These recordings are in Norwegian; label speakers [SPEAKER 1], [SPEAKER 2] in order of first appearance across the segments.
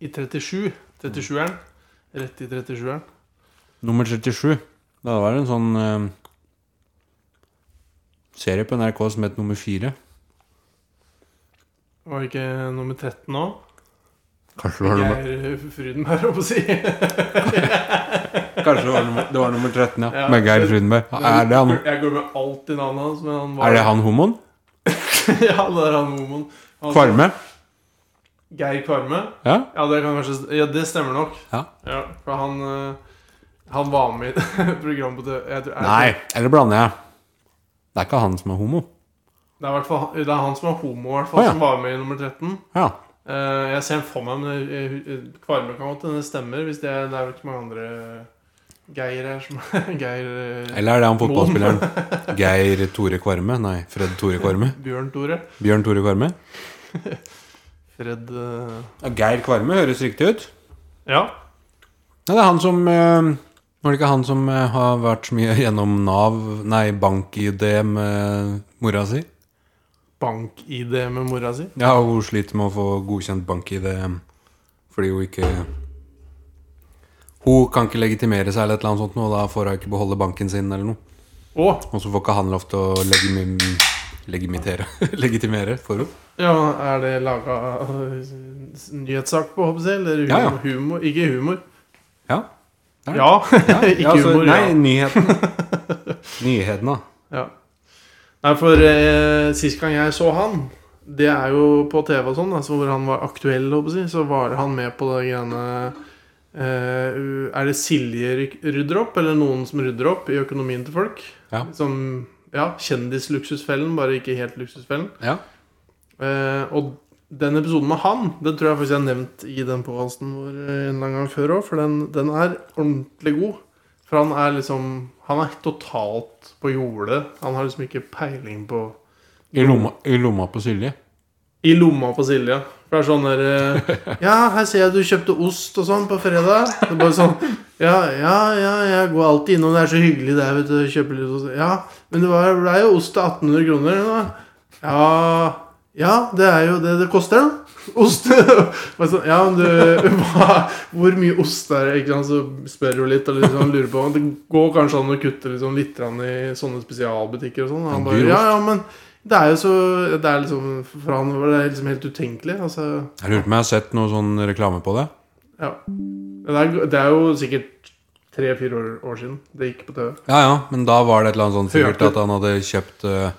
[SPEAKER 1] i 37. 37-eren. Rett i 37-eren.
[SPEAKER 2] Nummer 37. Det var en sånn eh, serie på NRK som het Nummer 4.
[SPEAKER 1] Var det ikke nummer 13 nå?
[SPEAKER 3] Kanskje det var nummer
[SPEAKER 1] Geir Frydenberg, holdt på å si.
[SPEAKER 2] Kanskje det var nummer, det var nummer 13, ja.
[SPEAKER 1] Ja.
[SPEAKER 2] Med Geir Frydenberg. Er det han,
[SPEAKER 1] Jeg glemmer alltid navnet hans. Men han var
[SPEAKER 2] er det han homoen?
[SPEAKER 1] ja, det er han homoen. Han-
[SPEAKER 2] Kvarme?
[SPEAKER 1] Geir Kvarme.
[SPEAKER 2] Ja?
[SPEAKER 1] Ja, det kan kanskje Ja, det stemmer nok.
[SPEAKER 2] Ja.
[SPEAKER 1] for han eh, Han var med i et program på TV jeg tror- jeg-
[SPEAKER 2] Nei, eller blander jeg? Det er ikke han som er homo.
[SPEAKER 1] Det er, hvertfall- det er han som er homo, i hvert fall,
[SPEAKER 2] Å, ja.
[SPEAKER 1] som var med i nummer 13.
[SPEAKER 2] Ja.
[SPEAKER 1] Eh, jeg ser for meg eh, men jeg- jeg- Kvarme kan godt hende det stemmer. Hvis det, er, det er vel ikke mange andre Geir her som Geir eh,
[SPEAKER 2] Eller er det han fotballspilleren? Geir Tore Kvarme? Nei, Fred Tore Kvarme?
[SPEAKER 1] Bjørn Tore.
[SPEAKER 2] Bjørn Tore Kvarme?
[SPEAKER 1] Fred eh,
[SPEAKER 2] Ja, Geir Kvarme høres riktig ut.
[SPEAKER 1] Ja.
[SPEAKER 2] Ja, det er han som eh, Var det ikke han som eh, har vært så mye gjennom Nav, nei, bank-ID med mora si?
[SPEAKER 1] Bank-ID med mora si.
[SPEAKER 2] Ja, og hun sliter med å få godkjent bank-ID fordi hun ikke Hun kan ikke legitimere seg eller et eller annet sånt, og da får hun ikke beholde banken sin eller noe.
[SPEAKER 1] Å!
[SPEAKER 2] Og så får ikke han lov til å legimi legimitere legitimere for henne.
[SPEAKER 1] Ja, er det laga nyhetssak på, håper jeg, eller humor?
[SPEAKER 2] Ja, ja.
[SPEAKER 1] humor? Ikke humor.
[SPEAKER 2] Ja. Ja.
[SPEAKER 1] Ja, ikke
[SPEAKER 2] Ja, altså,
[SPEAKER 1] humor.
[SPEAKER 2] nei,
[SPEAKER 1] ja.
[SPEAKER 2] nyhetene. Nyhetene.
[SPEAKER 1] Ja. Nei, for eh, sist gang jeg så han, det er jo på TV og sånn, altså hvor han var aktuell, håper jeg, så var han med på det greiene eh, Er det Silje ryk- rydder opp, eller noen som rydder opp i økonomien til folk?
[SPEAKER 2] Ja.
[SPEAKER 1] Som ja, Kjendisluksusfellen, bare ikke helt luksusfellen.
[SPEAKER 2] Ja.
[SPEAKER 1] Eh, og den episoden med han Den tror jeg faktisk jeg har nevnt i den podkasten vår eh, en eller annen gang før òg, for den, den er ordentlig god. For han er liksom Han er totalt på jordet. Han har liksom ikke peiling på
[SPEAKER 2] I lomma, I lomma på Silje.
[SPEAKER 1] I lomma på Silje. For det er sånn der eh, Ja, her ser jeg du kjøpte ost og sånn på fredag. Det er bare sånn Ja, ja, ja, jeg går alltid innom. Det er så hyggelig der, vet du. Kjøper litt ost. Ja, men det var- det ble jo ost til 1800 kroner. Da. Ja Ja, det er jo det det koster, da. Ost. Bare sånn, ja, men du hva, Hvor mye ost er det? Ikke sant? Så spør hun litt og liksom lurer på. Det går kanskje an å kutte liksom litt grann i sånne spesialbutikker og sånn. Og Han
[SPEAKER 2] En
[SPEAKER 1] bare
[SPEAKER 2] dyr
[SPEAKER 1] Ja, ja, men det er jo så Det er liksom For han var det liksom helt utenkelig. Altså
[SPEAKER 2] Jeg lurer på om jeg har sett noe sånn reklame på det.
[SPEAKER 1] Ja. Det er, det er jo sikkert tre-fire år, år siden det gikk på TV.
[SPEAKER 2] Ja, ja, men da var det et eller annet sånn sikkert
[SPEAKER 1] Hørte.
[SPEAKER 2] at han hadde kjøpt eh,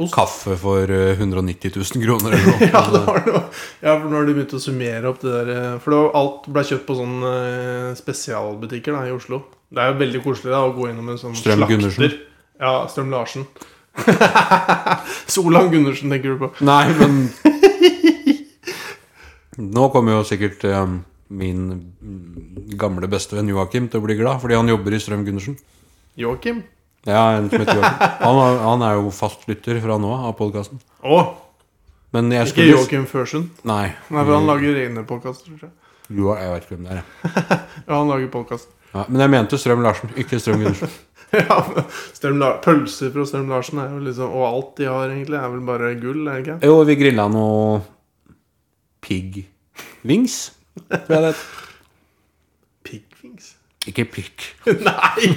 [SPEAKER 1] Ost.
[SPEAKER 2] kaffe for eh, 190 000 kroner eller noe.
[SPEAKER 1] Ja, det var det. ja, for nå har de begynt å summere opp det der eh, For det var, alt ble kjøpt på sånne eh, spesialbutikker da, i Oslo. Det er jo veldig koselig da, å gå innom en sånn
[SPEAKER 2] Strøm Gundersen.
[SPEAKER 1] Ja, Strøm Larsen. Solan Gundersen tenker du på.
[SPEAKER 2] eh, Nei, men Nå kommer jo sikkert eh, min mm, gamle bestevenn Joakim til å bli glad, fordi han jobber i Strøm-Gundersen.
[SPEAKER 1] Joakim?
[SPEAKER 2] Ja, en som heter Joakim. Han, er- han er jo fast lytter fra nå av, av podkasten.
[SPEAKER 1] Å,
[SPEAKER 2] Men jeg
[SPEAKER 1] ikke
[SPEAKER 2] skulle Mm.
[SPEAKER 1] Joakim Førsund.
[SPEAKER 2] Nei.
[SPEAKER 1] Nei, for han lager egne podkaster, tror jeg.
[SPEAKER 2] Jo, jeg vet ikke hvem det er. jeg.
[SPEAKER 1] Ja, han lager podkast.
[SPEAKER 2] Ja, men jeg mente Strøm-Larsen, ikke Strøm-Gundersen.
[SPEAKER 1] ja, men Strøm La- pølser fra Strøm Larsen er jo liksom Og alt de har, egentlig, er vel bare gull, er det ikke?
[SPEAKER 2] Jo, vi grilla noe pig wings. tror jeg det het.
[SPEAKER 1] Piggfings?
[SPEAKER 2] Ikke pikk.
[SPEAKER 1] Nei!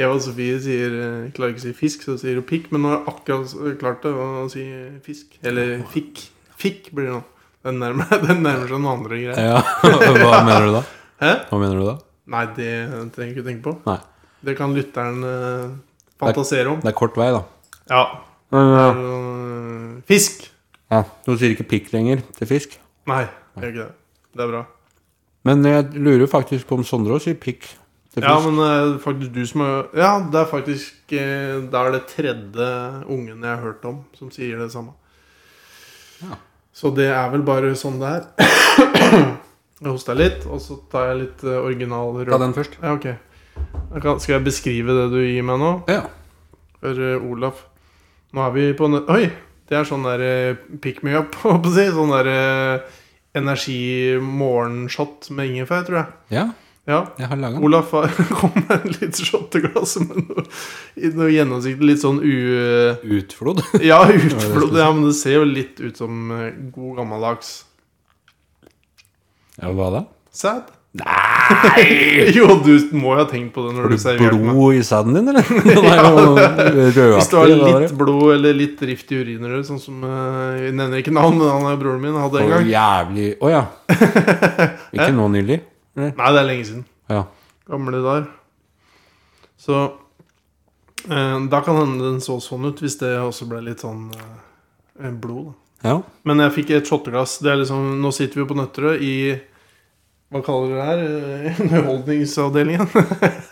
[SPEAKER 1] Eva Sofie sier eh, klarer ikke å si fisk, så sier hun pikk. Men nå har jeg akkurat eh, klart det å si fisk. Eller fikk. Fikk blir det nå. Den nærmer, den nærmer seg noen andre greier.
[SPEAKER 2] Ja, Hva mener du da?
[SPEAKER 1] Hæ?
[SPEAKER 2] Hva mener du da?
[SPEAKER 1] Nei, det trenger jeg ikke tenke på.
[SPEAKER 2] Nei.
[SPEAKER 1] Det kan lytteren eh, fantasere om.
[SPEAKER 2] Det er kort vei, da.
[SPEAKER 1] Ja.
[SPEAKER 2] Men,
[SPEAKER 1] Eh, Fisk!
[SPEAKER 2] ja. Du sier ikke pikk lenger til fisk.
[SPEAKER 1] Nei, det gjør ikke det. Det er bra.
[SPEAKER 2] Men jeg lurer faktisk på om Sondre også sier pikk til fisk.
[SPEAKER 1] Ja, men eh, faktisk du som er Ja, det er faktisk eh, Det er det tredje ungen jeg har hørt om som sier det samme.
[SPEAKER 2] Ja.
[SPEAKER 1] Så det er vel bare sånn det er. Jeg hoster litt, og så tar jeg litt eh, original
[SPEAKER 2] Ta
[SPEAKER 1] rød.
[SPEAKER 2] den først.
[SPEAKER 1] Ja, ok. Jeg kan- Skal jeg beskrive det du gir meg nå?
[SPEAKER 2] Ja.
[SPEAKER 1] For eh, Olaf Nå er vi på nø- Oi! Det er sånn der eh, pick me up, holdt på å si. Sånn der eh, energi-morgenshot med ingefær, tror jeg.
[SPEAKER 2] ja,
[SPEAKER 1] Ja.
[SPEAKER 2] jeg har laga den.
[SPEAKER 1] Olaf har- kom med et litt shotteglass med noe, i noe gjennomsiktig, litt sånn u...
[SPEAKER 2] Utflod.
[SPEAKER 1] Ja, utflod. Ja, men det ser jo litt ut som eh, god gammeldags
[SPEAKER 2] Ja, hva da?
[SPEAKER 1] Sad?
[SPEAKER 2] Nei!
[SPEAKER 1] Jo, du må jo ha tenkt på det når
[SPEAKER 2] Har
[SPEAKER 1] du serverte
[SPEAKER 2] du
[SPEAKER 1] meg.
[SPEAKER 2] blod i sæden din, eller? Den er jo rødaktig.
[SPEAKER 1] Hvis det var
[SPEAKER 2] eller hva det
[SPEAKER 1] litt blod eller litt drift i uriner Sånn som eh, Jeg nevner ikke navn, men han er broren min. Hadde
[SPEAKER 2] er.
[SPEAKER 1] en gang.
[SPEAKER 2] Å, jævlig Å ja. Ikke nå nylig?
[SPEAKER 1] Nei, det er lenge siden.
[SPEAKER 2] Ja.
[SPEAKER 1] Gamle dager. Så eh, Da kan hende den så sånn ut, hvis det også ble litt sånn eh, blod. da.
[SPEAKER 2] ja.
[SPEAKER 1] Men jeg fikk et shotteglass. Det er liksom Nå sitter vi jo på Nøtterøy i Hva kaller dere det her? Underholdningsavdelingen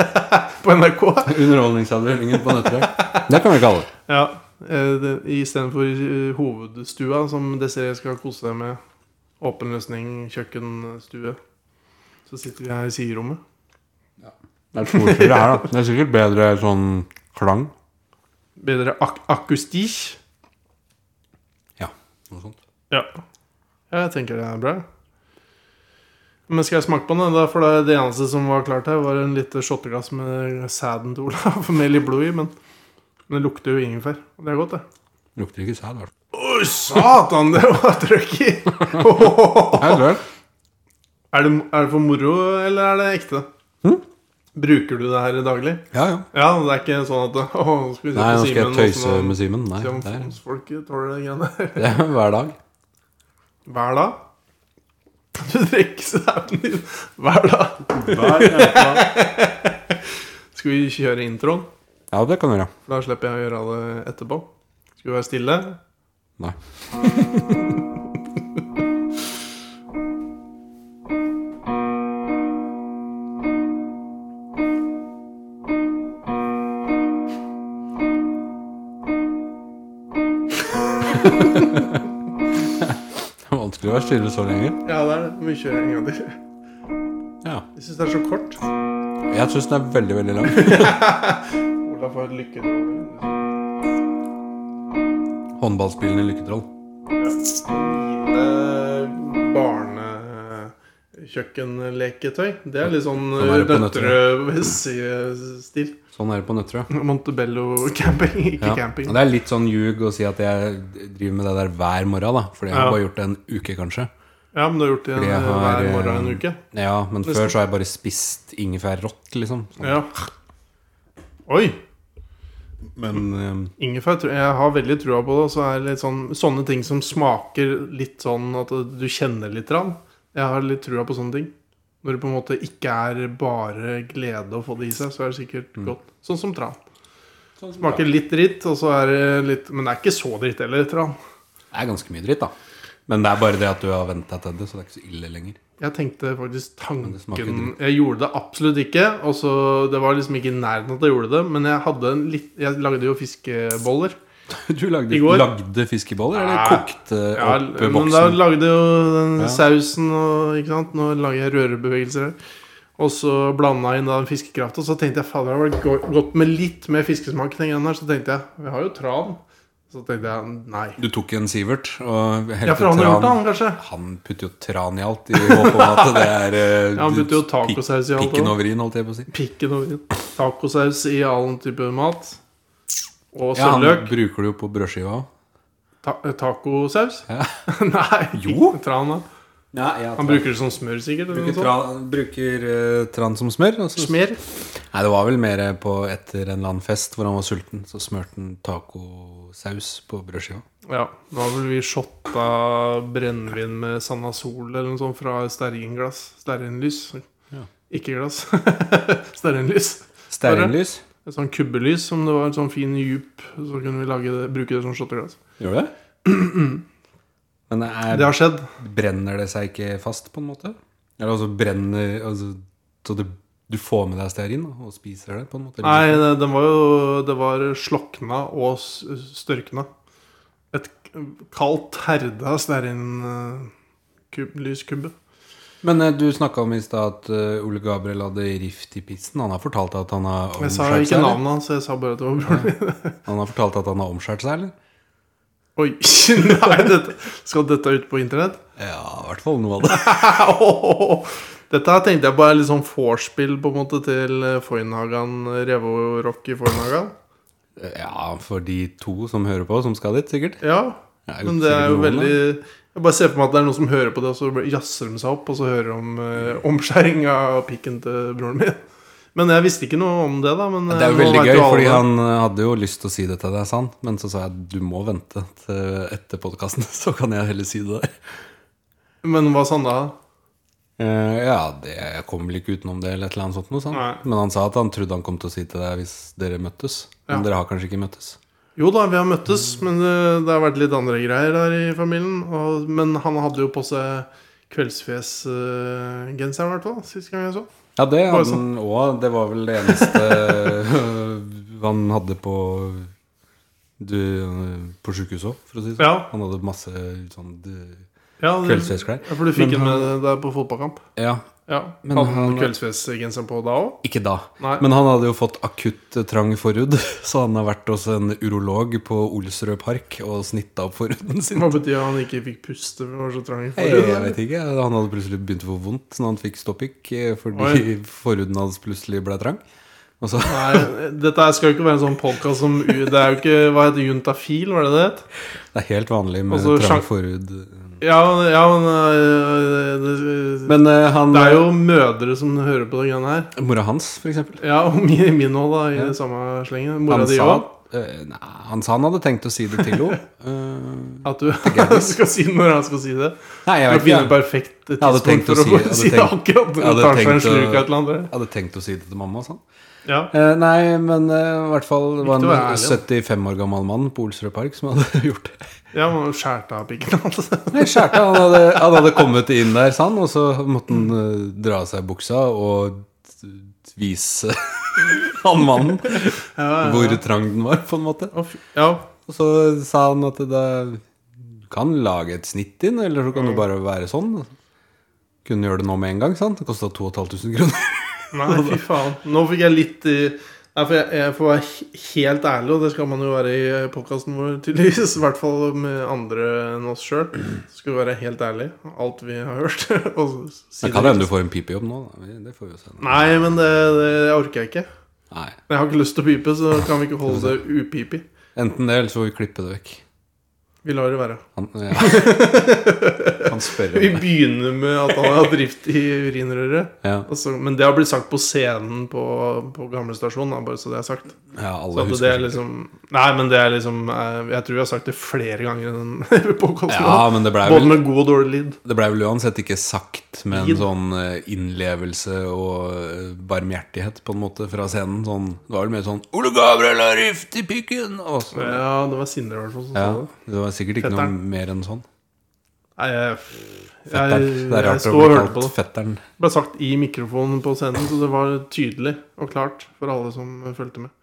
[SPEAKER 1] på NRK.
[SPEAKER 2] Underholdningsavdelingen på Nøtterøy. Det kan vi kalle det.
[SPEAKER 1] Ja. eh, Istedenfor eh, hovedstua, som Desiree skal kose seg med. Åpen løsning, kjøkkenstue. Så sitter vi her i siderommet.
[SPEAKER 2] Det er et ordspill her, da. Det er sikkert bedre sånn klang.
[SPEAKER 1] Bedre ak akustikk.
[SPEAKER 2] Ja, noe sånt.
[SPEAKER 1] Ja. ja. Jeg tenker det er bra. Men skal jeg smake på den? da? For det, det eneste som var klart her, var en lite shotteglass med sæden til Olav. Med litt blod i, men men det lukter jo ingefær. Og det er godt, det.
[SPEAKER 2] Lukter ikke sæd, i hvert fall.
[SPEAKER 1] Å, satan! Det var trøkk i!
[SPEAKER 2] Jeg tror det.
[SPEAKER 1] Er det, er det for moro, eller er det ekte?
[SPEAKER 2] Hm?
[SPEAKER 1] Bruker du det her daglig?
[SPEAKER 2] Ja, ja.
[SPEAKER 1] Ja, det er ikke sånn at Å, nå skal vi se
[SPEAKER 2] Nei,
[SPEAKER 1] på
[SPEAKER 2] nå skal jeg
[SPEAKER 1] Simen.
[SPEAKER 2] tøyse med Simen. Nei,
[SPEAKER 1] Se om
[SPEAKER 2] det er,
[SPEAKER 1] folk sånn tåler de greiene der.
[SPEAKER 2] det er hver dag.
[SPEAKER 1] Hver dag? Du drikker sæden din hver dag? Skal vi kjøre introen?
[SPEAKER 2] Ja, det kan du gjøre.
[SPEAKER 1] For da slipper jeg å gjøre det etterpå. Skal vi være stille?
[SPEAKER 2] Nei. Det er vanskelig å være stille så lenge.
[SPEAKER 1] Ja, det er det. Vi kjører en gang til.
[SPEAKER 2] Ja.
[SPEAKER 1] Jeg syns det er så kort.
[SPEAKER 2] Jeg syns den er veldig, veldig lang.
[SPEAKER 1] Olav får et lykketroll.
[SPEAKER 2] Håndballspillende lykketroll.
[SPEAKER 1] Eh, Barnekjøkkenleketøy. Det er litt sånn
[SPEAKER 2] Sånn er det på
[SPEAKER 1] Nøtterøy-stil.
[SPEAKER 2] Sånn er det på Nøtterøy.
[SPEAKER 1] Montebello camping, ikke
[SPEAKER 2] Ja.
[SPEAKER 1] camping.
[SPEAKER 2] Og det er litt sånn ljug å si at jeg driver med det der hver morgen, da. Fordi jeg har
[SPEAKER 1] Ja.
[SPEAKER 2] bare gjort det en uke, kanskje.
[SPEAKER 1] Ja, men du har gjort det en,
[SPEAKER 2] Fordi jeg har,
[SPEAKER 1] hver morgen
[SPEAKER 2] eh,
[SPEAKER 1] en uke?
[SPEAKER 2] Ja, men
[SPEAKER 1] Nesten.
[SPEAKER 2] før så har jeg bare spist ingefær rått, liksom. Sånn.
[SPEAKER 1] Ja. Oi!
[SPEAKER 2] Men eh,
[SPEAKER 1] Ingefær tror- jeg har veldig trua på det. Og så er det litt sånn, sånne ting som smaker litt sånn at du kjenner litt. Rann. Jeg har litt trua på sånne ting. Når det på en måte ikke er bare glede å få det i seg, så er det sikkert
[SPEAKER 2] Mm.
[SPEAKER 1] godt. Sånn som tran. Sånn Smaker litt dritt, og så er det litt Men det er ikke så dritt heller, tran.
[SPEAKER 2] det er ganske mye dritt, da. Men det er bare det at du har vent deg til det, så det er ikke så ille lenger.
[SPEAKER 1] Jeg tenkte faktisk
[SPEAKER 2] det smaker
[SPEAKER 1] tanken
[SPEAKER 2] dritt.
[SPEAKER 1] Jeg gjorde det absolutt ikke. Og så, Det var liksom ikke i nærheten at jeg gjorde det, men jeg, hadde en litt, jeg lagde jo fiskeboller.
[SPEAKER 2] Du lagde,
[SPEAKER 1] I går-
[SPEAKER 2] lagde fiskeboller, eller
[SPEAKER 1] Ja.
[SPEAKER 2] kokte
[SPEAKER 1] Ja,
[SPEAKER 2] opp i
[SPEAKER 1] men da
[SPEAKER 2] boksen?
[SPEAKER 1] lagde jo den
[SPEAKER 2] Ja.
[SPEAKER 1] sausen og ikke sant? Nå lager jeg rørebevegelser her. Og så blanda jeg inn da den fiskekrafta, og så tenkte jeg fader, det hadde vært go- godt med litt mer fiskesmak. i Den greien her. så tenkte jeg vi har jo tran. Så tenkte jeg nei.
[SPEAKER 2] Du tok en Sivert og
[SPEAKER 1] Ja,
[SPEAKER 2] helte
[SPEAKER 1] for han har gjort det,
[SPEAKER 2] tran.
[SPEAKER 1] han kanskje.
[SPEAKER 2] Han putter jo tran i alt, i håp om at det er eh,
[SPEAKER 1] Ja, han putter jo
[SPEAKER 2] pik-
[SPEAKER 1] tacosaus i alt
[SPEAKER 2] Pikken
[SPEAKER 1] også.
[SPEAKER 2] over i-en, holdt jeg på å si.
[SPEAKER 1] Pikken over inn. Tacosaus i all type mat. Og
[SPEAKER 2] Ja, han
[SPEAKER 1] sølvløk.
[SPEAKER 2] bruker det jo på brødskiva òg.
[SPEAKER 1] Ta eh, tacosaus?
[SPEAKER 2] Ja.
[SPEAKER 1] nei.
[SPEAKER 2] Jo.
[SPEAKER 1] ikke Tran, da.
[SPEAKER 2] Ja, ja,
[SPEAKER 1] Han bruker det sånn. som smør, sikkert. Eller noe
[SPEAKER 2] Bruker,
[SPEAKER 1] sånt.
[SPEAKER 2] tran, bruker eh, tran som smør. og så-
[SPEAKER 1] Smer.
[SPEAKER 2] Nei, det var vel mer på etter en eller annen fest hvor han var sulten. Så smørte han tacosaus på brødskiva.
[SPEAKER 1] Ja, nå har vel vi shotta brennevin med Sanasol eller noe sånt fra stearinglass. Stearinlys.
[SPEAKER 2] Ja.
[SPEAKER 1] Ikke glass. stearinlys.
[SPEAKER 2] Stearinlys.
[SPEAKER 1] Et sånn kubbelys som det var en sånn fin djup, så kunne vi lage det, bruke det som shotteglass.
[SPEAKER 2] Gjør det? Men
[SPEAKER 1] Det
[SPEAKER 2] er,
[SPEAKER 1] har skjedd.
[SPEAKER 2] brenner det seg ikke fast, på en måte? Eller altså brenner altså, Så det, du får med deg stearin da, og spiser det, på en måte?
[SPEAKER 1] Nei, det, den var jo Det var slokna og s- størkna. Et k- kaldt herda stearinlyskubbe.
[SPEAKER 2] Men eh, du snakka om i stad at eh, Ole Gabriel hadde rift i pissen. Han har fortalt at han har
[SPEAKER 1] Jeg sa
[SPEAKER 2] omskjært seg?
[SPEAKER 1] ikke
[SPEAKER 2] eller?
[SPEAKER 1] navnet hans, jeg sa bare at det var broren min.
[SPEAKER 2] Han har fortalt at han har omskjært seg, eller?
[SPEAKER 1] Oi, nei, dette, skal dette ut på internett?
[SPEAKER 2] Ja, i hvert fall noe av det.
[SPEAKER 1] Åh, Dette her tenkte jeg på er litt sånn vorspiel på en måte til eh, Foynhagan, eh, Revo Rock i Foynhagan.
[SPEAKER 2] Ja, for de to som hører på, som skal dit, sikkert.
[SPEAKER 1] Ja.
[SPEAKER 2] Jeg
[SPEAKER 1] Men det er jo
[SPEAKER 2] sikkert noen,
[SPEAKER 1] veldig Jeg bare ser for meg at det er noen som hører på det, og så bare jazzer de seg opp, og så hører de om eh, omskjæring av pikken til broren min. Men jeg visste ikke noe om det, da. Men
[SPEAKER 2] da. Det er jo
[SPEAKER 1] eh, nå
[SPEAKER 2] veldig
[SPEAKER 1] vet
[SPEAKER 2] gøy,
[SPEAKER 1] jo alle
[SPEAKER 2] fordi
[SPEAKER 1] det.
[SPEAKER 2] han eh, hadde jo lyst til å si det til deg, sa han. Men så sa jeg du må vente til etter podkasten, så kan jeg heller si det der.
[SPEAKER 1] Men hva sa han da?
[SPEAKER 2] Eh, ja, det, jeg kom vel ikke utenom det, eller et eller annet sånt noe sant?
[SPEAKER 1] Nei.
[SPEAKER 2] Men han sa at han trodde han kom til å si til deg hvis dere møttes. Men
[SPEAKER 1] Ja.
[SPEAKER 2] dere har kanskje ikke møttes.
[SPEAKER 1] Jo da, vi har møttes, men det, det har vært litt andre greier der i familien. Og, men han hadde jo på seg kveldsfjesgenseren, i hvert fall, sist gang jeg så.
[SPEAKER 2] Ja, det
[SPEAKER 1] Bare sånn.
[SPEAKER 2] hadde han òg. Det var vel det eneste øh, han hadde på du, øh, På sjukehuset òg, for å si det sånn.
[SPEAKER 1] Ja.
[SPEAKER 2] Han hadde masse sånn d-
[SPEAKER 1] Ja, det-
[SPEAKER 2] kveldsfjesklær.
[SPEAKER 1] Ja, for du fikk
[SPEAKER 2] Men
[SPEAKER 1] den med deg på fotballkamp?
[SPEAKER 2] Ja,
[SPEAKER 1] Ja.
[SPEAKER 2] Men
[SPEAKER 1] hadde han
[SPEAKER 2] han-
[SPEAKER 1] kveldsfjesgenseren på da òg?
[SPEAKER 2] ikke da.
[SPEAKER 1] Nei.
[SPEAKER 2] Men han hadde jo fått akutt eh, trang forhud, så han har vært hos en urolog på Olsrød park og snitta opp forhuden sin.
[SPEAKER 1] Hva betyr at han ikke fikk puste? for det Var så trang i
[SPEAKER 2] Jeg,
[SPEAKER 1] forhuden?
[SPEAKER 2] vet ikke, Han hadde plutselig begynt å få vondt når han fikk stoppikk eh, fordi
[SPEAKER 1] Oi.
[SPEAKER 2] forhuden hans plutselig ble trang. Og så
[SPEAKER 1] Nei, dette her skal jo ikke være en sånn podkast som u- Det er jo ikke Hva heter det, juntafil, var det det het?
[SPEAKER 2] Det er helt vanlig med
[SPEAKER 1] Og så
[SPEAKER 2] trang
[SPEAKER 1] sjang-
[SPEAKER 2] forhud.
[SPEAKER 1] Ja, ja, men øh, det,
[SPEAKER 2] Men eh, han
[SPEAKER 1] det er jo mødre som hører på det greiene her.
[SPEAKER 2] Mora hans, for eksempel.
[SPEAKER 1] Ja, og mi- min òg, da, i
[SPEAKER 2] Ja.
[SPEAKER 1] samme slengen.
[SPEAKER 2] Han
[SPEAKER 1] Mora di
[SPEAKER 2] sa,
[SPEAKER 1] òg.
[SPEAKER 2] eh, nei, han sa han hadde tenkt å si det til henne. Eh,
[SPEAKER 1] At du skal si det når han skal si det.
[SPEAKER 2] nei, jeg
[SPEAKER 1] Jeg
[SPEAKER 2] vet
[SPEAKER 1] vil finne et
[SPEAKER 2] ikke.
[SPEAKER 1] perfekt
[SPEAKER 2] hadde
[SPEAKER 1] tidspunkt
[SPEAKER 2] tenkt å
[SPEAKER 1] for å få
[SPEAKER 2] si- jeg hadde
[SPEAKER 1] si det
[SPEAKER 2] tenkt-
[SPEAKER 1] akkurat.
[SPEAKER 2] jeg hadde
[SPEAKER 1] Tar seg en
[SPEAKER 2] tenkt å-
[SPEAKER 1] slurk av et eller annet.
[SPEAKER 2] Jeg hadde tenkt å si det til mamma. Sånn.
[SPEAKER 1] Ja.
[SPEAKER 2] Eh, nei, men eh, i hvert fall det var
[SPEAKER 1] Viktig å være
[SPEAKER 2] en
[SPEAKER 1] ærlig, da.
[SPEAKER 2] 75 år gammel mann på Olsrud Park som hadde gjort det.
[SPEAKER 1] ja, man skjærte av altså. pikken hans.
[SPEAKER 2] Nei, skjærte, han, hadde, han hadde kommet inn der, sa han, og så måtte han eh, dra av seg buksa og t- vise han mannen
[SPEAKER 1] Ja,
[SPEAKER 2] hvor trang den var, på en måte.
[SPEAKER 1] Å, fy- ja.
[SPEAKER 2] Og så sa han at det, du kan lage et snitt inn, eller så kan
[SPEAKER 1] Mm.
[SPEAKER 2] du bare være sånn. Kunne gjøre det nå med en gang, sant? Det kosta 2500 kroner.
[SPEAKER 1] Nei, fy faen. Nå fikk jeg litt i Nei, for jeg, jeg får være he- helt ærlig, og det skal man jo være i podkasten vår, tydeligvis. I hvert fall med andre enn oss sjøl. Skal vi være helt ærlig alt vi har hørt. og si
[SPEAKER 2] Det kan
[SPEAKER 1] det.
[SPEAKER 2] hende du får en pipejobb nå. Da. Det får vi jo se. nå.
[SPEAKER 1] Nei, men det, det jeg orker jeg ikke.
[SPEAKER 2] Nei.
[SPEAKER 1] Jeg har ikke lyst til å pipe, så kan vi ikke holde det upipi.
[SPEAKER 2] Enten det, eller så får vi klippe det vekk.
[SPEAKER 1] Vi lar det være.
[SPEAKER 2] Han, ja. han spør
[SPEAKER 1] Vi
[SPEAKER 2] om det.
[SPEAKER 1] begynner med at han har drift i urinrøret.
[SPEAKER 2] Ja,
[SPEAKER 1] Og så- men det har blitt sagt på scenen på, på gamlestasjonen, da, bare så det er sagt.
[SPEAKER 2] ja
[SPEAKER 1] Så
[SPEAKER 2] alle
[SPEAKER 1] at det
[SPEAKER 2] husker
[SPEAKER 1] er
[SPEAKER 2] sikkert.
[SPEAKER 1] liksom Nei, men det er liksom eh, Jeg tror vi har sagt det flere ganger i den podcasten
[SPEAKER 2] Ja, men det blei
[SPEAKER 1] Både
[SPEAKER 2] vel,
[SPEAKER 1] med god og dårlig lyd.
[SPEAKER 2] det ble vel uansett ikke sagt med
[SPEAKER 1] Lyd.
[SPEAKER 2] en sånn eh, innlevelse og eh, barmhjertighet, på en måte, fra scenen. Sånn, det var vel mer sånn 'Ole Gabriel har rift i pikken!' Og så,
[SPEAKER 1] Ja, det var Sindre i hvert fall som
[SPEAKER 2] Ja,
[SPEAKER 1] sa det.
[SPEAKER 2] det var sikkert ikke
[SPEAKER 1] Fetteren.
[SPEAKER 2] noe mer enn sånn.
[SPEAKER 1] Nei, jeg, jeg,
[SPEAKER 2] Fetteren. det er
[SPEAKER 1] jeg,
[SPEAKER 2] rart
[SPEAKER 1] sto
[SPEAKER 2] å
[SPEAKER 1] og
[SPEAKER 2] bli
[SPEAKER 1] hørte på
[SPEAKER 2] kalt
[SPEAKER 1] det.
[SPEAKER 2] fetteren.
[SPEAKER 1] Det ble sagt i mikrofonen på scenen, så det var tydelig og klart for alle som fulgte med.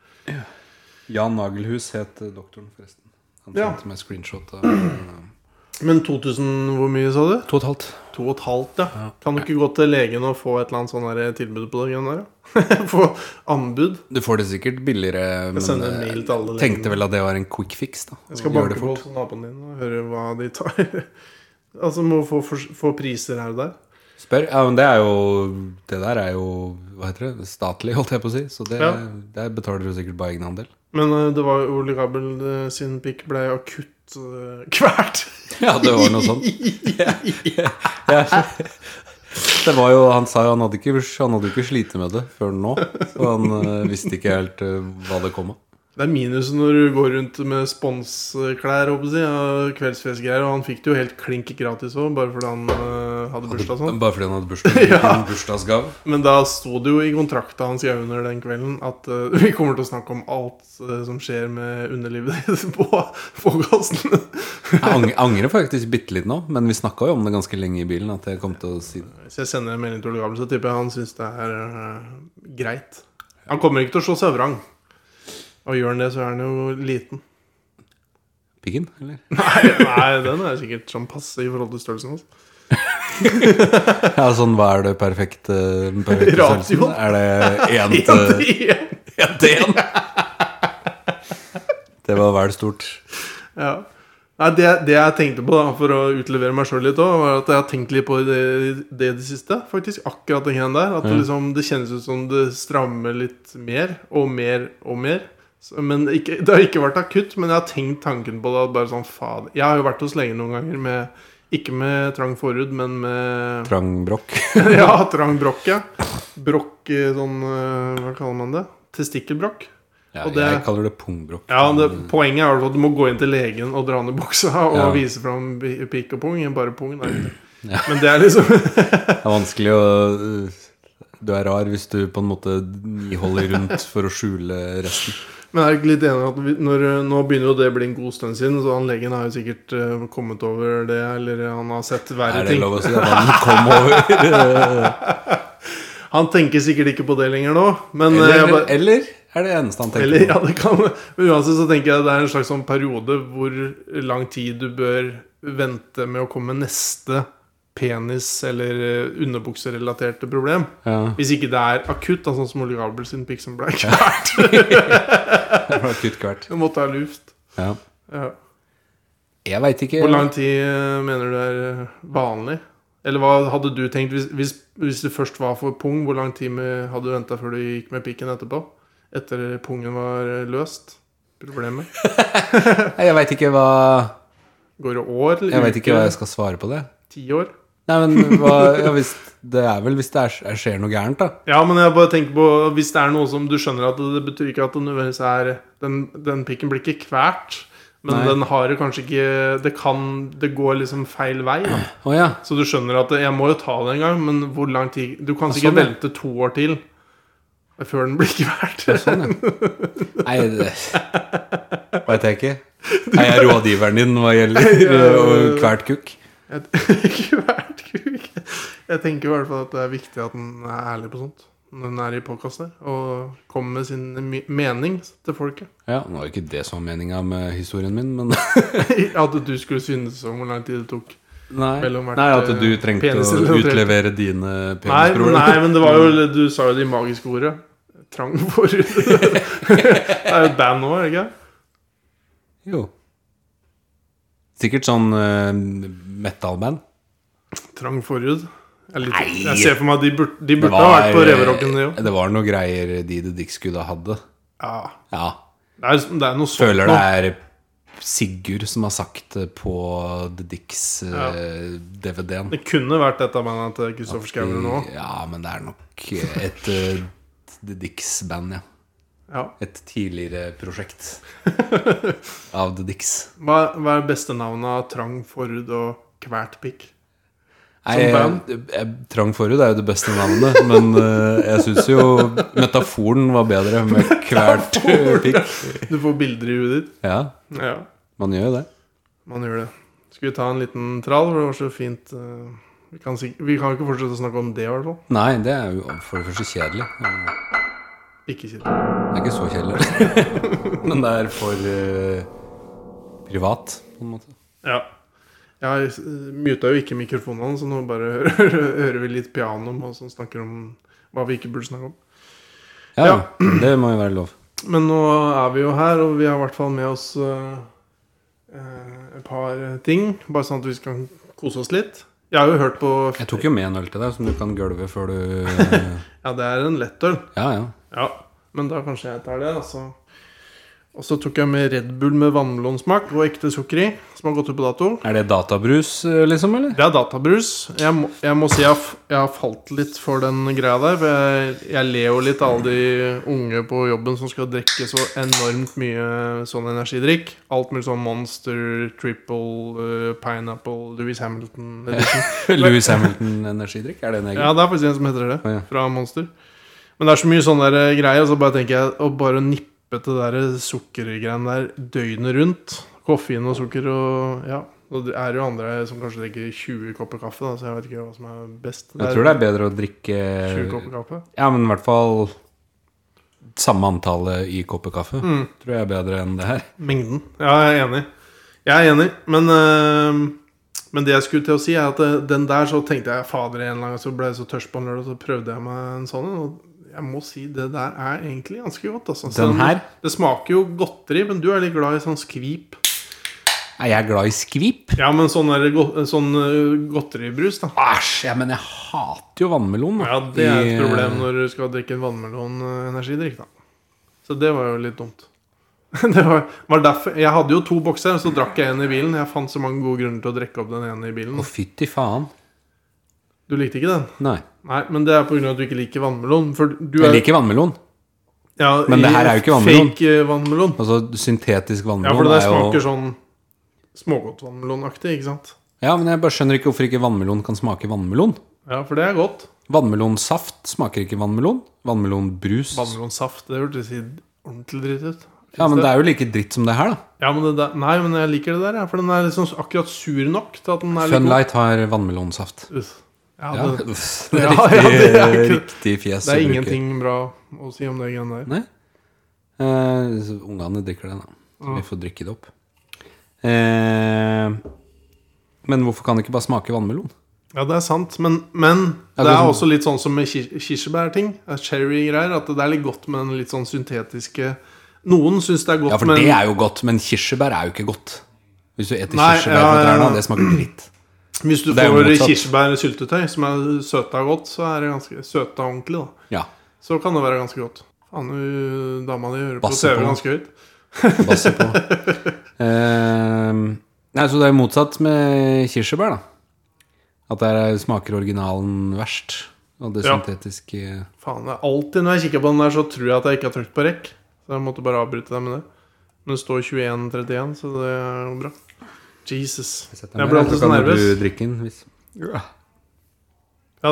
[SPEAKER 2] Jan Nagelhus het eh, doktoren, forresten. Han
[SPEAKER 1] Ja.
[SPEAKER 2] sendte meg screenshot av eh,
[SPEAKER 1] Men 2000, hvor mye sa du?
[SPEAKER 2] To og et halvt.
[SPEAKER 1] To og et halvt, ja.
[SPEAKER 2] Ja.
[SPEAKER 1] Kan du ikke gå til legen og få et eller annet sånn her tilbud på det greiene der? ja? få anbud?
[SPEAKER 2] Du får det sikkert billigere,
[SPEAKER 1] Jeg
[SPEAKER 2] men
[SPEAKER 1] sender en mail til alle
[SPEAKER 2] eh,
[SPEAKER 1] legene.
[SPEAKER 2] tenkte vel at det var en quick fix, da.
[SPEAKER 1] Jeg skal
[SPEAKER 2] Gjør
[SPEAKER 1] banke
[SPEAKER 2] det
[SPEAKER 1] på
[SPEAKER 2] fort.
[SPEAKER 1] hos naboen din og høre hva de tar. altså må få, fors- få priser her og der.
[SPEAKER 2] Spør. Ja, men det er jo Det der er jo Hva heter det? Statlig, holdt jeg på å si. Så det,
[SPEAKER 1] Ja.
[SPEAKER 2] der betaler du sikkert bare egenandel.
[SPEAKER 1] Men eh, det var jo Ole Gabel eh, sin pikk ble akutt uh, kvært.
[SPEAKER 2] Ja, det var noe sånt. Ja. Det var jo, han sa jo han hadde ikke, han hadde jo ikke slitt med det før nå. Så han eh, visste ikke helt eh, hva det kom av.
[SPEAKER 1] Det er minus når du går rundt med sponsklær håper jeg å si, og kveldsfestgreier. Og han fikk det jo helt klink gratis òg, bare fordi han eh, hadde bursdag og sånn.
[SPEAKER 2] Bare fordi han hadde bursdag,
[SPEAKER 1] Ja.
[SPEAKER 2] en bursdagsgave.
[SPEAKER 1] Men da sto det jo i kontrakta han skrev under den kvelden, at eh, vi kommer til å snakke om alt eh, som skjer med underlivet ditt på podkasten.
[SPEAKER 2] Jeg ang- angrer faktisk bitte litt nå, men vi snakka jo om det ganske lenge i bilen. At jeg kom til å si det.
[SPEAKER 1] Hvis jeg sender en melding til Ole Gabel, så tipper jeg han syns det er øh, greit. Han kommer ikke til å slå seg vrang. Og gjør han det, så er han jo liten.
[SPEAKER 2] Piggen, eller?
[SPEAKER 1] Nei, nei den er sikkert sånn passe i forhold til størrelsen hans.
[SPEAKER 2] Ja, sånn, hva er det perfekte, den perfekte
[SPEAKER 1] Ratio.
[SPEAKER 2] størrelsen? Er det én
[SPEAKER 1] Ja,
[SPEAKER 2] til
[SPEAKER 1] det-
[SPEAKER 2] Ja, det igjen. Det var vel stort.
[SPEAKER 1] Ja. Nei, det, det jeg tenkte på, da, for å utlevere meg sjøl litt òg, var at jeg har tenkt litt på det det, i det siste. Faktisk akkurat den greia der. At det, liksom, det kjennes ut som det strammer litt mer og mer og mer. Så, men ikke, det har ikke vært akutt, men jeg har tenkt tanken på det. at Bare sånn, faen Jeg har jo vært hos legen noen ganger, med, ikke med trang forhud, men med
[SPEAKER 2] Trang brokk.
[SPEAKER 1] Ja, trang brokk, ja. Brokk eh, sånn eh, Hva kaller man det? Testikkelbrokk.
[SPEAKER 2] Ja,
[SPEAKER 1] Og det-
[SPEAKER 2] jeg kaller det pungbrokk.
[SPEAKER 1] Ja, det, Poenget er altså at du må gå inn til legen og dra ned buksa og
[SPEAKER 2] Ja.
[SPEAKER 1] vise fram bi- pikk og pung. Bare pung, da.
[SPEAKER 2] Ja.
[SPEAKER 1] Men det er liksom
[SPEAKER 2] Det er vanskelig å eh, Du er rar hvis du på en måte niholder rundt for å skjule resten.
[SPEAKER 1] Men jeg er ikke litt enig i at vi, når, nå begynner jo det å bli en god stund siden, så han legen har jo sikkert eh, kommet over det, eller han har sett verre
[SPEAKER 2] Er det
[SPEAKER 1] ting. eh,
[SPEAKER 2] lov å si at han kom over?
[SPEAKER 1] Han tenker sikkert ikke på det lenger nå, men eh, jeg
[SPEAKER 2] Eller,
[SPEAKER 1] bare-
[SPEAKER 2] eller er det eneste han
[SPEAKER 1] eller,
[SPEAKER 2] tenker på?
[SPEAKER 1] ja, det kan Men uansett så tenker jeg det er en slags sånn periode hvor lang tid du bør vente med å komme med neste penis- eller eh, underbukserelaterte problem.
[SPEAKER 2] Ja,
[SPEAKER 1] Hvis ikke det er akutt, da, sånn som Ole Gabel sin Pix and Black.
[SPEAKER 2] det var akutt kvert.
[SPEAKER 1] Du måtte ha luft.
[SPEAKER 2] Ja.
[SPEAKER 1] Ja.
[SPEAKER 2] Jeg veit ikke.
[SPEAKER 1] Hvor lang tid eh, mener du er eh, vanlig? Eller hva hadde du tenkt hvis, hvis, hvis det først var for pung? Hvor lang tid med, hadde du venta før du gikk med pikken etterpå? Etter pungen var eh, løst? Problemet?
[SPEAKER 2] Nei, Jeg veit ikke hva
[SPEAKER 1] Går det år? Eller
[SPEAKER 2] Jeg vet ikke hva jeg
[SPEAKER 1] skal
[SPEAKER 2] skal svare på det.
[SPEAKER 1] Ti år?
[SPEAKER 2] Nei, men hva, ja, hvis, Det er vel hvis det er, skjer noe gærent, da.
[SPEAKER 1] Ja, men jeg bare tenker på Hvis det er noe som du skjønner at det betyr ikke at det nødvendigvis er Den, den pikken blir ikke kvært, men
[SPEAKER 2] Nei.
[SPEAKER 1] den har det kanskje ikke Det kan Det går liksom feil vei, da.
[SPEAKER 2] Å ja.
[SPEAKER 1] Så du skjønner at jeg må jo ta det en gang, men hvor lang tid Du kan
[SPEAKER 2] Ja,
[SPEAKER 1] sikkert
[SPEAKER 2] sånn, ja.
[SPEAKER 1] vente to år til før den blir kvært.
[SPEAKER 2] Sånn, ja. Nei, det veit jeg ikke. Er jeg rådgiveren din hva gjelder eh, hvert kukk?
[SPEAKER 1] Kvært kuk. Jeg tenker i hvert fall at det er viktig at den er ærlig på sånt når den er i podkast her, og kommer med sin me- mening til folket.
[SPEAKER 2] Ja, nå var jo ikke det som var meninga med historien min, men
[SPEAKER 1] At du skulle synes om hvor lang tid det tok.
[SPEAKER 2] Nei,
[SPEAKER 1] Mellom hvert,
[SPEAKER 2] nei at du
[SPEAKER 1] eh,
[SPEAKER 2] trengte
[SPEAKER 1] penis
[SPEAKER 2] å
[SPEAKER 1] eller noe
[SPEAKER 2] utlevere dine
[SPEAKER 1] Nei, men-
[SPEAKER 2] penisproblemer.
[SPEAKER 1] nei, men det var
[SPEAKER 2] Mm.
[SPEAKER 1] jo Du sa jo de magiske ordet. Trang forhud. det er jo et band nå, er det ikke? det?
[SPEAKER 2] Jo. Sikkert sånn uh, metal-band.
[SPEAKER 1] Trang forhud? Jeg, er litt, jeg ser for meg at de burde, de
[SPEAKER 2] Det
[SPEAKER 1] burde ha vært på
[SPEAKER 2] var, eh,
[SPEAKER 1] Reverocken, de òg.
[SPEAKER 2] Det var noe greier de The Dick Skudda hadde.
[SPEAKER 1] Ja.
[SPEAKER 2] Ja.
[SPEAKER 1] Det er, liksom, det er noe sånt
[SPEAKER 2] Føler
[SPEAKER 1] nå.
[SPEAKER 2] det er Sigurd som har sagt det på The Dicks eh, DVD-en.
[SPEAKER 1] Det kunne vært dette bandet til Kristoffer Schauer nå.
[SPEAKER 2] Ja, men det er nok et eh, The Dicks-band, ja.
[SPEAKER 1] Ja.
[SPEAKER 2] Et tidligere prosjekt av The Dicks.
[SPEAKER 1] Hva, hva er beste navnet av Trang forhud og Kvært pikk?
[SPEAKER 2] Nei,
[SPEAKER 1] Som
[SPEAKER 2] jeg,
[SPEAKER 1] band?
[SPEAKER 2] jeg, Trang Forhud er jo det beste navnet, men eh, jeg syns jo metaforen var bedre med hvert eh, pikk.
[SPEAKER 1] Du får bilder i huet ditt.
[SPEAKER 2] Ja,
[SPEAKER 1] Ja,
[SPEAKER 2] man gjør jo det.
[SPEAKER 1] man gjør det. Skal vi ta en liten trall? For det var så fint eh, Vi kan, sikk- vi kan jo ikke fortsette å snakke om det, i hvert fall.
[SPEAKER 2] Nei, det er jo for det første kjedelig. Det
[SPEAKER 1] Ikke kjedelig.
[SPEAKER 2] er ikke så kjedelig. Men det er for eh, privat, på en måte.
[SPEAKER 1] Ja. Jeg eh, muta jo ikke mikrofonen hans, så nå bare hører, hører vi litt piano med oss som snakker om hva vi ikke burde snakke om.
[SPEAKER 2] Ja, det må jo være lov.
[SPEAKER 1] Men nå er vi jo her, og vi har i hvert fall med oss øh, øh, et par ting. Bare sånn at vi skal kose oss litt. Jeg har jo hørt på
[SPEAKER 2] Jeg tok jo med en øl til deg som du kan gølve før du eh,
[SPEAKER 1] Ja, det er en lettøl.
[SPEAKER 2] Ja, ja.
[SPEAKER 1] Ja. Men da kanskje jeg tar det, altså. Og så tok jeg med Red Bull med vannmelonsmak og ekte sukker i, som har gått ut på dato.
[SPEAKER 2] Er det databrus, eh, liksom, eller?
[SPEAKER 1] Det er databrus. Jeg må, jeg må si jeg, har f- jeg har falt litt for den greia der. For jeg, jeg ler jo litt av alle de unge på jobben som skal drikke så enormt mye sånn energidrikk. Alt mulig sånn Monster, Triple, eh, Pineapple, Louis Hamilton edition.
[SPEAKER 2] Louis Hamilton energidrikk, er det en egen?
[SPEAKER 1] Ja, det er faktisk en som heter
[SPEAKER 2] Å, ja.
[SPEAKER 1] det. Fra Monster. Men det er så mye sånn der greie, og så bare tenker jeg å bare nippe til det der sukkergreiene der døgnet rundt. Koffein og sukker og ja. Og det er jo andre som kanskje drikker 20 kopper kaffe, da, så jeg vet ikke hva som er best.
[SPEAKER 2] Jeg tror det er bedre å drikke
[SPEAKER 1] 20 kopper kaffe.
[SPEAKER 2] Ja, men i hvert fall samme antallet i kopper kaffe.
[SPEAKER 1] Mm.
[SPEAKER 2] Tror jeg er bedre enn det her.
[SPEAKER 1] Mengden. Ja, jeg er enig. Jeg er enig, men øh, men det jeg skulle til å si, er at øh, den der så tenkte jeg fader en eller annen gang så ble jeg så tørst på en lørdag, så prøvde jeg meg en sånn en. Og jeg må si det der er egentlig ganske godt. Altså.
[SPEAKER 2] Den
[SPEAKER 1] Selv om
[SPEAKER 2] her?
[SPEAKER 1] Det smaker jo godteri, men du er litt glad i sånn skvip.
[SPEAKER 2] Er jeg glad i skvip?
[SPEAKER 1] Ja, men sånn, der, go- sånn øh, godteribrus, da.
[SPEAKER 2] Æsj! Ja, men jeg hater jo vannmelon. da.
[SPEAKER 1] Ja, det er et
[SPEAKER 2] I, eh,
[SPEAKER 1] problem når du skal drikke en vannmelon øh, energidrikk da. Så det var jo litt dumt. Det var, var derfor, jeg hadde jo to bokser, og så drakk jeg en i bilen. Jeg fant så mange gode grunner til å drikke opp den ene i bilen.
[SPEAKER 2] Å, fytti faen.
[SPEAKER 1] Du likte ikke den?
[SPEAKER 2] Nei.
[SPEAKER 1] Nei, men det er pga. at du ikke liker vannmelon. For du
[SPEAKER 2] Jeg
[SPEAKER 1] er,
[SPEAKER 2] liker vannmelon.
[SPEAKER 1] ja,
[SPEAKER 2] men det
[SPEAKER 1] i
[SPEAKER 2] her er jo ikke vannmelon.
[SPEAKER 1] Fake eh, vannmelon.
[SPEAKER 2] Altså syntetisk
[SPEAKER 1] Ja,
[SPEAKER 2] vannmelon
[SPEAKER 1] for det
[SPEAKER 2] er
[SPEAKER 1] smaker
[SPEAKER 2] jo
[SPEAKER 1] sånn smågodtvannmelonaktig, ikke sant?
[SPEAKER 2] Ja, men jeg bare skjønner ikke hvorfor ikke vannmelon kan smake vannmelon.
[SPEAKER 1] Ja, for det er godt.
[SPEAKER 2] Vannmelonsaft smaker ikke vannmelon. Vannmelonbrus
[SPEAKER 1] Vannmelonsaft, det hørtes i ordentlig dritt ut.
[SPEAKER 2] Ja, men det er jo like dritt som det her, da.
[SPEAKER 1] Ja, men det der, nei, men jeg liker det der, jeg, for den er liksom akkurat sur nok til at den er litt god.
[SPEAKER 2] Funlight har vannmelonsaft.
[SPEAKER 1] Uff. Ja,
[SPEAKER 2] Ja,
[SPEAKER 1] det,
[SPEAKER 2] det er
[SPEAKER 1] Ja, ja,
[SPEAKER 2] riktig,
[SPEAKER 1] det er ikke-
[SPEAKER 2] riktig fjes.
[SPEAKER 1] det er
[SPEAKER 2] å bruke.
[SPEAKER 1] ingenting bra å si om det greiene der.
[SPEAKER 2] Nei. Eh, så ungene drikker det, da. Så vi får drikke det opp. Eh, men hvorfor kan det ikke bare smake vannmelon?
[SPEAKER 1] Ja, det er sant, men, men
[SPEAKER 2] Ja,
[SPEAKER 1] det
[SPEAKER 2] det er
[SPEAKER 1] er
[SPEAKER 2] sånn-
[SPEAKER 1] også litt sånn som med kir- kirsebærting. eh, Cherry-greier. At det er litt godt med den litt sånn syntetiske Noen syns det er godt,
[SPEAKER 2] Ja, for
[SPEAKER 1] men
[SPEAKER 2] det er jo godt, men kirsebær er jo ikke godt. Hvis du eter
[SPEAKER 1] Nei,
[SPEAKER 2] kirsebær
[SPEAKER 1] ja,
[SPEAKER 2] på
[SPEAKER 1] ja,
[SPEAKER 2] trærne,
[SPEAKER 1] ja.
[SPEAKER 2] det smaker dritt.
[SPEAKER 1] hvis du
[SPEAKER 2] det er jo
[SPEAKER 1] får
[SPEAKER 2] motsatt.
[SPEAKER 1] kirsebærsyltetøy som er søta godt, så er det ganske søta ordentlig, da.
[SPEAKER 2] Ja.
[SPEAKER 1] Så kan det være ganske godt. Faen, hun dama di hører på
[SPEAKER 2] Basse
[SPEAKER 1] TV
[SPEAKER 2] på.
[SPEAKER 1] ganske høyt.
[SPEAKER 2] Basse på. Eh, nei, så det er jo motsatt med kirsebær, da. At der er- smaker originalen verst. Og det
[SPEAKER 1] Ja.
[SPEAKER 2] syntetiske
[SPEAKER 1] Faen, det er alltid når jeg kikker på den der, så tror jeg at jeg ikke har trykt på rekk. Så jeg måtte bare avbryte deg med det. Men det står 21.31, så det er jo bra. Jesus. Jeg
[SPEAKER 2] ned,
[SPEAKER 1] blir alltid så
[SPEAKER 2] så kan
[SPEAKER 1] nervøs.
[SPEAKER 2] Du drikke den, hvis.
[SPEAKER 1] Ja,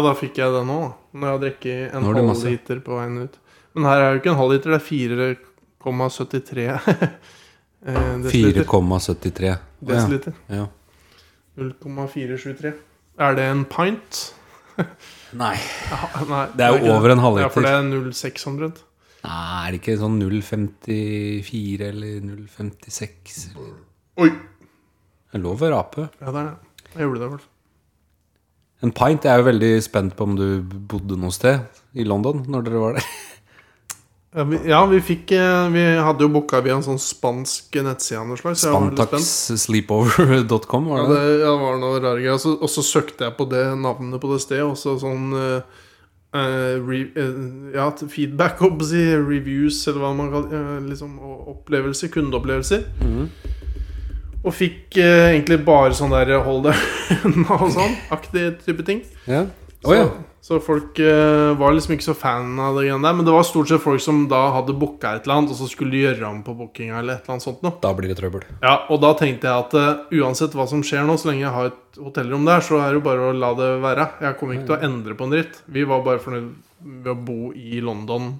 [SPEAKER 1] da fikk jeg den òg. Når jeg har drukket en
[SPEAKER 2] Nå har du
[SPEAKER 1] halv
[SPEAKER 2] masse.
[SPEAKER 1] liter på veien ut. Men her er jo ikke en halv liter, det er 4,73 eh, desiliter.
[SPEAKER 2] 4,73. Å, ja.
[SPEAKER 1] Desiliter.
[SPEAKER 2] Ja.
[SPEAKER 1] 0,473. Er det en pint?
[SPEAKER 2] Nei.
[SPEAKER 1] Ja, nei,
[SPEAKER 2] Det er jo
[SPEAKER 1] ikke
[SPEAKER 2] over en halv
[SPEAKER 1] Ja, for
[SPEAKER 2] liter.
[SPEAKER 1] det er 0600.
[SPEAKER 2] Nei, er det ikke sånn 0,54 eller 0,56? eller-
[SPEAKER 1] Oi!
[SPEAKER 2] Det er lov å rape.
[SPEAKER 1] Ja, det er det. Jeg gjorde det, i hvert fall.
[SPEAKER 2] En pint jeg er jo veldig spent på om du bodde noe sted i London når dere var der.
[SPEAKER 1] Ja, vi, ja, vi fikk eh, Vi hadde jo booka via en sånn spansk nettside av noe slag, så jeg var veldig spent.
[SPEAKER 2] Spantaxsleepover.com,
[SPEAKER 1] Ja,
[SPEAKER 2] var
[SPEAKER 1] det
[SPEAKER 2] det?
[SPEAKER 1] ja, det var noe rare greier. Og så- Og så søkte jeg på det navnet på det stedet, og så sånn eh, eh, re, eh, Ja, t- feedback, holdt på å si. Reviews, eller hva man kaller eh, liksom, og opplevelser. Kundeopplevelser.
[SPEAKER 2] Mm.
[SPEAKER 1] Og fikk eh, egentlig bare sånn der hold deg unna og sånn-aktig type ting.
[SPEAKER 2] Ja. Å
[SPEAKER 1] Så,
[SPEAKER 2] ja.
[SPEAKER 1] så folk eh, var liksom ikke så fan av det greiene der. Men det var stort sett folk som da hadde booka et eller annet, og så skulle de gjøre om på bookinga eller et eller annet sånt noe.
[SPEAKER 2] Da blir det trøbbel.
[SPEAKER 1] Ja, og da tenkte jeg at eh, uansett hva som skjer nå, så lenge jeg har et hotellrom der, så er det jo bare å la det være. Jeg kommer ikke til
[SPEAKER 2] Mm.
[SPEAKER 1] å endre på en dritt. Vi var bare fornøyd ved å bo i London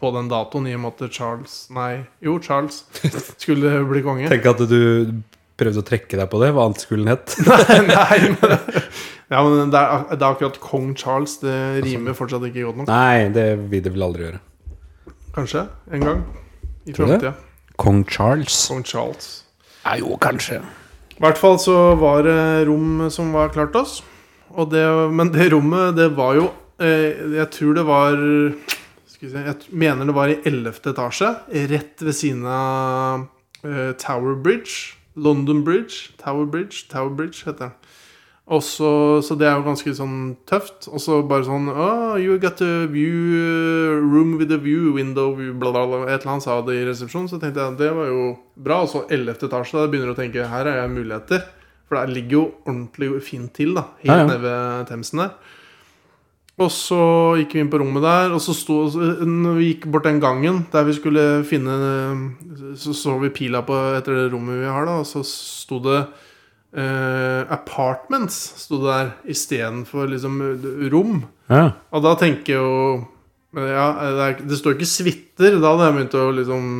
[SPEAKER 1] på den datoen, i og med at Charles Nei, jo, Charles skulle bli konge.
[SPEAKER 2] Tenk at du prøvde å trekke deg på det, hva annet skulle den hett.
[SPEAKER 1] Nei, men, ja, men det, er, det er akkurat kong Charles. Det rimer fortsatt ikke godt nok.
[SPEAKER 2] Nei, det vil det vel aldri gjøre.
[SPEAKER 1] Kanskje. En gang. I
[SPEAKER 2] Tror du det?
[SPEAKER 1] framtida.
[SPEAKER 2] Kong Charles?
[SPEAKER 1] Kong Charles.
[SPEAKER 2] Ja, jo, kanskje.
[SPEAKER 1] I hvert fall så var det rom som var klart til oss. Og det, men det rommet, det var jo eh, Jeg tror det var skal vi se, Jeg mener det var i 11. etasje. Rett ved siden av eh, Tower Bridge. London Bridge. Tower Bridge. Tower Bridge heter den. Og så, så det er jo ganske sånn tøft. Og så bare sånn oh, You got a view eh, Room with a view, window view bla, bla, bla. Et eller annet sa det i resepsjonen, så tenkte jeg det var jo bra. Og så 11. etasje, da begynner du å tenke her er jeg muligheter. For det ligger jo ordentlig fint til, da. Helt
[SPEAKER 2] Ja, ja.
[SPEAKER 1] nede ved Themsen der. Og så gikk vi inn på rommet der, og så sto når vi gikk bort den gangen der vi skulle finne Så så vi pila på etter det rommet vi har, da, og så sto det eh, Apartments sto det der istedenfor liksom rom.
[SPEAKER 2] Ja.
[SPEAKER 1] Og da tenker jeg jo men ja, det, er, det står ikke suiter. Da hadde jeg begynt å liksom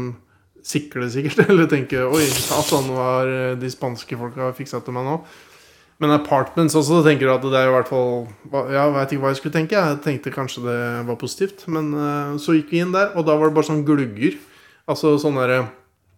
[SPEAKER 1] sikle, sikkert. Eller tenke Oi, ja, sånn var eh, de spanske folka fiksa til meg nå. Men apartments også, da tenker du at det er i hvert fall hva- Ja, jeg veit ikke hva jeg skulle tenke. Jeg tenkte kanskje det var positivt. Men eh, så gikk vi inn der, og da var det bare sånn glugger. Altså sånn derre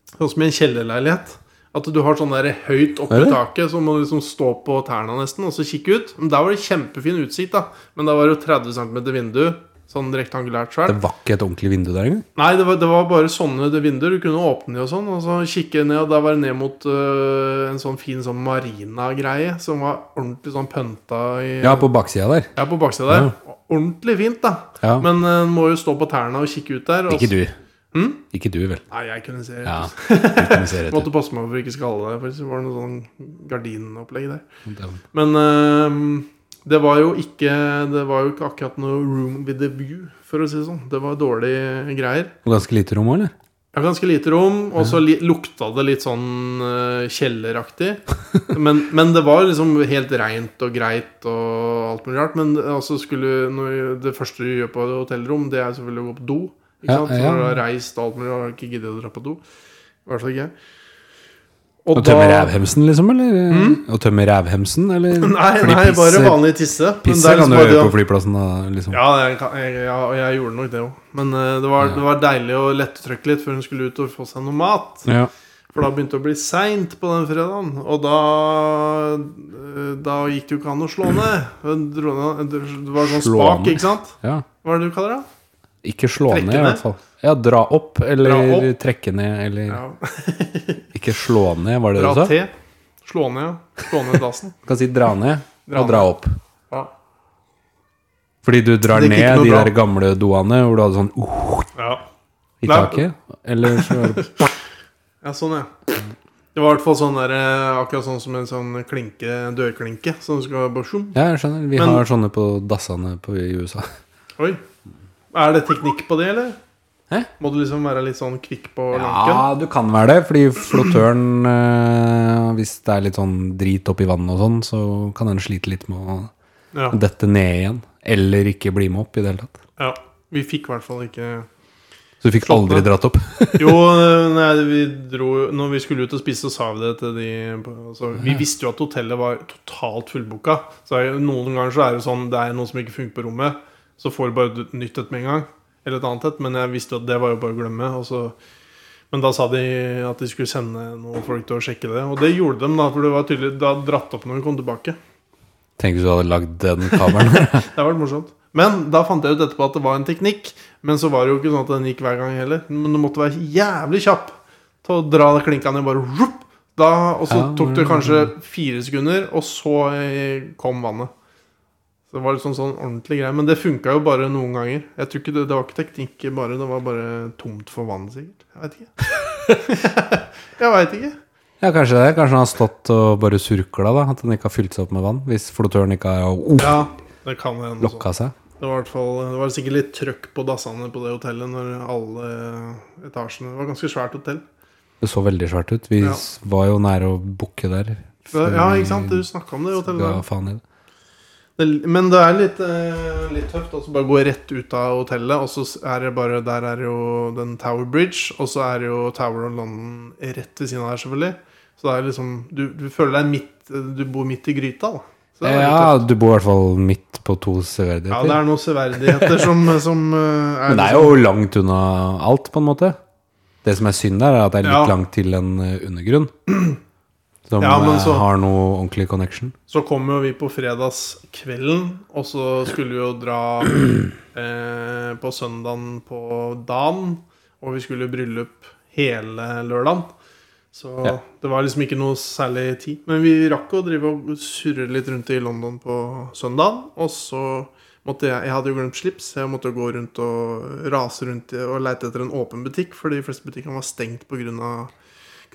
[SPEAKER 1] Sånn som i en kjellerleilighet. At du har sånn der høyt oppe i
[SPEAKER 2] Er det?
[SPEAKER 1] taket, så må du liksom stå på tærne nesten og så kikke ut. Men Der var det kjempefin utsikt, da. Men da var det jo 30 cm vindu. Sånn rektangulært svært.
[SPEAKER 2] Det var ikke et ordentlig vindu der engang.
[SPEAKER 1] Nei, det var, det var bare sånne vinduer. Du kunne åpne de og sånn. Og så kikke ned, og der var det ned mot øh, en sånn fin sånn marina-greie. Som var ordentlig sånn pønta i,
[SPEAKER 2] Ja, på baksida der.
[SPEAKER 1] Ja, på baksida der. Ordentlig fint, da.
[SPEAKER 2] Ja.
[SPEAKER 1] Men øh, en må jo stå på tærne og kikke ut der. og så-
[SPEAKER 2] Ikke du.
[SPEAKER 4] Ikke du, vel?
[SPEAKER 1] Nei, jeg kunne se
[SPEAKER 4] Ja. Jeg kunne se rett ut.
[SPEAKER 1] Måtte passe meg for ikke skalle deg, for det var noe sånn gardinopplegg der.
[SPEAKER 2] Den-
[SPEAKER 1] Men ehm, det var jo ikke Det var jo ikke akkurat noe room with a view, for å si det sånn. Det var dårlige greier.
[SPEAKER 2] Og ganske lite rom, eller?
[SPEAKER 1] Det var ganske lite rom, og så li lukta det litt sånn eh, kjelleraktig. Men, men det var liksom helt reint og greit og alt mulig rart. Men altså skulle når, det første du gjør på et hotellrom, det er selvfølgelig å gå på do. Ikke
[SPEAKER 2] Ja,
[SPEAKER 1] sant? For
[SPEAKER 2] ja.
[SPEAKER 1] Når du har reist og alt mulig, har du ikke giddet å dra på do. I hvert fall ikke jeg.
[SPEAKER 2] Å tømme rævhemsen, liksom? Eller? Å tømme rævhemsen, eller?
[SPEAKER 1] Hm? Nei,
[SPEAKER 2] Fordi
[SPEAKER 1] nei bare
[SPEAKER 2] pisser-
[SPEAKER 1] vanlig tisse. Men det er
[SPEAKER 2] Pisser kan
[SPEAKER 1] liksom
[SPEAKER 2] du
[SPEAKER 1] bare det
[SPEAKER 2] gjøre
[SPEAKER 1] at-
[SPEAKER 2] på flyplassen, da, liksom.
[SPEAKER 1] Ja, jeg, kan- jeg, ja, og jeg gjorde nok det òg. Men eh, det, var, det var deilig å lettetrykke litt før hun skulle ut og få seg noe mat.
[SPEAKER 2] Ja.
[SPEAKER 1] For da begynte det å bli seint på den fredagen. Og da eh, Da gikk det jo ikke an å slå ned. Hun dro ned- Det var sånn
[SPEAKER 2] Slå
[SPEAKER 1] spak,
[SPEAKER 2] ned.
[SPEAKER 1] ikke sant?
[SPEAKER 2] ja.
[SPEAKER 1] Hva er det du kaller det?
[SPEAKER 2] Ikke slå
[SPEAKER 1] Trekke
[SPEAKER 2] ned, i
[SPEAKER 1] ned.
[SPEAKER 2] hvert fall. Ja, dra opp, eller
[SPEAKER 1] Dra opp.
[SPEAKER 2] trekke ned, eller
[SPEAKER 1] Ja,
[SPEAKER 2] Ikke slå ned, var det
[SPEAKER 1] Dra
[SPEAKER 2] du sa?
[SPEAKER 1] til. Slå ned, ja. Slå ned dassen.
[SPEAKER 2] Kan si dra ned
[SPEAKER 1] Dra
[SPEAKER 2] og dra opp.
[SPEAKER 1] Ja.
[SPEAKER 2] Fordi du drar
[SPEAKER 1] Det gikk ikke
[SPEAKER 2] ned
[SPEAKER 1] noe
[SPEAKER 2] de
[SPEAKER 1] bra.
[SPEAKER 2] der gamle doene hvor du hadde sånn uh,
[SPEAKER 1] ja.
[SPEAKER 2] i
[SPEAKER 1] Nei.
[SPEAKER 2] taket. Eller så var det
[SPEAKER 1] Ja, sånn, ja. Det var i hvert fall sånn der, eh, akkurat sånn som en sånn klinke, dørklinke. Som skal bare sjum.
[SPEAKER 2] Ja, jeg skjønner. Vi
[SPEAKER 1] Men-
[SPEAKER 2] har sånne på dassene på, i USA.
[SPEAKER 1] Oi. Er det teknikk på det, eller?
[SPEAKER 2] Hæ?
[SPEAKER 1] Må du liksom være litt sånn kvikk på lanken?
[SPEAKER 2] Ja, du kan være det, fordi flottøren eh, Hvis det er litt sånn drit oppi vannet og sånn, så kan den slite litt med å
[SPEAKER 1] Ja.
[SPEAKER 2] dette ned igjen. Eller ikke bli med opp i det hele tatt.
[SPEAKER 1] ja. Vi fikk i hvert fall ikke
[SPEAKER 2] Så du fikk
[SPEAKER 1] Slått
[SPEAKER 2] aldri
[SPEAKER 1] ned.
[SPEAKER 2] dratt opp.
[SPEAKER 1] Jo, eh, nei, vi dro, når vi skulle ut og spise, så sa vi det til de altså, Vi visste jo at hotellet var totalt fullbooka. Så er, jo- noen ganger så er det sånn det er noe som ikke funker på rommet. Så får du bare et nytt et med en gang. Eller et annet et. Men jeg visste jo at det var jo bare å glemme. Og så, men da sa de at de skulle sende noen folk til å sjekke det. Og det gjorde de, da, for det var tydelig da dratt opp når vi kom tilbake.
[SPEAKER 2] Tenk hvis du hadde lagd den kameraen.
[SPEAKER 1] Det har vært morsomt. Men da fant jeg ut etterpå at det var en teknikk. Men så var det jo ikke sånn at den gikk hver gang heller. Men du måtte være jævlig kjapp til å dra klinka ned bare rup, da, Og så
[SPEAKER 2] Ja,
[SPEAKER 1] tok det
[SPEAKER 2] men-
[SPEAKER 1] kanskje fire sekunder, og så eh, kom vannet. Så det var liksom sånn ordentlig greie. Men det funka jo bare noen ganger. Jeg tror ikke Det, det var ikke teknikk bare, det var bare tomt for vann, sikkert. Jeg veit ikke. jeg veit ikke.
[SPEAKER 2] Ja, kanskje det. Kanskje han har stått og bare surkla, da. At den ikke har fylt seg opp med vann. Hvis flottøren ikke har uh,
[SPEAKER 1] Ja, det kan hende. sånn.
[SPEAKER 2] lokka seg.
[SPEAKER 1] Det var, i hvert fall, det var sikkert litt trøkk på dassene på det hotellet når alle etasjene Det var et ganske svært hotell.
[SPEAKER 2] Det så veldig svært ut. Vi
[SPEAKER 1] Ja.
[SPEAKER 2] s- var jo nære å bukke der.
[SPEAKER 1] Det- Ja, ikke sant?
[SPEAKER 2] Før
[SPEAKER 1] Du snakka om det
[SPEAKER 2] vi
[SPEAKER 1] hotellet.
[SPEAKER 2] ga
[SPEAKER 1] der.
[SPEAKER 2] faen i det.
[SPEAKER 1] Det, men det er litt, eh, litt tøft å bare gå rett ut av hotellet, og så er det bare Der er jo den Tower Bridge, og så er det jo Tower of London rett ved siden av her, selvfølgelig. Så det er liksom Du, du føler deg midt Du bor midt i gryta, da. Så det er litt
[SPEAKER 2] Ja,
[SPEAKER 1] tøft.
[SPEAKER 2] du bor i hvert fall midt på to severdigheter.
[SPEAKER 1] ja, det er noen severdigheter som, som eh, er
[SPEAKER 2] Men det er jo langt unna alt, på en måte. Det som er synd der, er at det er litt
[SPEAKER 1] Ja.
[SPEAKER 2] langt til en eh, undergrunn. Som
[SPEAKER 1] Ja, men
[SPEAKER 2] eh,
[SPEAKER 1] så-
[SPEAKER 2] har noe ordentlig connection.
[SPEAKER 1] Så kom jo vi på fredagskvelden, og så skulle vi jo dra eh, på søndagen på dagen. Og vi skulle i bryllup hele lørdagen. Så
[SPEAKER 2] Ja.
[SPEAKER 1] det var liksom ikke noe særlig tid. Men vi rakk å drive og surre litt rundt i London på søndagen. Og så måtte jeg Jeg hadde jo glemt slips, så jeg måtte gå rundt og rase rundt i- og leite etter en åpen butikk, for de fleste butikkene var stengt pga.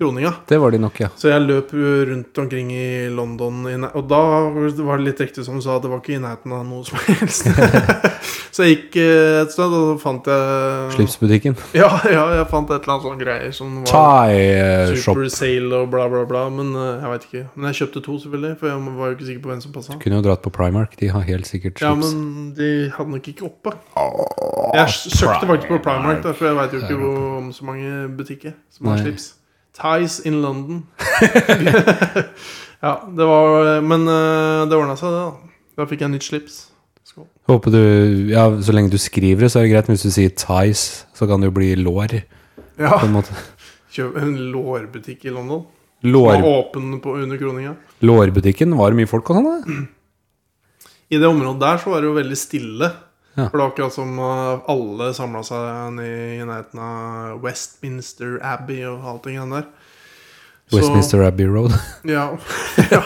[SPEAKER 1] kroninga.
[SPEAKER 2] Det var de nok, ja.
[SPEAKER 1] Så jeg løp jo rundt omkring i London, i nær- og da var det litt riktig som du sa, det var ikke i nærheten av noe som helst. så jeg gikk eh, et sted, og så fant jeg
[SPEAKER 2] Slipsbutikken.
[SPEAKER 1] Ja, ja, jeg fant et eller annet sånn greier som var
[SPEAKER 2] Thai-shop.
[SPEAKER 1] Super sale og bla, bla, bla. Men eh, jeg veit ikke. Men jeg kjøpte to, selvfølgelig, for jeg var jo ikke sikker på hvem som passa.
[SPEAKER 2] Kunne jo dratt på Primark. De har helt sikkert
[SPEAKER 1] Ja,
[SPEAKER 2] slips.
[SPEAKER 1] men de hadde nok ikke oppe. Jeg s- søkte faktisk på Primark, da, for jeg veit jo ikke hvor- om så mange butikker som har
[SPEAKER 2] Nei.
[SPEAKER 1] slips. Ties in London. ja, det var Men eh, det ordna seg, det. Da Da fikk jeg nytt slips. Skål.
[SPEAKER 2] Håper du Ja, så lenge du skriver det, så er det greit. Men hvis du sier Thais, så kan det jo bli lår, på
[SPEAKER 1] Ja.
[SPEAKER 2] en måte.
[SPEAKER 1] Kjøp en lårbutikk i London. Var
[SPEAKER 2] Lår,
[SPEAKER 1] åpen på under kroninga.
[SPEAKER 2] lårbutikken var det mye folk og sånn, da?
[SPEAKER 1] I det området der så var det jo veldig stille.
[SPEAKER 2] Ja.
[SPEAKER 1] For det var akkurat som eh, alle samla seg ned i nærheten av Westminster Abbey og alt det greiene der. Så-
[SPEAKER 2] Westminster Abbey Road.
[SPEAKER 1] Ja. ja,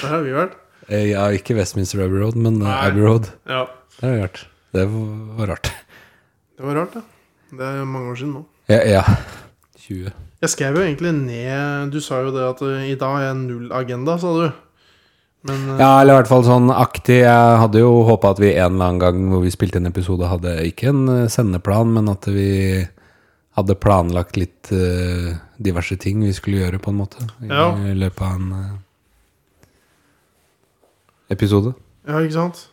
[SPEAKER 1] der har vi vært.
[SPEAKER 2] Eh, ja, ikke Westminster Abbey Road, men eh,
[SPEAKER 1] Nei.
[SPEAKER 2] Abbey Road.
[SPEAKER 1] Ja,
[SPEAKER 2] Det er rart. Det var rart.
[SPEAKER 1] Det var rart, det. Det er mange år siden nå.
[SPEAKER 2] Ja, ja. 20.
[SPEAKER 1] Jeg skrev jo egentlig ned Du sa jo det at eh, i dag er null agenda, sa du. Men eh,
[SPEAKER 2] Ja, eller i hvert fall sånn aktig. Jeg hadde jo håpa at vi en eller annen gang hvor vi spilte en episode, hadde ikke en eh, sendeplan, men at vi hadde planlagt litt eh, diverse ting vi skulle gjøre, på en måte. I
[SPEAKER 1] Ja.
[SPEAKER 2] i løpet av en eh, episode.
[SPEAKER 1] ja, ikke sant?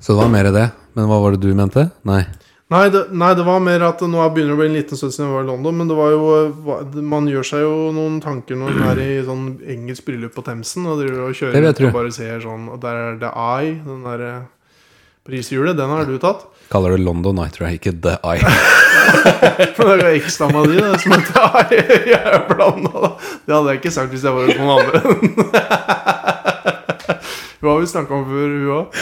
[SPEAKER 2] Så det var mer det. Men hva var det du mente? Nei.
[SPEAKER 1] Nei det, nei, det var mer at nå begynner det å bli en liten stund siden jeg var i London, men det var jo eh, hva- Man gjør seg jo noen tanker når man er i sånn engelsk bryllup på Themsen og driver og kjører
[SPEAKER 2] Det vil jeg
[SPEAKER 1] rundt og
[SPEAKER 2] tro.
[SPEAKER 1] bare ser sånn Og der er The Eye, den der eh, prishjulet, den har du tatt.
[SPEAKER 2] Kaller det London Night, tror jeg. Ikke The Eye.
[SPEAKER 1] For det er jo eksstamma di det, som heter Eye. Jeg er blanda, da. Det hadde jeg ikke sagt hvis jeg var hos noen andre. Hun har vi snakka om før, hun òg.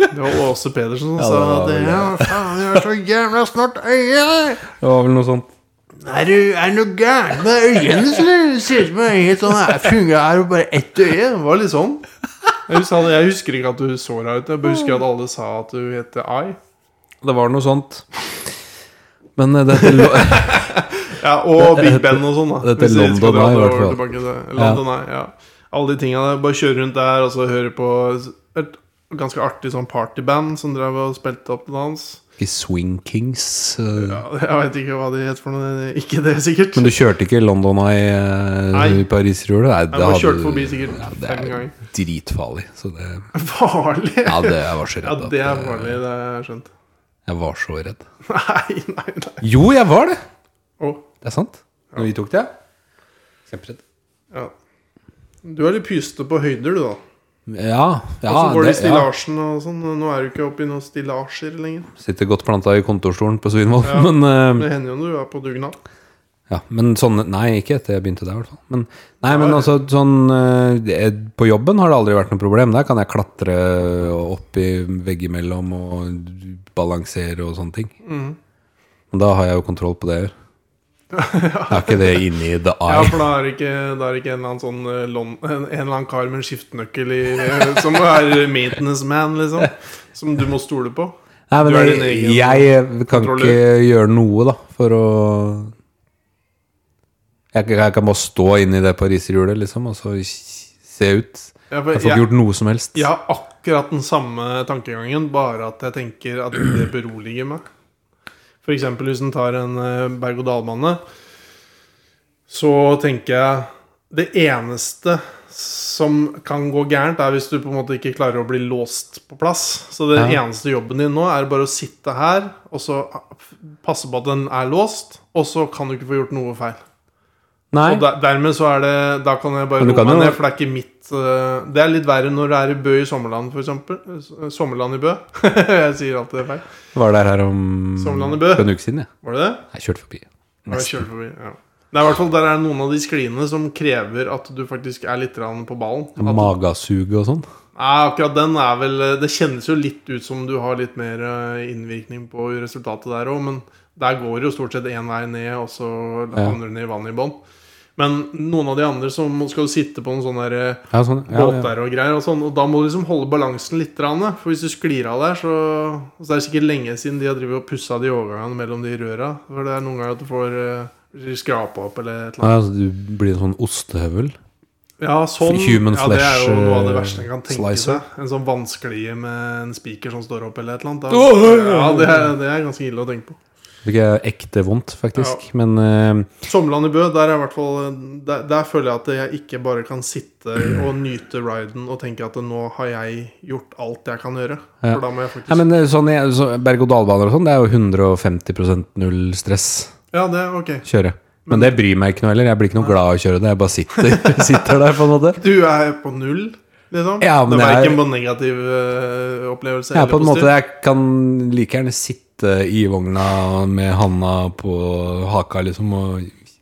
[SPEAKER 1] Det var Åse Pedersen som
[SPEAKER 2] Ja, det
[SPEAKER 1] sa
[SPEAKER 2] var
[SPEAKER 1] at
[SPEAKER 2] vel det.
[SPEAKER 1] ja, faen, jeg er så jævla snart øye.
[SPEAKER 2] Det var vel noe sånt.
[SPEAKER 1] Er det, er det noe gærent med øynene, eller? Det Ser ut som øyet sånn her fungerer og bare ett øye. Det var litt sånn. Jeg husker, jeg husker ikke at du så deg ut. Jeg bare husker at alle sa at du heter Ai.
[SPEAKER 2] Det var noe sånt. Men eh, dette lo
[SPEAKER 1] Ja, og
[SPEAKER 2] Det-
[SPEAKER 1] Big
[SPEAKER 2] det-
[SPEAKER 1] Ben og sånn, da.
[SPEAKER 2] det heter
[SPEAKER 1] Hvis vi skal
[SPEAKER 2] London
[SPEAKER 1] dra
[SPEAKER 2] Eye,
[SPEAKER 1] det
[SPEAKER 2] i hvert
[SPEAKER 1] over
[SPEAKER 2] fall.
[SPEAKER 1] tilbake til- London Eye, ja. Alle de tinga der. Bare kjøre rundt der og så høre på et ganske artig sånn partyband som drev og spilte opp til dans.
[SPEAKER 2] Ikke Swing Kings. eh,
[SPEAKER 1] Ja, jeg veit ikke hva de het for noe. Ikke det, sikkert.
[SPEAKER 2] Men du kjørte ikke London Eye eh,
[SPEAKER 1] Nei.
[SPEAKER 2] i Paris-hjulet? Nei, det
[SPEAKER 1] Jeg bare
[SPEAKER 2] hadde
[SPEAKER 1] kjørte
[SPEAKER 2] du-
[SPEAKER 1] forbi sikkert
[SPEAKER 2] Ja, det
[SPEAKER 1] fem
[SPEAKER 2] er
[SPEAKER 1] ganger.
[SPEAKER 2] dritfarlig. Så det,
[SPEAKER 1] Farlig!
[SPEAKER 2] ja, det, jeg var så
[SPEAKER 1] Ja,
[SPEAKER 2] redd. at
[SPEAKER 1] det er
[SPEAKER 2] jeg-
[SPEAKER 1] farlig, det har jeg skjønt.
[SPEAKER 2] Jeg var så redd.
[SPEAKER 1] Nei, nei, nei.
[SPEAKER 2] Jo, jeg var det!
[SPEAKER 1] Å,
[SPEAKER 2] Det er sant. Når vi tok det. Kjemperedd.
[SPEAKER 1] ja. Du er litt pyste på høyder, du, da.
[SPEAKER 2] Ja, ja,
[SPEAKER 1] og så går det, i
[SPEAKER 2] det, ja.
[SPEAKER 1] stillasjen og sånn. Nå er du ikke oppi noen stillasjer lenger.
[SPEAKER 2] Sitter godt planta i kontorstolen på Svinvoll.
[SPEAKER 1] Ja.
[SPEAKER 2] Men, eh,
[SPEAKER 1] Det hender jo når du er på dugnad.
[SPEAKER 2] Ja, men sånn Nei, ikke etter jeg begynte der, i hvert fall. Men, nei, men
[SPEAKER 1] Nei.
[SPEAKER 2] altså, sånn eh, det- På jobben har det aldri vært noe problem. Der kan jeg klatre opp i veggimellom og balansere og sånne ting.
[SPEAKER 1] Mm.
[SPEAKER 2] Men da har jeg jo kontroll på det jeg gjør. Er ikke det inni the
[SPEAKER 1] Ja,
[SPEAKER 2] eye?
[SPEAKER 1] for da er det ikke, da er det ikke en, eller annen sånn, eh, lon- en, en eller annen kar med en skiftenøkkel i, eh, som er maintenance man, liksom. Som du må stole på.
[SPEAKER 2] Nei, men
[SPEAKER 1] du er din
[SPEAKER 2] jeg,
[SPEAKER 1] egen
[SPEAKER 2] jeg kan
[SPEAKER 1] kontrollør.
[SPEAKER 2] ikke gjøre noe, da, for å Jeg, jeg kan bare stå inni det pariserhjulet, liksom, og så se ut.
[SPEAKER 1] Ja, for
[SPEAKER 2] Jeg får ikke gjort noe som helst.
[SPEAKER 1] Jeg har akkurat den samme tankegangen, bare at jeg tenker at det beroliger meg. For eksempel hvis en tar en eh, berg-og-dal-bane, så tenker jeg Det eneste som kan gå gærent, er hvis du på en måte ikke klarer å bli låst på plass. Så det
[SPEAKER 2] Ja.
[SPEAKER 1] eneste jobben din nå er bare å sitte her og så passe på at den er låst, og så kan du ikke få gjort noe feil.
[SPEAKER 2] Nei.
[SPEAKER 1] Og der, dermed så er det Da kan jeg bare
[SPEAKER 2] Men du
[SPEAKER 1] roe
[SPEAKER 2] kan
[SPEAKER 1] meg
[SPEAKER 2] jo-
[SPEAKER 1] ned, for det er ikke mitt eh, Det er litt verre når det er i Bø i Sommerland, for eksempel. Eh, Sommerland i Bø. jeg sier alltid det feil.
[SPEAKER 2] Var der her om
[SPEAKER 1] Sommerland i Bø.
[SPEAKER 2] for en uke siden, jeg.
[SPEAKER 1] Var det det?
[SPEAKER 2] Jeg kjørte forbi.
[SPEAKER 1] Har jeg kjørt forbi? Ja. Det er i hvert fall der er noen av de skliene som krever at du faktisk er litt grann på ballen. At, nei,
[SPEAKER 2] Magasuget og sånn.
[SPEAKER 1] akkurat den er vel eh, Det kjennes jo litt ut som du har litt mer eh, innvirkning på resultatet der òg, men der går det jo stort sett én vei ned, og så
[SPEAKER 2] Ja.
[SPEAKER 1] havner du ned i vannet i bånn. Men noen av de andre som skal sitte på en sånn derre
[SPEAKER 2] Ja, sånn. Ja, ja.
[SPEAKER 1] båter og greier og sånn. Og da må du liksom holde balansen litt, grann, da. for hvis du sklir av der, så Så er det sikkert lenge siden de har drevet og pussa de overgangene mellom de røra. For det er noen ganger at du får uh, skrapa opp eller et eller annet.
[SPEAKER 2] Ja, altså, du blir en sånn ostehøvel.
[SPEAKER 1] Ja, sånn,
[SPEAKER 2] Human
[SPEAKER 1] ja, det er jo
[SPEAKER 2] flesh,
[SPEAKER 1] noe av det
[SPEAKER 2] eh,
[SPEAKER 1] verste en kan tenke
[SPEAKER 2] slicer.
[SPEAKER 1] seg. En sånn vannsklie med en spiker som står opp eller et eller annet.
[SPEAKER 2] Åh!
[SPEAKER 1] Da, ja, det er, det er ganske ille å tenke på.
[SPEAKER 2] Fikk jeg ekte vondt, faktisk. Men eh,
[SPEAKER 1] Sommerland i Bø, der, er i hvert fall, der, der føler jeg at jeg ikke bare kan sitte og nyte riden og tenke at nå har jeg gjort alt jeg kan gjøre.
[SPEAKER 2] Ja.
[SPEAKER 1] For da må jeg faktisk
[SPEAKER 2] nei, men eh, sånn, jeg- så berg-og-dal-baner og sånn, det er jo 150 null stress
[SPEAKER 1] Ja, det er ok.
[SPEAKER 2] kjøre. Men det bryr meg ikke noe heller. Jeg blir ikke noe glad av å kjøre det. Jeg bare sitter, sitter der, på en måte.
[SPEAKER 1] Du er på null, liksom?
[SPEAKER 2] Ja, men
[SPEAKER 1] det
[SPEAKER 2] jeg
[SPEAKER 1] var
[SPEAKER 2] er-
[SPEAKER 1] ikke en bare negativ eh, opplevelse?
[SPEAKER 2] Jeg, er
[SPEAKER 1] eller
[SPEAKER 2] på en måte,
[SPEAKER 1] positiv.
[SPEAKER 2] jeg kan like gjerne sitte i vogna med handa på haka, liksom, og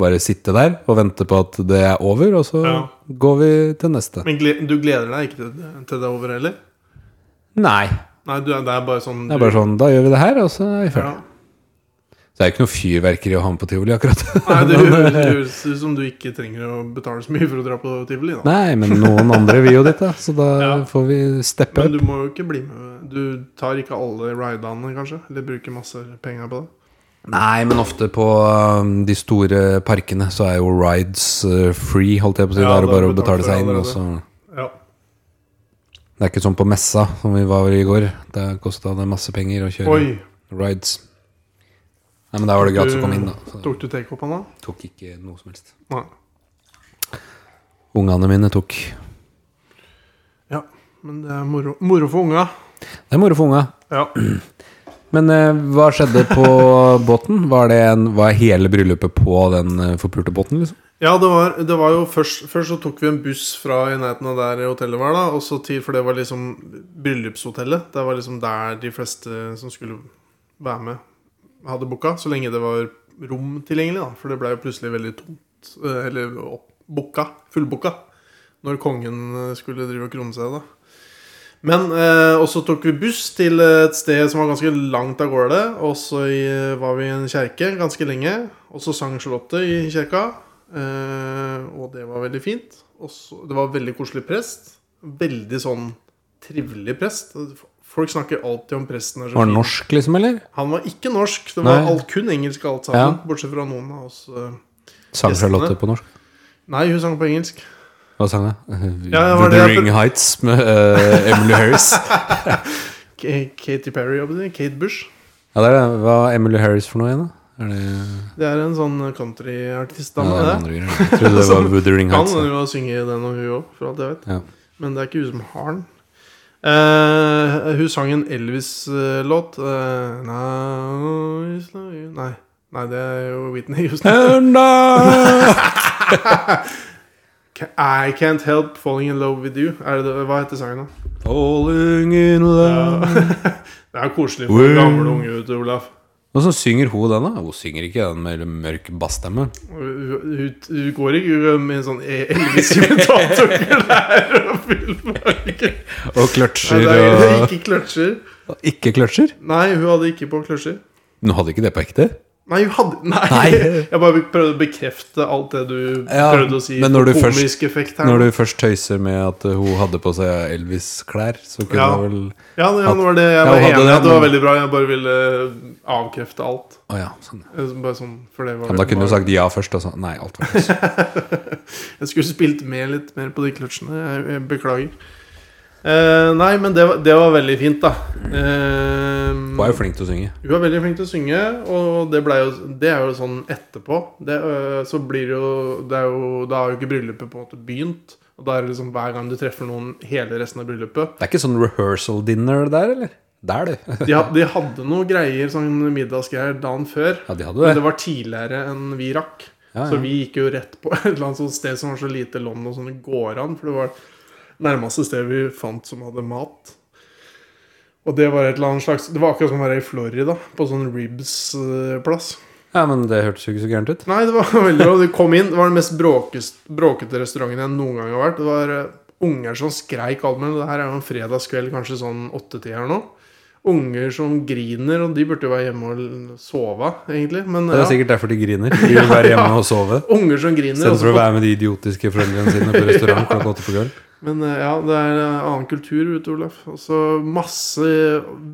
[SPEAKER 2] bare sitte der og vente på at det er over, og så
[SPEAKER 1] Ja.
[SPEAKER 2] går vi til neste.
[SPEAKER 1] Men gle du gleder deg ikke til, til det er over heller?
[SPEAKER 2] Nei.
[SPEAKER 1] Nei, du, er- det er bare sånn
[SPEAKER 2] Det er bare sånn, da gjør vi det her, og så er vi
[SPEAKER 1] ja.
[SPEAKER 2] ferdig. Det er jo ikke noe fyrverkeri å ha med på tivoli, akkurat.
[SPEAKER 1] Nei, det høres det høres ut som du ikke trenger å betale så mye for å dra på tivoli. Da.
[SPEAKER 2] Nei, men noen andre vil jo dit, da. Så da
[SPEAKER 1] Ja.
[SPEAKER 2] får vi steppe
[SPEAKER 1] Men
[SPEAKER 2] opp.
[SPEAKER 1] du må jo ikke bli med. Du tar ikke alle ridene, kanskje? Eller bruker masse penger på det?
[SPEAKER 2] Nei, men ofte på um, de store parkene så er jo rides uh, free, holdt jeg på å si.
[SPEAKER 1] Ja,
[SPEAKER 2] det er jo
[SPEAKER 1] da har du
[SPEAKER 2] bare å
[SPEAKER 1] betalt
[SPEAKER 2] betale
[SPEAKER 1] for
[SPEAKER 2] seg inn.
[SPEAKER 1] allerede.
[SPEAKER 2] Og så.
[SPEAKER 1] Ja.
[SPEAKER 2] Det er ikke sånn på messa som vi var i går. Der kosta det masse penger å kjøre
[SPEAKER 1] Oi,
[SPEAKER 2] rides. Nei, men der var det gratis å komme inn, da. Så
[SPEAKER 1] tok du takeopen da?
[SPEAKER 2] jeg tok ikke noe som helst.
[SPEAKER 1] Nei.
[SPEAKER 2] Ungene mine tok.
[SPEAKER 1] Ja, men det er moro, moro for unga.
[SPEAKER 2] Det er moro for unga.
[SPEAKER 1] Ja.
[SPEAKER 2] Men eh, hva skjedde på båten? Var, det en, var hele bryllupet på den eh, forpulte båten, liksom?
[SPEAKER 1] Ja, det var, det var jo først, først så tok vi en buss fra i nærheten av der hotellet var, da. Og så til, for det var liksom bryllupshotellet. Det var liksom der de fleste som skulle være med, hadde booka. Så lenge det var rom tilgjengelig, da. For det ble jo plutselig veldig tomt. eh, Eller opp- booka. Fullbooka. Når kongen eh, skulle drive og krone seg, da. Men eh, og så tok vi buss til et sted som var ganske langt av gårde. Og så i- var vi i en kjerke ganske lenge. Og så sang Charlotte i kjerka. Eh, og det var veldig fint. Og så, det var veldig koselig prest. Veldig sånn trivelig prest. Folk snakker alltid om presten er så
[SPEAKER 2] Var den
[SPEAKER 1] fin.
[SPEAKER 2] norsk, liksom, eller?
[SPEAKER 1] Han var ikke norsk. Det var
[SPEAKER 2] Nei.
[SPEAKER 1] alt, kun engelsk alt sammen.
[SPEAKER 2] Ja.
[SPEAKER 1] Bortsett fra noen av oss. eh.
[SPEAKER 2] Sang
[SPEAKER 1] Gjestene.
[SPEAKER 2] Charlotte på norsk?
[SPEAKER 1] Nei, hun sang på engelsk.
[SPEAKER 2] Hva sang jeg?
[SPEAKER 1] Ja, det var
[SPEAKER 2] The
[SPEAKER 1] det jeg-
[SPEAKER 2] Ring Heights med eh, Emily Harris.
[SPEAKER 1] K Katy Perry, hva betyr det? Kate Bush.
[SPEAKER 2] Ja, det er det. Hva er Emily Harris for noe igjen, da? Er det,
[SPEAKER 1] Det er en sånn countryartist.
[SPEAKER 2] ja, det
[SPEAKER 1] dame,
[SPEAKER 2] er
[SPEAKER 1] det.
[SPEAKER 2] noen andre greier. Jeg trodde det var The Ring
[SPEAKER 1] Kan
[SPEAKER 2] Heights.
[SPEAKER 1] hun
[SPEAKER 2] da.
[SPEAKER 1] jo synge den og hun òg, for alt jeg vet.
[SPEAKER 2] Ja.
[SPEAKER 1] Men det er ikke hun som har den. Eh, hun sang en Elvis-låt. eh, now is love you- Nei. Nei, det er jo Whitney Houston.
[SPEAKER 2] And I-
[SPEAKER 1] Ca- I Can't Help Falling In Love With You. Er det, det- hva heter sangen, da?
[SPEAKER 2] Falling in love
[SPEAKER 1] det er koselig for gamle og unge, vet du, Olaf.
[SPEAKER 2] Og så synger hun den, da. Hun synger ikke den med mørk bassstemme.
[SPEAKER 1] Hun, hun, hun går ikke med en sånn Elvis-imitator der og fullpakke.
[SPEAKER 2] Og
[SPEAKER 1] Nei,
[SPEAKER 2] kløtsjer
[SPEAKER 1] det er
[SPEAKER 2] og
[SPEAKER 1] ikke kløtsjer.
[SPEAKER 2] Ikke kløtsjer?
[SPEAKER 1] Nei, hun hadde ikke på kløtsjer.
[SPEAKER 2] Hun hadde ikke det på ekte?
[SPEAKER 1] Nei, hun hadde, nei.
[SPEAKER 2] Nei.
[SPEAKER 1] jeg bare prøvde å bekrefte alt det du
[SPEAKER 2] Ja,
[SPEAKER 1] prøvde å si.
[SPEAKER 2] men når
[SPEAKER 1] for
[SPEAKER 2] du først-
[SPEAKER 1] komisk effekt her.
[SPEAKER 2] Når du først tøyser med at uh, hun hadde på seg Elvis-klær, så kunne
[SPEAKER 1] Ja.
[SPEAKER 2] hun vel
[SPEAKER 1] ja, det- ja, det var det jeg var
[SPEAKER 2] hun hadde
[SPEAKER 1] enig i.
[SPEAKER 2] det,
[SPEAKER 1] at Det var
[SPEAKER 2] men-
[SPEAKER 1] veldig bra. Jeg bare ville avkrefte alt.
[SPEAKER 2] Å ja, sånn.
[SPEAKER 1] Eh, Bare sånn, for det var,
[SPEAKER 2] Men da kunne du sagt ja først, og så Nei, alt var løs.
[SPEAKER 1] Jeg skulle spilt med litt mer på de kløtsjene. Jeg, jeg beklager. Eh, nei, men det var, det var veldig fint, da. Eh,
[SPEAKER 2] Hun er jo flink til å synge.
[SPEAKER 1] Hun er veldig flink til å synge, og det, ble jo, det er jo sånn etterpå. Det, øh, så blir det jo, det er jo Da har jo ikke bryllupet på en måte begynt. Og da er det liksom hver gang du treffer noen hele resten av bryllupet.
[SPEAKER 2] Det er ikke sånn rehearsal dinner der, eller? Der, du.
[SPEAKER 1] De, ha- de hadde noe greier, sånn middagsgreier, dagen før.
[SPEAKER 2] Ja, de hadde
[SPEAKER 1] Men det
[SPEAKER 2] det.
[SPEAKER 1] var tidligere enn vi rakk.
[SPEAKER 2] Ja,
[SPEAKER 1] Så
[SPEAKER 2] ja.
[SPEAKER 1] vi gikk jo rett på et eller annet sånt sted som var så lite London som det går an. For det var nærmeste sted vi fant som hadde mat. Og det var et eller annet slags Det var akkurat som å være i Florida, på sånn øh, Ribs-plass.
[SPEAKER 2] ja, men det hørtes jo ikke så gærent ut.
[SPEAKER 1] Nei, det var veldig bra. Vi kom inn, det var den mest bråkes- bråkete restauranten jeg noen gang har vært. Det var eh, unger som skreik alt mulig. Det her er jo en fredagskveld, kanskje sånn åttetida nå. Unger som griner, og de burde jo være hjemme og l- sove, egentlig. Men
[SPEAKER 2] Det er
[SPEAKER 1] ja,
[SPEAKER 2] sikkert derfor de griner. De vil være hjemme og sove.
[SPEAKER 1] unger som griner.
[SPEAKER 2] Istedenfor å
[SPEAKER 1] Også,
[SPEAKER 2] være med de idiotiske foreldrene sine på restaurant klokka åtte på kvelden.
[SPEAKER 1] men eh, ja, det er en annen kultur, vet du, Olaf. Og så masse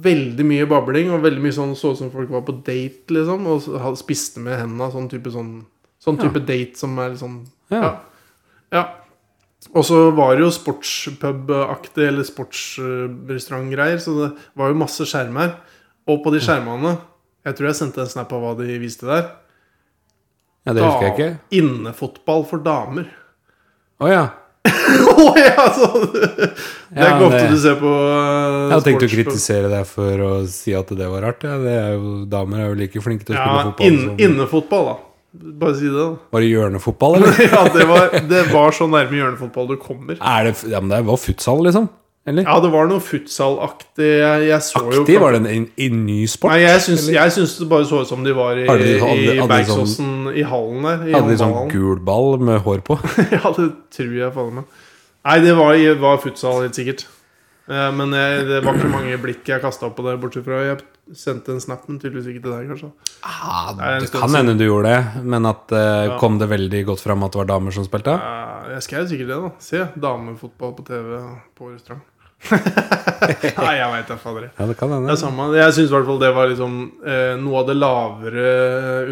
[SPEAKER 1] Veldig mye babling, og veldig mye sånn så ut som folk var på date, liksom. Og så ha- spiste med hendene. Sånn type, sånn, sånn type date som er litt sånn
[SPEAKER 2] Ja.
[SPEAKER 1] Ja. Og så var det jo sportspub-aktig, eller sportsrestaurantgreier, så det var jo masse skjermer. Og på de skjermene Jeg tror jeg sendte en snap av hva de viste der.
[SPEAKER 2] ja, det husker jeg ikke.
[SPEAKER 1] Da- Innefotball for damer.
[SPEAKER 2] Å ja.
[SPEAKER 1] Å ja, så Det er
[SPEAKER 2] Ja,
[SPEAKER 1] ikke ofte
[SPEAKER 2] det-
[SPEAKER 1] du ser på eh,
[SPEAKER 2] Jeg hadde tenkt å
[SPEAKER 1] sportspub.
[SPEAKER 2] kritisere deg for å si at det var rart. Ja. Det er jo, damer er jo like flinke til å spille
[SPEAKER 1] Ja,
[SPEAKER 2] fotball
[SPEAKER 1] inn,
[SPEAKER 2] som
[SPEAKER 1] innefotball, da. Bare si det, da.
[SPEAKER 2] Var det hjørnefotball, eller?
[SPEAKER 1] Ja, det var, det var så nærme hjørnefotball du kommer.
[SPEAKER 2] Er det, ja, men det var futsal, liksom? Eller?
[SPEAKER 1] Ja, det var noe futsalaktig. Jeg, jeg så jo
[SPEAKER 2] Aktiv? Var det en, en, en ny sport?
[SPEAKER 1] Nei, jeg syns, jeg syns det bare så ut som de var i,
[SPEAKER 2] Hadde de- sånn-
[SPEAKER 1] i
[SPEAKER 2] hadde- hadde de
[SPEAKER 1] Bergsåsen, i hallen der. I
[SPEAKER 2] Hadde de sånn
[SPEAKER 1] håndballhallen.
[SPEAKER 2] gul ball med hår på?
[SPEAKER 1] ja, det tror jeg faen meg. Nei, det var, var futsal, helt sikkert. Eh, Men jeg, det var ikke mange blikk jeg kasta på det, bortsett fra jeg sendte en snap, men tydeligvis ikke til deg, kanskje.
[SPEAKER 2] Ah,
[SPEAKER 1] Det er en
[SPEAKER 2] det
[SPEAKER 1] stund
[SPEAKER 2] kan
[SPEAKER 1] siden.
[SPEAKER 2] hende du gjorde det, men at eh,
[SPEAKER 1] Ja.
[SPEAKER 2] kom det veldig godt fram at det var damer som spilte?
[SPEAKER 1] Eh, Jeg skrev sikkert det, da. Se, damefotball på TV på restaurant. Nei, jeg veit da fader.
[SPEAKER 2] Ja, det kan
[SPEAKER 1] Det
[SPEAKER 2] hende.
[SPEAKER 1] er samme. Jeg syns i hvert fall det var liksom eh, noe av det lavere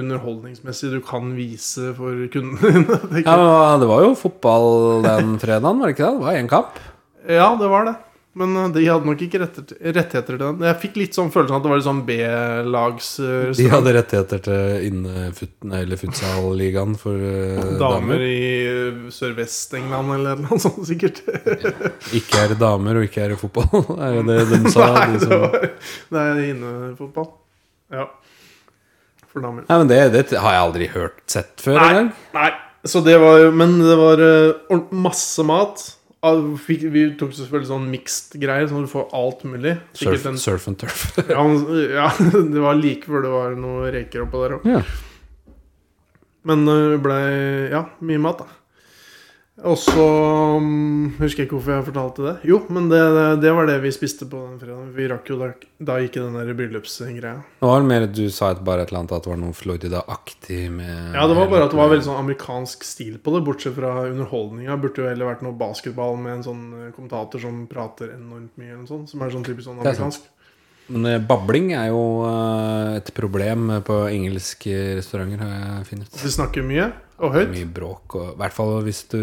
[SPEAKER 1] underholdningsmessig du kan vise for kundene dine. tenker
[SPEAKER 2] Ja, men ah, Det var jo fotball den fredagen, var det ikke det? Det var én kamp.
[SPEAKER 1] Ja, det var det. Men eh, de hadde nok ikke rettet- rettigheter til den. Jeg fikk litt sånn følelsen at det var litt sånn B-lags eh,
[SPEAKER 2] De hadde rettigheter til innefutten eller futsalligaen for eh,
[SPEAKER 1] damer
[SPEAKER 2] damer.
[SPEAKER 1] i eh, Sørvest-England eller noe sånt, sikkert.
[SPEAKER 2] Ikke er det damer, og ikke er det fotball. Er det det de sa?
[SPEAKER 1] Nei,
[SPEAKER 2] de
[SPEAKER 1] det
[SPEAKER 2] som...
[SPEAKER 1] var Det er innefotball. Ja. For damer.
[SPEAKER 2] Nei, men det, det har jeg aldri hørt sett før
[SPEAKER 1] Nei,
[SPEAKER 2] engang.
[SPEAKER 1] nei. Så det var jo Men det var eh, ord- masse mat. Al- Fikk, vi tok selvfølgelig sånn mixed greier, sånn at du får alt mulig.
[SPEAKER 2] Surf,
[SPEAKER 1] Sikkert en
[SPEAKER 2] surf and turf.
[SPEAKER 1] ja, men- ja, det var like før det var noen reker oppå der òg.
[SPEAKER 2] Ja.
[SPEAKER 1] Men eh, det ble ja, mye mat, da. Og så mm, husker jeg ikke hvorfor jeg fortalte det. Jo, men det, det var det vi spiste på den fredagen. Vi rakk jo da, da ikke den der bryllupsgreia.
[SPEAKER 2] Det var vel mer at du sa et, bare et eller annet at det var noe Florida-aktig med
[SPEAKER 1] Ja, det var bare at det var veldig sånn amerikansk stil på det, bortsett fra underholdninga. Burde jo heller vært noe basketball med en sånn eh, kommentator som prater enormt mye, eller noe sånt. Som er sånn typisk sånn
[SPEAKER 2] Det er sant.
[SPEAKER 1] amerikansk.
[SPEAKER 2] Men eh, babling er jo eh, et problem på engelske restauranter, har jeg funnet ut.
[SPEAKER 1] De snakker mye og
[SPEAKER 2] Det er
[SPEAKER 1] høyt.
[SPEAKER 2] Mye bråk og I hvert fall hvis du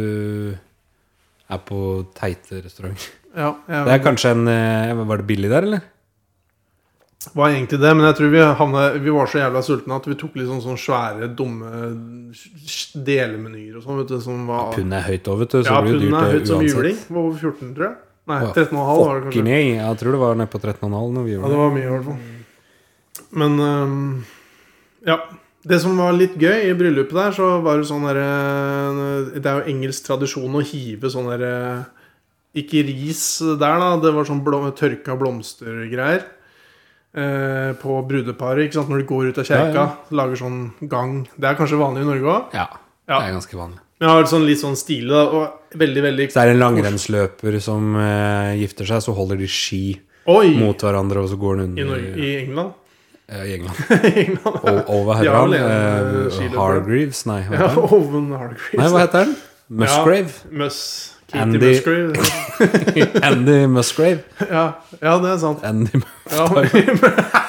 [SPEAKER 2] er på teite restauranter.
[SPEAKER 1] Ja, jeg,
[SPEAKER 2] Det er kanskje en eh, Var det billig der, eller?
[SPEAKER 1] var egentlig det, men jeg tror vi, havna, vi var så jævla sultne at vi tok litt sånn, sånn svære, dumme sj- delmenyer og sånn, vet du, som var
[SPEAKER 2] Pund er høyt òg, vet du. Så
[SPEAKER 1] Ja,
[SPEAKER 2] det blir jo
[SPEAKER 1] pund er høyt
[SPEAKER 2] dyrt
[SPEAKER 1] som
[SPEAKER 2] eh, uansett.
[SPEAKER 1] juling. Var over 14, tror jeg. Nei,
[SPEAKER 2] Å, ja.
[SPEAKER 1] 13,5 var det
[SPEAKER 2] Fucking
[SPEAKER 1] kanskje.
[SPEAKER 2] ei. Jeg tror det var nede på 13,5 når vi
[SPEAKER 1] Ja,
[SPEAKER 2] gjorde
[SPEAKER 1] det
[SPEAKER 2] det.
[SPEAKER 1] var mye, i hvert fall. Men ehm, ja. Det som var litt gøy i bryllupet der, så var det sånn derre Det er jo engelsk tradisjon å hive sånn derre Ikke ris der, da. Det var sånn blom, tørka blomstergreier. eh, på brudeparet, ikke sant. Når de går ut av kjerka.
[SPEAKER 2] Ja,
[SPEAKER 1] Lager sånn gang. Det er kanskje vanlig i Norge òg.
[SPEAKER 2] Ja,
[SPEAKER 1] Ja.
[SPEAKER 2] det er ganske vanlig.
[SPEAKER 1] Men jeg har sånn, litt sånn stilig, da. Og veldig, veldig
[SPEAKER 2] Hvis det er en langrennsløper som eh, gifter seg, så holder de ski
[SPEAKER 1] Oi!
[SPEAKER 2] mot hverandre, og så går den
[SPEAKER 1] I,
[SPEAKER 2] under
[SPEAKER 1] Norge, I England?
[SPEAKER 2] eh, i England.
[SPEAKER 1] England.
[SPEAKER 2] O- Ova
[SPEAKER 1] De har
[SPEAKER 2] Herran.
[SPEAKER 1] vel en, eh,
[SPEAKER 2] eh,
[SPEAKER 1] skiløper.
[SPEAKER 2] Hargreaves, nei. Hva
[SPEAKER 1] Ja,
[SPEAKER 2] heter han?
[SPEAKER 1] Owen Hargreaves.
[SPEAKER 2] Nei, hva heter han? Musgrave?
[SPEAKER 1] Muss. Katie
[SPEAKER 2] Andy-
[SPEAKER 1] Musgrave.
[SPEAKER 2] Andy Musgrave.
[SPEAKER 1] Ja, ja, det er sant.
[SPEAKER 2] Andy
[SPEAKER 1] Ja,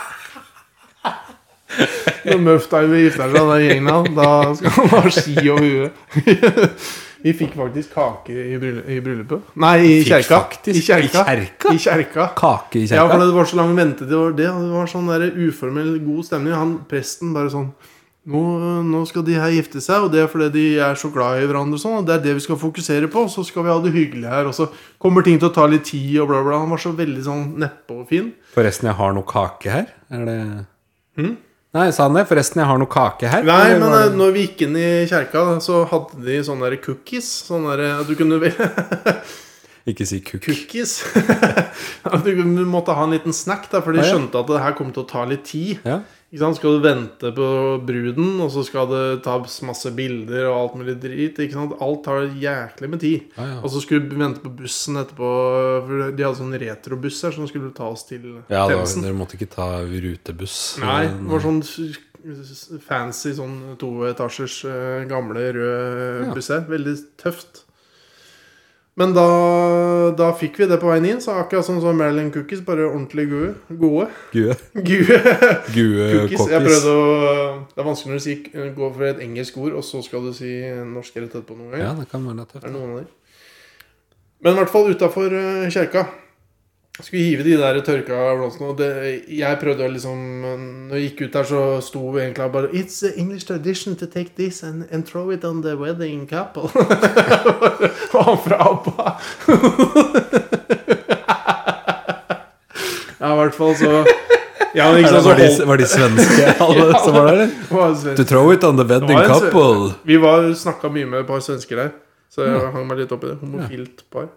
[SPEAKER 1] Når Muffdiver gifter seg, da gjengen han, da skal han ha ski over huet. Vi fikk faktisk kake i, bryll i bryllupet. Nei, i
[SPEAKER 2] Fikk
[SPEAKER 1] kjerka.
[SPEAKER 2] faktisk-
[SPEAKER 1] I kjerka.
[SPEAKER 2] I kjerka?
[SPEAKER 1] I kjerka.
[SPEAKER 2] Kake i
[SPEAKER 1] Ja, for
[SPEAKER 2] kjerka?
[SPEAKER 1] det var så lang ventetid. Det var, det, og det var sånn der uformell, god stemning. Han presten bare sånn nå, nå skal de her gifte seg, og det er fordi de er så glad i hverandre. Og sånn, og det er det vi skal fokusere på, og så skal vi ha det hyggelig her. Og så kommer ting til å ta litt tid, og bla, bla. Han var så veldig sånn neppe og fin.
[SPEAKER 2] Forresten, jeg har noe kake her. Er det Nei, sa han det? Forresten, jeg har noe kake her.
[SPEAKER 1] Hmm? Nei,
[SPEAKER 2] Eller
[SPEAKER 1] men
[SPEAKER 2] var
[SPEAKER 1] eh,
[SPEAKER 2] det-
[SPEAKER 1] når vi gikk inn i kjerka, så hadde de sånne der cookies. Sånne der, at du kunne velge
[SPEAKER 2] Ikke si kukk.
[SPEAKER 1] Cookies. at du kunne- måtte ha en liten snack, da, for de
[SPEAKER 2] Ah, ja.
[SPEAKER 1] skjønte at det her kom til å ta litt tid.
[SPEAKER 2] Ja.
[SPEAKER 1] Ikke sant? Skal du vente på bruden, og så skal det tas masse bilder og alt mulig drit. Ikke sant? Alt tar jæklig med tid.
[SPEAKER 2] Ja, ja.
[SPEAKER 1] Og så skulle du vente på bussen etterpå, for de hadde sånn retrobuss her som skulle ta oss til
[SPEAKER 2] Ja, da,
[SPEAKER 1] Themsen.
[SPEAKER 2] dere måtte ikke ta rutebuss. Eh,
[SPEAKER 1] Nei, det var sånn s- s- fancy sånn toetasjers eh, gamle rød
[SPEAKER 2] Ja.
[SPEAKER 1] buss her. Veldig tøft. Men da, da fikk vi det på veien inn, så akkurat som sånn Marilyn Cookies, bare ordentlig gode. Gode.
[SPEAKER 2] Gue,
[SPEAKER 1] gode.
[SPEAKER 2] gue
[SPEAKER 1] Cookies. Jeg
[SPEAKER 2] Eh, cookies.
[SPEAKER 1] prøvde å Det er vanskelig når du sier, går for et engelsk ord, og så skal du si norsk rett etterpå noen ganger.
[SPEAKER 2] Ja, det kan være litt
[SPEAKER 1] Er det
[SPEAKER 2] tøft.
[SPEAKER 1] noen av de? Men i hvert fall utafor kjerka. Skulle hive de der tørka blomstene. Og det, jeg prøvde å liksom Når jeg gikk ut der, så sto vi egentlig bare It's the English tradition to take this and, and throw it on the wedding couple. Og han fra ABBA. ja, i hvert fall så Ja, men ikke sant, så
[SPEAKER 2] Var de,
[SPEAKER 1] holdt
[SPEAKER 2] var de svenske alle som var der? eller?
[SPEAKER 1] det var svensk.
[SPEAKER 2] To throw it on the wedding
[SPEAKER 1] Det var en sve-
[SPEAKER 2] couple.
[SPEAKER 1] Vi var snakka mye med et par svensker der, så jeg hang meg litt opp i det. Homofilt par.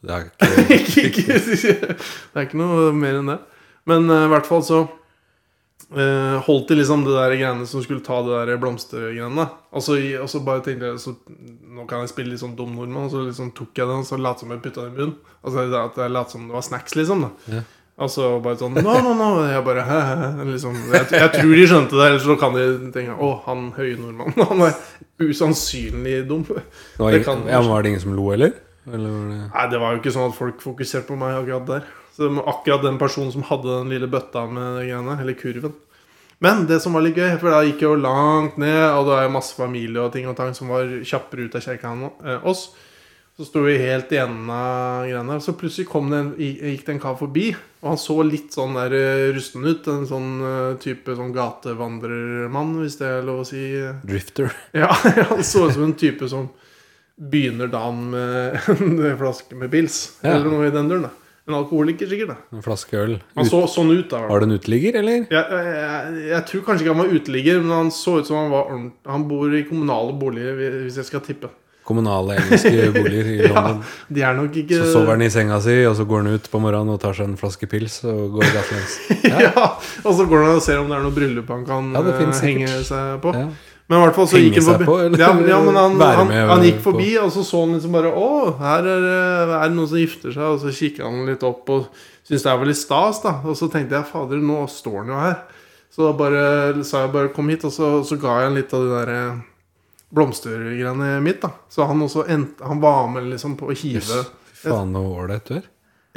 [SPEAKER 2] Det er ikke-
[SPEAKER 1] Ikke- ikke- det er ikke noe mer enn det. Men eh, i hvert fall så eh, holdt i liksom det der greiene som skulle ta det der blomstergreiene. Og så, og så bare tenkte jeg så, Nå kan jeg spille litt sånn dum nordmann, og så liksom tok jeg den og så lot som jeg putta den i munnen. Altså at jeg lot som det var snacks, liksom. da
[SPEAKER 2] Ja.
[SPEAKER 1] Og så bare sånn No, no, no. Jeg bare hæ, hæ, hæ, liksom, jeg, jeg tror de skjønte det, ellers så kan de tenke Å, han høye nordmannen. Han er usannsynlig dum.
[SPEAKER 2] Det var,
[SPEAKER 1] Det kan
[SPEAKER 2] ingen, ja, men var det ingen som lo, eller? eller var det...
[SPEAKER 1] Nei, det var jo ikke sånn at folk fokuserte på meg akkurat der. Så det var akkurat den personen som hadde den lille bøtta med de greiene, eller kurven. Men det som var litt gøy, for da gikk jeg jo langt ned, og det var jo masse familie og ting og tang som var kjappere ut av kirka enn eh, oss. Så sto vi helt i enden av greiene, og så plutselig kom det en, gikk det en kar forbi. Og han så litt sånn der eh, rusten ut. En sånn eh, type sånn gatevandrermann, hvis det er lov å si.
[SPEAKER 2] Drifter.
[SPEAKER 1] Ja, han så ut som en type som begynner dagen med en flaske med pils.
[SPEAKER 2] Ja.
[SPEAKER 1] Eller noe i den duren. da. En alkoholiker, sikkert. da.
[SPEAKER 2] En flaske øl.
[SPEAKER 1] Han
[SPEAKER 2] Ut,
[SPEAKER 1] så sånn ut, da. i hvert fall.
[SPEAKER 2] var det en uteligger, eller?
[SPEAKER 1] Jeg, jeg, jeg tror kanskje ikke han var uteligger, men han så ut som han var ordent- Han bor i kommunale boliger, hvi- hvis jeg skal tippe.
[SPEAKER 2] Kommunale engelske boliger i London.
[SPEAKER 1] De er nok ikke
[SPEAKER 2] Så sover han i senga si, og så går han ut på morgenen og tar seg en flaske pils og går gatelangs.
[SPEAKER 1] ja. Og så går han og ser om det er noe bryllup han kan
[SPEAKER 2] Ja, det
[SPEAKER 1] eh,
[SPEAKER 2] finnes sikkert.
[SPEAKER 1] henge seg på.
[SPEAKER 2] Ja.
[SPEAKER 1] Men i hvert fall så
[SPEAKER 2] Henge
[SPEAKER 1] gikk han
[SPEAKER 2] seg
[SPEAKER 1] forbi.
[SPEAKER 2] på, eller
[SPEAKER 1] ja, ja, men han,
[SPEAKER 2] være
[SPEAKER 1] han,
[SPEAKER 2] med
[SPEAKER 1] han gikk
[SPEAKER 2] på?
[SPEAKER 1] forbi, og så så han liksom bare Å, her er, det- er det noen som gifter seg. Og så kikket han litt opp og syntes det er veldig stas, da. Og så tenkte jeg fader, nå står han jo her. Så da bare sa jeg bare kom hit, og så, så ga jeg han litt av det derre blomstergreiene mitt, da. Så han også endte Han var med liksom på å hive
[SPEAKER 2] Jøss. Fy faen, så ålreit du er.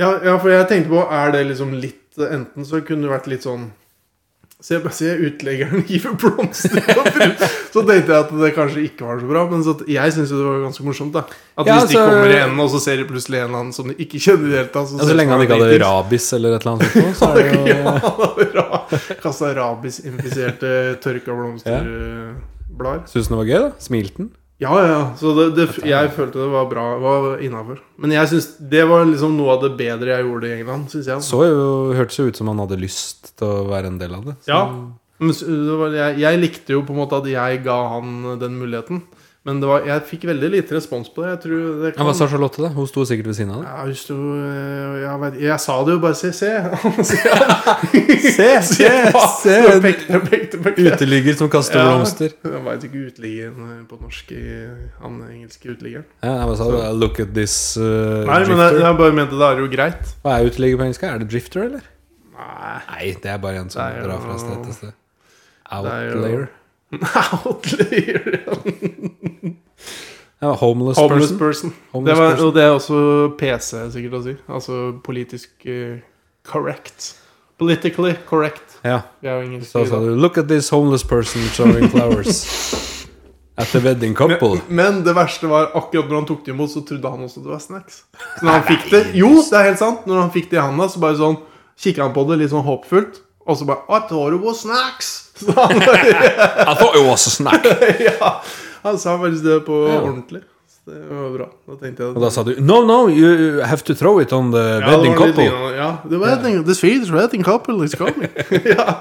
[SPEAKER 1] ja, ja, for jeg tenkte på Er det liksom litt Enten så kunne det vært litt sånn Se, se utleggeren hiver blomster på brud. Så tenkte jeg at det kanskje ikke var så bra Men så, at- jeg synes jo det var ganske morsomt da At
[SPEAKER 2] Ja,
[SPEAKER 1] hvis de
[SPEAKER 2] altså-
[SPEAKER 1] kommer i enden Og så ser de plutselig en eller annen som de ikke kjenner i det hele tatt
[SPEAKER 2] Ja, så
[SPEAKER 1] sånn
[SPEAKER 2] lenge han ikke hadde rabis eller et eller annet sånt, noe, så er det jo
[SPEAKER 1] rabies Kastet rabies-infiserte tørka blomsterblar
[SPEAKER 2] Syns den var gøy, da? Smilte den?
[SPEAKER 1] Ja, ja, ja. Så det, det, jeg følte det var bra Var innenfor Men jeg synes det var liksom noe av det bedre jeg gjorde i England Synes jeg altså.
[SPEAKER 2] Så jo, hørtes jo ut som han hadde lyst til å være en del av det. Så-
[SPEAKER 1] Ja. Men s- det var, jeg, jeg likte jo på en måte at jeg ga han den muligheten. Men det var, jeg fikk veldig lite respons på det. Jeg tror det
[SPEAKER 2] Ja, Hva sa Charlotte, da? Hun sto sikkert ved siden av deg.
[SPEAKER 1] Ja, hun sto, eh, jeg, vet, jeg sa det jo bare Se, se!
[SPEAKER 2] Se, se, se.
[SPEAKER 1] Jeg pekte, jeg pekte, jeg pekte.
[SPEAKER 2] Uteligger som kaster
[SPEAKER 1] Ja.
[SPEAKER 2] blomster.
[SPEAKER 1] Jeg veit ikke uteliggeren eh, på norsk i han engelske uteliggeren.
[SPEAKER 2] Ja, hva sa du? Look at this uh,
[SPEAKER 1] Nei, men jeg,
[SPEAKER 2] drifter.
[SPEAKER 1] jeg bare mente det er jo greit.
[SPEAKER 2] Hva er uteligger på engelsk? Er det drifter, eller?
[SPEAKER 1] Nei,
[SPEAKER 2] Nei, det er bare en som
[SPEAKER 1] Det er jo-
[SPEAKER 2] drar fra sted til
[SPEAKER 1] er
[SPEAKER 2] sted.
[SPEAKER 1] jo-
[SPEAKER 2] Outlayer.
[SPEAKER 1] Outlier.
[SPEAKER 2] Ja, homeless,
[SPEAKER 1] Homeless
[SPEAKER 2] person.
[SPEAKER 1] person. Det
[SPEAKER 2] Homeless
[SPEAKER 1] var,
[SPEAKER 2] person.
[SPEAKER 1] og det er også PC, sikkert å si. Altså politisk eh, correct. Politically correct.
[SPEAKER 2] Ja,
[SPEAKER 1] Det er jo engelsk.
[SPEAKER 2] så sa du Look at this homeless person showing flowers at the wedding couple.
[SPEAKER 1] Men det verste var akkurat når han tok det imot, så trodde han også det var snacks. Så når han fikk det Jo, det er helt sant. Når han fikk det i handa, så bare sånn kikka han på det litt sånn håpfullt. Og så bare I thought it was snacks! Så han,
[SPEAKER 2] I thought it was a snack.
[SPEAKER 1] ja, han sa faktisk det på ordentlig. Så det var bra. Da tenkte jeg
[SPEAKER 2] Og da sa du No, no, you have to throw it on the
[SPEAKER 1] det
[SPEAKER 2] wedding
[SPEAKER 1] var litt
[SPEAKER 2] couple.
[SPEAKER 1] lignende, Ja, the wedding, the Swedish wedding couple is coming. ja.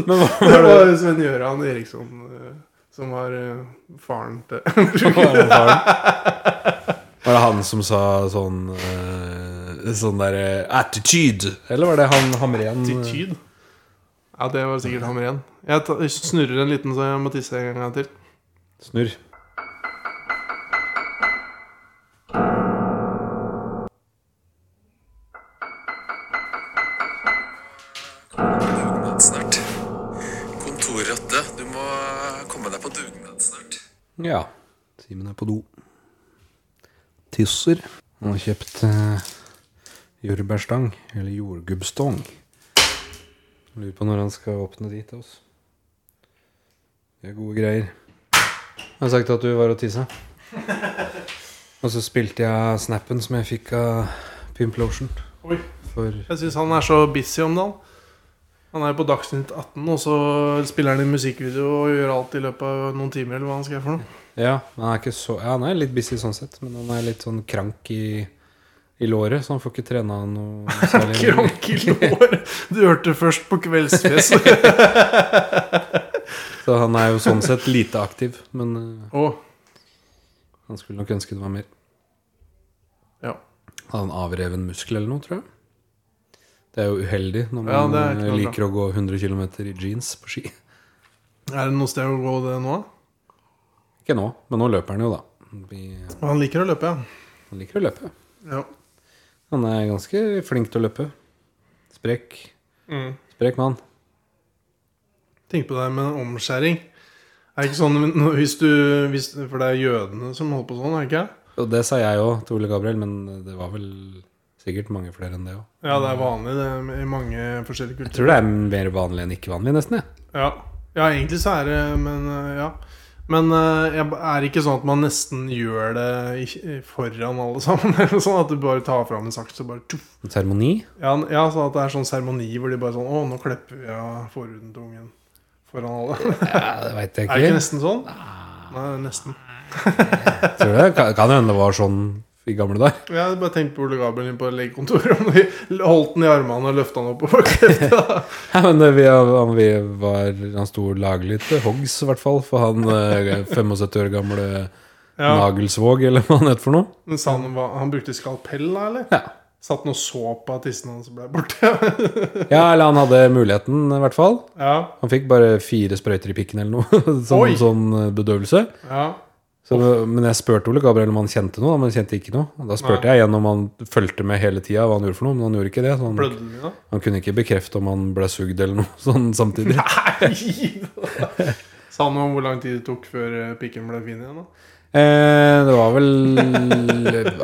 [SPEAKER 2] Men hva
[SPEAKER 1] Det
[SPEAKER 2] var det?
[SPEAKER 1] var Sven-Gøran Eriksson eh, som var eh, faren til
[SPEAKER 2] Var det faren? Var det han som sa sånn eh, Sånn derre attitude? Eller var det han Hamren? eh,
[SPEAKER 1] Attityd. Ja, det var sikkert ham igjen. Jeg ta- jeg snurrer en liten så jeg må tisse en gang til.
[SPEAKER 2] Snurr.
[SPEAKER 5] dugnad snart. Kontorrotte, du må komme deg på dugnad snart.
[SPEAKER 2] Ja. Simen er på do. Tisser. Han har kjøpt eh, jordbærstang. Eller jordgubbstong. Lurer på når han skal åpne de til oss. Det er gode greier. Jeg har sagt at du var og tissa. Og så spilte jeg snappen som jeg fikk av Pimplotion.
[SPEAKER 1] Oi.
[SPEAKER 2] For
[SPEAKER 1] Jeg syns han er så busy om dagen. Han er jo på Dagsnytt 18, og så spiller han i musikkvideo og gjør alt i løpet av noen timer. eller hva han skal gjøre for noe.
[SPEAKER 2] Ja, han er ikke så Ja, han er litt busy sånn sett, men han er litt sånn krank i, i låret, så han får ikke trena noe særlig.
[SPEAKER 1] Krank i lår! Du hørte det først på Kveldsfjes.
[SPEAKER 2] Så han er jo sånn sett lite aktiv, men eh,
[SPEAKER 1] Å,
[SPEAKER 2] han skulle nok ønske det var mer.
[SPEAKER 1] Ja.
[SPEAKER 2] Hadde han avreven muskel eller noe, tror jeg? Det er jo uheldig når
[SPEAKER 1] Ja,
[SPEAKER 2] man
[SPEAKER 1] det er ikke
[SPEAKER 2] eh,
[SPEAKER 1] noe
[SPEAKER 2] liker å gå 100 km i jeans på ski.
[SPEAKER 1] Er det noe sted å gå det nå?
[SPEAKER 2] Ikke nå, men nå løper han jo, da. Vi
[SPEAKER 1] Han liker å løpe, ja.
[SPEAKER 2] han liker å løpe.
[SPEAKER 1] ja.
[SPEAKER 2] Han er ganske flink til å løpe. Sprek.
[SPEAKER 1] Mm.
[SPEAKER 2] Sprek mann.
[SPEAKER 1] Tenk på det her med omskjæring. Er det ikke sånn nå- hvis du hvis, For det er jødene som holder på sånn, er det ikke?
[SPEAKER 2] Og det sa jeg òg til Ole Gabriel, men det var vel sikkert mange flere enn det òg.
[SPEAKER 1] Ja, det er vanlig det er i mange forskjellige
[SPEAKER 2] Jeg
[SPEAKER 1] kulturer.
[SPEAKER 2] tror det er mer vanlig enn ikke vanlig, nesten. jeg.
[SPEAKER 1] Ja. ja, egentlig så er det Men øh, ja. Men øh, jeg- er det ikke sånn at man nesten gjør det i- foran alle sammen? Eller sånn At du bare tar fram en saks og bare tuff.
[SPEAKER 2] En seremoni.
[SPEAKER 1] Ja, n- ja, sånn at det er sånn seremoni hvor de bare sånn Å, nå klepper vi av forhuden til ungen foran alle.
[SPEAKER 2] Ja, det veit jeg
[SPEAKER 1] Er det ikke
[SPEAKER 2] ikke.
[SPEAKER 1] nesten sånn? Nei, nesten.
[SPEAKER 2] Tror det kan kan hende det var sånn i gamle dager.
[SPEAKER 1] Jeg hadde bare tenkt på Ole Gabriel inn på legekontoret. Om de holdt den i armene og løfta den oppover.
[SPEAKER 2] Ja, men det, vi, han, vi var, han sto laglig til hoggs, i hvert fall, for han eh, 75 år gamle
[SPEAKER 1] Ja,
[SPEAKER 2] Nagelsvåg, eller hva han het for noe.
[SPEAKER 1] men sa han, hva- han brukte skalpell, da, eller?
[SPEAKER 2] Ja.
[SPEAKER 1] Satt noe såpe av tissen hans og ble borte?
[SPEAKER 2] ja, eller han hadde muligheten, i hvert fall.
[SPEAKER 1] ja,
[SPEAKER 2] Han fikk bare fire sprøyter i pikken eller noe.
[SPEAKER 1] Oi.
[SPEAKER 2] Sånn, sånn bedøvelse.
[SPEAKER 1] ja.
[SPEAKER 2] Så, men jeg spurte Ole Gabriel om han kjente noe, men han kjente ikke noe. Og Da spurte jeg igjen om han fulgte med hele tida hva han gjorde for noe, men han gjorde ikke det. Så han,
[SPEAKER 1] Blødde den i da?
[SPEAKER 2] han kunne ikke bekrefte om han ble sugd eller noe sånn samtidig.
[SPEAKER 1] Nei! Sa han noe om hvor lang tid det tok før eh, pikken ble fin igjen? da?
[SPEAKER 2] Eh, det var vel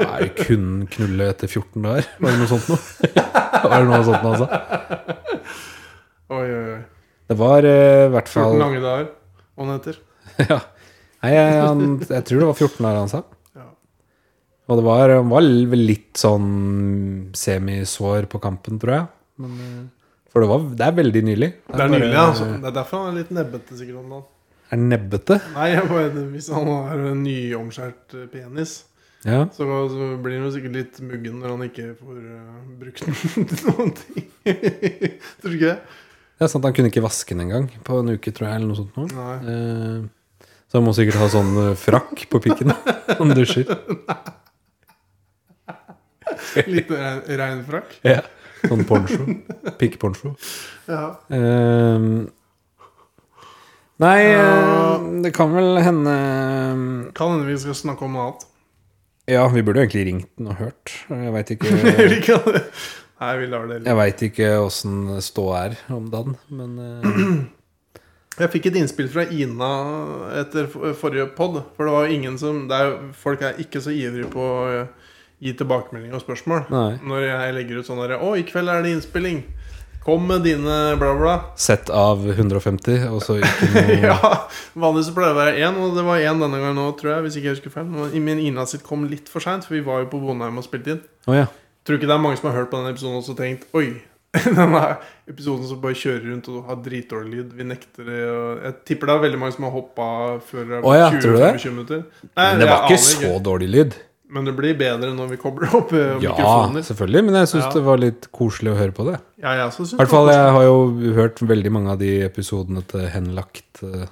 [SPEAKER 2] Nei, kun knulle etter 14 dager, var det noe sånt noe? var det noe sånt noe, altså?
[SPEAKER 1] Oi, oi, oi.
[SPEAKER 2] Det var eh, i hvert
[SPEAKER 1] 14
[SPEAKER 2] fall
[SPEAKER 1] lange dager, hva den heter.
[SPEAKER 2] ja. Nei, jeg, han, jeg tror det var 14 dager han sa.
[SPEAKER 1] Ja.
[SPEAKER 2] Og det var, han var vel litt sånn semisår på kampen, tror jeg. Men, eh, for det, var, det er veldig nylig.
[SPEAKER 1] Det er
[SPEAKER 2] bare-
[SPEAKER 1] nylig, altså. Det er derfor han er litt nebbete, sikkert. om dagen.
[SPEAKER 2] Er nebbete.
[SPEAKER 1] Nei, jeg bare, Hvis han har en nyomskjært eh, penis,
[SPEAKER 2] Ja.
[SPEAKER 1] så, så blir han jo sikkert litt muggen når han ikke får eh, brukt den til noen ting. tror du ikke det?
[SPEAKER 2] Det er sant, han kunne ikke vaske den engang på en uke, tror jeg. eller noe sånt nå.
[SPEAKER 1] Nei.
[SPEAKER 2] Eh, Så han må sikkert ha sånn eh, frakk på pikken når han dusjer.
[SPEAKER 1] Litt eh, rein, rein frakk.
[SPEAKER 2] Ja. Sånn poncho. Pikkeponcho.
[SPEAKER 1] Ja.
[SPEAKER 2] Eh, Nei, eh, det kan vel hende
[SPEAKER 1] Kan hende vi skal snakke om noe annet.
[SPEAKER 2] eh, Ja, vi burde jo egentlig ringt den og hørt. Jeg veit ikke
[SPEAKER 1] Vi kan- Nei, vi lar det ligge.
[SPEAKER 2] Jeg veit ikke åssen stå er om dagen, men eh,
[SPEAKER 1] Jeg fikk et innspill fra Ina etter for- forrige pod. For det var jo ingen som det er, jo- Folk er ikke så ivrige på å eh, gi tilbakemelding og spørsmål.
[SPEAKER 2] Nei.
[SPEAKER 1] Når jeg legger ut sånn derre Å, i kveld er det innspilling. Kom med dine bla, bla.
[SPEAKER 2] Sett av 150, og så ikke noe
[SPEAKER 1] Ja, Vanligvis så pleier det å være én, og det var én denne gangen òg, tror jeg. Hvis ikke jeg husker feil. Men min Ina sitt kom litt for seint, for vi var jo på Bondheim og spilte inn.
[SPEAKER 2] Å ja.
[SPEAKER 1] Tror ikke det er mange som har hørt på denne episoden og så tenkt Oi, denne episoden som bare kjører rundt og har dritdårlig lyd. Vi nekter det. og- Jeg tipper det er veldig mange som har hoppa før det er
[SPEAKER 2] Å ja, tror du det?
[SPEAKER 1] 20-25 minutter. Nei,
[SPEAKER 2] Men det var
[SPEAKER 1] jeg
[SPEAKER 2] ikke
[SPEAKER 1] aner
[SPEAKER 2] så dårlig lyd.
[SPEAKER 1] Men det blir bedre når vi kobler opp eh,
[SPEAKER 2] Ja,
[SPEAKER 1] mikrofoner.
[SPEAKER 2] selvfølgelig, men jeg syns
[SPEAKER 1] Ja.
[SPEAKER 2] det var litt koselig å høre på det.
[SPEAKER 1] Ja, jeg også synes
[SPEAKER 2] I hvert fall, jeg har jo hørt veldig mange av de episodene til Henlagt, eh,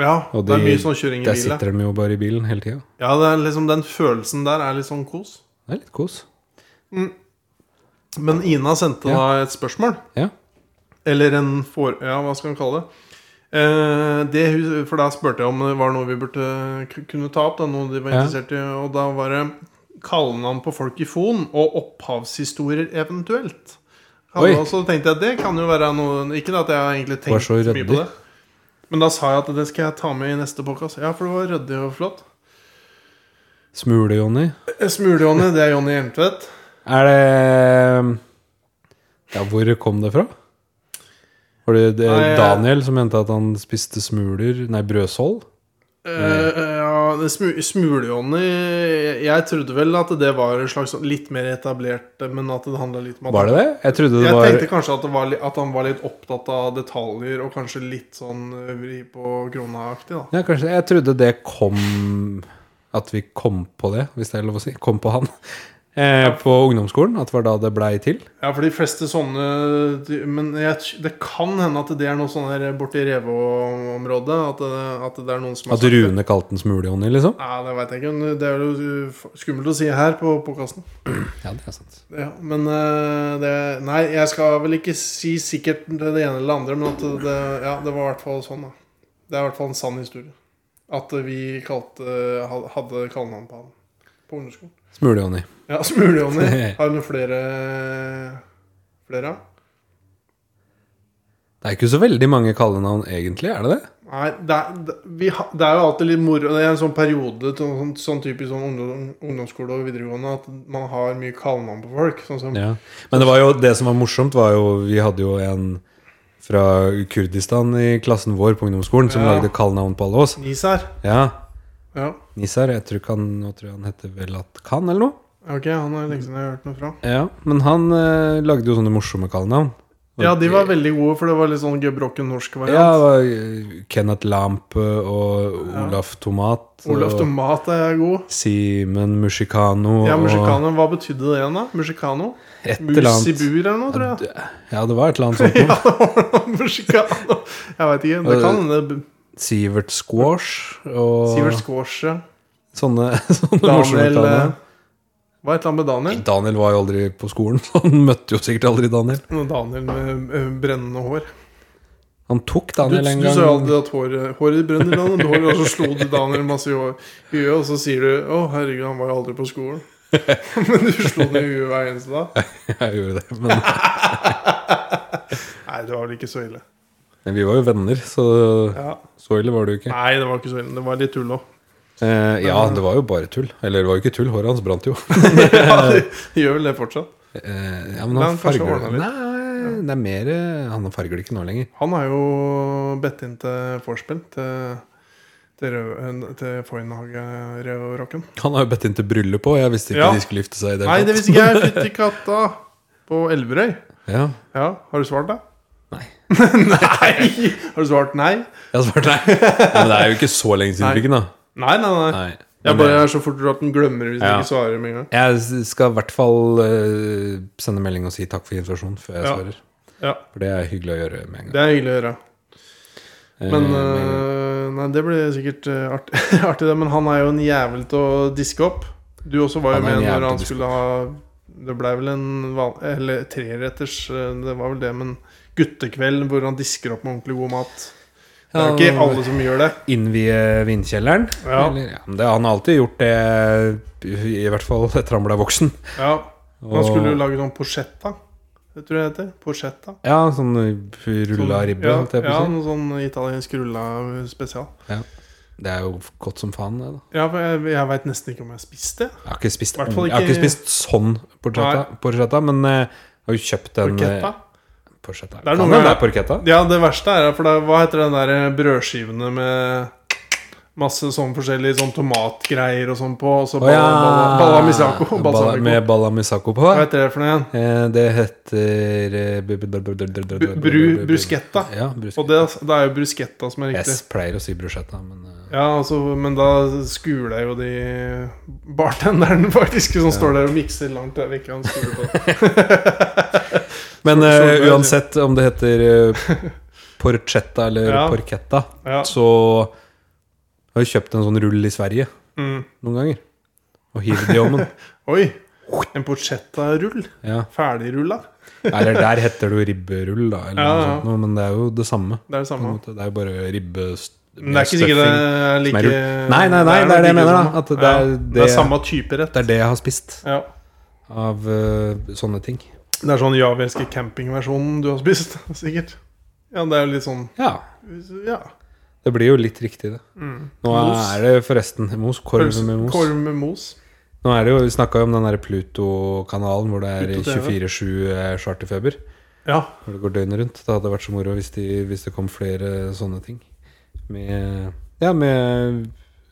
[SPEAKER 1] Ja,
[SPEAKER 2] og
[SPEAKER 1] det er
[SPEAKER 2] de-
[SPEAKER 1] mye sånn kjøring i
[SPEAKER 2] der
[SPEAKER 1] bil. ja.
[SPEAKER 2] sitter de jo bare i bilen hele tida.
[SPEAKER 1] Ja, det er liksom den følelsen der er litt sånn kos.
[SPEAKER 2] Det er litt kos.
[SPEAKER 1] Men Ina sendte
[SPEAKER 2] Ja.
[SPEAKER 1] da et spørsmål.
[SPEAKER 2] Ja.
[SPEAKER 1] Eller en for... Ja, hva skal man kalle det? Eh, det hun- for da spurte jeg om det var noe vi burde k- kunne ta opp. Da, noe de var
[SPEAKER 2] Ja.
[SPEAKER 1] interessert i Og da var det kallenavn på folk i Fon, og opphavshistorier eventuelt. Kan-
[SPEAKER 2] Oi.
[SPEAKER 1] Og så tenkte jeg at det kan jo være noe Ikke at jeg har egentlig
[SPEAKER 2] var
[SPEAKER 1] tenkt
[SPEAKER 2] så
[SPEAKER 1] så mye
[SPEAKER 2] ryddig.
[SPEAKER 1] på det. Men da sa jeg at det skal jeg ta med i neste podcast Ja, for det var ryddig og flott.
[SPEAKER 2] Smule-Johnny.
[SPEAKER 1] Smule-Johnny, Eh, det er Johnny Hjeltvedt.
[SPEAKER 2] Er det Ja, hvor kom det fra? Var det, det
[SPEAKER 1] Nei, jeg-
[SPEAKER 2] Daniel som mente at han spiste smuler Nei, brødsål? Mm.
[SPEAKER 1] Eh, ja, det smu- Smule-Johnny jeg- Jeg trodde vel at det var en slags sånn litt mer etablert, men at det handla litt om at
[SPEAKER 2] Var det det? Jeg trodde det
[SPEAKER 1] Jeg
[SPEAKER 2] var
[SPEAKER 1] tenkte kanskje at, det var, li- at han var litt opptatt av detaljer, og kanskje litt sånn eh, vri på krona-aktig, da.
[SPEAKER 2] Ja, kanskje Jeg trodde det kom At vi kom på det, hvis det er lov å si. Kom på han. eh, på ungdomsskolen. At det var da det blei til.
[SPEAKER 1] Ja, for de fleste sånne Men jeg, det kan hende at det er noe sånn her borti Revå-området. At, det- at det er noen som har
[SPEAKER 2] At
[SPEAKER 1] sagt det.
[SPEAKER 2] Rune kalte den smulehonning, liksom.
[SPEAKER 1] Ja, det veit jeg ikke. men Det er jo skummelt å si her på podkasten.
[SPEAKER 2] Ja, det er sant.
[SPEAKER 1] Ja, men eh, det Nei, jeg skal vel ikke si sikkert det ene eller det andre, men at det, ja, det var i hvert fall sånn, da. Det er i hvert fall en sann historie. At vi kalte hadde kallenavn på han på ungdomsskolen.
[SPEAKER 2] Smulehonning.
[SPEAKER 1] Ja, Smule-Johnny har du flere flere av.
[SPEAKER 2] Det er ikke så veldig mange kallenavn, egentlig. er det det?
[SPEAKER 1] Nei, det er, det, vi, ha- det er jo alltid litt moro. Det er en sånn periode til sånn, sånn typisk sånn ungdom, ungdomsskole og videregående at man har mye kallenavn på folk. Sånn som
[SPEAKER 2] Ja. Men det, var jo, det som var morsomt, var jo Vi hadde jo en fra Kurdistan i klassen vår på ungdomsskolen som
[SPEAKER 1] Ja.
[SPEAKER 2] lagde kallenavn på alle oss.
[SPEAKER 1] Nisar.
[SPEAKER 2] Ja,
[SPEAKER 1] Ja,
[SPEAKER 2] Nisar. Jeg tror ikke han, nå tror jeg han heter Velat Khan eller noe.
[SPEAKER 1] ok, han er lenge siden jeg har hørt noe fra.
[SPEAKER 2] Ja, Men han eh, lagde jo sånne morsomme kallenavn.
[SPEAKER 1] Ja, de var veldig gode, for det var litt sånn gebrokken norsk
[SPEAKER 2] Ja, det
[SPEAKER 1] variant.
[SPEAKER 2] var eh, Kenneth Lamp og Olaf Tomat.
[SPEAKER 1] Olaf
[SPEAKER 2] og
[SPEAKER 1] Tomat er god.
[SPEAKER 2] Simen Mushikano
[SPEAKER 1] Ja,
[SPEAKER 2] og
[SPEAKER 1] Musicano. Hva betydde det igjen, da? Musicano?
[SPEAKER 2] et eller
[SPEAKER 1] Mus i
[SPEAKER 2] annet.
[SPEAKER 1] bur eller noe, tror jeg.
[SPEAKER 2] Ja, det var et eller annet sånt. noe.
[SPEAKER 1] Musicano. Jeg veit ikke. Det kan hende
[SPEAKER 2] Sivert Squash og
[SPEAKER 1] Sivert Skårse.
[SPEAKER 2] sånne, sånne morsomme
[SPEAKER 1] Daniel eh,
[SPEAKER 2] kallenavn.
[SPEAKER 1] Hva er et eller annet med Daniel?
[SPEAKER 2] Daniel var jo aldri på skolen, så han møtte jo sikkert aldri Daniel.
[SPEAKER 1] Og Daniel med ø, brennende hår.
[SPEAKER 2] Han tok
[SPEAKER 1] Du,
[SPEAKER 2] Daniel en
[SPEAKER 1] du
[SPEAKER 2] gang.
[SPEAKER 1] sa jo aldri at håret, håret brenner, Daniel, håret, og så slo du altså Daniel masse i hår- i huet, og så sier du 'Å, herregud, han var jo aldri på skolen'. Men du slo det i huet hver eneste dag.
[SPEAKER 2] Jeg gjorde det, men,
[SPEAKER 1] Nei, det var vel ikke så ille.
[SPEAKER 2] men vi var jo venner, så
[SPEAKER 1] Ja.
[SPEAKER 2] så ille var det jo ikke.
[SPEAKER 1] Nei, det var ikke så ille. Det var litt tull òg.
[SPEAKER 2] Eh, ja, det var jo bare tull. Eller det var jo ikke tull, håret hans brant jo.
[SPEAKER 1] Ja, de de gjør vel det fortsatt.
[SPEAKER 2] Eh, ja, men
[SPEAKER 1] Men
[SPEAKER 2] han
[SPEAKER 1] kanskje
[SPEAKER 2] farger det.
[SPEAKER 1] ordnet litt.
[SPEAKER 2] Nei, det er mer eh, Han farger det ikke nå lenger.
[SPEAKER 1] Han har jo bedt inn til vorspiel til, til, Rø- til Foynhage-rocken.
[SPEAKER 2] Han har jo bedt inn til bryllup òg. Jeg visste ikke
[SPEAKER 1] Ja.
[SPEAKER 2] de skulle gifte seg i det
[SPEAKER 1] Nei,
[SPEAKER 2] hele
[SPEAKER 1] det
[SPEAKER 2] tatt.
[SPEAKER 1] visste ikke jeg. Fytti katta! På Elverøy.
[SPEAKER 2] Ja.
[SPEAKER 1] Ja, Har du svart, da?
[SPEAKER 2] Nei.
[SPEAKER 1] nei! Har du svart nei?
[SPEAKER 2] Jeg har svart nei. Ja, men det er jo ikke så lenge siden
[SPEAKER 1] Nei.
[SPEAKER 2] du fikk den, da.
[SPEAKER 1] Nei, nei, nei.
[SPEAKER 2] Nei.
[SPEAKER 1] Jeg
[SPEAKER 2] Men,
[SPEAKER 1] bare er så fort at den glemmer hvis
[SPEAKER 2] Ja.
[SPEAKER 1] den ikke svarer med en gang.
[SPEAKER 2] eh, jeg skal i hvert fall eh, sende melding og si takk for informasjonen før jeg
[SPEAKER 1] Ja.
[SPEAKER 2] svarer.
[SPEAKER 1] Ja,
[SPEAKER 2] For det er hyggelig å gjøre med en gang.
[SPEAKER 1] Det er hyggelig å gjøre. Men
[SPEAKER 2] Eh, men-
[SPEAKER 1] øh, Nei, det blir sikkert øh, artig, artig, det. Men han er jo en jævel til å diske opp. Du også var jo
[SPEAKER 2] Han er en
[SPEAKER 1] med når
[SPEAKER 2] jævel til å
[SPEAKER 1] han
[SPEAKER 2] diske
[SPEAKER 1] skulle ha Det blei vel en van- Eller treretters, øh, det var vel det, men guttekveld hvor han disker opp med ordentlig god mat. Det er jo
[SPEAKER 2] Ja,
[SPEAKER 1] ikke alle som gjør det.
[SPEAKER 2] Innvie vindkjelleren.
[SPEAKER 1] Ja.
[SPEAKER 2] Eller, ja. men Det, han har alltid gjort det, i hvert fall etter han ble voksen.
[SPEAKER 1] Ja, Han
[SPEAKER 2] Og-
[SPEAKER 1] skulle jo lage sånn porchetta. Det tror jeg det heter. Porchetta.
[SPEAKER 2] Ja, sånn rulla ribbe.
[SPEAKER 1] Sånn, ja,
[SPEAKER 2] holdt jeg
[SPEAKER 1] ja,
[SPEAKER 2] på å si.
[SPEAKER 1] noe sånn italiensk rulla eh, spesial.
[SPEAKER 2] Det er jo godt som faen, det. da
[SPEAKER 1] Ja, for jeg, jeg veit nesten ikke om jeg spiste.
[SPEAKER 2] Jeg har ikke spist,
[SPEAKER 1] Hvert fall
[SPEAKER 2] jeg har
[SPEAKER 1] ikke-
[SPEAKER 2] ikke spist sånn porchetta, porchetta men eh, jeg har jo kjøpt den
[SPEAKER 1] Porchetta.
[SPEAKER 2] eh, Porchetta.
[SPEAKER 1] er
[SPEAKER 2] Kan
[SPEAKER 1] noe
[SPEAKER 2] den
[SPEAKER 1] med-
[SPEAKER 2] være porchetta?
[SPEAKER 1] Ja, det verste er for det, Hva heter den der eh, brødskivene med masse sånn forskjellige sånn tomatgreier og sånn på? Og så
[SPEAKER 2] Å
[SPEAKER 1] bal- bal- balsamico.
[SPEAKER 2] Bala- Med
[SPEAKER 1] balsamico.
[SPEAKER 2] balamisaco på.
[SPEAKER 1] Hva heter det for noe igjen?
[SPEAKER 2] Eh, Det heter eh, bu- bu- bu- bu- bu- bu-
[SPEAKER 1] Bu-
[SPEAKER 2] bu-
[SPEAKER 1] Bru,
[SPEAKER 2] bu-
[SPEAKER 1] bruschetta.
[SPEAKER 2] Ja, brus
[SPEAKER 1] Og det, det er jo bruschetta som er
[SPEAKER 2] Jeg
[SPEAKER 1] riktig.
[SPEAKER 2] pleier å si bruschetta, men eh,
[SPEAKER 1] Ja, altså, Men da skuler jo de bartenderen faktisk, som står der og mikser langt der ikke han skuler på.
[SPEAKER 2] Men
[SPEAKER 1] Så- så
[SPEAKER 2] eh,
[SPEAKER 1] det-
[SPEAKER 2] uansett om det heter eh, porchetta eller
[SPEAKER 1] Ja.
[SPEAKER 2] porchetta,
[SPEAKER 1] Ja.
[SPEAKER 2] så har jeg kjøpt en sånn rull i Sverige
[SPEAKER 1] Mm.
[SPEAKER 2] noen ganger. Og hivd i ovnen.
[SPEAKER 1] Oi! En porchetta-rull.
[SPEAKER 2] ja.
[SPEAKER 1] Ferdigrulla.
[SPEAKER 2] Eller der heter det jo ribberull, da, eller
[SPEAKER 1] Ja,
[SPEAKER 2] noe
[SPEAKER 1] ja.
[SPEAKER 2] sånt, noe, men det er jo det samme.
[SPEAKER 1] Det er det
[SPEAKER 2] På en
[SPEAKER 1] samme.
[SPEAKER 2] måte. Det er jo bare ribbe...
[SPEAKER 1] Men det er ikke sikkert det er like
[SPEAKER 2] som er rull. Nei, nei, nei, det er det jeg
[SPEAKER 1] like
[SPEAKER 2] mener, da,
[SPEAKER 1] samme.
[SPEAKER 2] at det
[SPEAKER 1] sånn. Ja,
[SPEAKER 2] er
[SPEAKER 1] det
[SPEAKER 2] det-
[SPEAKER 1] er samme type rett.
[SPEAKER 2] Det er det jeg har spist
[SPEAKER 1] Ja.
[SPEAKER 2] av eh, sånne ting.
[SPEAKER 1] Det er sånn Ja, vi elsker campingversjonen du har spist, sikkert. Ja, det er jo litt sånn
[SPEAKER 2] Ja.
[SPEAKER 1] Ja.
[SPEAKER 2] Det blir jo litt riktig, det.
[SPEAKER 1] Mm.
[SPEAKER 2] Nå
[SPEAKER 1] Mos.
[SPEAKER 2] er det forresten mos. Korv
[SPEAKER 1] pølse-
[SPEAKER 2] med mos.
[SPEAKER 1] Korv med mos.
[SPEAKER 2] Nå er det jo, Vi snakka jo om den der Pluto-kanalen hvor det er
[SPEAKER 1] Pluto TV.
[SPEAKER 2] 24-7 eh, charterfeber.
[SPEAKER 1] Ja.
[SPEAKER 2] Hvor det går døgnet rundt. Det hadde vært så moro hvis, de, hvis det kom flere sånne ting. Med, ja, med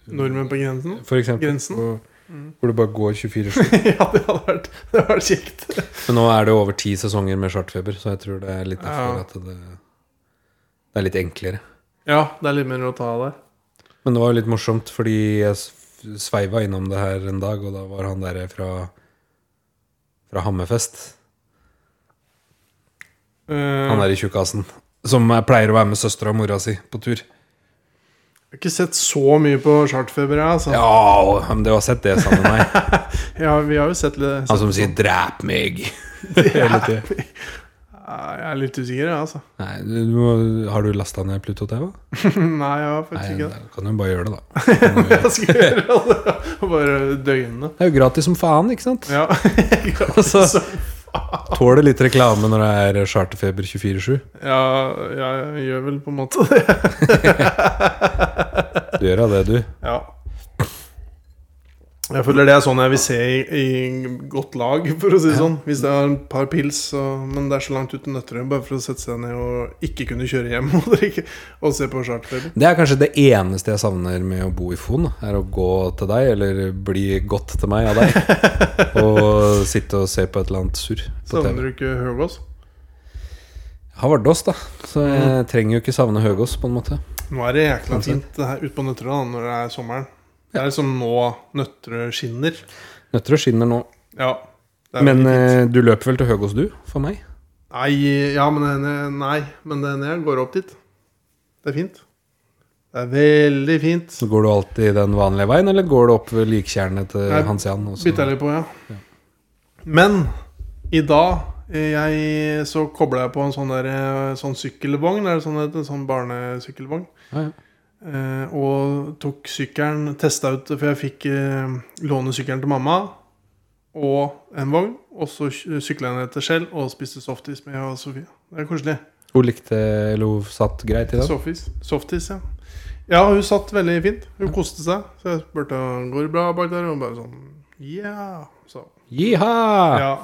[SPEAKER 1] Nordmenn på grensen.
[SPEAKER 2] for eksempel
[SPEAKER 1] Grensen.
[SPEAKER 2] hvor-
[SPEAKER 1] Mm.
[SPEAKER 2] Hvor det bare går 24-7.
[SPEAKER 1] ja, det hadde vært, det hadde vært kjekt.
[SPEAKER 2] Men nå er det jo over ti sesonger med charterfeber, så jeg tror det er litt derfor
[SPEAKER 1] Ja.
[SPEAKER 2] at det, det er litt enklere.
[SPEAKER 1] Ja, det er litt mer å ta av der.
[SPEAKER 2] Men det var jo litt morsomt, fordi jeg s- sveiva innom det her en dag, og da var han derre fra fra Hammerfest.
[SPEAKER 1] Eh,
[SPEAKER 2] Han er i tjukkasen. Som eh, pleier å være med søstera og mora si på tur.
[SPEAKER 1] jeg har ikke sett så mye på chartfeber, jeg, altså. Ja.
[SPEAKER 2] Ja, og- men du har sett det sammen med meg.
[SPEAKER 1] vi har jo sett litt
[SPEAKER 2] Han som sier 'drep meg'.
[SPEAKER 1] Ja,
[SPEAKER 2] Hele tiden.
[SPEAKER 1] Jeg er litt usikker, jeg, altså.
[SPEAKER 2] Nei, du må, har du lasta ned Pluto TV?
[SPEAKER 1] Nei, jeg har
[SPEAKER 2] Nei,
[SPEAKER 1] faktisk ikke
[SPEAKER 2] da
[SPEAKER 1] det.
[SPEAKER 2] kan du bare gjøre det, da.
[SPEAKER 1] Jeg skal gjøre det. altså. Bare døgne.
[SPEAKER 2] Det er jo gratis som faen, ikke sant?
[SPEAKER 1] Ja.
[SPEAKER 2] Altså, tåler litt reklame når det er charterfeber 24-7.
[SPEAKER 1] ja, jeg gjør vel på en måte det.
[SPEAKER 2] Du gjør da det, du.
[SPEAKER 1] Ja. Jeg føler det er sånn jeg vil se i, i godt lag, for å si det sånn. Hvis det er et par pils, så, men det er så langt uten Nøtterøy, bare for å sette seg ned og ikke kunne kjøre hjem og drikke og se på charterfeber.
[SPEAKER 2] Det er kanskje det eneste jeg savner med å bo i Fon. da, Er å gå til deg, eller bli godt til meg av deg. og sitte og se på et eller annet surr på TV.
[SPEAKER 1] Savner du ikke Høgås?
[SPEAKER 2] Jeg har Vardås, da. Så
[SPEAKER 1] Mm.
[SPEAKER 2] jeg trenger jo ikke savne Høgås, på en måte.
[SPEAKER 1] Nå er det jækla fint det her ute på Nøtterøy da, når det er sommeren. Det er som nå Nøtterøy skinner.
[SPEAKER 2] Nøtter og skinner nå.
[SPEAKER 1] Ja. det er
[SPEAKER 2] Men
[SPEAKER 1] veldig fint.
[SPEAKER 2] eh, du løper vel til Høgås, du? For meg?
[SPEAKER 1] Nei, ja, men den er- nei, men den jeg går opp dit. Det er fint. Det er veldig fint.
[SPEAKER 2] Så går du alltid den vanlige veien, eller går du opp ved liktjernet til
[SPEAKER 1] Nei,
[SPEAKER 2] Hans Jan? og så-
[SPEAKER 1] Bytta jeg litt på, ja. Men i dag eh, jeg, så kobla jeg på en sånn, der, eh, sånn sykkelvogn, er det sånn det heter? Sånn barnesykkelvogn.
[SPEAKER 2] Ja, ja.
[SPEAKER 1] Eh, og tok sykkelen, testa ut, for jeg fikk eh, låne sykkelen til mamma og en vogn. Og så sykla jeg ned til Skjell og spiste softis med og Sofie. Det er koselig.
[SPEAKER 2] Hun likte Eller hun satt greit i den?
[SPEAKER 1] Softis, softis, ja. Ja, hun satt veldig fint. Hun koste seg. Så jeg spurte om går det bra bak der, og hun bare sånn yeah. Så,
[SPEAKER 2] Jiha!
[SPEAKER 1] ja.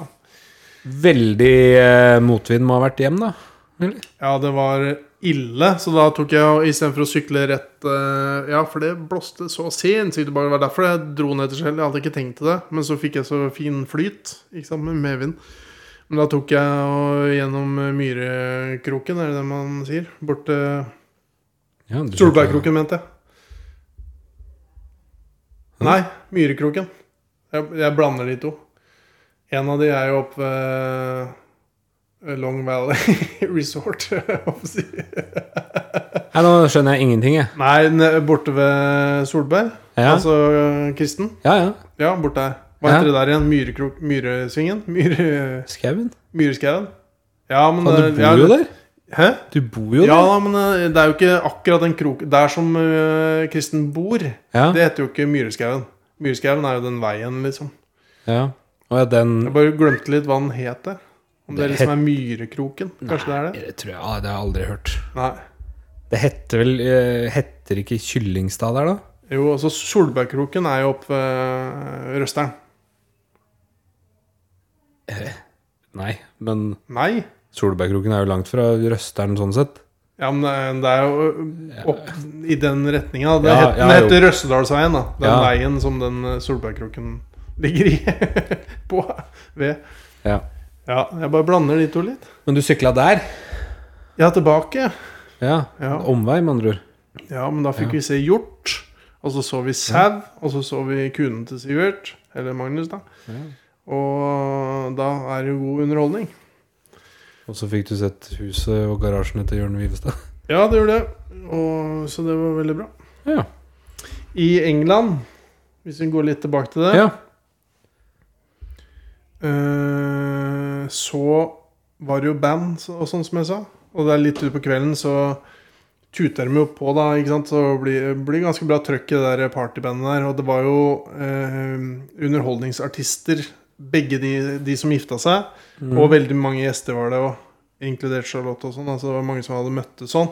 [SPEAKER 2] Veldig eh, motvind må ha vært hjem, da. Eller?
[SPEAKER 1] ja, det var ille, så da tok jeg og istedenfor å sykle rett eh, Ja, for det blåste så sinnssykt. Det var derfor jeg dro ned til Skjell. Jeg hadde ikke tenkt til det, men så fikk jeg så fin flyt ikke sant, med medvind. Men da tok jeg og gjennom eh, Myrekroken, er det det man sier? Bort til
[SPEAKER 2] Ja, du-
[SPEAKER 1] Solbergkroken, mente jeg. Nei, Myrekroken. Jeg, jeg blander de to. En av de er jo oppe ved Long Valley Resort. hva skal jeg si.
[SPEAKER 2] Nei, nå skjønner jeg ingenting, jeg.
[SPEAKER 1] Nei, ne- borte ved Solberg.
[SPEAKER 2] Ja,
[SPEAKER 1] Altså øh, Kristen.
[SPEAKER 2] ja. ja.
[SPEAKER 1] Ja, borte der. Hva
[SPEAKER 2] Ja.
[SPEAKER 1] heter det der igjen? Myrekrok... Myresvingen? Myre,
[SPEAKER 2] Skauen?
[SPEAKER 1] Myreskauen? Ja, men
[SPEAKER 2] Faen, du
[SPEAKER 1] det- ja,
[SPEAKER 2] bor jo der.
[SPEAKER 1] Hæ?
[SPEAKER 2] Du bor jo
[SPEAKER 1] Ja,
[SPEAKER 2] der.
[SPEAKER 1] da, men øh, det er jo ikke akkurat den kroken Der som øh, Kristen bor.
[SPEAKER 2] Ja,
[SPEAKER 1] Det heter jo ikke Myreskauen. Myreskauen er jo den veien, liksom.
[SPEAKER 2] ja. Og ja, den
[SPEAKER 1] Jeg bare glemte litt hva den het der. Om det
[SPEAKER 2] Det
[SPEAKER 1] liksom er Myrekroken. Kanskje det er det?
[SPEAKER 2] Det tror jeg ja, det har jeg aldri hørt.
[SPEAKER 1] Nei.
[SPEAKER 2] Det heter vel eh, Heter ikke Kyllingstad der, da?
[SPEAKER 1] Jo, altså Solbergkroken er jo oppe ved Røsteren.
[SPEAKER 2] Nei, men
[SPEAKER 1] Nei.
[SPEAKER 2] Solbergkroken er jo langt fra Røsteren, sånn sett.
[SPEAKER 1] Ja, men eh, det- det er jo eh, opp i den retninga. Det
[SPEAKER 2] Ja,
[SPEAKER 1] het- den
[SPEAKER 2] ja, jo.
[SPEAKER 1] heter Røstedalsveien, da. Den
[SPEAKER 2] Ja.
[SPEAKER 1] veien som den eh, Solbergkroken ligger i. på. Ved.
[SPEAKER 2] Ja.
[SPEAKER 1] Ja, jeg bare blander de to litt.
[SPEAKER 2] Men du sykla der?
[SPEAKER 1] Ja, tilbake.
[SPEAKER 2] Ja.
[SPEAKER 1] Ja.
[SPEAKER 2] Omvei, med andre ord.
[SPEAKER 1] Ja, men da fikk vi se hjort, og så så vi sau, og så så vi kunen til Sivert, eller Magnus, da. Og da er det jo god underholdning.
[SPEAKER 2] Og så fikk du sett huset og garasjene til Jørn Vivestad.
[SPEAKER 1] Ja, det gjorde det, og, så det var veldig bra.
[SPEAKER 2] Ja.
[SPEAKER 1] I England, hvis vi går litt tilbake til det,
[SPEAKER 2] ja.
[SPEAKER 1] eh, så var det jo band så- og sånn som jeg sa. Og det er litt ute på kvelden, så tuter de jo på, da. ikke sant? Så blir blir ganske bra trøkk i det der partybandet der. Og det var jo eh, underholdningsartister, begge de, de som gifta seg.
[SPEAKER 2] Mm.
[SPEAKER 1] Og veldig mange gjester var det òg, inkludert Charlotte og sånn. Altså det var mange som hadde møttes sånn.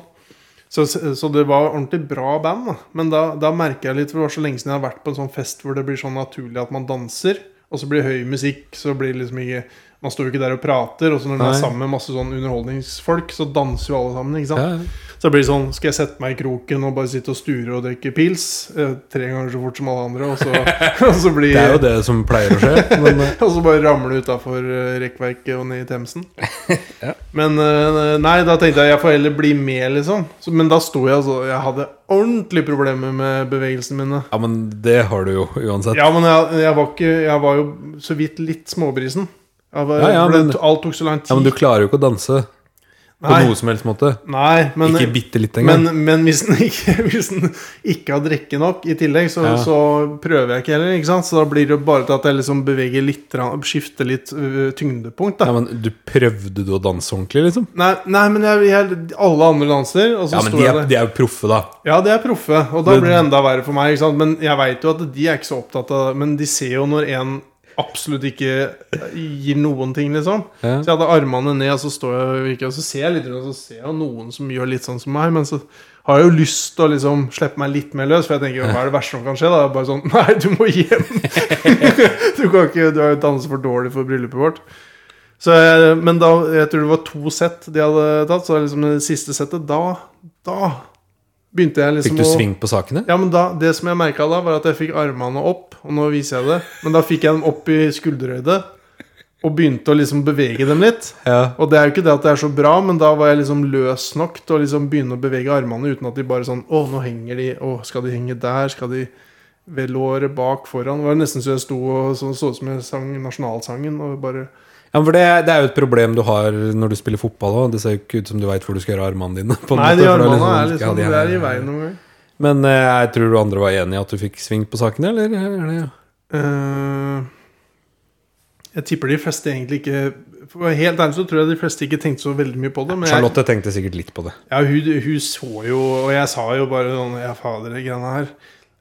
[SPEAKER 1] Så, så det var ordentlig bra band. Da. Men da, da merker jeg litt, for det var så lenge siden jeg har vært på en sånn fest hvor det blir sånn naturlig at man danser, og så blir det høy musikk, så blir det liksom ikke Man står jo ikke der og prater, og så når man er
[SPEAKER 2] Nei.
[SPEAKER 1] sammen med masse sånn underholdningsfolk, så danser jo alle sammen, ikke sant.
[SPEAKER 2] ja.
[SPEAKER 1] Så det blir sånn, skal jeg sette meg i kroken og bare sitte og sture og drikke pils eh, tre ganger så fort som alle andre, og så, og så blir
[SPEAKER 2] Det er jo det som pleier å skje. Men, eh,
[SPEAKER 1] og så bare ramle utafor eh, rekkverket og ned i Themsen. Men eh, nei, da tenkte jeg jeg får heller bli med, liksom. Så, men da sto jeg altså Jeg hadde ordentlige problemer med bevegelsene mine.
[SPEAKER 2] ja, men det har du jo uansett.
[SPEAKER 1] Ja, men jeg, jeg, var ikke, jeg var jo så vidt litt småbrisen. Ja, bare,
[SPEAKER 2] Ja, ja,
[SPEAKER 1] for det-
[SPEAKER 2] men-
[SPEAKER 1] alt tok så lang tid.
[SPEAKER 2] Ja, Men du klarer jo ikke å danse på
[SPEAKER 1] Nei.
[SPEAKER 2] noe som helst måte.
[SPEAKER 1] Nei, men, eh,
[SPEAKER 2] Ikke bitte litt engang.
[SPEAKER 1] men, men hvis den ikke, hvis den ikke har drikke nok i tillegg, så,
[SPEAKER 2] Ja.
[SPEAKER 1] så prøver jeg ikke heller. ikke sant? Så da blir det jo bare til at jeg liksom beveger litt, grann- skifter litt øh, tyngdepunkt. da
[SPEAKER 2] Ja, men du prøvde du å danse ordentlig, liksom?
[SPEAKER 1] Nei, nei, men jeg, jeg, alle andre danser, og så
[SPEAKER 2] Ja, men
[SPEAKER 1] står
[SPEAKER 2] de
[SPEAKER 1] jeg
[SPEAKER 2] er,
[SPEAKER 1] der.
[SPEAKER 2] de er jo proffe, da.
[SPEAKER 1] Ja, de er proffe, og da
[SPEAKER 2] Men-
[SPEAKER 1] blir det enda verre for meg. ikke sant? Men jeg veit jo at de er ikke så opptatt av det. Men de ser jo når en absolutt ikke gir noen ting, liksom.
[SPEAKER 2] Ja.
[SPEAKER 1] Så jeg hadde armene ned, og så står jeg og virker, og så ser jeg litt rundt, og så ser jeg noen som gjør litt sånn som meg. Men så har jeg jo lyst til å liksom slippe meg litt mer løs, for jeg tenker hva er det verste som kan skje? da? Det er Bare sånn Nei, du må hjem! du kan ikke Du har jo danset for dårlig for bryllupet vårt. Så jeg, men da, jeg tror det var to sett de hadde tatt, så liksom det siste settet, da, da begynte jeg liksom
[SPEAKER 2] Fikk du
[SPEAKER 1] å-
[SPEAKER 2] sving på sakene?
[SPEAKER 1] ja, men da, Det som jeg merka da, var at jeg fikk armene opp. Og nå viser jeg det. Men da fikk jeg dem opp i skulderhøyde. Og begynte å liksom bevege dem litt.
[SPEAKER 2] Ja.
[SPEAKER 1] Og det er jo ikke det at det er så bra, men da var jeg liksom løs nok til å liksom begynne å bevege armene uten at de bare sånn Å, nå henger de. Å, skal de henge der? Skal de ved låret bak foran? Det var nesten så jeg sto og så så ut som jeg sang nasjonalsangen og bare
[SPEAKER 2] Ja, for det, det er jo et problem du har når du spiller fotball òg. Det ser jo ikke ut som du veit hvor du skal gjøre av armene dine. på en
[SPEAKER 1] Nei,
[SPEAKER 2] måte,
[SPEAKER 1] de
[SPEAKER 2] for Sånn det
[SPEAKER 1] armene er
[SPEAKER 2] ja,
[SPEAKER 1] liksom
[SPEAKER 2] de
[SPEAKER 1] Det er i veien noen ganger.
[SPEAKER 2] Men eh, jeg tror du andre var enig i at du fikk sving på sakene, eller? Er det,
[SPEAKER 1] Eh, jeg tipper de fleste egentlig ikke For å være helt ærlig så tror jeg de fleste ikke tenkte så veldig mye på det. Men jeg,
[SPEAKER 2] Charlotte tenkte sikkert litt på det.
[SPEAKER 1] ja, hun, hun så jo Og jeg sa jo bare sånn Ja, fader, de greiene her.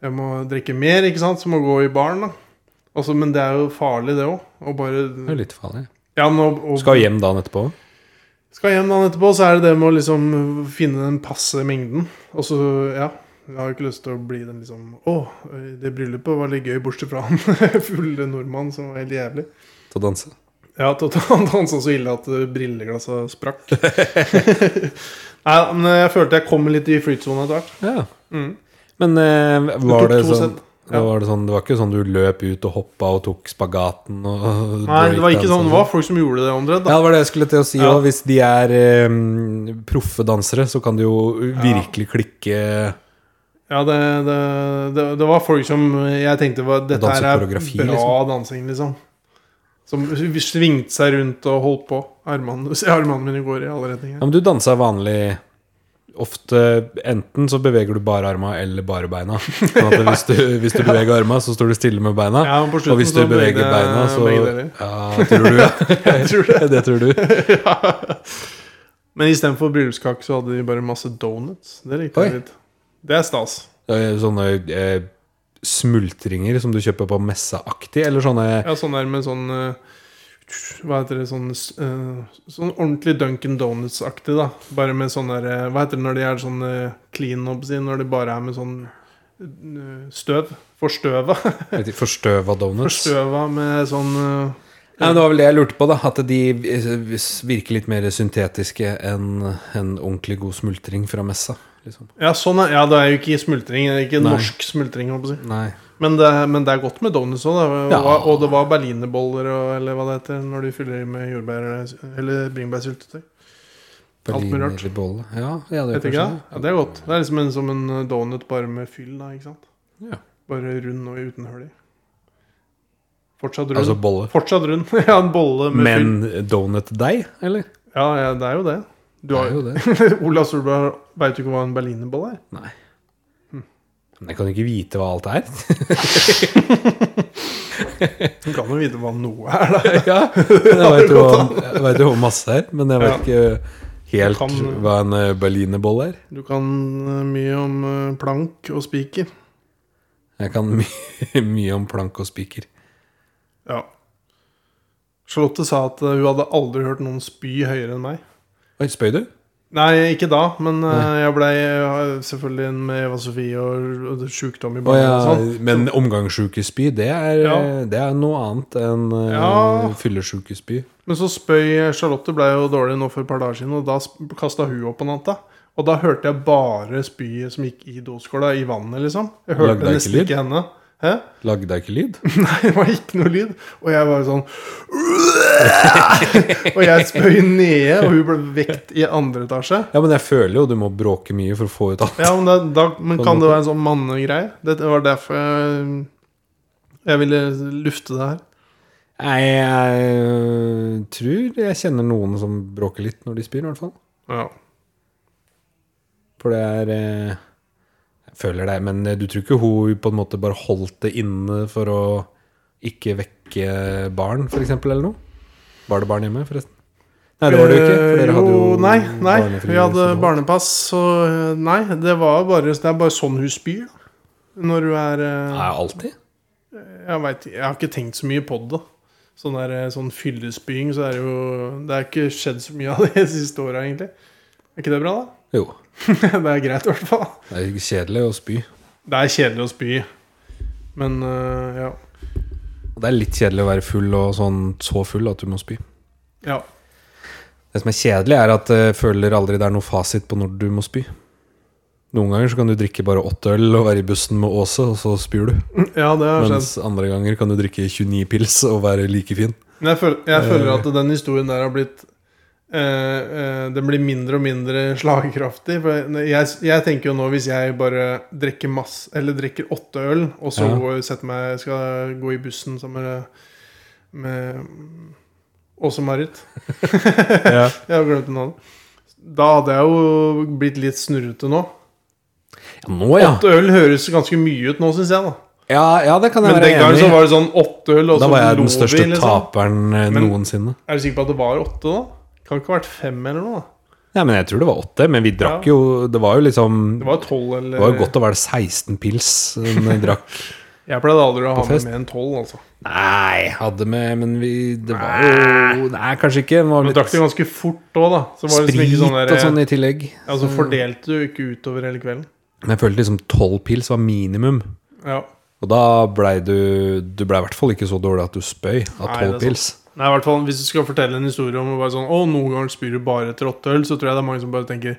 [SPEAKER 1] Jeg må drikke mer, ikke sant? Så må jeg gå i baren, da. Altså, men det er jo farlig, det òg. Og bare
[SPEAKER 2] Det er jo litt farlig.
[SPEAKER 1] ja, men, og, og,
[SPEAKER 2] Du skal hjem dagen etterpå.
[SPEAKER 1] skal hjem dagen etterpå, så er det det med å liksom finne den passe mengden. Og så, ja Jeg har jo ikke lyst til å bli den liksom Å, det bryllupet var litt gøy, bortsett fra han fulle nordmannen som var helt jævlig.
[SPEAKER 2] til å danse.
[SPEAKER 1] Ja, totalt. Han så så ille at eh, brilleglasset sprakk. Nei, men eh, jeg følte jeg kom litt i flytsonen etter hvert.
[SPEAKER 2] Ja.
[SPEAKER 1] Mm.
[SPEAKER 2] Men eh, var
[SPEAKER 1] tok
[SPEAKER 2] det
[SPEAKER 1] to
[SPEAKER 2] sånn
[SPEAKER 1] sett,
[SPEAKER 2] det
[SPEAKER 1] ja.
[SPEAKER 2] var, det sånn, det var ikke sånn du løp ut og hoppa og tok spagaten og
[SPEAKER 1] Nei, det var ikke
[SPEAKER 2] breakdance
[SPEAKER 1] sånn
[SPEAKER 2] og
[SPEAKER 1] det var. Folk som gjorde det omtrent.
[SPEAKER 2] Ja,
[SPEAKER 1] Da.
[SPEAKER 2] det var det jeg skulle til å si
[SPEAKER 1] Ja.
[SPEAKER 2] også. Hvis de er eh, proffe dansere, så kan de jo virkelig klikke
[SPEAKER 1] Ja, det, det, det, det var folk som eh, jeg tenkte var Dette
[SPEAKER 2] Danse
[SPEAKER 1] her er bra
[SPEAKER 2] koreografi, liksom.
[SPEAKER 1] dansing, liksom. Som svingte seg rundt og holdt på. Armene, se, armene mine går i alle
[SPEAKER 2] Ja,
[SPEAKER 1] retninger.
[SPEAKER 2] men du danser vanlig Ofte enten så beveger du bare arma eller bare beina. Sånn at hvis du, hvis du beveger arma, så står du stille med beina.
[SPEAKER 1] Ja, men på slutten
[SPEAKER 2] og hvis du
[SPEAKER 1] så bevegde
[SPEAKER 2] beveger
[SPEAKER 1] jeg
[SPEAKER 2] beina, så
[SPEAKER 1] begge deler.
[SPEAKER 2] Ja, tror du Jeg tror det. det tror du.
[SPEAKER 1] Men istedenfor bryllupskake så hadde de bare masse donuts. Det likte
[SPEAKER 2] Oi.
[SPEAKER 1] jeg litt. Det er stas.
[SPEAKER 2] Det er Sånne eh, smultringer som du kjøper på messeaktig, eller sånne
[SPEAKER 1] Ja, sånn der med sånn eh, Hva heter det Sånn, eh, sånn ordentlig Duncan Donuts-aktig, da. Bare med sånn der eh, Hva heter det når de er sånn eh, clean, holdt på å si, når de bare er med sånn eh, støv? Forstøva.
[SPEAKER 2] vet ikke, forstøva donuts.
[SPEAKER 1] Forstøva med sånn eh,
[SPEAKER 2] Nei, men det var vel det jeg lurte på, da. At de eh, virker litt mer syntetiske enn en ordentlig god smultring fra messa. Liksom.
[SPEAKER 1] Ja, sånn er, ja, det er jo ikke smultring. det er Ikke
[SPEAKER 2] Nei.
[SPEAKER 1] norsk smultring, holdt på å si.
[SPEAKER 2] Nei.
[SPEAKER 1] Men det, men det er godt med donuts òg, da. Og,
[SPEAKER 2] Ja.
[SPEAKER 1] og det var berlinerboller og eller hva det heter når du fyller i med jordbær eller bringebærsyltetøy. Alt mulig rart.
[SPEAKER 2] Berlinerbolle. Ja, ja,
[SPEAKER 1] Vet
[SPEAKER 2] det gjør
[SPEAKER 1] ikke,
[SPEAKER 2] kanskje
[SPEAKER 1] det? ja, det er godt. Det er liksom en, som en eh, donut bare med fyll, da, ikke sant?
[SPEAKER 2] Ja.
[SPEAKER 1] Bare rund og uten hull i. Fortsatt rund.
[SPEAKER 2] Altså bolle.
[SPEAKER 1] Fortsatt rund. ja, en bolle med
[SPEAKER 2] Men
[SPEAKER 1] fyll.
[SPEAKER 2] donutdeig, eller?
[SPEAKER 1] Ja, ja, det er jo det. Du
[SPEAKER 2] Det
[SPEAKER 1] har
[SPEAKER 2] er
[SPEAKER 1] jo
[SPEAKER 2] jo det.
[SPEAKER 1] Ola Solberg veit jo ikke hva en berlinerbolle er.
[SPEAKER 2] Nei. Men jeg kan jo ikke vite hva alt er.
[SPEAKER 1] Hun kan jo vite hva noe er, da.
[SPEAKER 2] ja, men jeg veit jo, jeg vet jo masse her, men jeg veit ikke helt
[SPEAKER 1] Du kan-
[SPEAKER 2] hva en eh, berlinerbolle er.
[SPEAKER 1] Du kan eh, mye om eh, plank og spiker.
[SPEAKER 2] Jeg kan mye, mye om plank og spiker.
[SPEAKER 1] Ja. Charlotte sa at eh, hun hadde aldri hørt noen spy høyere enn meg.
[SPEAKER 2] Oi, spøy du?
[SPEAKER 1] Nei, ikke da, men eh, jeg blei eh, selvfølgelig med Eva Sofie og, og det sjukdom i
[SPEAKER 2] Å
[SPEAKER 1] barnet.
[SPEAKER 2] ja,
[SPEAKER 1] og sånn.
[SPEAKER 2] men omgangssjukespy, det, er,
[SPEAKER 1] Ja.
[SPEAKER 2] det er noe annet enn
[SPEAKER 1] Ja.
[SPEAKER 2] uh, fyllesjukespy.
[SPEAKER 1] Men så spøy Charlotte blei jo dårlig nå for et par dager siden, og da kasta hun opp på natta. Og da hørte jeg bare spyet som gikk i doskåla, i vannet, liksom. Jeg
[SPEAKER 2] Lagde
[SPEAKER 1] hørte
[SPEAKER 2] jeg ikke
[SPEAKER 1] nesten
[SPEAKER 2] lyd?
[SPEAKER 1] ikke henne. Hæ?
[SPEAKER 2] Lagde deg ikke lyd?
[SPEAKER 1] Nei, det var ikke noe lyd. Og jeg var sånn Og jeg spøy nede, og hun ble vekt i andre etasje.
[SPEAKER 2] Ja, men jeg føler jo du må bråke mye for å få ut alt.
[SPEAKER 1] Ja, men, det, da, men
[SPEAKER 2] På en
[SPEAKER 1] kan det
[SPEAKER 2] måte.
[SPEAKER 1] være en sånn mannegreie? Det var derfor eh, jeg, jeg ville lufte det her.
[SPEAKER 2] Nei, jeg, øh, tror jeg kjenner noen som bråker litt når de spyr, i hvert fall.
[SPEAKER 1] Ja.
[SPEAKER 2] For det er eh, Jeg føler det, men eh, du tror ikke hun på en måte bare holdt det inne for å ikke vekke barn, f.eks., eller noe? Var det barn hjemme, forresten? Nei, det var det jo ikke. For
[SPEAKER 1] Eh,
[SPEAKER 2] dere hadde jo
[SPEAKER 1] Nei, nei
[SPEAKER 2] barnefri
[SPEAKER 1] vi hadde
[SPEAKER 2] forhold.
[SPEAKER 1] barnepass, så eh, nei. Det, var bare, det er bare sånn hun spyr, da. Når hun er eh,
[SPEAKER 2] Nei, alltid?
[SPEAKER 1] Jeg vet, jeg har ikke tenkt så mye på det. Sånn, der, sånn fyllespying, så er det jo Det er ikke skjedd så mye av det de siste åra, egentlig. Er ikke det bra, da?
[SPEAKER 2] Jo.
[SPEAKER 1] det er greit, i hvert fall.
[SPEAKER 2] Det er kjedelig å spy.
[SPEAKER 1] Det er kjedelig å spy, men øh, ja.
[SPEAKER 2] Og det er litt kjedelig å være full og sånn så full at du må spy.
[SPEAKER 1] ja.
[SPEAKER 2] Det som er kjedelig, er at jeg føler aldri det er noe fasit på når du må spy. Noen ganger så kan du drikke bare åtte øl og være i bussen med Åse, og så spyr du.
[SPEAKER 1] Ja, det har skjedd.
[SPEAKER 2] Mens andre ganger kan du drikke 29 pils og være like fin.
[SPEAKER 1] Men jeg føler,
[SPEAKER 2] Eh.
[SPEAKER 1] jeg føler at den historien der har blitt øh, øh, Den blir mindre og mindre slagkraftig. For jeg, jeg, jeg tenker jo nå, hvis jeg bare drikker masse Eller drikker åtte øl, og så
[SPEAKER 2] Ja.
[SPEAKER 1] går, setter meg, skal gå i bussen sammen med, med Åse-Marit
[SPEAKER 2] Ja.
[SPEAKER 1] Jeg har glemt navnet. Da hadde jeg jo blitt litt snurrete nå.
[SPEAKER 2] nå, ja.
[SPEAKER 1] Åtte øl høres ganske mye ut nå, syns jeg. da
[SPEAKER 2] ja. Ja, det kan jeg
[SPEAKER 1] Men den
[SPEAKER 2] være
[SPEAKER 1] gangen så
[SPEAKER 2] enig i.
[SPEAKER 1] var det sånn åtte øl, og
[SPEAKER 2] Da
[SPEAKER 1] så
[SPEAKER 2] var jeg
[SPEAKER 1] lå
[SPEAKER 2] den største
[SPEAKER 1] vi, liksom.
[SPEAKER 2] taperen eh,
[SPEAKER 1] Men-
[SPEAKER 2] noensinne.
[SPEAKER 1] Er du sikker på at det var åtte, da? Kan ikke ha vært fem eller noe? da
[SPEAKER 2] Nei, men Jeg tror det var åtte, men vi drakk jo Det var jo liksom
[SPEAKER 1] Det var eh, tolv eller
[SPEAKER 2] Det var jo godt å være 16 pils eh, når vi drakk.
[SPEAKER 1] Jeg pleide aldri å ha
[SPEAKER 2] På
[SPEAKER 1] med
[SPEAKER 2] fest.
[SPEAKER 1] mer enn tolv, altså.
[SPEAKER 2] Nei, hadde med Men vi Det var jo Nei, kanskje ikke. Det var
[SPEAKER 1] Men
[SPEAKER 2] litt
[SPEAKER 1] du drakk det ganske fort òg, da. Så var det liksom
[SPEAKER 2] sprit
[SPEAKER 1] ikke sånn Mm. der
[SPEAKER 2] og sånn i tillegg.
[SPEAKER 1] Ja, så fordelte du ikke utover hele kvelden.
[SPEAKER 2] Men jeg følte liksom tolv pils var minimum.
[SPEAKER 1] Ja.
[SPEAKER 2] Og da blei du Du blei i hvert fall ikke så dårlig at du spøy av
[SPEAKER 1] Nei,
[SPEAKER 2] tolv
[SPEAKER 1] det er
[SPEAKER 2] pils.
[SPEAKER 1] Nei, i hvert fall Hvis du skal fortelle en historie om å bare sånn, å, noen ganger spyr du bare etter åtte øl, så tror jeg det er mange som bare tenker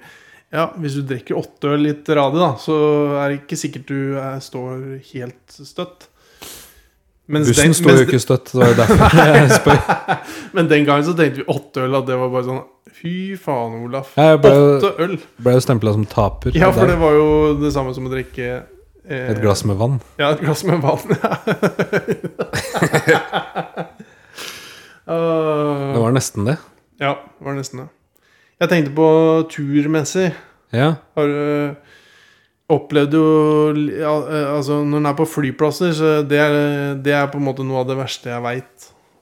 [SPEAKER 1] ja, hvis du drikker åtte øl litt radig, da, så er det ikke sikkert du eh, står helt støtt. Mens den-
[SPEAKER 2] Bussen sto
[SPEAKER 1] mens
[SPEAKER 2] jo ikke støtt, det var jo derfor jeg spøy.
[SPEAKER 1] Men den gangen så tenkte vi åtte øl, at det var bare sånn Fy faen, Olaf.
[SPEAKER 2] Jeg ble jo,
[SPEAKER 1] Åtte øl!
[SPEAKER 2] ble jo stempla som taper.
[SPEAKER 1] Ja, for
[SPEAKER 2] der.
[SPEAKER 1] det var jo det samme som å drikke eh,
[SPEAKER 2] Et glass med vann.
[SPEAKER 1] Ja, et glass med vann. Ja.
[SPEAKER 2] Det var nesten det.
[SPEAKER 1] Ja, det var nesten det. Jeg tenkte på turmessig.
[SPEAKER 2] Ja.
[SPEAKER 1] Har du eh, opplevd jo ja, eh, Altså, når en er på flyplasser, så det er, det er på en måte noe av det verste jeg veit.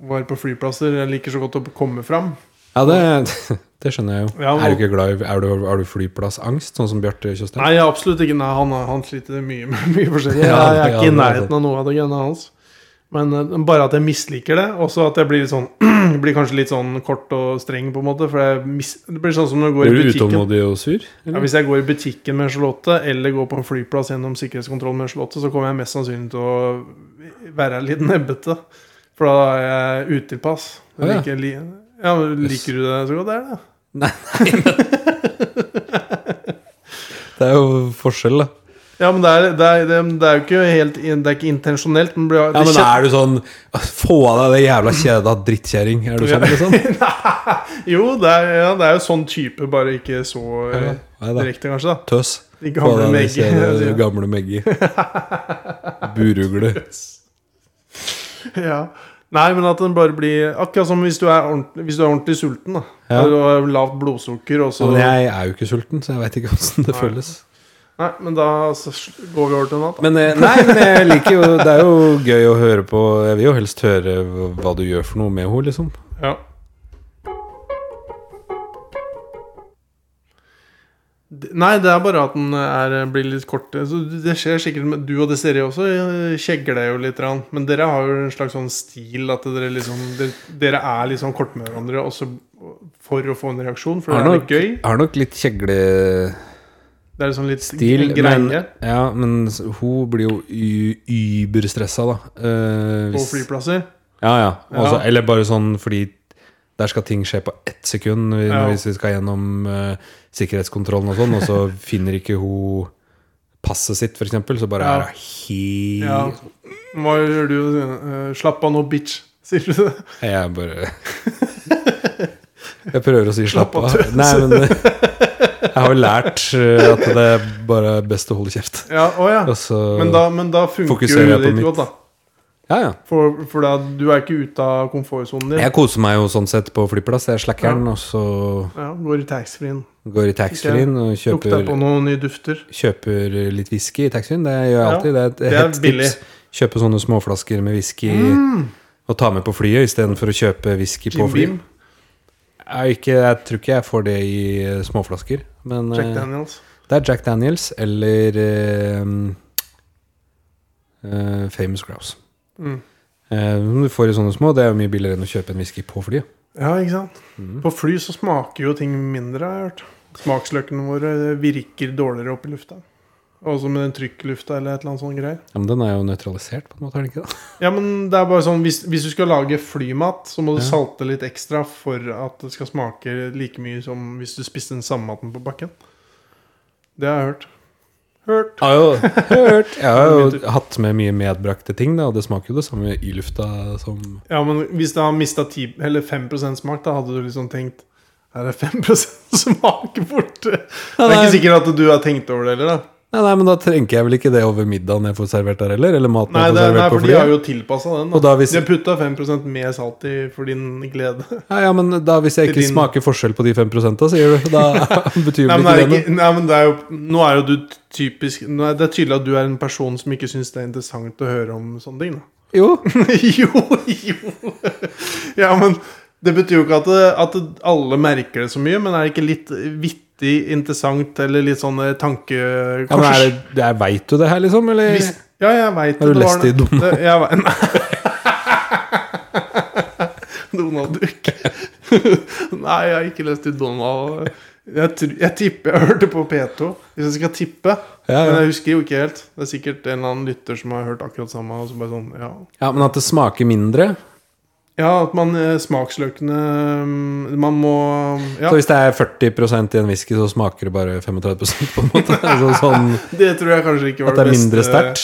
[SPEAKER 1] Å være på flyplasser. Jeg liker så godt å komme fram.
[SPEAKER 2] Ja, det, det skjønner jeg jo.
[SPEAKER 1] Ja,
[SPEAKER 2] er du ikke glad i Er du, er du flyplassangst, sånn som Bjarte Tjøstheim?
[SPEAKER 1] Nei, jeg er absolutt ikke. Nei, han, han sliter mye med mye forskjellig.
[SPEAKER 2] Ja,
[SPEAKER 1] jeg er
[SPEAKER 2] ja,
[SPEAKER 1] ikke i
[SPEAKER 2] det er
[SPEAKER 1] nærheten av noe av det greiene hans. Men eh, bare at jeg misliker det, og så at jeg blir litt sånn Blir kanskje litt sånn kort og streng, på en måte. For jeg mis, det blir sånn som når du går i
[SPEAKER 2] Blir du
[SPEAKER 1] butikken.
[SPEAKER 2] utålmodig og sur?
[SPEAKER 1] Ja, hvis jeg går i butikken med Charlotte, eller går på en flyplass gjennom sikkerhetskontroll med Charlotte, så kommer jeg mest sannsynlig til å være litt nebbete. For da er jeg utilpass. Jeg
[SPEAKER 2] Å, ja.
[SPEAKER 1] liker, li, ja, men liker du det så godt? Det er det.
[SPEAKER 2] Det er jo forskjell, da.
[SPEAKER 1] Ja, men det er, det er, det er, det er jo ikke helt Det er ikke intensjonelt. Men det blir,
[SPEAKER 2] Ja,
[SPEAKER 1] det
[SPEAKER 2] men
[SPEAKER 1] kjen-
[SPEAKER 2] er du sånn Få av deg det jævla kjedet, drittkjerring. Er du sånn, liksom?
[SPEAKER 1] Jo, det er, ja, det er jo sånn type, bare ikke så eh,
[SPEAKER 2] Nei da.
[SPEAKER 1] direkte, kanskje. da
[SPEAKER 2] Tøs.
[SPEAKER 1] De
[SPEAKER 2] Få eh, av
[SPEAKER 1] gamle
[SPEAKER 2] deg det
[SPEAKER 1] Meggi.
[SPEAKER 2] kjedet, gamle Meggi. Burugle.
[SPEAKER 1] ja. Nei, men at den bare blir Akkurat som hvis du er ordentlig, hvis du er ordentlig sulten. da
[SPEAKER 2] Ja.
[SPEAKER 1] Eller Du har lavt blodsukker, og så
[SPEAKER 2] Men jeg er jo ikke sulten, så jeg veit ikke åssen det føles.
[SPEAKER 1] Nei, men da så sl- går vi over til noe annet. da.
[SPEAKER 2] Men eh, nei, men jeg liker jo Det er jo gøy å høre på. Jeg vil jo helst høre hva- hva du gjør for noe med henne, liksom.
[SPEAKER 1] Ja. D- Nei, det er bare at den er, blir litt kort. Så det skjer sikkert med Du og Desiree også eh, kjegler deg jo litt. grann. Men dere har jo en slags sånn stil at dere liksom Dere, dere er litt sånn korte med hverandre også for å få en reaksjon, for det
[SPEAKER 2] Har
[SPEAKER 1] er
[SPEAKER 2] nok,
[SPEAKER 1] litt gøy.
[SPEAKER 2] har nok litt kjeglestil,
[SPEAKER 1] Det er litt sånn litt g-
[SPEAKER 2] men,
[SPEAKER 1] greie
[SPEAKER 2] ja, men s- hun blir jo y- überstressa, da. Eh,
[SPEAKER 1] på
[SPEAKER 2] hvis-
[SPEAKER 1] flyplasser.
[SPEAKER 2] Ja, ja.
[SPEAKER 1] Ja.
[SPEAKER 2] Også, Eller bare sånn fordi der skal ting skje på ett sekund når vi-
[SPEAKER 1] Ja.
[SPEAKER 2] hvis vi skal gjennom eh, sikkerhetskontrollen og sånn, og så finner ikke hun passet sitt, f.eks., så bare
[SPEAKER 1] Ja.
[SPEAKER 2] er hun helt
[SPEAKER 1] Ja. Hva gjør du? Eh, Slapp av nå, bitch, sier du det?
[SPEAKER 2] Jeg bare Jeg prøver å si slapp
[SPEAKER 1] Slapp
[SPEAKER 2] av.
[SPEAKER 1] av, tøs.
[SPEAKER 2] Nei, men eh, jeg har jo lært eh, at det er bare best å holde kjeft.
[SPEAKER 1] Ja, å ja.
[SPEAKER 2] Og så
[SPEAKER 1] Men da, men da funker jo
[SPEAKER 2] Altså, fokuserer jeg
[SPEAKER 1] huet
[SPEAKER 2] på
[SPEAKER 1] ditt
[SPEAKER 2] mitt.
[SPEAKER 1] godt, da.
[SPEAKER 2] Ja, ja.
[SPEAKER 1] For, for da, du er ikke ute av komfortsonen din.
[SPEAKER 2] Jeg koser meg jo sånn sett på flyplass. Jeg slacker den, og så
[SPEAKER 1] Ja, går i taxfree-en.
[SPEAKER 2] går i taxfree-en og
[SPEAKER 1] Lukter
[SPEAKER 2] kjøper,
[SPEAKER 1] på noen nye dufter.
[SPEAKER 2] kjøper litt whisky i taxfree-en. Det gjør jeg
[SPEAKER 1] Ja,
[SPEAKER 2] alltid. Det er et
[SPEAKER 1] det er
[SPEAKER 2] hett
[SPEAKER 1] billig. Mm.
[SPEAKER 2] tips. Kjøpe sånne småflasker med whisky og ta med på flyet istedenfor å kjøpe whisky på
[SPEAKER 1] Jim
[SPEAKER 2] fly.
[SPEAKER 1] Beam,
[SPEAKER 2] Jeg, ikke, jeg tror ikke jeg får det i eh, småflasker. Men
[SPEAKER 1] Jack
[SPEAKER 2] eh,
[SPEAKER 1] Daniels.
[SPEAKER 2] det er Jack Daniels eller eh, eh, Famous Grouse.
[SPEAKER 1] Mm.
[SPEAKER 2] Eh, som du får i sånne små. Det er jo mye billigere enn å kjøpe en whisky på flyet.
[SPEAKER 1] Ja, ikke sant? På fly så smaker jo ting mindre, har jeg hørt. Smaksløkene våre virker dårligere opp i lufta. Også med den trykklufta eller et eller annet sånt greier.
[SPEAKER 2] Ja, men den er jo nøytralisert, på en måte. er den ikke det?
[SPEAKER 1] Ja, men det er bare sånn Hvis, hvis du skal lage flymat, så må du salte litt ekstra for at det skal smake like mye som hvis du spiste den samme maten på bakken. Det har jeg hørt. Hørt.
[SPEAKER 2] Jeg har jo hørt Jeg har jo hatt med mye medbrakte ting, da, og det smaker jo det samme i lufta som
[SPEAKER 1] Ja, men hvis det har mista 10 eller 5 smak, da hadde du liksom tenkt Her er 5 smak borte. Det er
[SPEAKER 2] nei.
[SPEAKER 1] ikke sikkert at du har tenkt over det heller, da.
[SPEAKER 2] Nei, nei, men da trenger jeg vel ikke det over middagen jeg får servert der heller? Eller maten
[SPEAKER 1] Nei,
[SPEAKER 2] jeg får
[SPEAKER 1] det, nei
[SPEAKER 2] servert på
[SPEAKER 1] for de har
[SPEAKER 2] flyet?
[SPEAKER 1] jo tilpassa den. Da.
[SPEAKER 2] Og da hvis-
[SPEAKER 1] De har putta 5 mer salt i for din glede.
[SPEAKER 2] Ja, ja, men da Hvis jeg
[SPEAKER 1] Til
[SPEAKER 2] ikke
[SPEAKER 1] din-
[SPEAKER 2] smaker forskjell på de 5 sier du, da betyr
[SPEAKER 1] Nei,
[SPEAKER 2] vel
[SPEAKER 1] men det er
[SPEAKER 2] ikke det noe?
[SPEAKER 1] ikke, nei, men det er jo Nå er jo du typisk nå er Det er tydelig at du er en person som ikke syns det er interessant å høre om sånne ting. Da.
[SPEAKER 2] Jo.
[SPEAKER 1] jo, jo Ja, men det betyr jo ikke at, det, at det, alle merker det så mye, men er det ikke litt vittig, interessant eller litt sånn eh, tankekors?
[SPEAKER 2] Ja, men er det, det er, Veit du det her, liksom? Eller?
[SPEAKER 1] Hvis, ja, jeg veit
[SPEAKER 2] Har du lest det i Donald?
[SPEAKER 1] Jeg, var- nei. Donald Duck. Nei, jeg har ikke lest i Donald. Jeg, tr- jeg tipper Jeg hørte på P2, hvis jeg skal tippe.
[SPEAKER 2] Ja, ja.
[SPEAKER 1] Men jeg husker jo ikke helt. Det er sikkert en eller annen lytter som har hørt akkurat samme. Og så bare sånn, ja.
[SPEAKER 2] Ja, Men at det smaker mindre?
[SPEAKER 1] ja, at man eh, smaksløkene mm, Man må Ja,
[SPEAKER 2] Så hvis det er 40 i en whisky, så smaker det bare 35 på en måte? Altså, sånn
[SPEAKER 1] det tror jeg kanskje ikke var
[SPEAKER 2] At det er
[SPEAKER 1] beste-
[SPEAKER 2] mindre sterkt?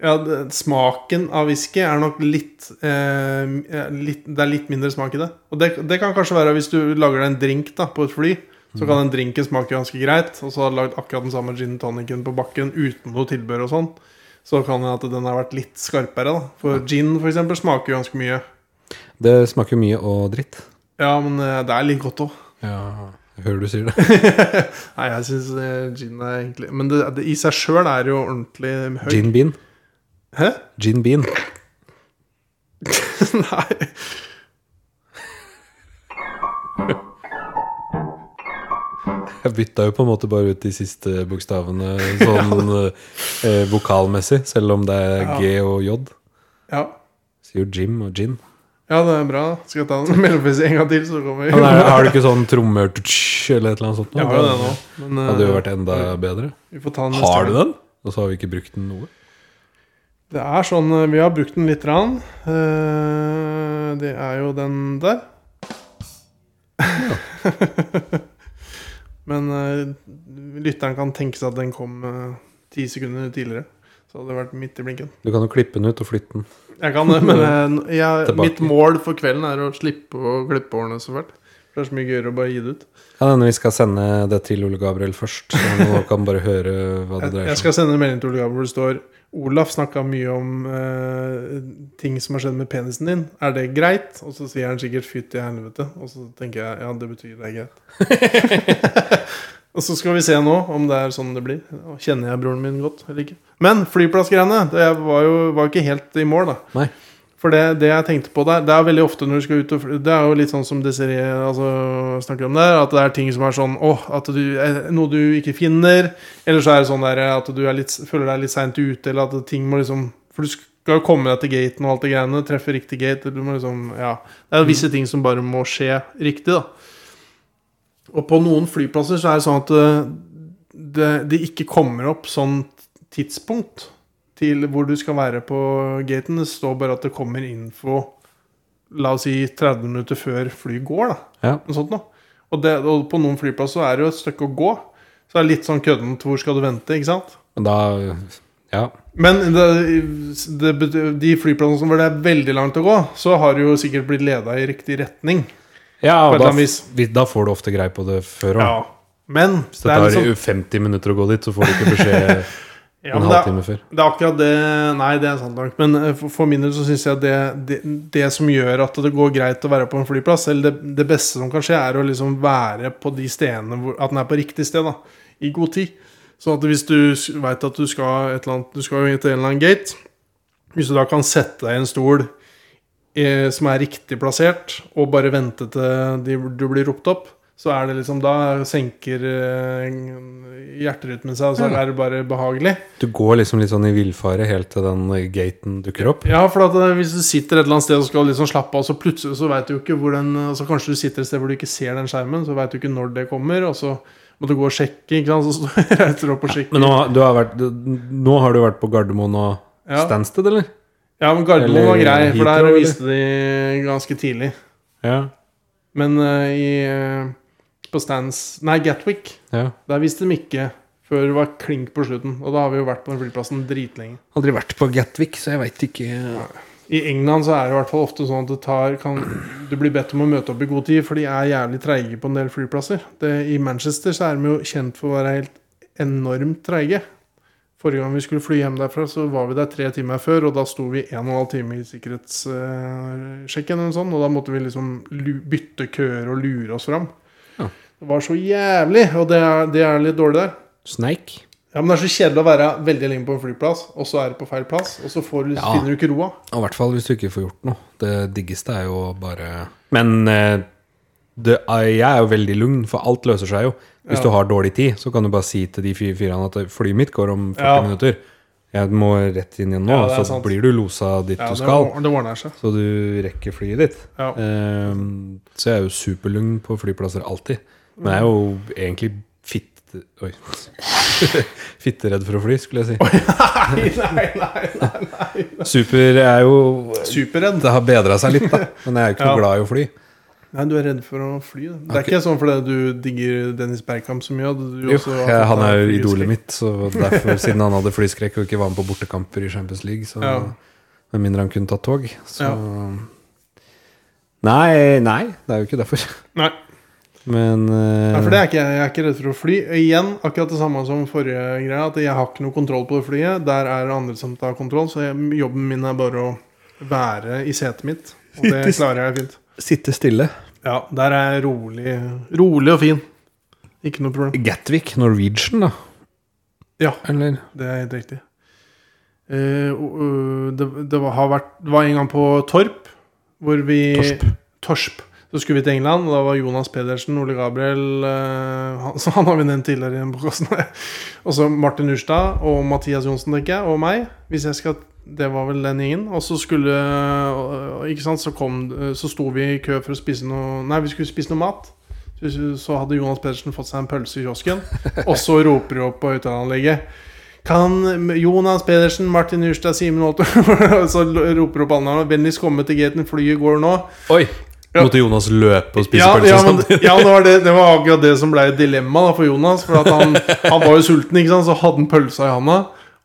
[SPEAKER 1] Ja, det, smaken av whisky er nok litt, eh, litt Det er litt mindre smak i det. Og det, det kan kanskje være hvis du lager deg en drink da, på et fly. Så kan
[SPEAKER 2] Mhm.
[SPEAKER 1] den drinken smake ganske greit, og så har du lagd akkurat den samme gin tonicen på bakken uten noe tilbør og sånn. Så kan det at den har vært litt skarpere, da. For gin for eksempel smaker jo ganske mye.
[SPEAKER 2] Det smaker mye og dritt.
[SPEAKER 1] Ja, men eh, det er litt godt òg.
[SPEAKER 2] Ja, jeg hører du sier det.
[SPEAKER 1] Nei, jeg syns gin er egentlig Men det, det, i seg sjøl er det jo ordentlig høy.
[SPEAKER 2] Gin bean.
[SPEAKER 1] Hæ?
[SPEAKER 2] Gin bean.
[SPEAKER 1] Nei.
[SPEAKER 2] Jeg bytta jo på en måte bare ut de siste bokstavene sånn eh, vokalmessig, selv om det er G og J.
[SPEAKER 1] Ja.
[SPEAKER 2] Sier jo Jim og Gin.
[SPEAKER 1] ja, det er bra. Skal jeg ta en mellomfest en gang til, så kommer vi
[SPEAKER 2] Men er, har du ikke sånn trommer tutsch, eller et eller annet sånt? nå?
[SPEAKER 1] Jeg har jo det nå. Men,
[SPEAKER 2] Hadde jo
[SPEAKER 1] eh,
[SPEAKER 2] vært enda bedre.
[SPEAKER 1] Vi får ta den neste
[SPEAKER 2] Har du
[SPEAKER 1] gang.
[SPEAKER 2] den? Og så har vi ikke brukt den noe.
[SPEAKER 1] Det er sånn eh, Vi har brukt den litt. Rann. Eh, Det er jo den der. Men eh, lytteren kan tenke seg at den kom eh, ti sekunder tidligere. Så hadde det vært midt i blinken.
[SPEAKER 2] Du kan jo klippe den ut og flytte den.
[SPEAKER 1] Jeg kan det, men eh, jeg,
[SPEAKER 2] Tilbake.
[SPEAKER 1] mitt mål for kvelden er å slippe å klippe hårene så fælt. For det er så mye gøyere å bare gi det ut.
[SPEAKER 2] Kan hende vi skal sende det til Ole Gabriel først. Så han nå kan bare høre hva det
[SPEAKER 1] Jeg, jeg
[SPEAKER 2] dreier seg om.
[SPEAKER 1] skal sende en melding til Ole Gabriel hvor det står Olaf snakka mye om eh, ting som har skjedd med penisen din. Er det greit? Og så sier han sikkert 'fytti helvete'. Og så tenker jeg ja, det betyr det er greit. og så skal vi se nå om det er sånn det blir. Og Kjenner jeg broren min godt eller ikke? Men flyplassgreiene det var jo var ikke helt i mål, da.
[SPEAKER 2] Nei.
[SPEAKER 1] For det, det jeg tenkte på der, det er veldig ofte når du skal ut og fly Det er jo litt sånn som Desiree altså, snakker om der, at det er ting som er sånn åh, at du eh, Noe du ikke finner. Eller så er det sånn der eh, at du er litt, føler deg litt seint ute, eller at ting må liksom For du skal jo komme deg til gaten og alt det greiene, treffe riktig gate, eller du må liksom Ja. Det er jo visse ting som bare må skje riktig, da. Og på noen flyplasser så er det sånn at eh, det, det ikke kommer opp sånn tidspunkt til hvor du skal være på gaten. Det står bare at det kommer info La oss si 30 minutter før flyet går. da
[SPEAKER 2] Ja.
[SPEAKER 1] Noe sånt noe. Og, det, og på noen flyplasser så er det jo et stykke å gå. Så det er litt sånn køddent. Hvor skal du vente? ikke sant?
[SPEAKER 2] Men da Ja.
[SPEAKER 1] Men det, det, bety- de flyplassene hvor det er veldig langt å gå, så har du jo sikkert blitt leda i riktig retning.
[SPEAKER 2] ja
[SPEAKER 1] På et
[SPEAKER 2] og
[SPEAKER 1] eller
[SPEAKER 2] da,
[SPEAKER 1] annet vis.
[SPEAKER 2] vi- da får du ofte greie på det før òg.
[SPEAKER 1] Men
[SPEAKER 2] Hvis det
[SPEAKER 1] er
[SPEAKER 2] tar
[SPEAKER 1] litt sånn-
[SPEAKER 2] 50 minutter å gå dit, så får du ikke beskjed
[SPEAKER 1] Ja,
[SPEAKER 2] en
[SPEAKER 1] men det,
[SPEAKER 2] halvtime før.
[SPEAKER 1] er- det er akkurat det Nei, det er sant nok. Men eh, for, for min del så syns jeg det, det, det som gjør at det går greit å være på en flyplass, eller det, det beste som kan skje, er å liksom være på de stedene hvor At den er på riktig sted, da. I god tid. Sånn at hvis du veit at du skal et eller annet Du skal jo til en eller annen gate. Hvis du da kan sette deg i en stol eh, som er riktig plassert, og bare vente til de, du blir ropt opp, så er det liksom Da senker eh, hjerterytmen seg, og så er det bare behagelig.
[SPEAKER 2] Du går liksom litt sånn i villfare helt til den eh, gaten dukker opp.
[SPEAKER 1] Ja, for at eh, hvis du sitter et eller annet sted og skal liksom slappe av, så plutselig så vet du jo ikke hvor den altså Kanskje du sitter et sted hvor du ikke ser den skjermen, så veit du ikke når det kommer, og så må du gå og sjekke, ikke sant, så står jeg etter opp og sjekker.
[SPEAKER 2] Men nå, du har vært, du- nå har du vært på Gardermoen og
[SPEAKER 1] Ja.
[SPEAKER 2] Stansted, eller?
[SPEAKER 1] Ja, men Gardermoen var
[SPEAKER 2] Eller
[SPEAKER 1] grei, for
[SPEAKER 2] Heathrow,
[SPEAKER 1] der
[SPEAKER 2] eller?
[SPEAKER 1] viste de ganske tidlig.
[SPEAKER 2] Ja.
[SPEAKER 1] Men eh, i eh, På Stands Nei, Gatwick,
[SPEAKER 2] ja.
[SPEAKER 1] der viste de ikke før det var klink på slutten. Og da har vi jo vært på den flyplassen dritlenge.
[SPEAKER 2] Aldri vært på Gatwick, så jeg veit ikke
[SPEAKER 1] I England så er det i hvert fall ofte sånn at det tar, kan, du blir bedt om å møte opp i god tid, for de er jævlig treige på en del flyplasser. Det, I Manchester så er de jo kjent for å være helt enormt treige. Forrige gang vi skulle fly hjem derfra, så var vi der tre timer før, og da sto vi en og en halv time i sikkerhetssjekken, og, sånn, og da måtte vi liksom lu, bytte køer og lure oss fram.
[SPEAKER 2] Ja.
[SPEAKER 1] Det var så jævlig, og det er, det er litt dårlig der.
[SPEAKER 2] Sneik?
[SPEAKER 1] Ja, men Det er så kjedelig å være veldig lenge på en flyplass, og så er det på feil plass, og så får du,
[SPEAKER 2] Ja.
[SPEAKER 1] finner du ikke roa.
[SPEAKER 2] Og I hvert fall hvis du ikke får gjort noe. Det diggeste er jo bare Men eh, det, er- jeg er jo veldig lugn, for alt løser seg jo. Hvis
[SPEAKER 1] Ja.
[SPEAKER 2] du har dårlig tid, så kan du bare si til de fire firene at flyet mitt går om 40
[SPEAKER 1] Ja.
[SPEAKER 2] minutter. Jeg må rett inn igjen nå,
[SPEAKER 1] Ja, det er
[SPEAKER 2] så
[SPEAKER 1] sant.
[SPEAKER 2] blir du losa dit
[SPEAKER 1] Ja,
[SPEAKER 2] du
[SPEAKER 1] det,
[SPEAKER 2] skal.
[SPEAKER 1] or- det ordner seg.
[SPEAKER 2] Så du rekker flyet ditt.
[SPEAKER 1] Ja.
[SPEAKER 2] Ehm, så jeg er jo superlugn på flyplasser alltid. Men jeg er jo egentlig fitte... Oi. Fitteredd for å fly, skulle jeg si.
[SPEAKER 1] Nei, nei, nei, nei.
[SPEAKER 2] Super er jo
[SPEAKER 1] Superredd.
[SPEAKER 2] Det har bedra seg litt, da. Men jeg er jo ikke
[SPEAKER 1] Ja.
[SPEAKER 2] noe glad i å fly.
[SPEAKER 1] Nei, du er redd for å fly. da. Det er
[SPEAKER 2] Ok.
[SPEAKER 1] ikke sånn fordi du digger Dennis Bergkamp så mye. at Du
[SPEAKER 2] Jo,
[SPEAKER 1] også har
[SPEAKER 2] jeg,
[SPEAKER 1] fått
[SPEAKER 2] han er jo
[SPEAKER 1] deg
[SPEAKER 2] idolet mitt, så derfor, siden han hadde flyskrekk og ikke var med på bortekamper i Champions League, så
[SPEAKER 1] Ja.
[SPEAKER 2] med mindre han kunne tatt tog, så
[SPEAKER 1] Ja.
[SPEAKER 2] Nei, nei, det er jo ikke derfor.
[SPEAKER 1] Nei.
[SPEAKER 2] Men eh,
[SPEAKER 1] Nei, for det er ikke, Jeg er ikke redd for å fly. Igjen, akkurat det samme som forrige greia. At jeg har ikke noe kontroll på det flyet. Der er det andre som tar kontroll, så jeg, jobben min er bare å være i setet mitt. Og det
[SPEAKER 2] Sitte-
[SPEAKER 1] klarer jeg fint.
[SPEAKER 2] Sitte stille.
[SPEAKER 1] Ja, der er jeg rolig, rolig og fin. Ikke noe problem.
[SPEAKER 2] Gatwick, Norwegian, da?
[SPEAKER 1] Ja.
[SPEAKER 2] Eller?
[SPEAKER 1] Det er helt riktig. Eh, og, øh, det, det, var, har vært, det var en gang på Torp. Hvor vi,
[SPEAKER 2] Torsp.
[SPEAKER 1] Torsp. Så skulle vi til England, og da var Jonas Pedersen, Ole Gabriel eh, han, så han har vi nevnt tidligere i den podcasten. Og så Martin Urstad og Mathias Johnsen, tenker jeg, og meg. Hvis jeg skal Det var vel den gjengen. Og så skulle øh, Ikke sant, så kom øh, Så sto vi i kø for å spise noe Nei, vi skulle spise noe mat. Så, så hadde Jonas Pedersen fått seg en pølse i kiosken, og så roper de opp på høyttaleranlegget kan Jonas Pedersen, Martin Urstad, Simen Holter Så roper opp alle navnene. Vennligst komme til gaten, flyet går nå.
[SPEAKER 2] Oi!
[SPEAKER 1] Ja.
[SPEAKER 2] Måtte Jonas løpe og spise
[SPEAKER 1] Ja,
[SPEAKER 2] pølse
[SPEAKER 1] ja, men,
[SPEAKER 2] samtidig?
[SPEAKER 1] ja det, var det, det var akkurat det som ble et dilemma da, for Jonas. For at han, han var jo sulten, ikke sant? så hadde han pølsa i handa.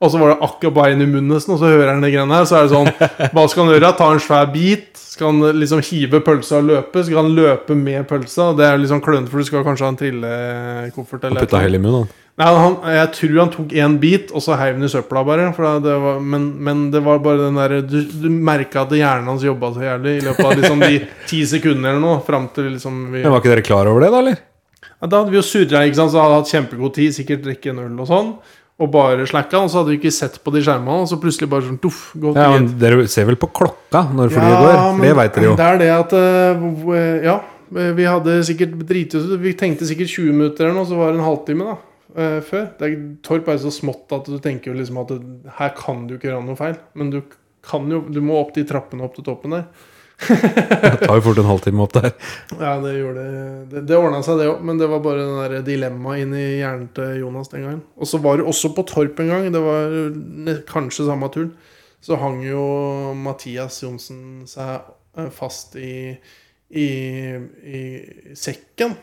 [SPEAKER 1] Og så var det akkurat bare inn i munnen, nesten, og så hører han det greiene her. Så er det sånn Hva skal han gjøre? Ta en svær bit? Skal han liksom hive pølsa og løpe? Skal han løpe med pølsa? Det er jo liksom klønete, for du skal kanskje ha en trillekoffert
[SPEAKER 2] Han
[SPEAKER 1] eller
[SPEAKER 2] putta hele i munnen, han.
[SPEAKER 1] Nei, han, jeg tror han tok én bit, og så heiv han i søpla, bare. For det var, men, men det var bare den derre Du, du merka at hjernen hans jobba så jævlig i løpet av liksom de ti sekundene eller noe. Fram til liksom vi
[SPEAKER 2] Men Var ikke dere klar over det, da, eller?
[SPEAKER 1] ja, Da hadde vi jo surra, ikke sant, så hadde jeg hatt kjempegod tid, sikkert drikke en øl og sånn. Og bare slacka, og så hadde vi ikke sett på de skjermene, og så plutselig bare sånn duff, gå til
[SPEAKER 2] Ja,
[SPEAKER 1] gate.
[SPEAKER 2] men Dere ser vel på klokka når flyet går?
[SPEAKER 1] men
[SPEAKER 2] Det veit dere jo.
[SPEAKER 1] Det er det at eh, hvor- eh, Ja, eh, vi hadde sikkert driti oss ut. Vi tenkte sikkert 20 minutter eller noe, så var det en halvtime da eh, før. Det er, Torp er jo så smått at du tenker jo liksom at det, her kan du ikke gjøre noe feil. Men du kan jo Du må opp de trappene opp til toppen der.
[SPEAKER 2] Det tar jo fort en halvtime opp der.
[SPEAKER 1] Ja, det gjorde Det, det ordna seg, det òg, men det var bare den der dilemmaet inni hjernen til Jonas den gangen. Og så var det også på Torp en gang, det var ne- kanskje samme turen, så hang jo Mathias Johnsen seg eh, fast i, i, i sekken,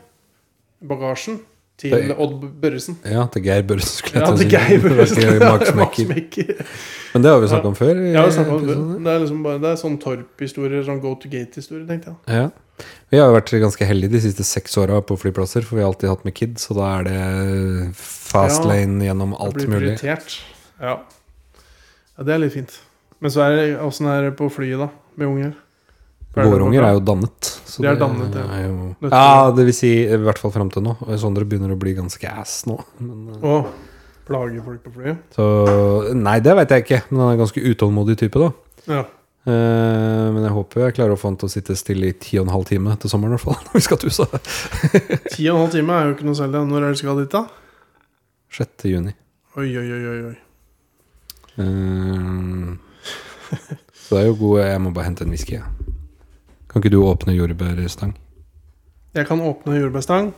[SPEAKER 1] bagasjen, til
[SPEAKER 2] Det-
[SPEAKER 1] Odd Børresen.
[SPEAKER 2] Ja, til Geir Børresen skulle
[SPEAKER 1] Ja,
[SPEAKER 2] jeg
[SPEAKER 1] til
[SPEAKER 2] til å si.
[SPEAKER 1] Geir Børresen.
[SPEAKER 2] Det var ikke Mark Smekker.
[SPEAKER 1] Maksmekker.
[SPEAKER 2] Men det har vi snakket om før. i
[SPEAKER 1] Ja, vi snakket om det.
[SPEAKER 2] episoden.
[SPEAKER 1] Det er liksom bare det er sånn Torp-historier, sånn go to gate-historier, tenkte jeg.
[SPEAKER 2] Ja. Vi har jo vært ganske heldige de siste seks åra på flyplasser, for vi har alltid hatt med kids, så da er det fast
[SPEAKER 1] Ja.
[SPEAKER 2] lane gjennom
[SPEAKER 1] Det
[SPEAKER 2] alt
[SPEAKER 1] blir
[SPEAKER 2] mulig.
[SPEAKER 1] prioritert. Ja. ja det er litt fint. Men så er det åssen er det på flyet, da? Med unger? Hva det
[SPEAKER 2] Våre unger
[SPEAKER 1] for-
[SPEAKER 2] er jo dannet. så
[SPEAKER 1] De er
[SPEAKER 2] det
[SPEAKER 1] dannet, ja.
[SPEAKER 2] er jo-
[SPEAKER 1] Nødt til
[SPEAKER 2] ja. Det vil si, i hvert fall fram til nå. Sondre begynner å bli ganske ass nå. Men, eh,
[SPEAKER 1] Å, plager folk på flyet?
[SPEAKER 2] så Nei, det veit jeg ikke. Men han er en ganske utålmodig type, da.
[SPEAKER 1] Ja.
[SPEAKER 2] Eh, men jeg håper jeg klarer å få han til å sitte stille i ti og en halv time til sommeren, i hvert fall. Når vi skal til USA.
[SPEAKER 1] Ti og en halv time er jo ikke noe særlig. da. Når er det du skal dit, da?
[SPEAKER 2] 6. juni.
[SPEAKER 1] Oi, oi, oi, oi, oi.
[SPEAKER 2] Eh, så det er jo god Jeg må bare hente en whisky, jeg. Kan ikke du åpne jordbærstang?
[SPEAKER 1] Jeg kan åpne jordbærstang.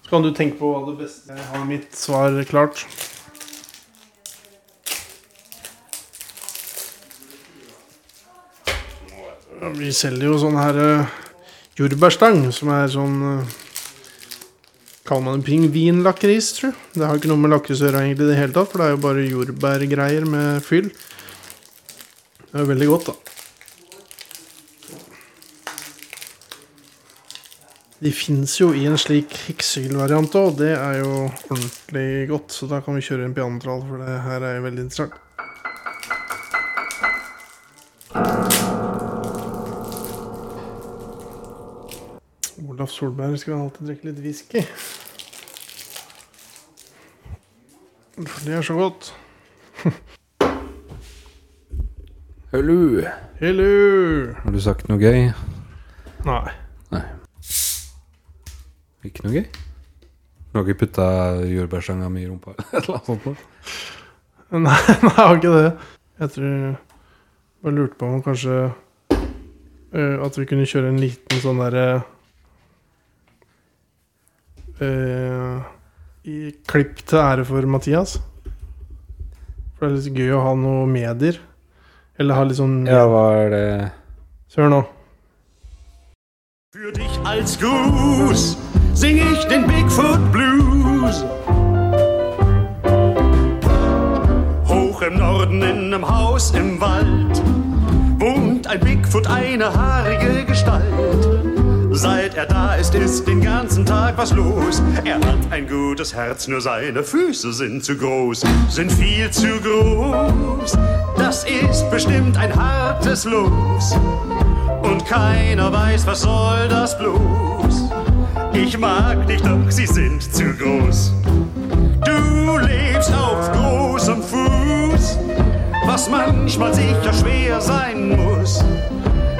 [SPEAKER 1] Så kan du tenke på hva det beste Jeg har mitt svar klart. Ja, Vi selger jo sånn her eh, jordbærstang, som er sånn eh, Kaller man det pingvinlakris, tror jeg. Det har ikke noe med lakris å gjøre egentlig i det hele tatt, for det er jo bare jordbærgreier med fyll. Det er jo veldig godt, da. De fins jo i en slik heksehylvariant òg, og det er jo ordentlig godt. Så da kan vi kjøre en pianotrall, for det her er jo veldig interessant. Olaf Solberg skal alltid drikke litt whisky. For det er så godt.
[SPEAKER 2] Hello.
[SPEAKER 1] Hello!
[SPEAKER 2] Har du sagt noe gøy?
[SPEAKER 1] Nei.
[SPEAKER 2] Ikke noe gøy? Du har ikke putta jordbærstanga mi i rumpa? Eller noe sånt noe?
[SPEAKER 1] Nei, nei, jeg har ikke det. Jeg tror jeg bare lurte på om kanskje eh, At vi kunne kjøre en liten sånn derre eh, I klipp til ære for Mathias. For det er litt gøy å ha noe medier. Eller ha litt sånn
[SPEAKER 2] Ja, hva er det
[SPEAKER 1] Så hør nå.
[SPEAKER 6] Für dich als Gruß sing ich den Bigfoot Blues. Hoch im Norden in einem Haus im Wald wohnt ein Bigfoot, eine haarige Gestalt. Seit er da ist, ist den ganzen Tag was los. Er hat ein gutes Herz, nur seine Füße sind zu groß, sind viel zu groß. Das ist bestimmt ein hartes Los und keiner weiß, was soll das bloß. Ich mag dich, doch sie sind zu groß. Du lebst auf großem Fuß, was manchmal sicher schwer sein muss.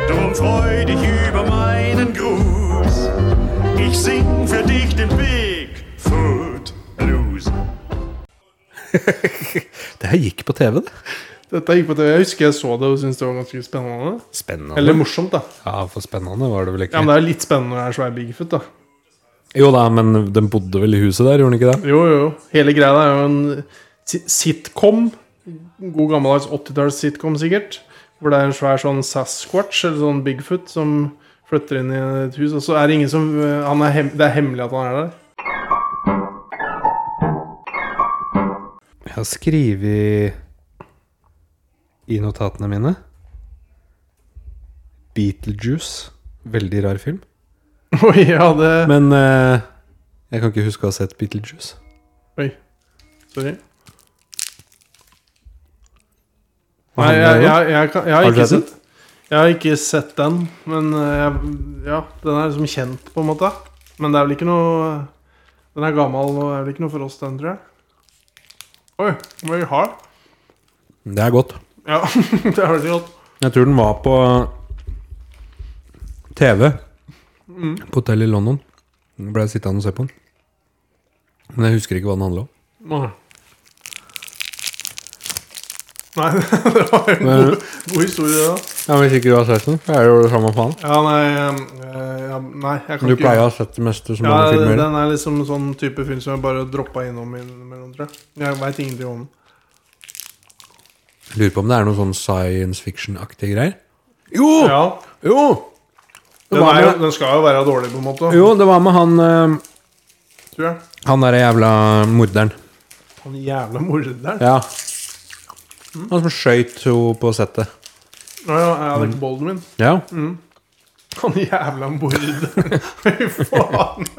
[SPEAKER 6] Drum freu dich über meinen Gruß. Ich sing für dich den Bigfoot Blues.
[SPEAKER 2] Det her gikk på TV, det.
[SPEAKER 1] Dette gikk på TV. Jeg husker jeg så det og syntes det var ganske spennende.
[SPEAKER 2] Spennende.
[SPEAKER 1] Eller morsomt, da.
[SPEAKER 2] ja, for spennende var det vel
[SPEAKER 1] Ja,
[SPEAKER 2] ikke.
[SPEAKER 1] Men det er jo litt spennende når det er svær Bigfoot, da.
[SPEAKER 2] Jo da, men den bodde vel i huset der, gjorde den ikke det?
[SPEAKER 1] Jo, jo, jo. Hele greia er jo en si- sitcom. God gammeldags 80-talls-sitcom, sikkert. Hvor det er en svær sånn Sasquatch, eller sånn Bigfoot, som flytter inn i et hus. Og så er det ingen som øh, han er hem, Det er hemmelig at han er der.
[SPEAKER 2] Jeg har skrevet i notatene mine Beetlejuice. Veldig rar film.
[SPEAKER 1] Oi, ja, det
[SPEAKER 2] Men eh, jeg kan ikke huske å ha sett Beetlejuice.
[SPEAKER 1] Oi. Sorry. Nei,
[SPEAKER 2] Hva
[SPEAKER 1] jeg, jeg,
[SPEAKER 2] handler det om?
[SPEAKER 1] jeg, kan, jeg har
[SPEAKER 2] Har du
[SPEAKER 1] ikke
[SPEAKER 2] sett den?
[SPEAKER 1] sett Jeg har ikke sett den, men øh, jeg, ja, den er liksom kjent, på en måte. Men det er vel ikke noe Den er gammel og er vel ikke noe for oss, den, tror jeg. Oi, very hard.
[SPEAKER 2] Det er godt.
[SPEAKER 1] Ja, det er veldig godt.
[SPEAKER 2] Jeg tror den var på TV
[SPEAKER 1] Mm.
[SPEAKER 2] på hotell i London. Jeg ble sittende og se på den. Men jeg husker ikke hva den handla om.
[SPEAKER 1] Nei, Nei, det var en
[SPEAKER 2] Men-
[SPEAKER 1] god, god historie, da.
[SPEAKER 2] Ja, Hvis ikke du har sett den, så er det jo det samme faen.
[SPEAKER 1] Ja, nei, eh, ja, nei jeg kan
[SPEAKER 2] Du
[SPEAKER 1] ikke
[SPEAKER 2] pleier å ha sett det meste som
[SPEAKER 1] ja,
[SPEAKER 2] lager filmer.
[SPEAKER 1] Den er liksom sånn type film som jeg bare droppa innom innimellom, tror jeg. Jeg veit ingenting om den.
[SPEAKER 2] Jeg lurer på om det er noe sånn science fiction-aktige greier. Jo!
[SPEAKER 1] Ja,
[SPEAKER 2] Jo! Det
[SPEAKER 1] den,
[SPEAKER 2] var
[SPEAKER 1] er, jo-
[SPEAKER 2] med,
[SPEAKER 1] den skal jo være dårlig, på en måte.
[SPEAKER 2] jo, det var med han eh,
[SPEAKER 1] Tror jeg.
[SPEAKER 2] Han derre jævla morderen.
[SPEAKER 1] Han jævla morderen. Ja.
[SPEAKER 2] Ja. Han som skøyt henne på settet.
[SPEAKER 1] Ja, ja, det er ikke Baldwin.
[SPEAKER 2] Ja.
[SPEAKER 1] Han jævla morderen. Fy faen.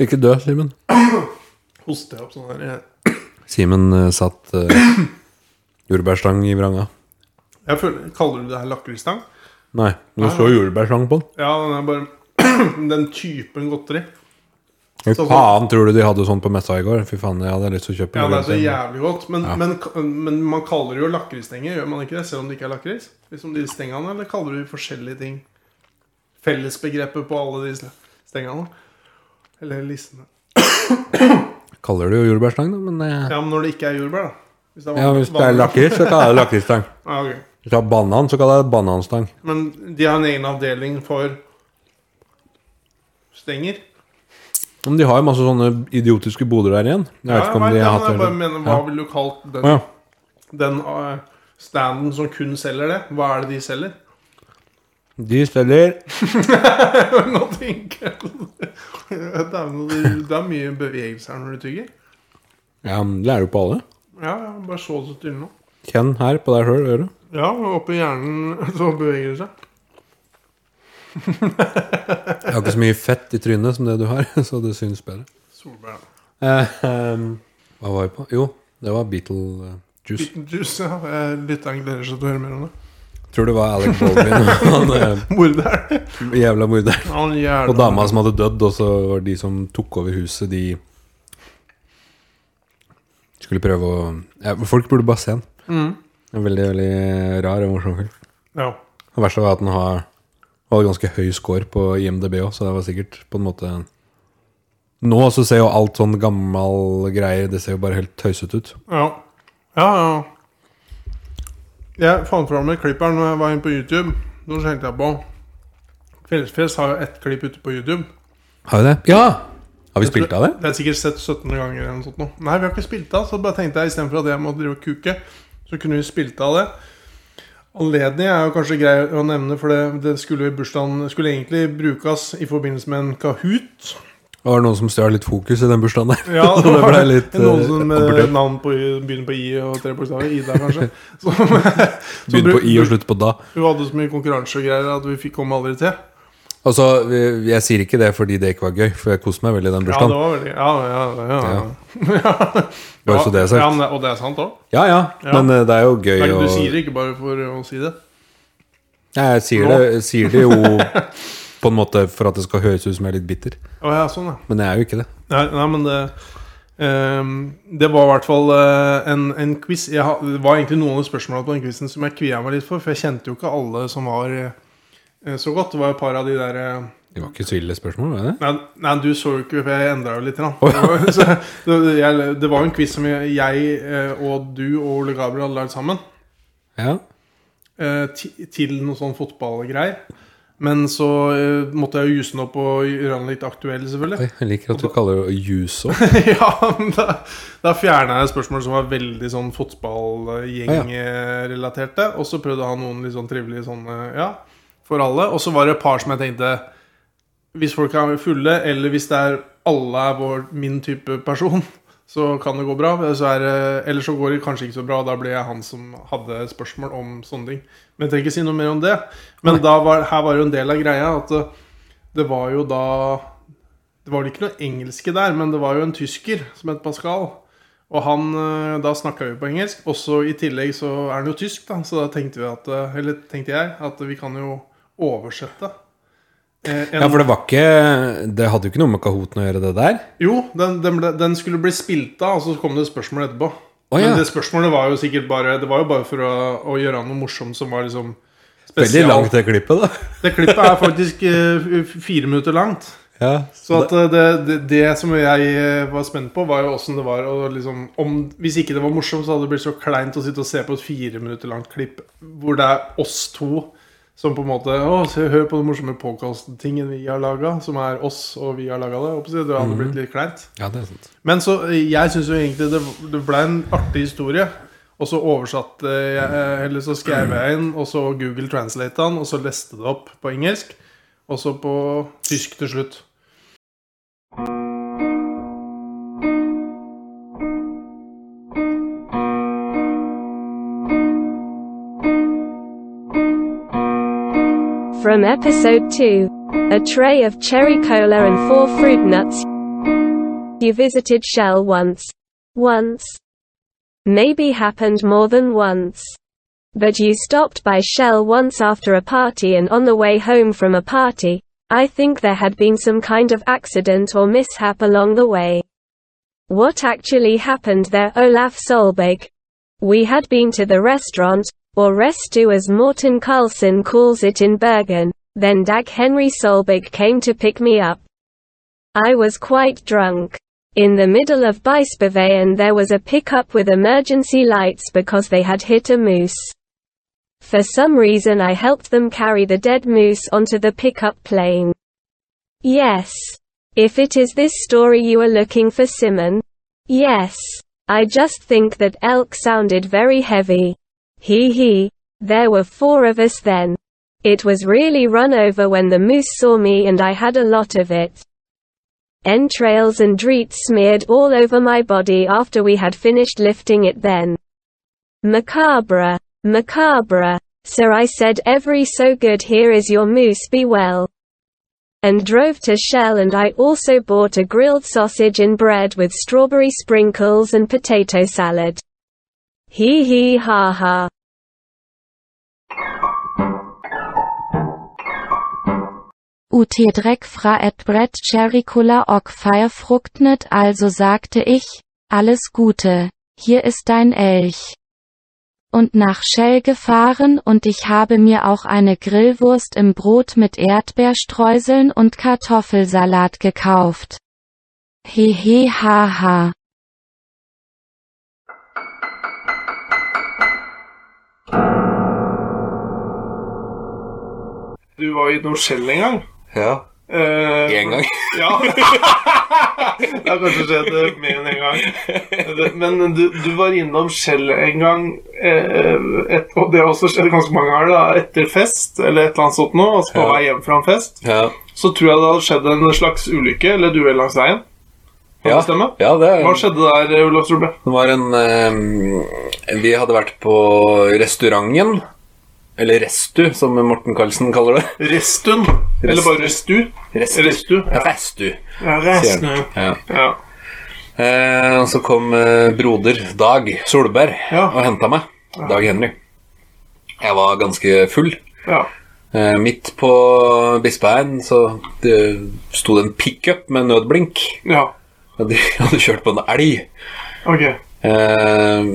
[SPEAKER 2] Ikke dø, Simen.
[SPEAKER 1] hoster jeg opp sånn her. Jeg,
[SPEAKER 2] Simen eh, satt eh, jordbærstang i vranga.
[SPEAKER 1] jeg føler, Kaller du det her lakrisstang?
[SPEAKER 2] Nei, men det står jordbærstang på den.
[SPEAKER 1] Ja, den er bare den typen godteri.
[SPEAKER 2] Hva faen tror du de hadde sånn på messa i går? Fy faen, jeg hadde lyst til å kjøpe
[SPEAKER 1] Ja, det er så
[SPEAKER 2] den.
[SPEAKER 1] jævlig godt. Men, men, men man kaller det jo lakrisstenger, gjør man ikke det? Selv om det ikke er lakris? Liksom de stengene, eller kaller du de forskjellige ting? Fellesbegrepet på alle de stengene? Eller lissene?
[SPEAKER 2] Kaller du jo jordbærstang, da, men eh,
[SPEAKER 1] Ja, men når det ikke er jordbær, da? Hvis det er,
[SPEAKER 2] ja,
[SPEAKER 1] van-
[SPEAKER 2] Hvis det er
[SPEAKER 1] van-
[SPEAKER 2] lakris, så kaller jeg det lakrisstang.
[SPEAKER 1] Ja, ok.
[SPEAKER 2] Hvis du har banan, så kaller jeg det bananstang.
[SPEAKER 1] Men de har en egen avdeling for stenger.
[SPEAKER 2] Men de har jo masse sånne idiotiske boder der igjen. Jeg vet
[SPEAKER 1] Ja,
[SPEAKER 2] ikke om
[SPEAKER 1] vet
[SPEAKER 2] de
[SPEAKER 1] det,
[SPEAKER 2] har
[SPEAKER 1] men
[SPEAKER 2] hatt
[SPEAKER 1] jeg
[SPEAKER 2] det.
[SPEAKER 1] bare mener, Hva
[SPEAKER 2] Ja.
[SPEAKER 1] ville du kalt den,
[SPEAKER 2] Ja.
[SPEAKER 1] den eh, standen som kun selger det? Hva er det de selger?
[SPEAKER 2] De selger
[SPEAKER 1] Nå tenker jeg på det. Det er, noe, det er mye bevegelse her når du tygger.
[SPEAKER 2] Ja, men det er jo på alle.
[SPEAKER 1] Ja, ja, bare så det til nå.
[SPEAKER 2] Kjenn her på deg sjøl øret.
[SPEAKER 1] Ja, oppi hjernen så beveger det seg.
[SPEAKER 2] Jeg har ikke så mye fett i trynet som det du har, så det syns bedre.
[SPEAKER 1] Solbær. ja.
[SPEAKER 2] Eh, ehm, hva var vi på? Jo, det var Beatle eh, Juice.
[SPEAKER 1] Bitten juice, ja. Eh, Lytteren gleder seg til å høre mer om det.
[SPEAKER 2] Tror det var Alec Baldwin og han eh,
[SPEAKER 1] Morderen.
[SPEAKER 2] jævla morderen.
[SPEAKER 1] Han jævla
[SPEAKER 2] Og dama som hadde dødd, og så var de som tok over huset, de skulle prøve å ja, Folk burde bare se den. En veldig, veldig rar og morsom film.
[SPEAKER 1] Ja.
[SPEAKER 2] Det verste var at den har hadde ganske høy score på IMDb òg, så det var sikkert på en måte Nå så ser jo alt sånn gammel greier Det ser jo bare helt tøysete ut.
[SPEAKER 1] Ja, ja. ja. Jeg fant fram et klipp her når jeg var inne på YouTube. Nå tenkte jeg på Kveldsfjes har jo ett klipp ute på YouTube.
[SPEAKER 2] Har vi det? Ja! Har vi spilt av det?
[SPEAKER 1] Det er sikkert sett 17 ganger eller noe sånt nå. Nei, vi har ikke spilt av, så bare tenkte jeg istedenfor at jeg må drive og kuke, så kunne vi spilt av det. Anledning er jo kanskje grei å nevne, for det, det skulle jo i bursdagen Skulle egentlig brukes i forbindelse med en Kahoot.
[SPEAKER 2] Det var noen som stjal litt fokus i den bursdagen der.
[SPEAKER 1] Ja,
[SPEAKER 2] Så det ble litt
[SPEAKER 1] Noen
[SPEAKER 2] eh,
[SPEAKER 1] som eh,
[SPEAKER 2] komfortabelt.
[SPEAKER 1] navn på, begynner på I og tre bokstaver. Ida, kanskje. Som, som
[SPEAKER 2] Begynte på
[SPEAKER 1] bruk-
[SPEAKER 2] I og slutt på da.
[SPEAKER 1] Hun hadde så mye konkurranse og greier at vi fikk komme aldri til.
[SPEAKER 2] Altså, vi- jeg sier ikke det fordi det ikke var gøy, for jeg koste meg veldig
[SPEAKER 1] Ja,
[SPEAKER 2] den
[SPEAKER 1] det
[SPEAKER 2] bursdagen.
[SPEAKER 1] var veldig Ja, ja, ja. ja.
[SPEAKER 2] Bare så det er
[SPEAKER 1] Ja,
[SPEAKER 2] sagt.
[SPEAKER 1] men, og det er sant òg.
[SPEAKER 2] Ja ja,
[SPEAKER 1] Ja.
[SPEAKER 2] men eh, det er jo gøy å
[SPEAKER 1] Du sier det ikke bare for å si det.
[SPEAKER 2] Ja, Jeg sier det, jeg sier det jo på en måte for at det skal høres ut som jeg er litt bitter,
[SPEAKER 1] Å ja, sånn, ja.
[SPEAKER 2] men jeg er jo ikke det.
[SPEAKER 1] Nei, nei men det ehm, Det var i hvert fall eh, en, en quiz. Jeg ha, det var egentlig noen av spørsmålene på den quizen som jeg kvia meg litt for, for jeg kjente jo ikke alle som var eh, så godt. Det var et par av de der eh,
[SPEAKER 2] Det var ikke så ille spørsmål, var det?
[SPEAKER 1] Nei, nei, du så jo ikke, for jeg endra jo litt. Da. Det, var, så, det, jeg, det var jo en quiz som jeg, jeg eh, og du og Ole Gabriel hadde lagd sammen.
[SPEAKER 2] Ja.
[SPEAKER 1] eh, ti- til noe sånn fotballgreier. Men så eh, måtte jeg jo jusse den opp og gjøre den litt aktuell, selvfølgelig.
[SPEAKER 2] Oi, jeg liker at du kaller det juso.
[SPEAKER 1] ja, men da, da fjerna jeg spørsmål som var veldig sånn fotballgjengrelaterte. Og så prøvde jeg å ha noen litt sånn trivelige sånne, ja, for alle. Og så var det et par som jeg tenkte Hvis folk er fulle, eller hvis det er alle er vår, min type person, så kan det gå bra. Så er, det- eller så går det kanskje ikke så bra, og da ble jeg han som hadde spørsmål om sånne ting. Men jeg trenger ikke si noe mer om det. Men da var, her var jo en del av greia at eh, det var jo da det var vel ikke noe engelske der, men det var jo en tysker som het Pascal. Og han, eh, da snakka vi på engelsk. Også i tillegg så er han jo tysk, da. Så da tenkte vi at eh, Eller tenkte jeg at vi kan jo oversette. Eh, en-
[SPEAKER 2] Ja, for det var ikke Det hadde jo ikke noe med Kahooten å gjøre, det der.
[SPEAKER 1] Jo, den, den, ble, den skulle bli spilt av, og så kom det et spørsmål etterpå.
[SPEAKER 2] Å, ja.
[SPEAKER 1] Men det spørsmålet var jo sikkert bare Det var jo bare for å, å gjøre noe morsomt som var liksom
[SPEAKER 2] Veldig
[SPEAKER 1] spesial.
[SPEAKER 2] langt, det klippet, da.
[SPEAKER 1] Det klippet er faktisk eh, f- fire minutter langt.
[SPEAKER 2] Ja.
[SPEAKER 1] Så at eh, det, det, det som jeg eh, var spent på, var jo åssen det var å liksom om, Hvis ikke det var morsomt, så hadde det blitt så kleint å sitte og se på et fire minutter langt klipp hvor det er oss to som på en måte Å, se, hør på den morsomme podcast-tingen vi har laga, som er oss, og vi har laga det. Håper jeg. Det hadde
[SPEAKER 2] Mm.
[SPEAKER 1] blitt litt kleint.
[SPEAKER 2] ja, det er sant.
[SPEAKER 1] Men så eh, jeg syns jo egentlig det, det ble en artig historie. Og så oversatte jeg eh, Eller så skrev jeg inn, og så Google translate den, og så leste det opp på engelsk. Og så på tysk til slutt.
[SPEAKER 7] From episode 2. A tray of cherry cola and four fruit nuts. You visited Shell once. Once. Maybe happened more than once. But you stopped by Shell once after a party and on the way home from a party. I think there had been some kind of accident or mishap along the way. What actually happened there, Olaf Solberg? We had been to the restaurant, or restu as Morten Carlsen calls it in Bergen, then Dag Henry Solberg came to pick me up. I was quite drunk. In the middle of Beispeveien there was a pickup with emergency lights because they had hit a moose. For some reason I helped them carry the dead moose onto the pickup plane. Yes. If it is this story you are looking for Simon? Yes. I just think that elk sounded very heavy. Hee hee. There were four of us then. It was really run over when the moose saw me and I had a lot of it. Entrails and dreet smeared all over my body after we had finished lifting it then. Macabre. Macabre. Sir I said every so good here is your moose be well. And drove to Shell and I also bought a grilled sausage in bread with strawberry sprinkles and potato salad. Hee hee ha ha.
[SPEAKER 8] Ut Dreck fra et Brett Chericula och Feierfruchtnet also sagte ich, alles Gute, hier ist dein Elch. Und nach Shell gefahren und ich habe mir auch eine Grillwurst im Brot mit Erdbeerstreuseln und Kartoffelsalat gekauft. Hehe haha.
[SPEAKER 9] Du var i noe skjell en gang.
[SPEAKER 2] Ja.
[SPEAKER 9] Eh,
[SPEAKER 2] En gang.
[SPEAKER 9] Ja. det har kanskje skjedd eh, mer enn en gang. Det- Men du, du var innom Skjell en gang, eh, et, og det har også skjedd ganske mange ganger, da, etter fest eller et eller annet sånt nå, altså på
[SPEAKER 2] Ja.
[SPEAKER 9] vei hjem fra en fest,
[SPEAKER 2] Ja.
[SPEAKER 9] så tror jeg det hadde skjedd en slags ulykke eller duell langs veien. Kan
[SPEAKER 2] Ja.
[SPEAKER 9] det stemme?
[SPEAKER 2] ja, det
[SPEAKER 9] Hva skjedde der, Olav Solberg?
[SPEAKER 2] Det var en eh, Vi hadde vært på restauranten. Eller Restu, som Morten Karlsen kaller det.
[SPEAKER 9] Restun? Eller bare Restu?
[SPEAKER 2] Restu.
[SPEAKER 9] Restu, ja.
[SPEAKER 2] Restu.
[SPEAKER 9] Ja,
[SPEAKER 2] sier
[SPEAKER 9] resten,
[SPEAKER 2] han.
[SPEAKER 9] ja.
[SPEAKER 2] Ja.
[SPEAKER 9] Ja.
[SPEAKER 2] Eh, og så kom eh, broder Dag Solberg
[SPEAKER 9] Ja.
[SPEAKER 2] og henta meg. Dag Henry. Jeg var ganske full.
[SPEAKER 9] Ja.
[SPEAKER 2] Eh, midt på Bispeheien så det sto det en pickup med nødblink.
[SPEAKER 9] ja.
[SPEAKER 2] Og de hadde kjørt på en elg.
[SPEAKER 9] Ok.
[SPEAKER 2] Eh,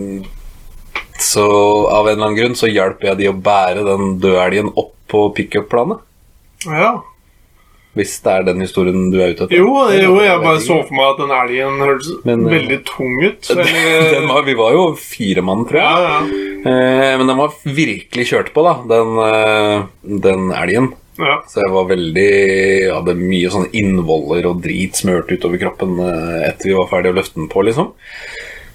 [SPEAKER 2] så av en eller annen grunn så hjalp jeg de å bære den døde elgen opp på pickup-planet.
[SPEAKER 9] Ja.
[SPEAKER 2] Hvis det er den historien du er ute etter.
[SPEAKER 9] Jo, jo, jeg bare så for meg at den elgen hørtes
[SPEAKER 2] Men, eh,
[SPEAKER 9] veldig tung ut.
[SPEAKER 2] den var, vi var jo fire mann, tror jeg.
[SPEAKER 9] Ja, ja.
[SPEAKER 2] Eh, men den var virkelig kjørt på, da, den, eh, den elgen.
[SPEAKER 9] Ja.
[SPEAKER 2] Så jeg var veldig hadde mye sånn innvoller og drit smurt utover kroppen eh, etter vi var ferdig å løfte den på, liksom.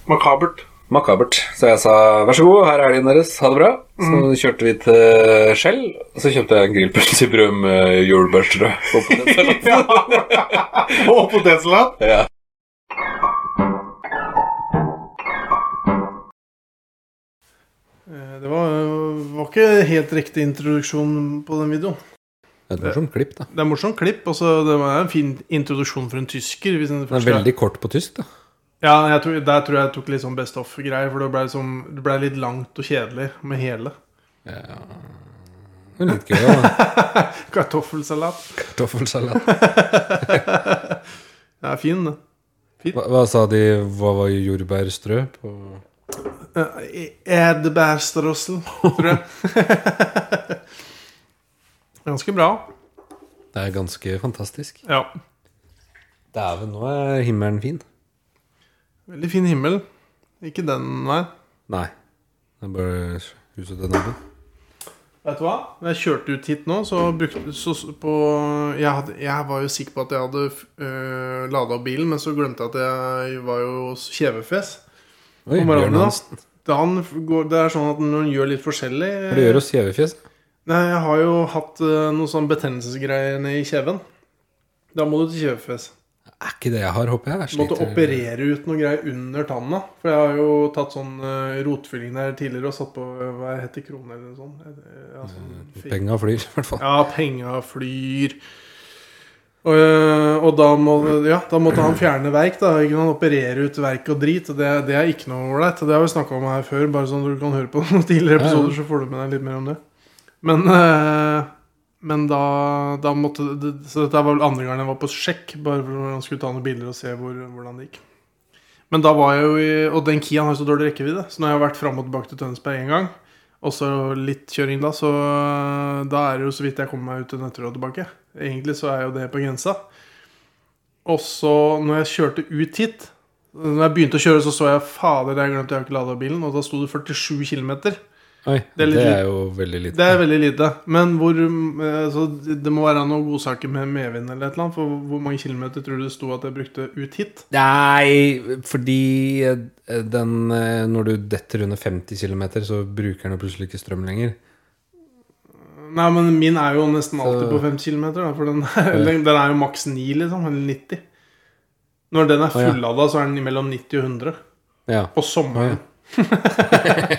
[SPEAKER 9] Makabert.
[SPEAKER 2] Makabert. Så jeg sa vær så god, her er elgen deres, ha det bra. Så
[SPEAKER 9] Mm.
[SPEAKER 2] kjørte vi til Skjell, og så kjøpte jeg en grillpølse i brød med jordbærstrø. Og potetsalat.
[SPEAKER 9] Ja. Og potetsalat.
[SPEAKER 2] Ja.
[SPEAKER 1] Eh, Det var, var ikke helt riktig introduksjon på den videoen.
[SPEAKER 2] Det er et morsomt klipp, da.
[SPEAKER 1] Det er morsomt klipp. Altså, det er en fin introduksjon for en tysker. Hvis den
[SPEAKER 2] Den er veldig kort på tysk, da.
[SPEAKER 1] Ja, jeg tror, Der tror jeg jeg tok litt sånn best off-greier, for det ble, som, det ble litt langt og kjedelig med hele.
[SPEAKER 2] Men litt gøy, da.
[SPEAKER 1] Kartoffelsalat.
[SPEAKER 2] Kartoffelsalat.
[SPEAKER 1] Det er fin, det.
[SPEAKER 2] Hva, hva sa de, hva var jordbærstrø på
[SPEAKER 1] Eh, Edbærstrøssel, tror jeg. Ganske bra.
[SPEAKER 2] Det er ganske fantastisk.
[SPEAKER 1] Ja.
[SPEAKER 2] Dæven, nå er himmelen fin.
[SPEAKER 1] Veldig fin himmel. Ikke den, nei.
[SPEAKER 2] Nei. Det er bare huset til naboen.
[SPEAKER 1] Vet du hva? Når jeg kjørte ut hit nå, så brukte så, så- på, jeg, hadde, jeg var jo sikker på at jeg hadde øh, lada opp bilen, men så glemte jeg at jeg var jo hos kjevefjes.
[SPEAKER 2] Oi,
[SPEAKER 1] På
[SPEAKER 2] Bjørn
[SPEAKER 1] morgenen, da.
[SPEAKER 2] Hansen.
[SPEAKER 1] Da han f- går, det er sånn at når han gjør litt forskjellig
[SPEAKER 2] Hva er det du gjør hos Gjevefjes?
[SPEAKER 1] Nei, jeg har jo hatt øh, noen sånn betennelsesgreier nede i kjeven. Da må du til kjevefjes.
[SPEAKER 2] Er ikke det jeg har, håper jeg. jeg.
[SPEAKER 1] Måtte
[SPEAKER 2] sliter.
[SPEAKER 1] operere ut noe greier under tanna. For jeg har jo tatt sånn øh, rotfylling der tidligere og satt på øh, hva heter krone eller eh, noe sånt. Eh, Ja, sånn,
[SPEAKER 2] Penga flyr, i hvert fall.
[SPEAKER 1] Ja, penga flyr. Og, øh, og da, må, ja, da måtte han fjerne verk. da ikke? Han opererer ut verk og drit. og Det, det er ikke noe ålreit. Det har vi snakka om her før. Bare sånn du kan høre på noen tidligere
[SPEAKER 2] Ja, ja.
[SPEAKER 1] episoder, så får du med deg litt mer om det. Men, øh, men da, da måtte det- Så dette var vel andre gangen jeg var på sjekk. Bare for han skulle ta noen bilder og se hvor, hvordan det gikk. Men da var jeg jo i Og den Kiaen har jo så dårlig rekkevidde, så nå har jeg vært fram og tilbake til Tønsberg én gang. Og så litt kjøring da, så eh, da er det jo så vidt jeg kommer meg ut til Nøtterøy og tilbake. Egentlig så er jo det på grensa. Og så, når jeg kjørte ut hit Når jeg begynte å kjøre, så så jeg fader, jeg glemte jeg har ikke lada bilen. Og da sto det 47 km.
[SPEAKER 2] Oi,
[SPEAKER 1] Det er litt
[SPEAKER 2] det
[SPEAKER 1] litt-
[SPEAKER 2] er jo veldig lite.
[SPEAKER 1] Det er veldig lite. Men hvor eh, Så det må være noen godsaker med medvind eller et eller annet. For hvor mange kilometer tror du det sto at jeg brukte ut hit?
[SPEAKER 2] Nei, fordi eh, den eh, Når du detter under 50 km, så bruker den jo plutselig ikke strøm lenger.
[SPEAKER 1] Nei, men min er jo nesten alltid
[SPEAKER 2] Så-
[SPEAKER 1] på 5 km, for den er, den, den er jo maks 9, liksom. Eller 90. Når den er
[SPEAKER 2] Å, ja.
[SPEAKER 1] fullada, så er den mellom 90 og 100.
[SPEAKER 2] Ja.
[SPEAKER 1] På sommeren.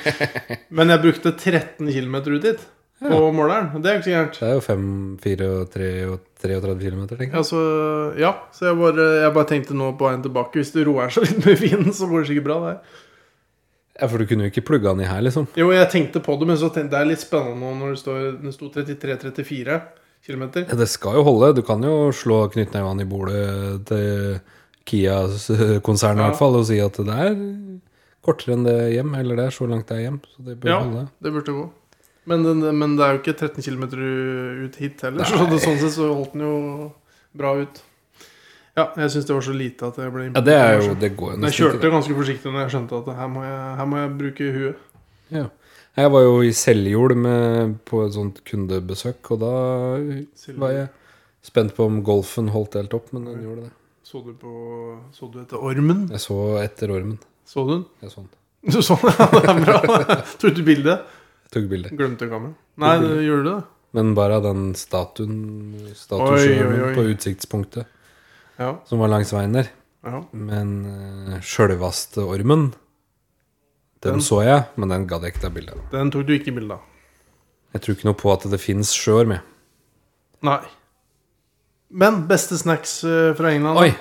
[SPEAKER 1] men jeg brukte 13 km ut dit. På måleren. Det er jo ikke så gærent.
[SPEAKER 2] Det er jo 5, 4 og 3 og 33 km, tenker jeg.
[SPEAKER 1] Altså, ja, så jeg bare, jeg bare tenkte nå på veien tilbake Hvis du roer seg litt med vinden, så går det sikkert bra. det her.
[SPEAKER 2] Ja, for du kunne jo ikke plugga den i her, liksom.
[SPEAKER 1] Jo, jeg tenkte på det, men så tenkte jeg det er litt spennende nå når det står, den sto 33-34 km.
[SPEAKER 2] Ja, det skal jo holde. Du kan jo slå knyttneven i bordet til Kia-konsernet i
[SPEAKER 1] Ja.
[SPEAKER 2] hvert fall og si at det er kortere enn det er hjem, eller det er så langt det er hjem. Så det bør
[SPEAKER 1] Ja,
[SPEAKER 2] holde.
[SPEAKER 1] det burde gå. Men, den, men det er jo ikke 13 km ut hit heller, så det, sånn sett så holdt den jo bra ut. Ja, jeg syns det var så lite at jeg ble
[SPEAKER 2] Ja, det er jo Det går jo
[SPEAKER 1] Men Jeg
[SPEAKER 2] nesten
[SPEAKER 1] kjørte
[SPEAKER 2] ikke.
[SPEAKER 1] ganske forsiktig når jeg skjønte at her må jeg, her må jeg bruke huet.
[SPEAKER 2] Ja. Jeg var jo i Seljord med, på et sånt kundebesøk, og da var jeg spent på om golfen holdt helt opp, men den gjorde det.
[SPEAKER 1] Så du, på, så du etter ormen?
[SPEAKER 2] Jeg så etter ormen.
[SPEAKER 1] Så du den?
[SPEAKER 2] Jeg så den.
[SPEAKER 1] Du så den? Ja, det er bra. Tok du bilde?
[SPEAKER 2] Jeg tok bilde.
[SPEAKER 1] Glemte kameraet. Nei,
[SPEAKER 2] Tok
[SPEAKER 1] det,
[SPEAKER 2] bilde.
[SPEAKER 1] gjorde du det?
[SPEAKER 2] Men bare av den statuen,
[SPEAKER 1] Oi, oi,
[SPEAKER 2] statueskjermen
[SPEAKER 1] oi.
[SPEAKER 2] på utsiktspunktet
[SPEAKER 1] Ja.
[SPEAKER 2] som var langs veien der.
[SPEAKER 1] ja.
[SPEAKER 2] Men uh, sjølvaste ormen, den,
[SPEAKER 1] Den-
[SPEAKER 2] så jeg, men den gadd jeg ikke ta bilde av.
[SPEAKER 1] Den tok du ikke bilde av.
[SPEAKER 2] Jeg tror ikke noe på at det fins sjøorm. jeg.
[SPEAKER 1] Nei. Men beste snacks eh, fra England?
[SPEAKER 2] Oi!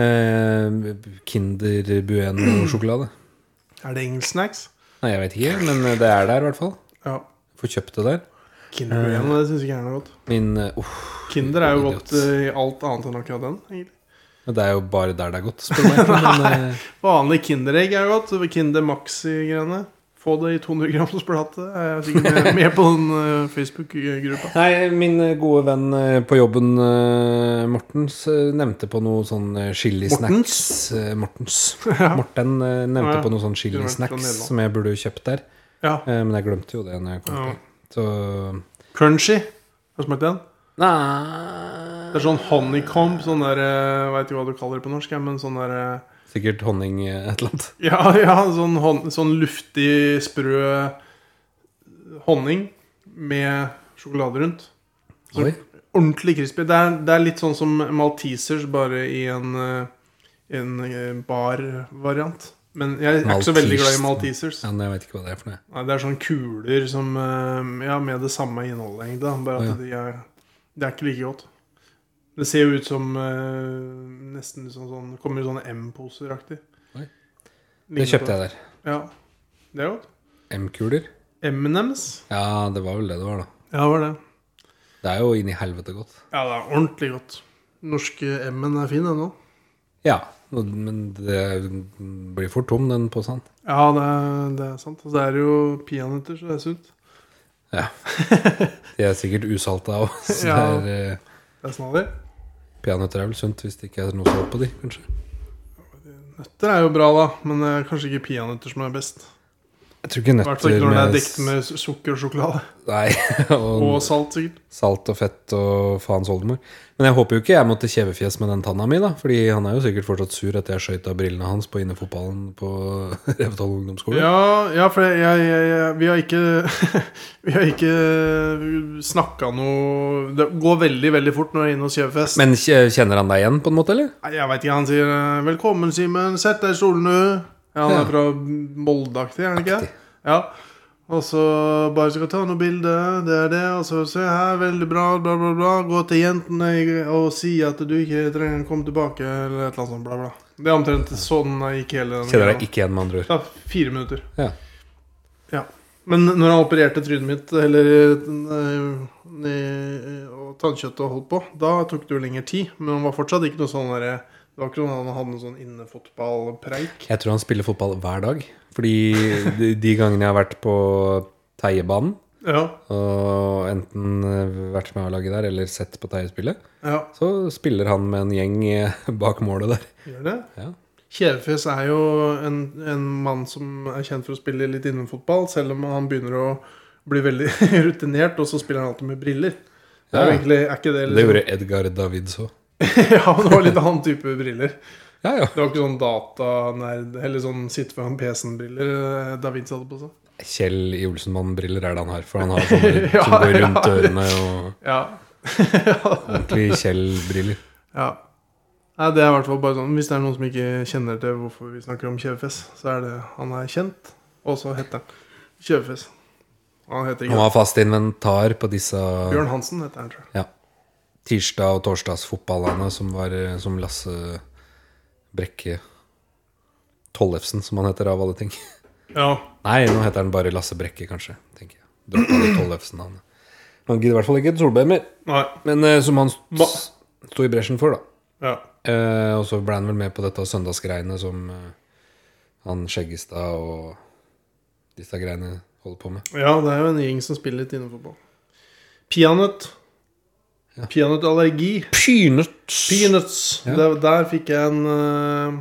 [SPEAKER 2] Eh, Kinder Bueno-sjokolade.
[SPEAKER 1] Er det engelsk snacks?
[SPEAKER 2] Nei, jeg veit ikke, men eh, det er der i hvert fall.
[SPEAKER 1] Ja.
[SPEAKER 2] Får kjøpt det der.
[SPEAKER 1] Kinder Bueno, det syns ikke jeg er noe godt.
[SPEAKER 2] Min eh, uff,
[SPEAKER 1] Kinder er jo
[SPEAKER 2] idiot.
[SPEAKER 1] godt eh, i alt annet enn akkurat den. egentlig.
[SPEAKER 2] Det er jo bare der det er godt, spør du meg. Men, eh,
[SPEAKER 1] Vanlig Kinderegg er godt. Kinder Maxi-greiene. Få det i 200 grams plate. Jeg er sikkert med, med på den eh, Facebook-gruppa.
[SPEAKER 2] Nei, min gode venn eh, på jobben, eh, Mortens, eh, nevnte på noe sånn eh, chilisnacks. Eh, Mortens? Morten eh, nevnte
[SPEAKER 1] Ja, ja.
[SPEAKER 2] på noe sånn
[SPEAKER 1] Kunne vært fra
[SPEAKER 2] chilisnacks
[SPEAKER 1] Nederland.
[SPEAKER 2] som jeg burde kjøpt der.
[SPEAKER 1] Ja.
[SPEAKER 2] Eh, men jeg glemte jo det når jeg kom
[SPEAKER 1] Ja.
[SPEAKER 2] til. Så
[SPEAKER 1] Crunchy. Har du smakt den?
[SPEAKER 2] Nei.
[SPEAKER 1] Det er sånn honeycomb. Sånn der eh, Veit ikke hva du kaller det på norsk, jeg, men sånn der eh,
[SPEAKER 2] Sikkert honning eh, et eller annet.
[SPEAKER 1] Ja, ja sånn, hon, sånn luftig, sprø honning med sjokolade rundt. Så-
[SPEAKER 2] Oi.
[SPEAKER 1] Ordentlig crispy. Det er, det er litt sånn som Maltesers, bare i en, eh, en eh, bar-variant. Men jeg er ikke så veldig glad i Maltesers.
[SPEAKER 2] Ja, men jeg vet ikke hva det er for noe.
[SPEAKER 1] Nei, det er sånne kuler som eh, Ja, med det samme innholdet, egentlig. da. Bare at de er Det er ikke like godt. Det ser jo ut som eh, Nesten ut som sånn Kommer i sånne M-poser-aktig.
[SPEAKER 2] Oi. Det kjøpte jeg der.
[SPEAKER 1] Ja. Det er godt.
[SPEAKER 2] M-kuler.
[SPEAKER 1] M&M's.
[SPEAKER 2] Ja, det var vel det det var, da.
[SPEAKER 1] Ja, var det.
[SPEAKER 2] Det er jo inni helvete godt.
[SPEAKER 1] Ja, det er ordentlig godt. Norske M-en er fin, den òg.
[SPEAKER 2] Ja, men det blir fort tom, den posen.
[SPEAKER 1] Ja, det er, det er sant. Og så er det jo peanøtter, så det er sunt.
[SPEAKER 2] Ja. De er sikkert usalta òg, så
[SPEAKER 1] Ja.
[SPEAKER 2] det er eh,
[SPEAKER 1] Det er snarlig.
[SPEAKER 2] Peanøtter er vel sunt hvis det ikke er noe salt på de, kanskje.
[SPEAKER 1] Nøtter er jo bra, da, men det er kanskje ikke peanøtter som er best.
[SPEAKER 2] Jeg tror ikke
[SPEAKER 1] I hvert fall ikke
[SPEAKER 2] nøtter
[SPEAKER 1] når det er
[SPEAKER 2] med, Sånn
[SPEAKER 1] dekt med su- sukker og sjokolade.
[SPEAKER 2] Nei, og,
[SPEAKER 1] Og salt, sikkert.
[SPEAKER 2] salt og fett og faens oldemor. Men jeg håper jo ikke jeg måtte kjevefjes med den tanna mi, da. Fordi han er jo sikkert fortsatt sur etter jeg skøyt av brillene hans på innefotballen på Revetal ungdomsskole.
[SPEAKER 1] Ja, ja for jeg, jeg, jeg, vi har ikke Vi har ikke snakka noe Det går veldig, veldig fort når jeg er inne hos Kjevefest.
[SPEAKER 2] Men kje- kjenner han deg igjen, på en måte, eller?
[SPEAKER 1] Nei, Jeg veit ikke. Han sier eh, 'Velkommen, Simen. Sett deg i stolen, du'. Ja, han
[SPEAKER 2] Ja.
[SPEAKER 1] er fra Molde-aktig, er han ikke? det? Ja. Og så bare skal ta noe bilde, det er det, og så se her, veldig bra, bla, bla, bla. Gå til jentene i- og si at du ikke trenger å komme tilbake, eller et eller annet sånt, bla, bla. Det er omtrent sånn jeg gikk hele den
[SPEAKER 2] Kjenner deg
[SPEAKER 1] greia.
[SPEAKER 2] ikke igjen, med
[SPEAKER 1] Det
[SPEAKER 2] andre ord.
[SPEAKER 1] tar fire minutter.
[SPEAKER 2] Ja.
[SPEAKER 1] Ja. Men når han opererte trynet mitt, eller eh, eh, og tannkjøttet og holdt på, da tok det jo lengre tid. Men han var fortsatt ikke noe sånn derre Det var ikke noe han hadde noe sånn innefotballpreik.
[SPEAKER 2] Jeg tror han spiller fotball hver dag. Fordi de, de gangene jeg har vært på Teiebanen,
[SPEAKER 1] Ja,
[SPEAKER 2] og enten eh, vært med A-laget der eller sett på Teiespillet,
[SPEAKER 1] ja.
[SPEAKER 2] så spiller han med en gjeng eh, bak målet der.
[SPEAKER 1] Gjør det?
[SPEAKER 2] Ja.
[SPEAKER 1] Kjevefjes er jo en, en mann som er kjent for å spille litt innenfotball, selv om han begynner å bli veldig rutinert, og så spiller han alltid med briller. Det er jo
[SPEAKER 2] Ja.
[SPEAKER 1] egentlig, er ikke det
[SPEAKER 2] Det
[SPEAKER 1] liksom
[SPEAKER 2] gjorde Edgar Davids òg.
[SPEAKER 1] Ja, men det var litt annen type briller.
[SPEAKER 2] Ja, ja.
[SPEAKER 1] Det var ikke sånn datanerd, eller sånn sitte foran PC-en-briller eh, Davids hadde på seg.
[SPEAKER 2] Kjell i Olsenmann-briller er det han har. For han har sånne
[SPEAKER 1] Ja,
[SPEAKER 2] som går rundt
[SPEAKER 1] ja.
[SPEAKER 2] ørene, og
[SPEAKER 1] Ja.
[SPEAKER 2] ordentlig Kjell-briller.
[SPEAKER 1] ja. Nei, det er i hvert fall bare sånn Hvis det er noen som ikke kjenner til hvorfor vi snakker om kjevefjes, så er det han er kjent, og så heter han Kjevefjes. Han heter
[SPEAKER 2] Han
[SPEAKER 1] ikke
[SPEAKER 2] har fast inventar på disse
[SPEAKER 1] Bjørn Hansen, heter han, tror jeg.
[SPEAKER 2] ja, tirsdag- og torsdagsfotballene som var eh, som Lasse Brekke Tollefsen, som han heter av alle ting.
[SPEAKER 1] Ja.
[SPEAKER 2] Nei, nå heter han bare Lasse Brekke, kanskje. tenker jeg. Droppa det Tollefsen-navnet. Han gidder i hvert fall ikke Solbeimer,
[SPEAKER 1] Nei.
[SPEAKER 2] men eh, som han
[SPEAKER 1] Ma-
[SPEAKER 2] s- sto i bresjen for, da.
[SPEAKER 1] Ja.
[SPEAKER 2] Eh, og så ble han vel med på dette søndagsgreiene som eh, han Skjeggestad og disse greiene holder på med.
[SPEAKER 1] ja, det er jo en gjeng som spiller litt innenfotball. Peanøtt. Peanøttallergi.
[SPEAKER 2] Pynet!
[SPEAKER 1] Peanuts.
[SPEAKER 2] Ja.
[SPEAKER 1] Der, der fikk jeg en eh,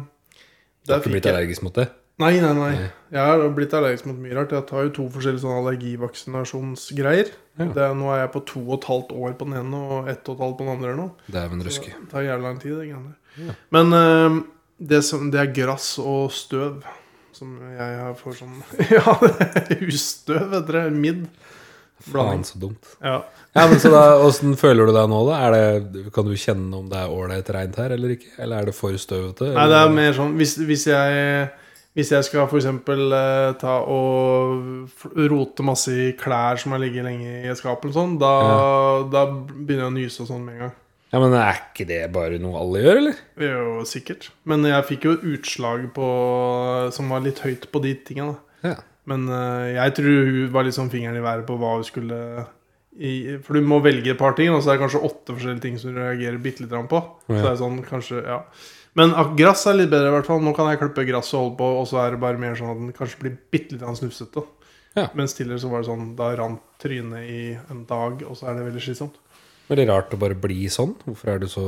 [SPEAKER 2] Du har
[SPEAKER 1] Der
[SPEAKER 2] ikke
[SPEAKER 1] fikk
[SPEAKER 2] blitt
[SPEAKER 1] jeg
[SPEAKER 2] allergisk mot det?
[SPEAKER 1] Nei, nei, nei. Jeg har blitt allergisk mot mye rart. Jeg tar jo to forskjellige sånne allergivaksinasjonsgreier.
[SPEAKER 2] Ja.
[SPEAKER 1] Det er, nå er jeg på to og et halvt år på den ene og ett og et halvt på den andre. eller noe.
[SPEAKER 2] Dæven ruske.
[SPEAKER 1] Det tar jævlig lang tid, det greiene der. Men eh, det, som, det er grass og støv. Som jeg har- får sånn Ja, husstøv heter det. Midd.
[SPEAKER 2] Faen, så dumt.
[SPEAKER 1] Ja.
[SPEAKER 2] Ja, men så da, Åssen føler du deg nå, da? Er det, kan du kjenne om det er ålreit rent her eller ikke? Eller er det for støvete?
[SPEAKER 1] Nei, det
[SPEAKER 2] eller?
[SPEAKER 1] er mer sånn Hvis, hvis jeg hvis jeg skal f.eks. Eh, ta og f- rote masse i klær som har ligget lenge i skapet, og sånn, da, da begynner jeg å nyse og sånn med en gang.
[SPEAKER 2] Ja, men Er ikke det bare noe alle gjør, eller?
[SPEAKER 1] Det er Jo, sikkert. Men jeg fikk jo utslag på som var litt høyt på de tinga. da.
[SPEAKER 2] Ja.
[SPEAKER 1] Men eh, jeg tror hun var litt sånn fingeren i været på hva hun skulle i, For du må velge et par ting, og så er det kanskje åtte forskjellige ting som du reagerer bitte litt på. Så
[SPEAKER 2] Ja.
[SPEAKER 1] det er sånn, kanskje, ja Men ak- grass er litt bedre, i hvert fall. Nå kan jeg klippe gress og holde på, og så er det bare mer sånn at den kanskje blir bitte litt snufsete.
[SPEAKER 2] Ja.
[SPEAKER 1] Mens tidligere så var det sånn da rant trynet i en dag, og så er det veldig slitsomt.
[SPEAKER 2] Veldig rart å bare bli sånn. Hvorfor er du så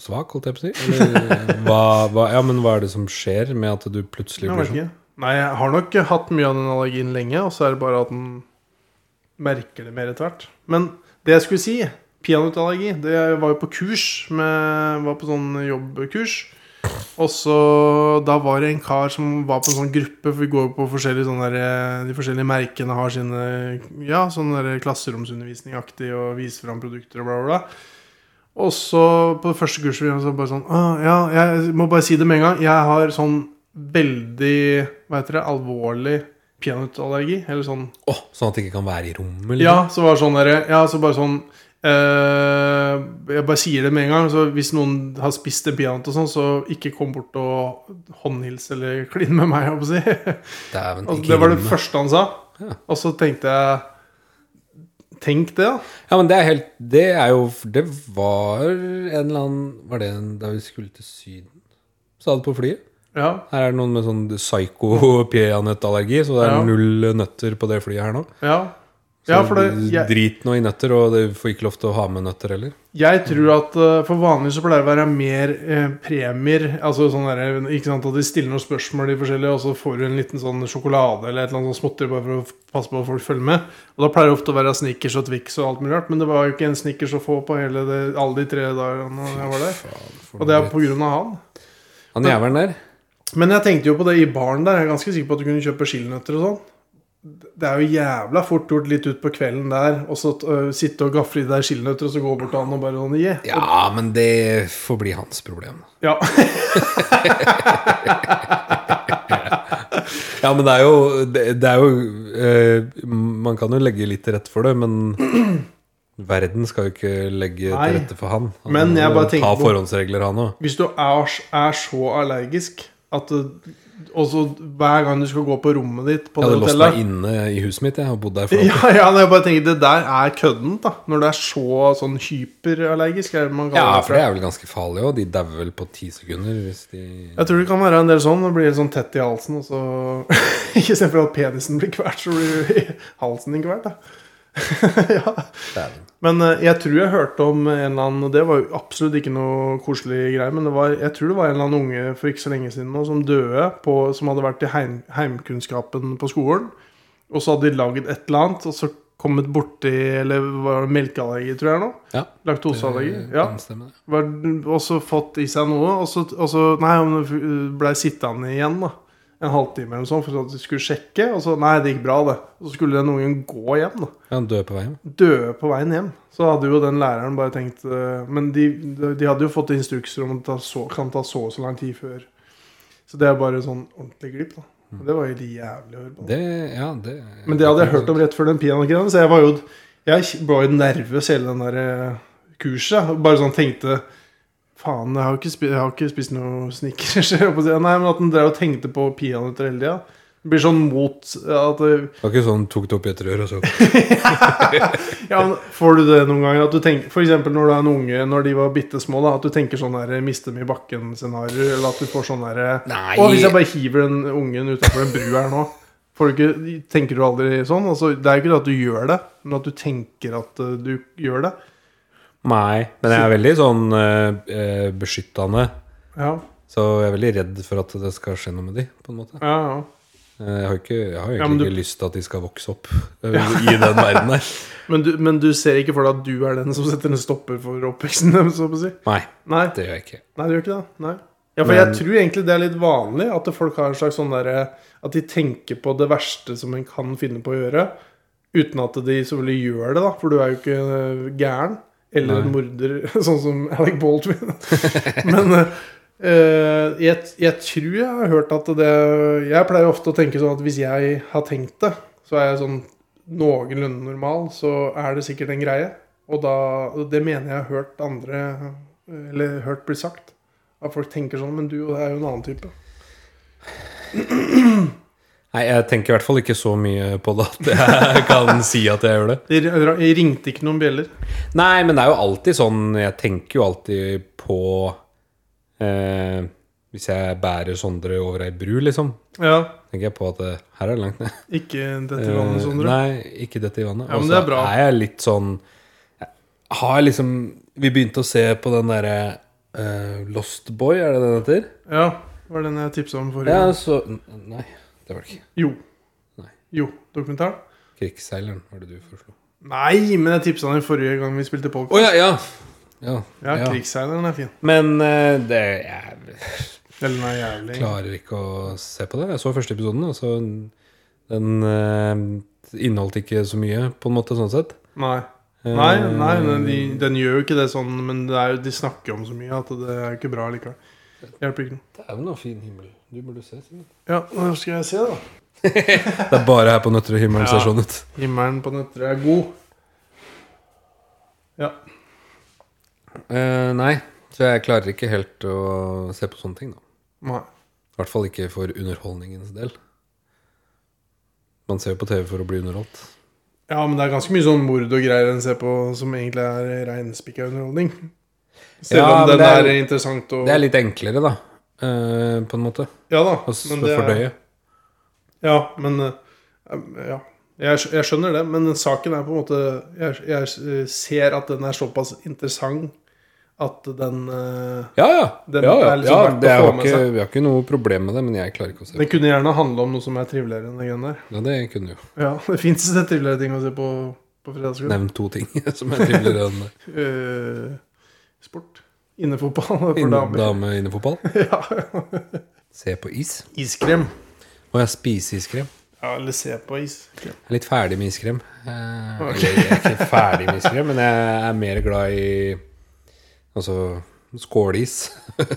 [SPEAKER 2] svak, holdt jeg på å si? Eller, eh, hva, hva, ja, men hva er det som skjer med at du plutselig
[SPEAKER 1] Jeg
[SPEAKER 2] blir
[SPEAKER 1] vet
[SPEAKER 2] sånn?
[SPEAKER 1] ikke. Nei, jeg har nok hatt mye av den allergien lenge, og så er det bare at den merker det mer etter hvert. Men det jeg skulle si, peanøttallergi Det var jo på kurs, med, var på sånn jobbkurs. Og så da var det en kar som var på en sånn gruppe, for vi går jo på forskjellige sånne der, eh, De forskjellige merkene har sine Ja, sånn der klasseromsundervisning-aktig, og viser fram produkter og bla, bla, bla. Og så på det første kurset vi gjorde, så bare sånn «Åh, Ja, jeg må bare si det med en gang. Jeg har sånn veldig Hva heter det? Alvorlig peanøttallergi. Eller sånn
[SPEAKER 2] Åh, sånn at det ikke kan være i rommet? eller?
[SPEAKER 1] Ja, så var det sånn derre Ja, så bare sånn eh, Jeg bare sier det med en gang. Så hvis noen har spist en peanøtt og sånn, så ikke kom bort og håndhils eller klin med meg, holdt jeg på å si.
[SPEAKER 2] Dæven,
[SPEAKER 1] Altså,
[SPEAKER 2] ikke
[SPEAKER 1] det var det
[SPEAKER 2] rommet.
[SPEAKER 1] første han sa. Og så tenkte jeg Tenk det, da.
[SPEAKER 2] Ja, men det er helt Det er jo Det var en eller annen Var det en, da vi skulle til Syden? Sa det på flyet?
[SPEAKER 1] Ja.
[SPEAKER 2] Her er det noen med sånn psyko-peanøttallergi, så det er
[SPEAKER 1] Ja.
[SPEAKER 2] null nøtter på det flyet her nå.
[SPEAKER 1] Ja,
[SPEAKER 2] Så
[SPEAKER 1] ja for det jeg-
[SPEAKER 2] Drit nå i nøtter, og du får ikke lov til å ha med nøtter heller.
[SPEAKER 1] Jeg tror at eh, for vanlig så pleier det å være mer eh, premier. Altså sånn der, ikke sant, At de stiller noen spørsmål, de forskjellige, og så får du en liten sånn sjokolade eller et eller annet sånt småtteri bare for å passe på at folk følger med. Og da pleier det ofte å være Snickers og Twix og alt mulig rart, men det var jo ikke en Snickers å få på hele det, alle de tre dagene jeg var der. Og det er på grunn av han.
[SPEAKER 2] Han jævelen der
[SPEAKER 1] Men jeg tenkte jo på det i baren der. Jeg er ganske sikker på at du kunne kjøpe skilnøtter og sånn. Det er jo jævla fort gjort litt ut på kvelden der, og så øh, sitte og gafle i deg skilnøtter, og så gå bort til han og bare sånn yeah.
[SPEAKER 2] Ja, men det får bli hans problem.
[SPEAKER 1] Ja.
[SPEAKER 2] Ja, men det er jo, det, det er jo eh, Man kan jo legge litt til rette for det, men verden skal jo ikke legge
[SPEAKER 1] Nei.
[SPEAKER 2] til rette for han. han
[SPEAKER 1] Men jeg bare tenker
[SPEAKER 2] Ta
[SPEAKER 1] på-
[SPEAKER 2] forhåndsregler, han òg.
[SPEAKER 1] Hvis du er, er så allergisk at det- også hver gang du skal gå på rommet ditt på
[SPEAKER 2] Jeg
[SPEAKER 1] det
[SPEAKER 2] hadde låst
[SPEAKER 1] hotellet
[SPEAKER 2] meg inne i huset mitt. Jeg har bodd der for
[SPEAKER 1] Ja, ja, nei, jeg bare tenker, det der er køddent, da. Når du er så sånn hyperallergisk. Er det man kaller
[SPEAKER 2] Ja,
[SPEAKER 1] det
[SPEAKER 2] for det er vel ganske farlig òg. De dauer vel på ti sekunder hvis de
[SPEAKER 1] Jeg tror det kan være en del sånn. Det blir litt sånn tett i halsen, og så Ikke se for at penisen blir kvalt, så blir halsen din kvalt, da. ja. Men eh, jeg tror jeg hørte om en eller annen Det var jo absolutt ikke noe koselig greie, men det var, jeg tror det var en eller annen unge for ikke så lenge siden nå som døde, på, som hadde vært i heim, heimkunnskapen på skolen. Og så hadde de lagd et eller annet, og så kommet borti Eller var det melkeallergi, tror jeg nå?
[SPEAKER 2] Ja. Eh,
[SPEAKER 1] Laktoseallergi.
[SPEAKER 2] Det
[SPEAKER 1] Ja.
[SPEAKER 2] kan stemme, det.
[SPEAKER 1] Var, og så fått i seg noe, og så, og så Nei, han blei sittende igjen, da. En halvtime eller noe sånt, for at de skulle sjekke. Og så Nei, det gikk bra, det. Og så skulle den ungen gå hjem, da.
[SPEAKER 2] Ja, han dør på veien.
[SPEAKER 1] Døde på veien hjem. Så hadde jo den læreren bare tenkt eh, Men de, de hadde jo fått instrukser om at det så, kan ta så og så lang tid før. Så det er bare sånn ordentlig glipp, da. Og Det var helt jævlig å høre på.
[SPEAKER 2] Det, ja, det
[SPEAKER 1] Men det hadde jeg hørt om rett før den peanøttgreia, så jeg var jo Jeg var jo nervøs hele den der eh, kurset. og Bare sånn tenkte Faen, jeg har jo ikke, spi jeg har ikke spist noe Snickers. jeg holdt på å si. Nei, men at den drev og tenkte på peanøtter hele tida. Det Blir sånn mot ja, at det,
[SPEAKER 2] Det var ikke sånn tok det opp i et rør og så
[SPEAKER 1] ja, men Får du det noen ganger? At du tenker, for eksempel når du er en unge, når de var bitte små, da, at du tenker sånn der, miste dem i bakken-scenario? Eller at du får sånn derre
[SPEAKER 2] Nei.
[SPEAKER 1] Å, hvis jeg bare hiver den ungen utafor en bru her nå får du ikke, Tenker du aldri sånn? Altså, det er jo ikke det at du gjør det, men at du tenker at eh, du gjør det.
[SPEAKER 2] Nei, men jeg er veldig sånn eh, eh, beskyttende.
[SPEAKER 1] Ja,
[SPEAKER 2] Så jeg er veldig redd for at det skal skje noe med de, på en måte.
[SPEAKER 1] ja, ja.
[SPEAKER 2] Eh, Jeg har, ikke, jeg har
[SPEAKER 1] Ja,
[SPEAKER 2] egentlig
[SPEAKER 1] men du-
[SPEAKER 2] ikke lyst til at de skal vokse opp eh, i den verden her.
[SPEAKER 1] Men, du, men du ser ikke for deg at du er den som setter en stopper for oppveksten deres? så å si.
[SPEAKER 2] Nei,
[SPEAKER 1] Nei,
[SPEAKER 2] det gjør jeg ikke.
[SPEAKER 1] Nei, det gjør ikke det. Nei. Ja, for jeg tror egentlig det er litt vanlig at folk har en slags sånn derre At de tenker på det verste som en kan finne på å gjøre, uten at de selvfølgelig gjør det, da. For du er jo ikke øh, gæren. Eller en morder, sånn som Alec Baldwin. Men øh, øh, jeg, jeg tror jeg har hørt at det Jeg pleier ofte å tenke sånn at hvis jeg har tenkt det, så er jeg sånn noenlunde normal, så er det sikkert en greie. Og da, og det mener jeg har hørt andre Eller hørt bli sagt. At folk tenker sånn, men du er jo en annen type.
[SPEAKER 2] Nei, jeg tenker i hvert fall ikke så mye på det at jeg kan si at jeg gjør det.
[SPEAKER 1] Det r- jeg ringte ikke noen bjeller.
[SPEAKER 2] Nei, men det er jo alltid sånn Jeg tenker jo alltid på eh, Hvis jeg bærer Sondre over ei bru, liksom,
[SPEAKER 1] Ja,
[SPEAKER 2] tenker jeg på at eh, her er det langt ned. Eh,
[SPEAKER 1] ikke dette vannet, Sondre.
[SPEAKER 2] Nei, ikke dette i vannet.
[SPEAKER 1] Ja, men
[SPEAKER 2] Og
[SPEAKER 1] det er
[SPEAKER 2] så
[SPEAKER 1] bra.
[SPEAKER 2] er jeg litt sånn jeg Har liksom Vi begynte å se på den derre eh, Lost Boy, er det den heter?
[SPEAKER 1] Ja, var den jeg tipsa om forrige
[SPEAKER 2] Ja,
[SPEAKER 1] gang.
[SPEAKER 2] så Nei, det var det ikke.
[SPEAKER 1] Jo.
[SPEAKER 2] Nei.
[SPEAKER 1] Jo, dokumentaren.
[SPEAKER 2] Krigsseileren var det du foreslo.
[SPEAKER 1] Nei, men jeg tipsa den forrige gang vi spilte polk.
[SPEAKER 2] Å ja, ja! Ja.
[SPEAKER 1] Ja,
[SPEAKER 2] ja.
[SPEAKER 1] krigsseileren er fin.
[SPEAKER 2] Men eh, det Jeg
[SPEAKER 1] Eller den er jævlig.
[SPEAKER 2] klarer ikke å se på det. Jeg så første episoden, og så Den eh, inneholdt ikke så mye, på en måte, sånn sett.
[SPEAKER 1] Nei.
[SPEAKER 2] Eh,
[SPEAKER 1] Nei, nei den, de, den gjør jo ikke det sånn, men det er jo, de snakker om så mye at det er jo ikke bra likevel. Hjelper ikke noe.
[SPEAKER 2] Det er jo noe fin himmel. Du burde se. Simen.
[SPEAKER 1] Ja, nå skal jeg se, da.
[SPEAKER 2] Det er bare her på Nøtterøy himmelen ser sånn ut.
[SPEAKER 1] Himmelen på Nøtterøy er god. Ja.
[SPEAKER 2] Eh, nei, så jeg klarer ikke helt å se på sånne ting, da.
[SPEAKER 1] Nei.
[SPEAKER 2] I hvert fall ikke for underholdningens del. Man ser jo på TV for å bli underholdt.
[SPEAKER 1] Ja, men det er ganske mye sånn mord og greier en ser på som egentlig er reinspikka underholdning. Selv
[SPEAKER 2] Ja,
[SPEAKER 1] om
[SPEAKER 2] men
[SPEAKER 1] den
[SPEAKER 2] det er-
[SPEAKER 1] er, interessant og
[SPEAKER 2] Det er litt enklere, da. eh, på en måte.
[SPEAKER 1] Ja da.
[SPEAKER 2] Å s-
[SPEAKER 1] men det er-
[SPEAKER 2] fordøye.
[SPEAKER 1] Ja, men eh, Ja. Jeg, skj- jeg skjønner det, men saken er på en måte Jeg, jeg eh, ser at den er såpass interessant at den eh,
[SPEAKER 2] Ja, ja.
[SPEAKER 1] Den
[SPEAKER 2] ja, ja.
[SPEAKER 1] er liksom
[SPEAKER 2] ja
[SPEAKER 1] verdt å
[SPEAKER 2] det er
[SPEAKER 1] få
[SPEAKER 2] jo
[SPEAKER 1] med
[SPEAKER 2] ikke,
[SPEAKER 1] seg.
[SPEAKER 2] vi har ikke noe problem med det, men jeg klarer ikke å se på
[SPEAKER 1] Den kunne gjerne handle om noe som er triveligere enn det greiene der.
[SPEAKER 2] det. Ja, det kunne jo
[SPEAKER 1] Ja, det fins triveligere ting å se på på fredagskvelden.
[SPEAKER 2] nevnt to ting som er triveligere enn det.
[SPEAKER 1] Eh, sport. Innefotball for
[SPEAKER 2] Innen-
[SPEAKER 1] damer.
[SPEAKER 2] dame innen fotball. Se på is.
[SPEAKER 1] Iskrem.
[SPEAKER 2] Og jeg spiser iskrem.
[SPEAKER 1] Ja, eller se på iskrem.
[SPEAKER 2] Jeg er litt ferdig med iskrem. Eh, eller, jeg er ikke ferdig med iskrem, men jeg er mer glad i Altså Skålis.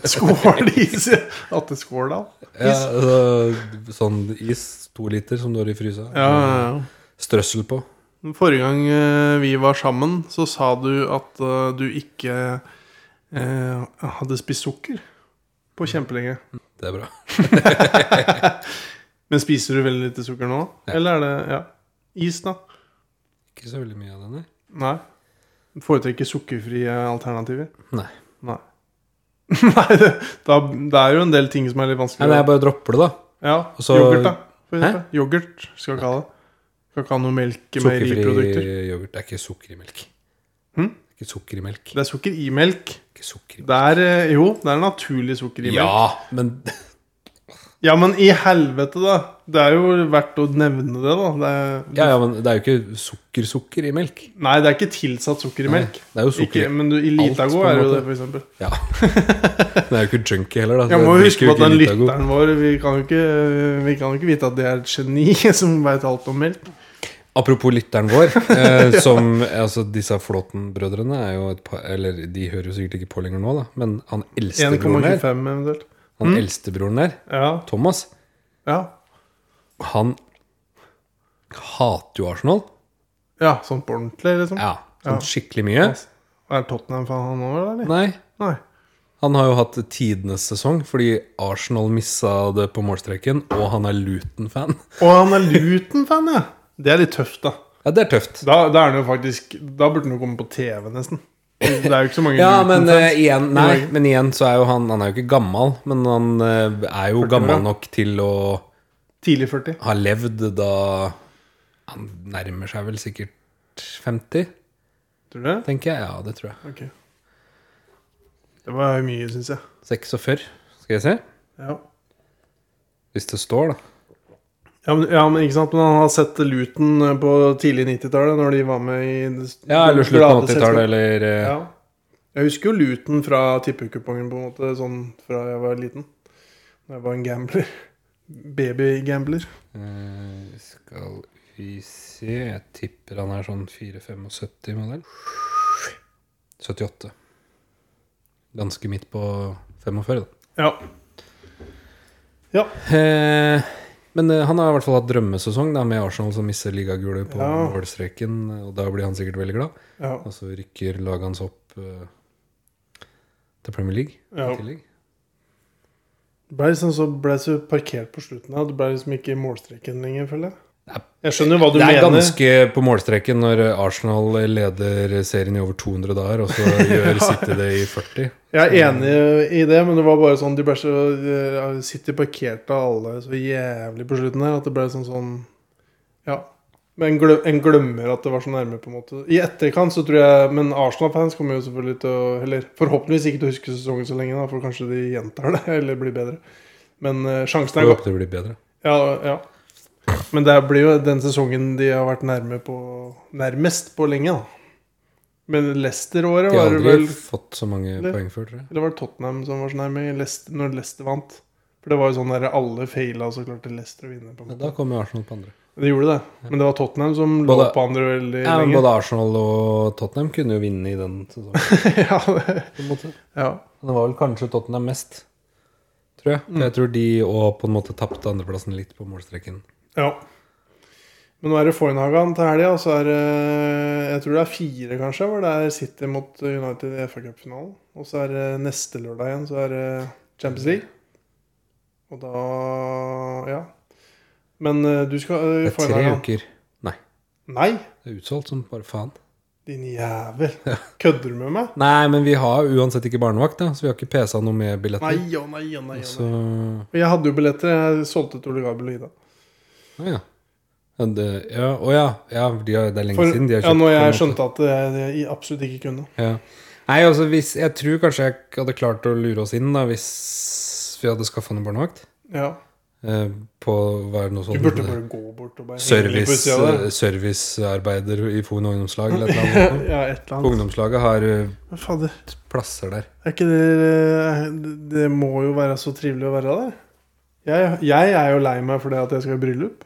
[SPEAKER 1] Skålis, ja. Atte Skårdal.
[SPEAKER 2] Ja, altså, sånn is, to liter, som du har i frysa.
[SPEAKER 1] Ja, ja, ja.
[SPEAKER 2] Strøssel på.
[SPEAKER 1] Forrige gang eh, vi var sammen, så sa du at eh, du ikke eh, hadde spist sukker på kjempelenge.
[SPEAKER 2] Det er bra.
[SPEAKER 1] Men spiser du veldig lite sukker nå? Eller er det ja. is, da?
[SPEAKER 2] Ikke så veldig mye av den, nei.
[SPEAKER 1] Nei. Foretrekker sukkerfrie alternativer?
[SPEAKER 2] Nei.
[SPEAKER 1] Nei, Nei det, da, det er jo en del ting som er litt vanskelig.
[SPEAKER 2] Nei, men jeg bare dropper det, da.
[SPEAKER 1] Ja,
[SPEAKER 2] Og så-
[SPEAKER 1] Yoghurt, da. For
[SPEAKER 2] Hæ?
[SPEAKER 1] eksempel. Yoghurt skal ikke ha det. Skal ikke ha noe melk i meieriprodukter.
[SPEAKER 2] Sukkerfri yoghurt. Det er ikke sukker i melk.
[SPEAKER 1] Hm?
[SPEAKER 2] Det er Ikke sukker i melk.
[SPEAKER 1] Det er sukker i melk.
[SPEAKER 2] Ikke sukker i melk.
[SPEAKER 1] Det er, eh, jo, det er naturlig sukker i melk.
[SPEAKER 2] Ja, men
[SPEAKER 1] Ja, men i helvete, da. Det er jo verdt å nevne det, da. Det er,
[SPEAKER 2] Ja, ja, men det er jo ikke sukker-sukker i melk.
[SPEAKER 1] Nei, det er ikke tilsatt sukker i
[SPEAKER 2] Nei,
[SPEAKER 1] melk.
[SPEAKER 2] det er jo sukker i
[SPEAKER 1] Ikke, men du, i
[SPEAKER 2] alt,
[SPEAKER 1] Litago
[SPEAKER 2] på en
[SPEAKER 1] er jo
[SPEAKER 2] måte.
[SPEAKER 1] det, for eksempel.
[SPEAKER 2] Ja. Den er jo ikke junkie heller, da.
[SPEAKER 1] Jeg må jo
[SPEAKER 2] Den drikker
[SPEAKER 1] huske på at
[SPEAKER 2] ikke
[SPEAKER 1] den
[SPEAKER 2] Litago.
[SPEAKER 1] lytteren vår Vi kan jo ikke, vi kan jo ikke vite at det er et geni som veit alt om melk.
[SPEAKER 2] Apropos lytteren vår, eh, som altså disse Flåten-brødrene er jo et par Eller de hører jo sikkert ikke på lenger nå, da, men han eldstebroren
[SPEAKER 1] 1,25
[SPEAKER 2] der,
[SPEAKER 1] eventuelt.
[SPEAKER 2] han eldstebroren der,
[SPEAKER 1] Ja.
[SPEAKER 2] Thomas,
[SPEAKER 1] ja.
[SPEAKER 2] han hater jo Arsenal.
[SPEAKER 1] Ja, sånn på ordentlig, liksom.
[SPEAKER 2] Ja,
[SPEAKER 1] Ja.
[SPEAKER 2] sånn skikkelig mye.
[SPEAKER 1] Er Tottenham-fan han òg, eller?
[SPEAKER 2] Nei,
[SPEAKER 1] Nei.
[SPEAKER 2] han har jo hatt tidenes sesong fordi Arsenal missa det på målstreken, og han er Luton-fan.
[SPEAKER 1] Og han er Luton-fan, ja. Det er litt tøft, da.
[SPEAKER 2] Ja, det er tøft.
[SPEAKER 1] Da, da er han jo faktisk Da burde han jo komme på TV, nesten. Det er jo ikke så mange
[SPEAKER 2] Ja, men
[SPEAKER 1] Luton-fans.
[SPEAKER 2] eh, igjen, nei, men igjen så er jo han Han er jo ikke gammal, men han eh, er
[SPEAKER 1] 40
[SPEAKER 2] jo
[SPEAKER 1] år, ja.
[SPEAKER 2] gammel nok til å
[SPEAKER 1] Tidlig 40.
[SPEAKER 2] ha levd da Han nærmer seg vel sikkert 50,
[SPEAKER 1] Tror du det?
[SPEAKER 2] tenker jeg. Ja, det tror jeg.
[SPEAKER 1] Ok. Det var mye, syns jeg.
[SPEAKER 2] 46. Skal jeg se?
[SPEAKER 1] Ja.
[SPEAKER 2] Hvis det står, da.
[SPEAKER 1] Ja men, ja, men ikke sant, men han har sett Luton eh, på tidlig 90-tallet, når de var med i det-
[SPEAKER 2] Ja, eller slutten av
[SPEAKER 1] bladet-
[SPEAKER 2] 80-tallet, eller eh,
[SPEAKER 1] Ja. Jeg husker jo Luton fra tippekupongen, på en måte, sånn fra jeg var liten. Da jeg var en gambler. Babygambler.
[SPEAKER 2] Eh, Skal vi se Jeg tipper han er sånn 4-75 modell. 78. Ganske midt på 45, da.
[SPEAKER 1] Ja. Ja.
[SPEAKER 2] Eh, men eh, han har i hvert fall hatt drømmesesong da, med Arsenal som misser ligagulet på
[SPEAKER 1] Ja.
[SPEAKER 2] målstreken. eh, Og da blir han sikkert veldig glad.
[SPEAKER 1] ja.
[SPEAKER 2] Og så rykker laget hans opp eh, til Premier Legue
[SPEAKER 1] Ja.
[SPEAKER 2] i tillegg.
[SPEAKER 1] Det ble liksom så, ble så parkert på slutten. her. Det ble liksom ikke i målstreken lenger, føler
[SPEAKER 2] Nei.
[SPEAKER 1] jeg. Jeg skjønner jo hva du
[SPEAKER 2] det er
[SPEAKER 1] mener.
[SPEAKER 2] ganske på målstreken når Arsenal leder serien i over 200 dager, og så gjør City det i 40.
[SPEAKER 1] Jeg er enig i det, men det var bare sånn De ble så eh, City parkerte alle så jævlig på slutten her at det ble sånn sånn Ja. Men glø- en glemmer at det var så nærme, på en måte. I etterkant så tror jeg Men Arsenal-fans kommer jo selvfølgelig til å Eller forhåpentligvis ikke til å huske sesongen så lenge, da, for kanskje de gjentar det, eller blir bedre. Men eh, sjansen
[SPEAKER 2] Jeg
[SPEAKER 1] er god.
[SPEAKER 2] håper det blir bedre.
[SPEAKER 1] Ja, ja. Men det blir jo den sesongen de har vært nærme på nærmest på lenge, da. Men Leicester-året
[SPEAKER 2] De har
[SPEAKER 1] var
[SPEAKER 2] aldri
[SPEAKER 1] vel
[SPEAKER 2] fått så mange
[SPEAKER 1] Eller?
[SPEAKER 2] poeng før, tror jeg.
[SPEAKER 1] eller var det Tottenham som var sånn så nærme i Leicester, når Leicester vant? For det var jo sånn der alle feila, og så klarte Leicester å vinne. på en
[SPEAKER 2] Ja,
[SPEAKER 1] måte.
[SPEAKER 2] da kommer Arsenal på andre.
[SPEAKER 1] Det gjorde det, men det var Tottenham som lå
[SPEAKER 2] Både-
[SPEAKER 1] på andre veldig
[SPEAKER 2] Ja, men
[SPEAKER 1] lenge.
[SPEAKER 2] både Arsenal og Tottenham kunne jo vinne i den sesongen.
[SPEAKER 1] ja, det,
[SPEAKER 2] på en måte.
[SPEAKER 1] ja.
[SPEAKER 2] Men Det var vel kanskje Tottenham mest, tror jeg. For jeg tror de òg på en måte tapte andreplassen litt på målstreken.
[SPEAKER 1] ja. Men nå er det Foynhagan til helga, og så er det Jeg tror det er fire, kanskje, hvor det er City mot United i FA-cupfinalen. Og så er det neste lørdag igjen, så er det Champions League. Og da Ja. Men eh, du skal
[SPEAKER 2] Det
[SPEAKER 1] eh,
[SPEAKER 2] er tre
[SPEAKER 1] Foynhagan
[SPEAKER 2] uker. Nei,
[SPEAKER 1] Nei!
[SPEAKER 2] det er utsolgt som bare faen.
[SPEAKER 1] Din jævel. Kødder du med meg?
[SPEAKER 2] Nei, men vi har uansett ikke barnevakt, da, så vi har ikke pesa noe med
[SPEAKER 1] Nei
[SPEAKER 2] billetter.
[SPEAKER 1] og nei og nei. og
[SPEAKER 2] Så
[SPEAKER 1] nei. Og Jeg hadde jo billetter. Jeg solgte til Ole Gabel og Ida.
[SPEAKER 2] Å ja. Ja, det, ja, å ja. ja de har, det er lenge
[SPEAKER 1] For,
[SPEAKER 2] siden de har
[SPEAKER 1] ja,
[SPEAKER 2] kjøpt.
[SPEAKER 1] når
[SPEAKER 2] på en
[SPEAKER 1] jeg
[SPEAKER 2] måte.
[SPEAKER 1] skjønte at eh, jeg, jeg absolutt ikke kunne.
[SPEAKER 2] Ja. Nei, altså hvis, Jeg tror kanskje jeg ikke hadde klart å lure oss inn da hvis vi hadde skaffa en barnevakt.
[SPEAKER 1] Ja.
[SPEAKER 2] Eh, på å være noe
[SPEAKER 1] Du
[SPEAKER 2] sånn
[SPEAKER 1] burde bare gå bort og bare henge litt på
[SPEAKER 2] service,
[SPEAKER 1] utsida der.
[SPEAKER 2] eh, servicearbeider i Foen ungdomslag eller et eller annet.
[SPEAKER 1] Ja, et
[SPEAKER 2] eh, På
[SPEAKER 1] eller annet.
[SPEAKER 2] ungdomslaget har eh,
[SPEAKER 1] Men Fader,
[SPEAKER 2] plasser der.
[SPEAKER 1] er ikke det Det må jo være så trivelig å være der. Jeg, jeg er jo lei meg for det at jeg skal i bryllup.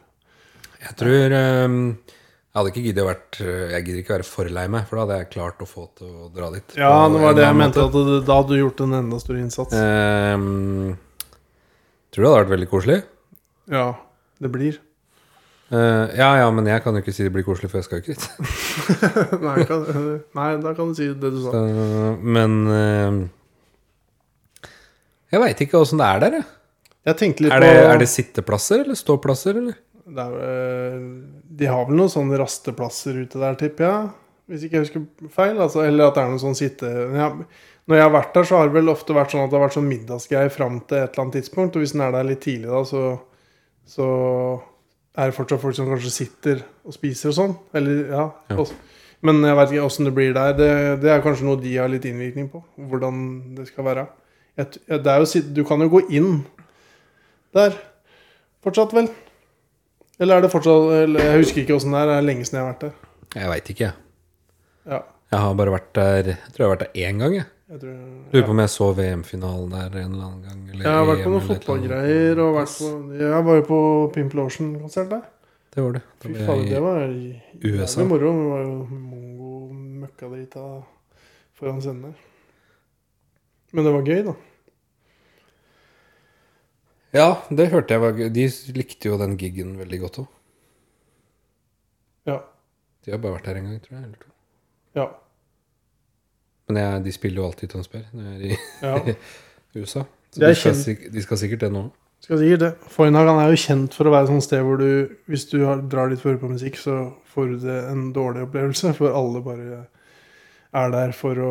[SPEAKER 2] Jeg tror eh, Jeg hadde ikke giddet å vært eh, Jeg gidder ikke være for lei meg, for da hadde jeg klart å få til å dra dit.
[SPEAKER 1] Ja, det
[SPEAKER 2] På en
[SPEAKER 1] var det
[SPEAKER 2] eller
[SPEAKER 1] jeg
[SPEAKER 2] annen
[SPEAKER 1] mente.
[SPEAKER 2] måte.
[SPEAKER 1] At det, da hadde du gjort en enda større innsats.
[SPEAKER 2] Ehm, tror det hadde vært veldig koselig.
[SPEAKER 1] Ja, det blir.
[SPEAKER 2] Eh, ja, ja, men jeg kan jo ikke si det blir koselig, for jeg skal jo ikke dit.
[SPEAKER 1] nei, kan, nei, da kan du si det du sa.
[SPEAKER 2] Så, men eh, Jeg veit ikke åssen det er der, jeg.
[SPEAKER 1] Jeg tenkte litt
[SPEAKER 2] Er det,
[SPEAKER 1] på
[SPEAKER 2] er det sitteplasser eller ståplasser, eller?
[SPEAKER 1] det er, vel- De har vel noen sånne rasteplasser ute der, tipper jeg. Hvis ikke jeg husker feil. Altså, eller at det er noen sånn sitte... Ja, når jeg har vært der, så har det vel ofte vært sånn at det har vært sånn middagsgreie fram til et eller annet tidspunkt. Og hvis den er der litt tidlig da, så, så er det fortsatt folk som kanskje sitter og spiser og sånn. Eller, ja. og- Men jeg veit ikke åssen det blir der. Det, det er kanskje noe de har litt innvirkning på. Hvordan det skal være. Jeg, t- det er jo, sitt- du kan jo gå inn der fortsatt, vel? Eller er det fortsatt eller, Jeg husker ikke åssen det er. Det er lenge siden jeg har vært der.
[SPEAKER 2] Jeg veit ikke, jeg.
[SPEAKER 1] Ja,
[SPEAKER 2] Jeg har bare vært der Jeg tror jeg har vært der én gang, jeg.
[SPEAKER 1] jeg tror
[SPEAKER 2] Lurer på om jeg så VM-finalen der en eller annen gang. Eller
[SPEAKER 1] Jeg har vært på noen
[SPEAKER 2] EM eller et eller annet.
[SPEAKER 1] fotballgreier og vært på Jeg var jo på Pimple Ocean-konsert der.
[SPEAKER 2] Det var det. Da
[SPEAKER 1] Fy
[SPEAKER 2] ble
[SPEAKER 1] faen,
[SPEAKER 2] jeg i-
[SPEAKER 1] det var
[SPEAKER 2] USA.
[SPEAKER 1] jævlig moro. Det var jo mongo møkkadrita foran scenen der. Men det var gøy, da.
[SPEAKER 2] Ja, det hørte jeg var gøy. De likte jo den gigen veldig godt òg.
[SPEAKER 1] Ja.
[SPEAKER 2] De har bare vært der en gang, tror jeg. Eller to.
[SPEAKER 1] Ja.
[SPEAKER 2] Men jeg, de spiller jo alltid i Tønsberg når jeg er i
[SPEAKER 1] Ja.
[SPEAKER 2] USA. Så
[SPEAKER 1] Det er
[SPEAKER 2] de skal,
[SPEAKER 1] kjent.
[SPEAKER 2] sik- de skal sikkert det nå.
[SPEAKER 1] Skal sikkert det. Foynhagan er jo kjent for å være et sånt sted hvor du, hvis du har, drar dit for å høre på musikk, så får du det en dårlig opplevelse, for alle bare er der for å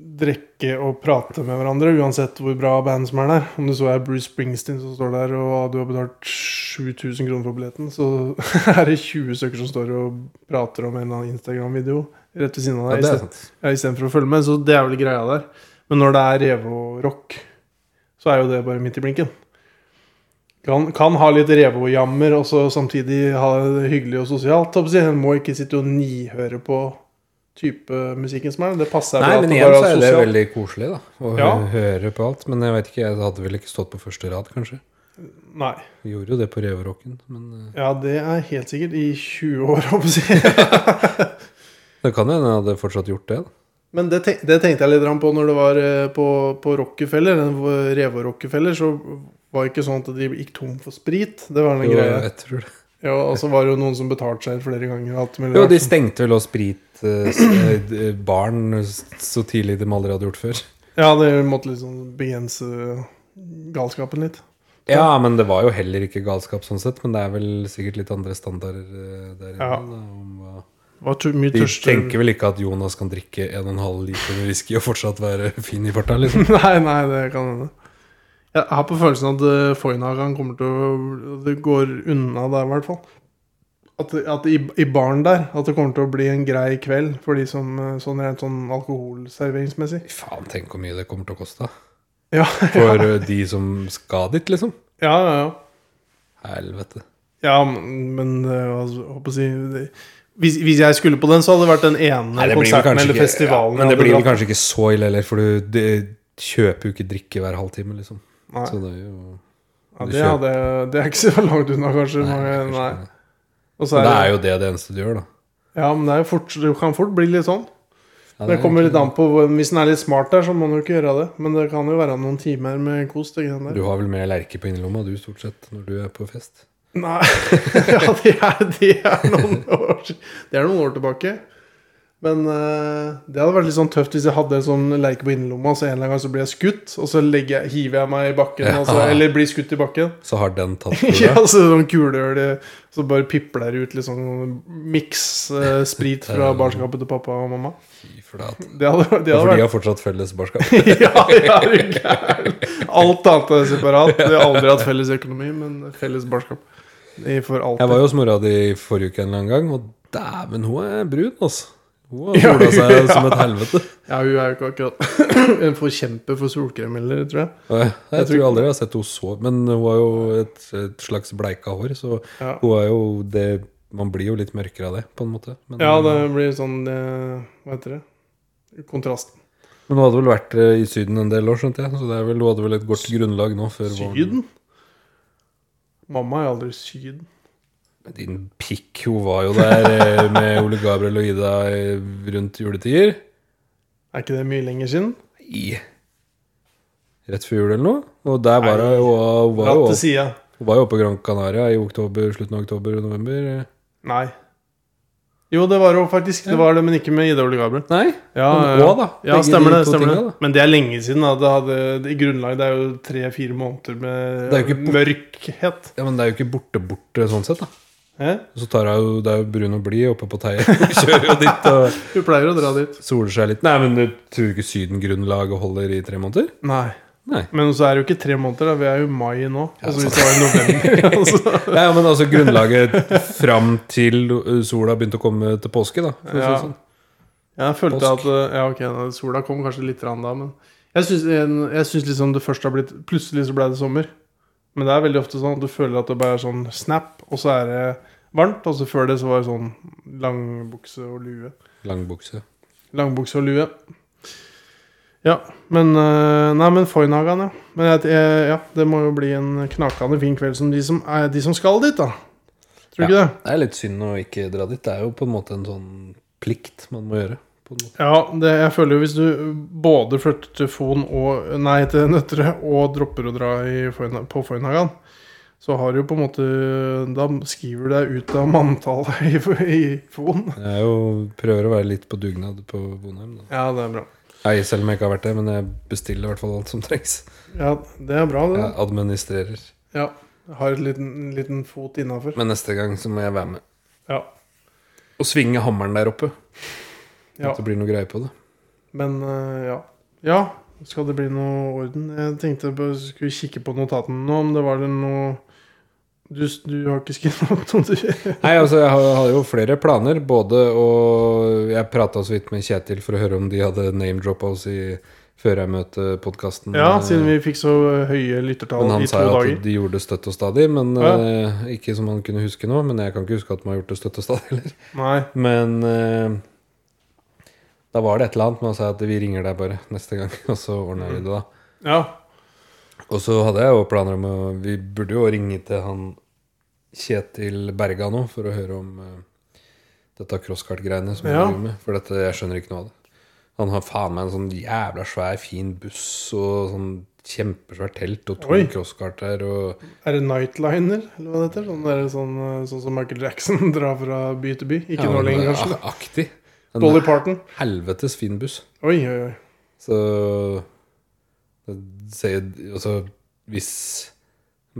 [SPEAKER 1] drikke og prate med hverandre, uansett hvor bra band som er der. Om det så er Bruce Springsteen som står der, og ah, du har betalt 7000 kroner for billetten, så er det 20 stykker som står og prater om en eller annen Instagram-video rett ved siden av
[SPEAKER 2] Ja,
[SPEAKER 1] deg,
[SPEAKER 2] det
[SPEAKER 1] ja,
[SPEAKER 2] er
[SPEAKER 1] istedenfor å følge med. Så det er vel greia der. Men når det er revo-rock, så er jo det bare midt i blinken. Kan, kan ha litt revo-jammer og så samtidig ha det hyggelig og sosialt. holdt på å si. En må ikke sitte og nihøre på type musikken som er. Det passer
[SPEAKER 2] Nei,
[SPEAKER 1] bra at
[SPEAKER 2] men
[SPEAKER 1] det
[SPEAKER 2] igjen
[SPEAKER 1] bare
[SPEAKER 2] så er det
[SPEAKER 1] sosialt.
[SPEAKER 2] veldig koselig, da. Å hø-
[SPEAKER 1] Ja.
[SPEAKER 2] høre på alt. Men jeg vet ikke, jeg hadde vel ikke stått på første rad, kanskje.
[SPEAKER 1] Nei.
[SPEAKER 2] Vi gjorde jo det på Reverocken, men eh,
[SPEAKER 1] Ja, det er helt sikkert. I 20 år, holdt på å si.
[SPEAKER 2] det kan jo hende jeg hadde fortsatt gjort det. da.
[SPEAKER 1] Men det, tenk, det tenkte jeg litt grann på når det var eh, på, på Rockefeller, den hvor- Revo Rockefeller, så var det ikke sånn at de gikk tom for sprit. Det var en
[SPEAKER 2] Jo,
[SPEAKER 1] greie.
[SPEAKER 2] jeg tror det.
[SPEAKER 1] Ja, og så var det jo noen som betalte seg flere ganger. og Alt mulig
[SPEAKER 2] Jo,
[SPEAKER 1] rart.
[SPEAKER 2] de stengte vel også eh, spritbaren så tidlig de aldri hadde gjort før.
[SPEAKER 1] Ja, det måtte liksom begrense galskapen litt.
[SPEAKER 2] Ja, men det var jo heller ikke galskap sånn sett. Men det er vel sikkert litt andre standarder eh, der inne.
[SPEAKER 1] Ja.
[SPEAKER 2] da, om hva-
[SPEAKER 1] Var tu- mye
[SPEAKER 2] De
[SPEAKER 1] tørste
[SPEAKER 2] tenker vel ikke at Jonas kan drikke 1,5 liter med whisky og fortsatt være fin i farta, liksom.
[SPEAKER 1] Nei, nei, det kan hende. Jeg har på følelsen at eh, Foynhagan kommer til å Det går unna der, i hvert fall. At, at i, i baren der At det kommer til å bli en grei kveld for de som eh, sånn rent sånn alkoholserveringsmessig.
[SPEAKER 2] Fy Faen, tenk hvor mye det kommer til å koste.
[SPEAKER 1] Ja,
[SPEAKER 2] For eh, de som skal dit, liksom.
[SPEAKER 1] ja, ja. ja.
[SPEAKER 2] Helvete.
[SPEAKER 1] ja men men, eh, altså, jeg håper å si det. Hvis, hvis jeg skulle på den, så hadde det vært den ene konserten eller festivalen. jeg
[SPEAKER 2] men det
[SPEAKER 1] hadde
[SPEAKER 2] blir vel
[SPEAKER 1] dratt.
[SPEAKER 2] kanskje ikke så ille heller, for du det- kjøper jo ikke drikke hver halvtime, liksom.
[SPEAKER 1] Nei.
[SPEAKER 2] Så det er jo
[SPEAKER 1] ja,
[SPEAKER 2] du
[SPEAKER 1] det,
[SPEAKER 2] kjøper-
[SPEAKER 1] hadde, det er ikke så langt unna, kanskje.
[SPEAKER 2] Nei,
[SPEAKER 1] mange,
[SPEAKER 2] kanskje
[SPEAKER 1] nei.
[SPEAKER 2] ikke.
[SPEAKER 1] Og så
[SPEAKER 2] Men
[SPEAKER 1] er
[SPEAKER 2] det
[SPEAKER 1] det,
[SPEAKER 2] er jo det det eneste du gjør, da.
[SPEAKER 1] ja, men det, er jo fort, det kan fort bli litt sånn.
[SPEAKER 2] Ja,
[SPEAKER 1] Det
[SPEAKER 2] er
[SPEAKER 1] kommer
[SPEAKER 2] egentlig-
[SPEAKER 1] litt an på hvor- Hvis den er litt smart der, så må den jo ikke gjøre det. Men det kan jo være noen timer med kos. det greiene
[SPEAKER 2] Du
[SPEAKER 1] der.
[SPEAKER 2] har vel mer lerke på innerlomma, du, stort sett, når du er på fest.
[SPEAKER 1] Nei Ja, det er, det er noen år si- Det er noen år tilbake. Men eh, det hadde vært litt sånn tøft hvis jeg hadde en sånn leike på innerlomma, så en eller annen gang så blir jeg skutt, og så legger jeg, hiver jeg meg i bakken.
[SPEAKER 2] Ja.
[SPEAKER 1] Altså, eller blir skutt i bakken.
[SPEAKER 2] Så har den tatt for
[SPEAKER 1] Ja,
[SPEAKER 2] deg.
[SPEAKER 1] så sånn kulehull Så bare pipler det ut litt sånn miks eh, sprit fra barskapet til pappa og mamma.
[SPEAKER 2] Fy flate.
[SPEAKER 1] Det hadde, det hadde
[SPEAKER 2] Ja, for
[SPEAKER 1] vært
[SPEAKER 2] de har fortsatt felles barskap.
[SPEAKER 1] ja, ja, er du gæren? Alt annet er separat. Vi har aldri hatt felles økonomi, men felles barskap. I For alltid.
[SPEAKER 2] Jeg var jo hos mora di forrige uke en eller annen gang, og dæven, hun er brun, altså. Hun
[SPEAKER 1] Ja,
[SPEAKER 2] har sola seg
[SPEAKER 1] ja.
[SPEAKER 2] som et helvete.
[SPEAKER 1] Ja, hun er jo ikke akkurat en forkjemper for solkrem heller, tror jeg.
[SPEAKER 2] Og Jeg, jeg
[SPEAKER 1] tror
[SPEAKER 2] tror
[SPEAKER 1] ikke-
[SPEAKER 2] aldri jeg har sett henne så Men hun har jo et, et slags bleika hår, så
[SPEAKER 1] Ja.
[SPEAKER 2] hun er jo det Man blir jo litt mørkere av det, på en måte. Men,
[SPEAKER 1] Ja, det blir sånn eh, Hva heter det? Kontrasten.
[SPEAKER 2] men hun hadde vel vært eh, i Syden en del år, skjønte jeg, så det er vel, hun hadde vel et godt grunnlag nå før våren.
[SPEAKER 1] Syden? Mamma er aldri i Syden.
[SPEAKER 2] Men din pikk, hun var jo der eh, med Ole Gabriel og Ida eh, rundt juletider.
[SPEAKER 1] Er ikke det mye lenger siden?
[SPEAKER 2] I Rett før jul eller noe. Og der var hun jo Hun var
[SPEAKER 1] Ratt
[SPEAKER 2] jo-
[SPEAKER 1] til sida.
[SPEAKER 2] hun var jo oppe på Gran Canaria i oktober, slutten av oktober og november.
[SPEAKER 1] Nei. Jo, det var jo faktisk det, var det men ikke med Ida Ole Gabriel.
[SPEAKER 2] Nei?
[SPEAKER 1] Ja,
[SPEAKER 2] Men
[SPEAKER 1] ja.
[SPEAKER 2] også da,
[SPEAKER 1] ja
[SPEAKER 2] begge
[SPEAKER 1] stemmer
[SPEAKER 2] de
[SPEAKER 1] det.
[SPEAKER 2] to
[SPEAKER 1] stemmer
[SPEAKER 2] tingene,
[SPEAKER 1] det Men det er lenge siden. Da. Det, hadde, det, I grunnlag, det er jo tre-fire måneder med
[SPEAKER 2] Det er jo ikke bort-
[SPEAKER 1] mørkhet.
[SPEAKER 2] Ja, Men det er jo ikke borte-borte sånn sett, da.
[SPEAKER 1] Hæ?
[SPEAKER 2] Så tar hun jo Det er jo brun og blid oppe på Teie. Kjører jo dit og
[SPEAKER 1] Du pleier å dra dit.
[SPEAKER 2] soler seg litt. Nei, men du tror ikke Syden-grunnlaget holder i tre måneder?
[SPEAKER 1] Nei.
[SPEAKER 2] Nei.
[SPEAKER 1] Men så er det jo ikke tre måneder. Da. Vi er jo i mai nå. Altså Hvis det var i november altså.
[SPEAKER 2] Ja, ja, men altså grunnlaget fram til uh, sola begynte å komme til påske, da. For å si det
[SPEAKER 1] Ja.
[SPEAKER 2] sånn.
[SPEAKER 1] Jeg følte
[SPEAKER 2] Påsk.
[SPEAKER 1] at eh, Ja, ok, da, sola kom kanskje litt rann da, men jeg syns, jeg syns liksom det først har blitt Plutselig så ble det sommer. Men det er veldig ofte sånn at du føler at det bare er sånn snap, og så er det varmt. Og så før det så var det sånn langbukse og lue.
[SPEAKER 2] Langbukse.
[SPEAKER 1] Langbukse og lue. Ja, men eh, Nei, men Foynhagan, ja. Men jeg, jeg, ja, det må jo bli en knakende fin kveld som de som, er, de som skal dit, da. Tror du ikke det?
[SPEAKER 2] Det er litt synd å ikke dra dit. Det er jo på en måte en sånn plikt man må gjøre. På en måte.
[SPEAKER 1] Ja, det, jeg føler jo hvis du både flytter til Fon og Nei, til Nøtterøy og dropper å dra i, Foyn- på Foynhagan, så har du jo på en måte Da skriver du deg ut av manntallet i, Fo- i Fon.
[SPEAKER 2] Jeg er jo, prøver å være litt på dugnad på Vonheim. Da.
[SPEAKER 1] Ja, det er bra.
[SPEAKER 2] Jeg, selv om jeg ikke har vært det, men jeg bestiller i hvert fall alt som trengs.
[SPEAKER 1] Ja, Det er bra, det.
[SPEAKER 2] Jeg administrerer.
[SPEAKER 1] Ja. Jeg har en liten, en liten fot innafor.
[SPEAKER 2] Men neste gang så må jeg være med.
[SPEAKER 1] Ja.
[SPEAKER 2] Og svinge hammeren der oppe.
[SPEAKER 1] Ja.
[SPEAKER 2] At det blir noe greie på det.
[SPEAKER 1] Men eh, ja. Ja, skal det bli noe orden? Jeg tenkte på, skulle kikke på notatene nå, om det var det noe Du, du har ikke skrevet opp noe, du?
[SPEAKER 2] Nei, altså jeg har- hadde jo flere planer Både å Jeg pratet så vidt med Kjetil for å høre om de hadde name-droppa oss i Før jeg møter podcasten
[SPEAKER 1] Ja, siden vi fikk så høye
[SPEAKER 2] Men
[SPEAKER 1] lyttertall
[SPEAKER 2] han
[SPEAKER 1] i to
[SPEAKER 2] sa jo at
[SPEAKER 1] dager.
[SPEAKER 2] de gjorde det støtt og stadig Men
[SPEAKER 1] Ja.
[SPEAKER 2] eh, ikke som han kunne huske nå Men jeg kan ikke huske at man har gjort det støtt og stadig heller
[SPEAKER 1] Nei.
[SPEAKER 2] Men eh, Da var det et eller annet Man sa at vi ringer deg bare neste gang Og så ordner vi det da
[SPEAKER 1] Ja.
[SPEAKER 2] Og så hadde jeg jo planer om å Vi burde jo ringe til han Kjetil Berga nå for å høre om eh, dette crosskart-greiene som han
[SPEAKER 1] Ja.
[SPEAKER 2] driver med. For dette, jeg skjønner ikke noe av det. Han har faen meg en sånn jævla svær, fin buss og sånn kjempesvært telt og to
[SPEAKER 1] Oi.
[SPEAKER 2] crosskart der og
[SPEAKER 1] Er det Nightliner, eller hva det heter? Sånn, der, sånn, eh, sånn som Michael Jackson drar fra by til by. Ikke
[SPEAKER 2] Ja,
[SPEAKER 1] nå
[SPEAKER 2] han er
[SPEAKER 1] lenger, kanskje.
[SPEAKER 2] ak- Aktig. En
[SPEAKER 1] Dolly Parton.
[SPEAKER 2] helvetes fin buss.
[SPEAKER 1] Oi, oi, oi.
[SPEAKER 2] Så det sier- Altså, hvis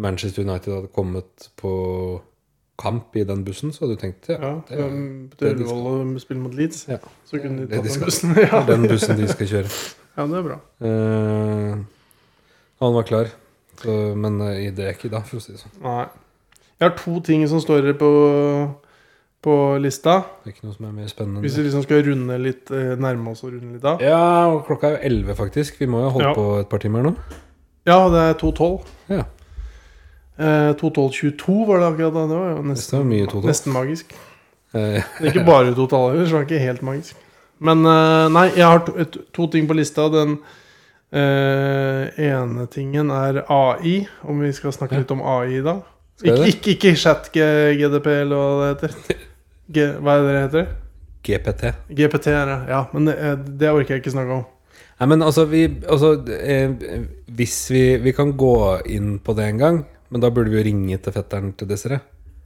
[SPEAKER 2] Manchester United hadde kommet på kamp i den bussen, så hadde du tenkt ja,
[SPEAKER 1] Ja,
[SPEAKER 2] det er
[SPEAKER 1] um,
[SPEAKER 2] det
[SPEAKER 1] Til
[SPEAKER 2] er de
[SPEAKER 1] Ullevål og spille mot Leeds.
[SPEAKER 2] Ja.
[SPEAKER 1] Så kunne de
[SPEAKER 2] Det
[SPEAKER 1] tatt
[SPEAKER 2] er de
[SPEAKER 1] den
[SPEAKER 2] skal.
[SPEAKER 1] bussen. Ja.
[SPEAKER 2] den bussen de skal kjøre.
[SPEAKER 1] ja, det er bra.
[SPEAKER 2] Eh, han var klar, så, men eh, det er ikke i dag, for å si det sånn.
[SPEAKER 1] Nei. Jeg har to ting som står på, på lista.
[SPEAKER 2] Det er ikke noe som er mer spennende.
[SPEAKER 1] Hvis vi
[SPEAKER 2] enn det.
[SPEAKER 1] liksom skal runde litt eh, nærme oss og runde litt av.
[SPEAKER 2] Ja, og klokka er jo elleve, faktisk. Vi må jo holde
[SPEAKER 1] Ja.
[SPEAKER 2] på et par timer nå.
[SPEAKER 1] Ja, det er 2.12.
[SPEAKER 2] Ja.
[SPEAKER 1] Eh, 2.12,22 var det akkurat da. Det var jo
[SPEAKER 2] Det er
[SPEAKER 1] nesten,
[SPEAKER 2] jo mye totalt.
[SPEAKER 1] nesten magisk.
[SPEAKER 2] Eh,
[SPEAKER 1] Det er ikke bare total heller, så det er ikke helt magisk. Men eh, nei, jeg har to, et- to ting på lista. Den eh, ene tingen er AI, om vi skal snakke litt om AI da.
[SPEAKER 2] Skal
[SPEAKER 1] Ikke,
[SPEAKER 2] vi det?
[SPEAKER 1] ikke, ikke chat GDP eller hva det heter. G, hva er det det heter?
[SPEAKER 2] GPT.
[SPEAKER 1] GPT er det, ja. Men det, eh, det orker jeg ikke snakke om.
[SPEAKER 2] Nei, men altså, vi, altså eh, Hvis vi, vi kan gå inn på det en gang, men da burde vi jo ringe til fetteren til Desiree.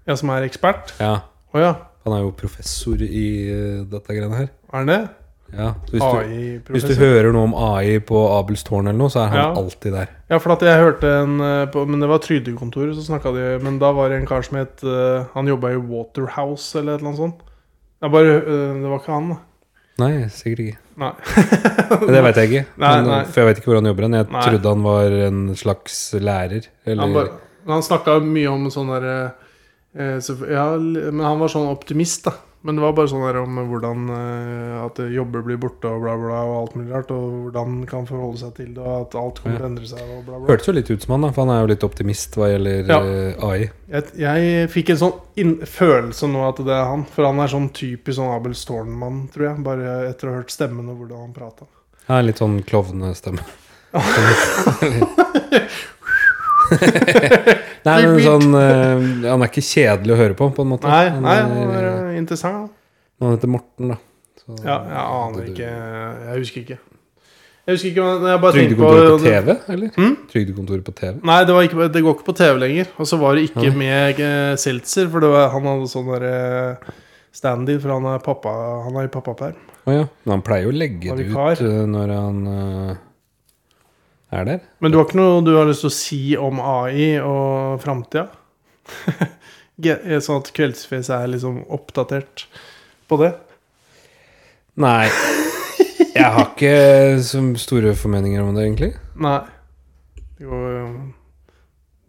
[SPEAKER 1] Jeg som er ekspert.
[SPEAKER 2] Ja.
[SPEAKER 1] Å ja,
[SPEAKER 2] Han er jo professor i eh, dette greiene her.
[SPEAKER 1] er han det?
[SPEAKER 2] Ja. Så hvis, du, hvis du
[SPEAKER 1] AI-professor.
[SPEAKER 2] hører noe om AI på Abels tårn eller noe, så er han
[SPEAKER 1] Ja.
[SPEAKER 2] alltid der.
[SPEAKER 1] Ja, for at jeg hørte en eh, på, Men det var Trygdekontoret, så snakka de Men da var det en kar som het eh, Han jobba i Waterhouse eller et eller annet sånt. Jeg bare eh, Det var ikke han, da.
[SPEAKER 2] Nei, sikkert ikke.
[SPEAKER 1] Nei.
[SPEAKER 2] Det veit jeg ikke.
[SPEAKER 1] Nei,
[SPEAKER 2] men, eh,
[SPEAKER 1] nei.
[SPEAKER 2] For jeg vet ikke hvor han jobber hen. Jeg
[SPEAKER 1] Nei.
[SPEAKER 2] trodde han var en slags lærer. Eller
[SPEAKER 1] Han, bare, han snakka mye om sånn der eh, så- Ja, l- men han var sånn optimist, da. Men det var bare sånn der om hvordan eh, at jobber blir borte og bla, bla, og alt mulig rart. Og hvordan man kan forholde seg til det, og at alt kommer til å endre seg og bla, bla.
[SPEAKER 2] Hørtes jo litt ut som han, da, for han er jo litt optimist hva gjelder
[SPEAKER 1] Ja.
[SPEAKER 2] eh, AI.
[SPEAKER 1] Jeg, jeg fikk en sånn inn, følelse nå at det er han. For han er sånn typisk sånn Abel Storn-mann, tror jeg. Bare etter å ha hørt stemmen og hvordan han prata.
[SPEAKER 2] Han er litt sånn klovnestemme. Nei, men sånn eh, Han er ikke kjedelig å høre på, på en måte.
[SPEAKER 1] Nei,
[SPEAKER 2] Han
[SPEAKER 1] nei,
[SPEAKER 2] er-
[SPEAKER 1] han var eh, interessant.
[SPEAKER 2] Han heter Morten, da.
[SPEAKER 1] Ja, jeg aner ikke Jeg husker ikke. Jeg husker ikke, men jeg bare tenkte på
[SPEAKER 2] Trygdekontoret på TV, eller?
[SPEAKER 1] Hm?
[SPEAKER 2] Trygdekontoret på TV.
[SPEAKER 1] Nei, det, var ikke, det går ikke på TV lenger. Og så var det ikke med eh, Seltzer, for det var, han hadde sånn derre stand-in, for han er, pappa, han er i pappaperm.
[SPEAKER 2] Å ja. Men han pleier jo å legge
[SPEAKER 1] Var
[SPEAKER 2] det
[SPEAKER 1] vikar.
[SPEAKER 2] ut eh, når han eh, er der.
[SPEAKER 1] Men du har ikke noe du har lyst til å si om AI og framtida? Ge- sånn at Kveldsfjes er liksom oppdatert på det?
[SPEAKER 2] Nei. Jeg har ikke så store formeninger om det, egentlig.
[SPEAKER 1] Nei. Det, går, eh,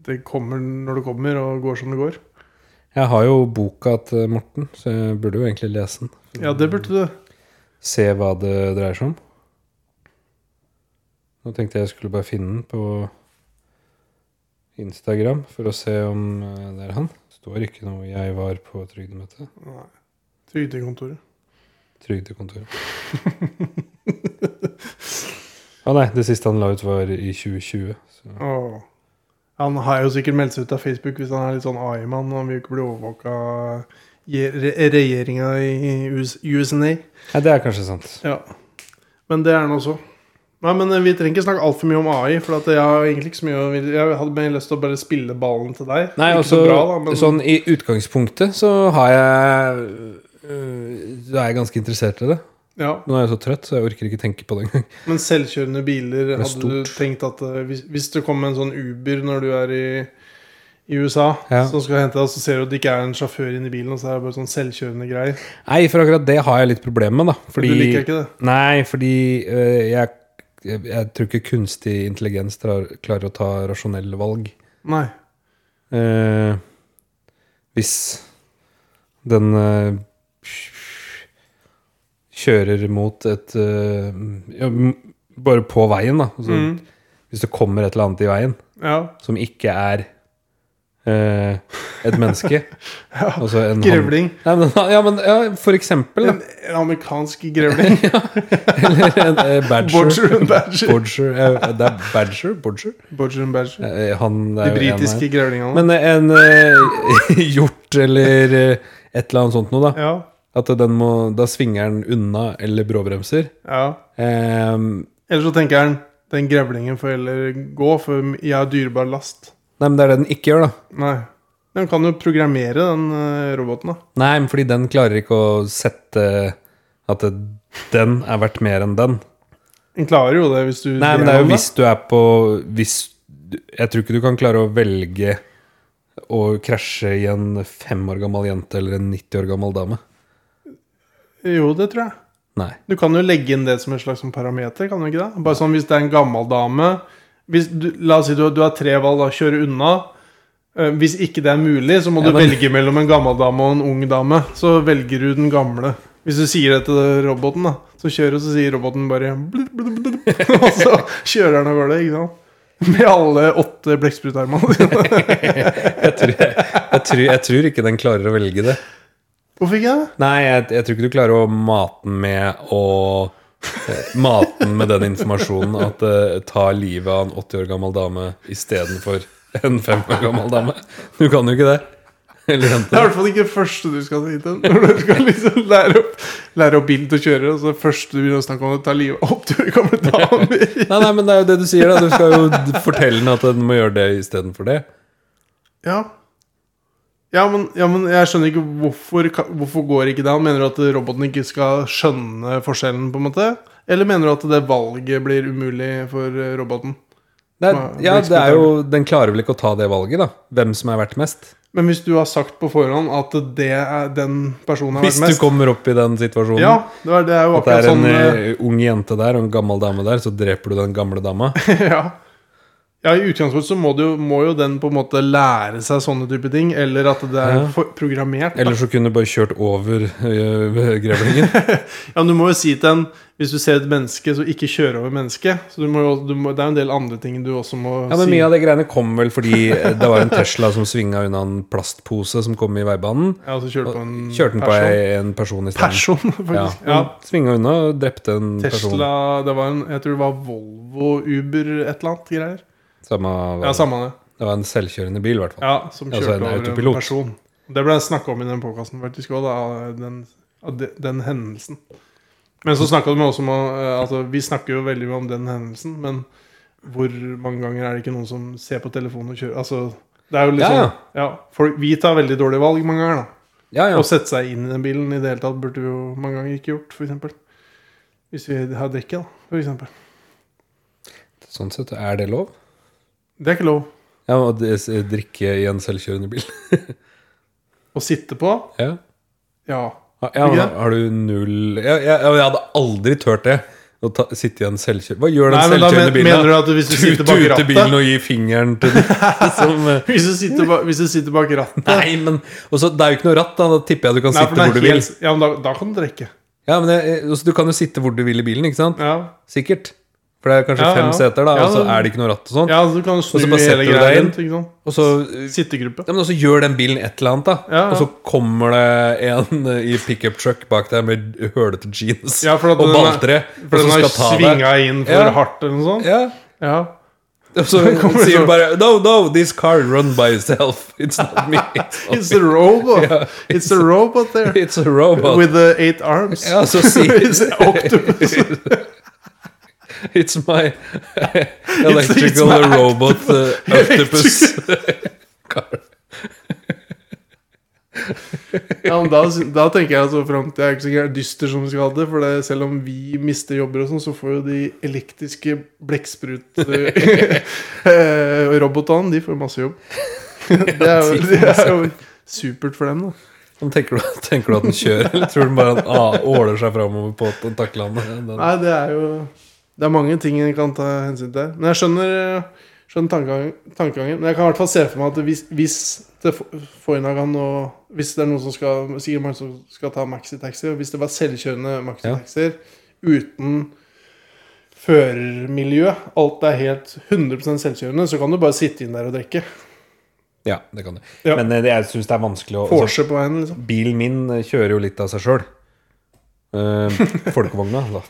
[SPEAKER 1] det kommer når det kommer, og går som det går.
[SPEAKER 2] Jeg har jo boka til Morten, så jeg burde jo egentlig lese den.
[SPEAKER 1] Ja, det burde du.
[SPEAKER 2] Se hva det dreier seg om. Nå tenkte jeg jeg skulle bare finne den på Instagram for å se om eh, det er han. Det står ikke noe 'jeg var på trygdemøte'.
[SPEAKER 1] Nei. Trygdekontoret.
[SPEAKER 2] Trygdekontoret. Å nei, det siste han la ut, var i 2020. Så.
[SPEAKER 1] Åh. Han har jo sikkert meldt seg ut av Facebook hvis han er litt sånn AI-mann. Han vil jo ikke bli overvåka av regjeringa i US USNA.
[SPEAKER 2] Nei, det er kanskje sant.
[SPEAKER 1] Ja. Men det er han også. Nei, men eh, Vi trenger ikke snakke altfor mye om AI. For at jeg har egentlig ikke så mye å vil- Jeg hadde mer lyst til å bare spille ballen til deg.
[SPEAKER 2] Nei,
[SPEAKER 1] Ikke
[SPEAKER 2] altså,
[SPEAKER 1] så bra, da, men
[SPEAKER 2] sånn i utgangspunktet så har jeg øh, Da er jeg ganske interessert i det.
[SPEAKER 1] ja.
[SPEAKER 2] Nå er jeg så trøtt, så jeg orker ikke tenke på det engang.
[SPEAKER 1] Men selvkjørende biler,
[SPEAKER 2] er
[SPEAKER 1] hadde du tenkt at eh, hvis, hvis det kommer en sånn Uber når du er i, i USA,
[SPEAKER 2] Ja.
[SPEAKER 1] som skal hente deg, så ser du at det ikke er en sjåfør inni bilen, og så er det bare sånn selvkjørende greier.
[SPEAKER 2] Nei, for akkurat det har jeg litt problemer med, da. Fordi,
[SPEAKER 1] Du liker ikke det?
[SPEAKER 2] Nei, fordi øh, jeg, jeg, jeg tror ikke kunstig intelligens drar, klarer å ta rasjonelle valg.
[SPEAKER 1] Nei.
[SPEAKER 2] Eh, hvis den eh, kjører mot et eh, ja, m- Bare på veien, da. Altså,
[SPEAKER 1] Mm.
[SPEAKER 2] Hvis det kommer et eller annet i veien
[SPEAKER 1] Ja.
[SPEAKER 2] som ikke er eh, et menneske
[SPEAKER 1] Ja,
[SPEAKER 2] altså en ham-
[SPEAKER 1] Grevling.
[SPEAKER 2] Nei, men, ja, men ja, for eksempel.
[SPEAKER 1] En,
[SPEAKER 2] Da.
[SPEAKER 1] en amerikansk grevling.
[SPEAKER 2] Eller en eh, badger.
[SPEAKER 1] Bodger and Badger.
[SPEAKER 2] Bodger, eh, det er badger? Bodger?
[SPEAKER 1] Bodger and Badger.
[SPEAKER 2] Eh, han, det
[SPEAKER 1] De
[SPEAKER 2] er jo en av-
[SPEAKER 1] britiske grevlingene.
[SPEAKER 2] Men eh, en eh, hjort eller eh, et eller annet sånt noe, da.
[SPEAKER 1] ja.
[SPEAKER 2] At den må, da svinger den unna eller bråbremser.
[SPEAKER 1] ja.
[SPEAKER 2] Eh, nei,
[SPEAKER 1] Eller så tenker han den grevlingen får heller gå, for jeg har dyrebar last.
[SPEAKER 2] men det er det den ikke gjør, da.
[SPEAKER 1] Nei. Den kan jo programmere den eh, roboten, da.
[SPEAKER 2] Nei, men fordi den klarer ikke å sette at det, den er verdt mer enn den.
[SPEAKER 1] Den klarer jo det hvis du
[SPEAKER 2] Nei, men det er jo
[SPEAKER 1] den, da.
[SPEAKER 2] hvis du er på hvis, du- Jeg tror ikke du kan klare å velge å krasje i en fem år gammel jente eller en 90 år gammel dame.
[SPEAKER 1] Jo, det tror jeg.
[SPEAKER 2] Nei.
[SPEAKER 1] Du kan jo legge inn det som en slags sånn parameter, kan du ikke det? Bare sånn hvis det er en gammel dame hvis du, La oss si du, du har tre valg, da. Kjøre unna. Eh, Hvis ikke det er mulig, så må
[SPEAKER 2] Ja,
[SPEAKER 1] du
[SPEAKER 2] men-
[SPEAKER 1] velge mellom en gammel dame og en ung dame. Så velger du den gamle. Hvis du sier det til roboten, da, så kjører så sier roboten bare blub, blub, blub, Og så kjører den av gårde, ikke sant? Med alle åtte blekksprutarmene dine.
[SPEAKER 2] Jeg tror, jeg, tror, jeg tror ikke den klarer å velge det.
[SPEAKER 1] Hvorfor ikke det?
[SPEAKER 2] Nei, jeg, jeg tror ikke du klarer å mate den med å eh, Mate den med den informasjonen at det tar livet av en 80 år gammel dame istedenfor en 5 år gammel dame. Du kan jo ikke det. Eller
[SPEAKER 1] Det
[SPEAKER 2] jente.
[SPEAKER 1] er i hvert fall ikke det første du skal si til Når du skal liksom lære opp, lære opp bilen til å kjøre, og så det første du begynner å snakke om, er å ta livet av 80 år gamle damer.
[SPEAKER 2] Nei, nei, men det er jo det du sier, da. Du skal jo d- fortelle den at den må gjøre det istedenfor det.
[SPEAKER 1] Ja. Ja men, ja, men jeg skjønner ikke hvorfor, ka- hvorfor går ikke det an. Mener du at roboten ikke skal skjønne forskjellen, på en måte? Eller mener du at det valget blir umulig for eh, roboten?
[SPEAKER 2] Det er, ja, det er jo, Den klarer vel ikke å ta det valget, da. Hvem som er verdt mest.
[SPEAKER 1] Men hvis du har sagt på forhånd at det er den personen har
[SPEAKER 2] Hvis
[SPEAKER 1] vært
[SPEAKER 2] du
[SPEAKER 1] mest
[SPEAKER 2] kommer opp i den situasjonen.
[SPEAKER 1] Ja, det er, det er jo
[SPEAKER 2] At
[SPEAKER 1] akkurat
[SPEAKER 2] det er en
[SPEAKER 1] sånn eh,
[SPEAKER 2] eh, ung jente der og en gammel dame der, så dreper du den gamle dama.
[SPEAKER 1] ja. ja, i utgangspunktet så må, det jo, må jo den på en måte lære seg sånne type ting, eller at det er
[SPEAKER 2] Ja.
[SPEAKER 1] for, programmert. da.
[SPEAKER 2] Eller så kunne du bare kjørt over eh, grevlingen.
[SPEAKER 1] Ja, men du må jo si til en Hvis du ser et menneske, så ikke kjør over mennesket. Så du må, jo- du må, det er jo en del andre ting du også må
[SPEAKER 2] Ja, men
[SPEAKER 1] si.
[SPEAKER 2] Mye av de greiene kom vel fordi eh, det var en Tesla som svinga unna en plastpose som kom i veibanen.
[SPEAKER 1] Ja, så kjører du på en
[SPEAKER 2] Kjørte den på
[SPEAKER 1] person.
[SPEAKER 2] ei- en Mm, person i stedet.
[SPEAKER 1] Person, faktisk.
[SPEAKER 2] Ja.
[SPEAKER 1] Ja.
[SPEAKER 2] Svinga unna og drepte en person.
[SPEAKER 1] Tesla det var en, Jeg tror det var Volvo, Uber, et eller annet greier.
[SPEAKER 2] Samme,
[SPEAKER 1] Ja, samme det.
[SPEAKER 2] Det var en selvkjørende bil, i hvert fall.
[SPEAKER 1] Ja, som
[SPEAKER 2] Altså,
[SPEAKER 1] kjørte
[SPEAKER 2] en
[SPEAKER 1] over en
[SPEAKER 2] autopilot.
[SPEAKER 1] person. Det ble snakka om i den podkasten faktisk òg, den, av de- den hendelsen. Men så snakka de også om eh, altså, Vi snakker jo veldig mye om den hendelsen, men hvor mange ganger er det ikke noen som ser på telefonen og kjører? Altså, det er jo litt
[SPEAKER 2] Ja, ja.
[SPEAKER 1] sånn ja, folk, Vi tar veldig dårlige valg mange ganger, da.
[SPEAKER 2] Ja, ja.
[SPEAKER 1] Å sette seg inn i den bilen i det hele tatt burde vi jo mange ganger ikke gjort, f.eks. Hvis vi har drikke, da, f.eks.
[SPEAKER 2] Sånn sett, er det lov?
[SPEAKER 1] Det er ikke lov
[SPEAKER 2] Ja, å d- drikke i en selvkjørende bil.
[SPEAKER 1] å sitte på.
[SPEAKER 2] ja.
[SPEAKER 1] Ja.
[SPEAKER 2] Ja, ja,
[SPEAKER 1] Ikke
[SPEAKER 2] men
[SPEAKER 1] det?
[SPEAKER 2] har du null jeg, jeg, jeg hadde aldri turt det. Å ta, sitte i en selvkjørende Hva gjør den
[SPEAKER 1] Nei, men da men-
[SPEAKER 2] selvkjørende bilen? da?
[SPEAKER 1] mener du at hvis du
[SPEAKER 2] Tut-
[SPEAKER 1] sitter bak
[SPEAKER 2] tute
[SPEAKER 1] rattet?
[SPEAKER 2] bilen og gi fingeren til den som eh,
[SPEAKER 1] Hvis du sitter bak, hvis du sitter bak rattet
[SPEAKER 2] Nei, men også, Det er jo ikke noe ratt, da. Da tipper jeg du kan
[SPEAKER 1] Nei, for
[SPEAKER 2] sitte
[SPEAKER 1] den er
[SPEAKER 2] hvor du vil.
[SPEAKER 1] helt- Ja, men da, da kan du drikke.
[SPEAKER 2] Ja, men jeg, jeg- også, Du kan jo sitte hvor du vil i bilen, ikke sant?
[SPEAKER 1] Ja.
[SPEAKER 2] Sikkert. For det er kanskje
[SPEAKER 1] Ja, ja.
[SPEAKER 2] fem seter, da,
[SPEAKER 1] Ja,
[SPEAKER 2] og så
[SPEAKER 1] men-
[SPEAKER 2] er det ikke noe ratt og sånn.
[SPEAKER 1] ja, så du kan snu
[SPEAKER 2] så bare
[SPEAKER 1] hele
[SPEAKER 2] setter du
[SPEAKER 1] greia
[SPEAKER 2] deg inn.
[SPEAKER 1] rundt. Ikke sant?
[SPEAKER 2] Og så eh,
[SPEAKER 1] Sittegruppe.
[SPEAKER 2] ja, men også gjør den bilen et eller annet, da.
[SPEAKER 1] Ja, ja.
[SPEAKER 2] Og så kommer det en eh, i pickup truck bak deg med hølete jeans
[SPEAKER 1] Ja, for at
[SPEAKER 2] og
[SPEAKER 1] den er-
[SPEAKER 2] balltre.
[SPEAKER 1] For den har svinga inn for
[SPEAKER 2] Ja.
[SPEAKER 1] hardt eller noe sånt.
[SPEAKER 2] Ja.
[SPEAKER 1] Ja.
[SPEAKER 2] Og så
[SPEAKER 1] kommer det
[SPEAKER 2] sier
[SPEAKER 1] så-
[SPEAKER 2] du bare No, no, this car run by itself. It's not me. It's, not
[SPEAKER 1] It's a robot.
[SPEAKER 2] Ja.
[SPEAKER 1] It's a robot there.
[SPEAKER 2] me. It's a robot.
[SPEAKER 1] With the eight arms.
[SPEAKER 2] ja, så sier
[SPEAKER 1] It's an octopus.
[SPEAKER 2] It's my electrical
[SPEAKER 1] it's my
[SPEAKER 2] robot uh, octopus. Car.
[SPEAKER 1] Ja, men da, da tenker jeg så frem til Jeg er ikke så gæren dyster som vi skal ha det. For det, selv om vi mister jobber, og sånn så får jo de elektriske blekksprut-robotene eh, De får masse jobb. Det er jo, det er jo supert for dem, da.
[SPEAKER 2] Men Tenker, du, tenker du at den kjører, eller tror du bare at den ah, åler seg framover på tentaklene? Den-
[SPEAKER 1] Nei, det er jo Det er mange ting en kan ta hensyn til. Men jeg skjønner, eh, skjønner tankegangen, tankegangen. Men jeg kan i hvert fall se for meg at hvis, hvis det Foinagan og Hvis det er noen som skal Sikkert mange som skal ta maxitaxi, og hvis det var selvkjørende maxitaxier uten førermiljø, alt er helt 100 selvkjørende, så kan du bare sitte inn der og drikke.
[SPEAKER 2] Ja, det kan du.
[SPEAKER 1] Ja.
[SPEAKER 2] Men eh, det- jeg syns det er vanskelig å altså,
[SPEAKER 1] Porsche på veien, liksom.
[SPEAKER 2] Bilen min eh, kjører jo litt av seg sjøl. folkevogna, da.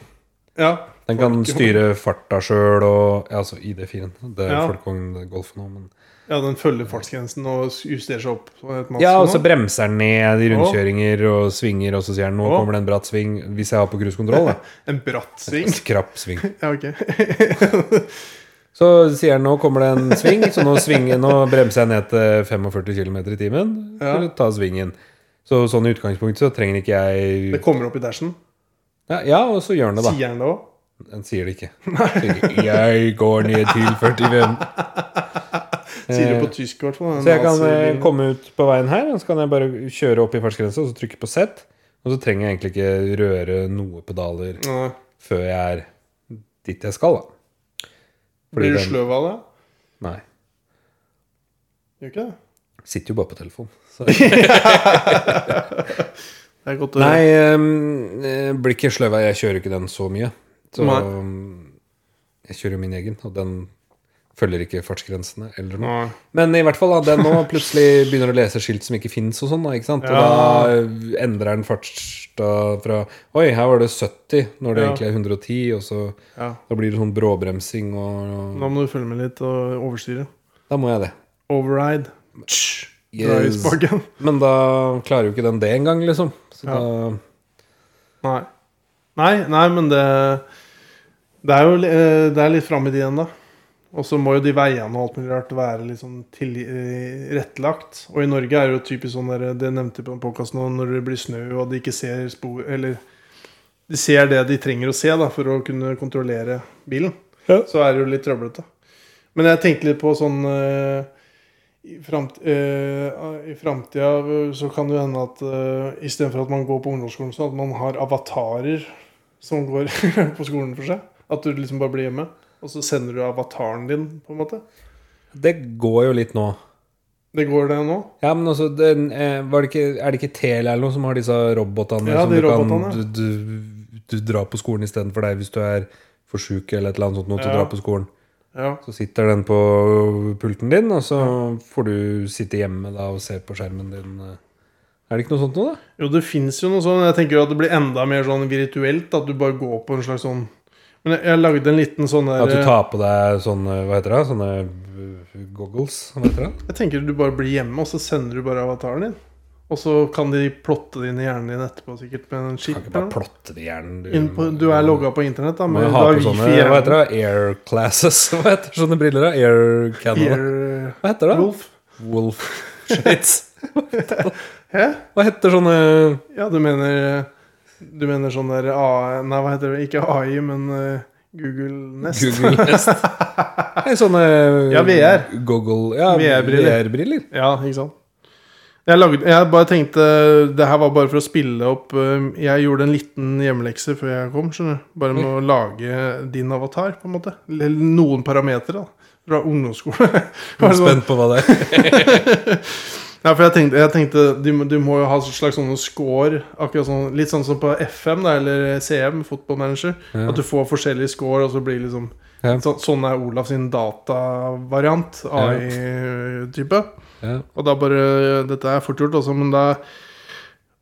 [SPEAKER 1] Ja.
[SPEAKER 2] Den kan styre farta sjøl og ja, Altså ID4-en. Det er
[SPEAKER 1] Ja.
[SPEAKER 2] folkevogn Golfen òg, men
[SPEAKER 1] ja, den følger fartsgrensen og justerer seg opp. så det er et
[SPEAKER 2] Ja, og
[SPEAKER 1] maksimum.
[SPEAKER 2] så bremser den ned i rundkjøringer og svinger, og så sier den 'nå
[SPEAKER 1] Å.
[SPEAKER 2] kommer det en bratt sving', hvis jeg har på cruisekontroll, da.
[SPEAKER 1] En bratt sving.
[SPEAKER 2] Skrapp sving.
[SPEAKER 1] Ja, ok.
[SPEAKER 2] Så sier den 'nå kommer det en sving', så nå, svinger, nå bremser jeg ned til 45 km i timen
[SPEAKER 1] Ja.
[SPEAKER 2] for å ta svingen. Så sånn i utgangspunktet så trenger ikke
[SPEAKER 1] Det
[SPEAKER 2] jeg
[SPEAKER 1] kommer opp i dashen.
[SPEAKER 2] ja, ja, og så gjør den det, da.
[SPEAKER 1] Sier han det òg?
[SPEAKER 2] Den sier det ikke. Sier, jeg går ned til 45.
[SPEAKER 1] Sier det på tysk, i hvert fall.
[SPEAKER 2] Eh, Så jeg kan eh,
[SPEAKER 1] nazibilen.
[SPEAKER 2] komme ut på veien her, og så kan jeg bare kjøre opp i fartsgrensa og så trykke på Z. Og så trenger jeg egentlig ikke røre noe pedaler
[SPEAKER 1] Nei.
[SPEAKER 2] før jeg er dit jeg skal, da. Fordi
[SPEAKER 1] Blir du
[SPEAKER 2] den-
[SPEAKER 1] sløv av det?
[SPEAKER 2] Nei.
[SPEAKER 1] Gjør ikke det?
[SPEAKER 2] Sitter jo bare på telefon. Så.
[SPEAKER 1] Det er godt å
[SPEAKER 2] Nei, ehm, eh, blir ikke sløv av Jeg kjører ikke den så mye. Så
[SPEAKER 1] Nei.
[SPEAKER 2] ehm, jeg kjører jo min egen, og den følger ikke fartsgrensene eller noe.
[SPEAKER 1] Nei.
[SPEAKER 2] Men i hvert fall da, den nå plutselig begynner å lese skilt som ikke fins og sånn. da, ikke sant? Og
[SPEAKER 1] Ja.
[SPEAKER 2] da endrer den fartsda fra Oi, her var det 70 når det
[SPEAKER 1] Ja.
[SPEAKER 2] egentlig er 110, og så
[SPEAKER 1] Ja.
[SPEAKER 2] da blir det sånn bråbremsing og, og
[SPEAKER 1] Da må du følge med litt og overstyre.
[SPEAKER 2] Da må jeg det.
[SPEAKER 1] Override. Dra i
[SPEAKER 2] Yes.
[SPEAKER 1] spaken.
[SPEAKER 2] Men da klarer jo ikke den det engang, liksom. Så
[SPEAKER 1] Ja.
[SPEAKER 2] da
[SPEAKER 1] Nei. Nei, nei, men det Det er jo li- eh, det er litt fram i tid ennå. Og så må jo de veiene og alt mulig rart være litt sånn til, eh, rettlagt. Og i Norge er det jo typisk sånn der, det nevnte jeg på podkasten nå, når det blir snø og de ikke ser spor Eller de ser det de trenger å se da, for å kunne kontrollere bilen. Så er det jo litt trøblete. Men jeg tenkte litt på sånn eh, i, framt, eh, I framtida eh, så kan det jo hende at eh, istedenfor at man går på ungdomsskolen, sånn at man har avatarer som går på skolen for seg. At du liksom bare blir hjemme, og så sender du avataren din, på en måte.
[SPEAKER 2] Det går jo litt nå.
[SPEAKER 1] Det går det nå?
[SPEAKER 2] Ja, men altså, den, eh, var det ikke, er det ikke Telia eller noe som har disse robotene?
[SPEAKER 1] Ja,
[SPEAKER 2] som
[SPEAKER 1] de
[SPEAKER 2] du,
[SPEAKER 1] robotene, ja.
[SPEAKER 2] kan, du, du, du drar på skolen istedenfor deg hvis du er for sjuk eller et eller annet sånt noe til
[SPEAKER 1] Ja.
[SPEAKER 2] å dra på skolen.
[SPEAKER 1] Ja.
[SPEAKER 2] Så sitter den på pulten din, og så får du sitte hjemme da og se på skjermen din. eh. Er det ikke noe sånt nå, da?
[SPEAKER 1] Jo, det fins jo noe sånn. Jeg tenker jo at det blir enda mer sånn virtuelt. At du bare går på en slags sånn Men jeg, jeg lagde en liten sånn der
[SPEAKER 2] At du tar på deg sånne, hva heter det, sånne uh, goggles, hva heter det?
[SPEAKER 1] Jeg tenker du bare blir hjemme, og så sender du bare avataren din. Og så kan de plotte det inn i hjernen din etterpå, sikkert med en chip.
[SPEAKER 2] Kan ikke
[SPEAKER 1] eller
[SPEAKER 2] bare
[SPEAKER 1] noe.
[SPEAKER 2] plotte det i hjernen. Du,
[SPEAKER 1] Inn på- Du er logga på internett, da.
[SPEAKER 2] må
[SPEAKER 1] Men
[SPEAKER 2] jo
[SPEAKER 1] du
[SPEAKER 2] ha
[SPEAKER 1] har
[SPEAKER 2] på
[SPEAKER 1] wifi
[SPEAKER 2] sånne,
[SPEAKER 1] i
[SPEAKER 2] hva
[SPEAKER 1] hjernen.
[SPEAKER 2] heter det, air classes, hva heter sånne briller da? Air Canada?
[SPEAKER 1] Ear-
[SPEAKER 2] Hva heter det?
[SPEAKER 1] Wolf.
[SPEAKER 2] Wolf shades.
[SPEAKER 1] Hæ?
[SPEAKER 2] Hva heter sånne,
[SPEAKER 1] Ja, du mener Du mener sånn der AI Nei, hva heter det? Ikke AI, men eh, Google Nest.
[SPEAKER 2] Google Nest? Nei, sånne
[SPEAKER 1] Ja, VR.
[SPEAKER 2] Goggle, ja,
[SPEAKER 1] VR-briller.
[SPEAKER 2] VR-briller.
[SPEAKER 1] Ja, ikke sant? Jeg, lagde, jeg bare tenkte Det her var bare for å spille opp eh, Jeg gjorde en liten hjemmelekse før jeg kom. skjønner du? Bare med å
[SPEAKER 2] Mm.
[SPEAKER 1] lage din avatar, på en måte. Eller noen parametere da, fra ungdomsskole.
[SPEAKER 2] Jeg
[SPEAKER 1] Bare
[SPEAKER 2] er
[SPEAKER 1] sånn-
[SPEAKER 2] Spent på hva det er.
[SPEAKER 1] Ja, for jeg tenkte, jeg tenkte du, må- du må jo ha en slags sånne score. Akkurat sånn, litt sånn som på FM da, eller CM, Football Manager.
[SPEAKER 2] Ja.
[SPEAKER 1] At du får forskjellige score, og så blir liksom
[SPEAKER 2] Ja.
[SPEAKER 1] så, Sånn er Olaf sin datavariant. AI-type.
[SPEAKER 2] Ja.
[SPEAKER 1] Og da bare Dette er fort gjort, også, men da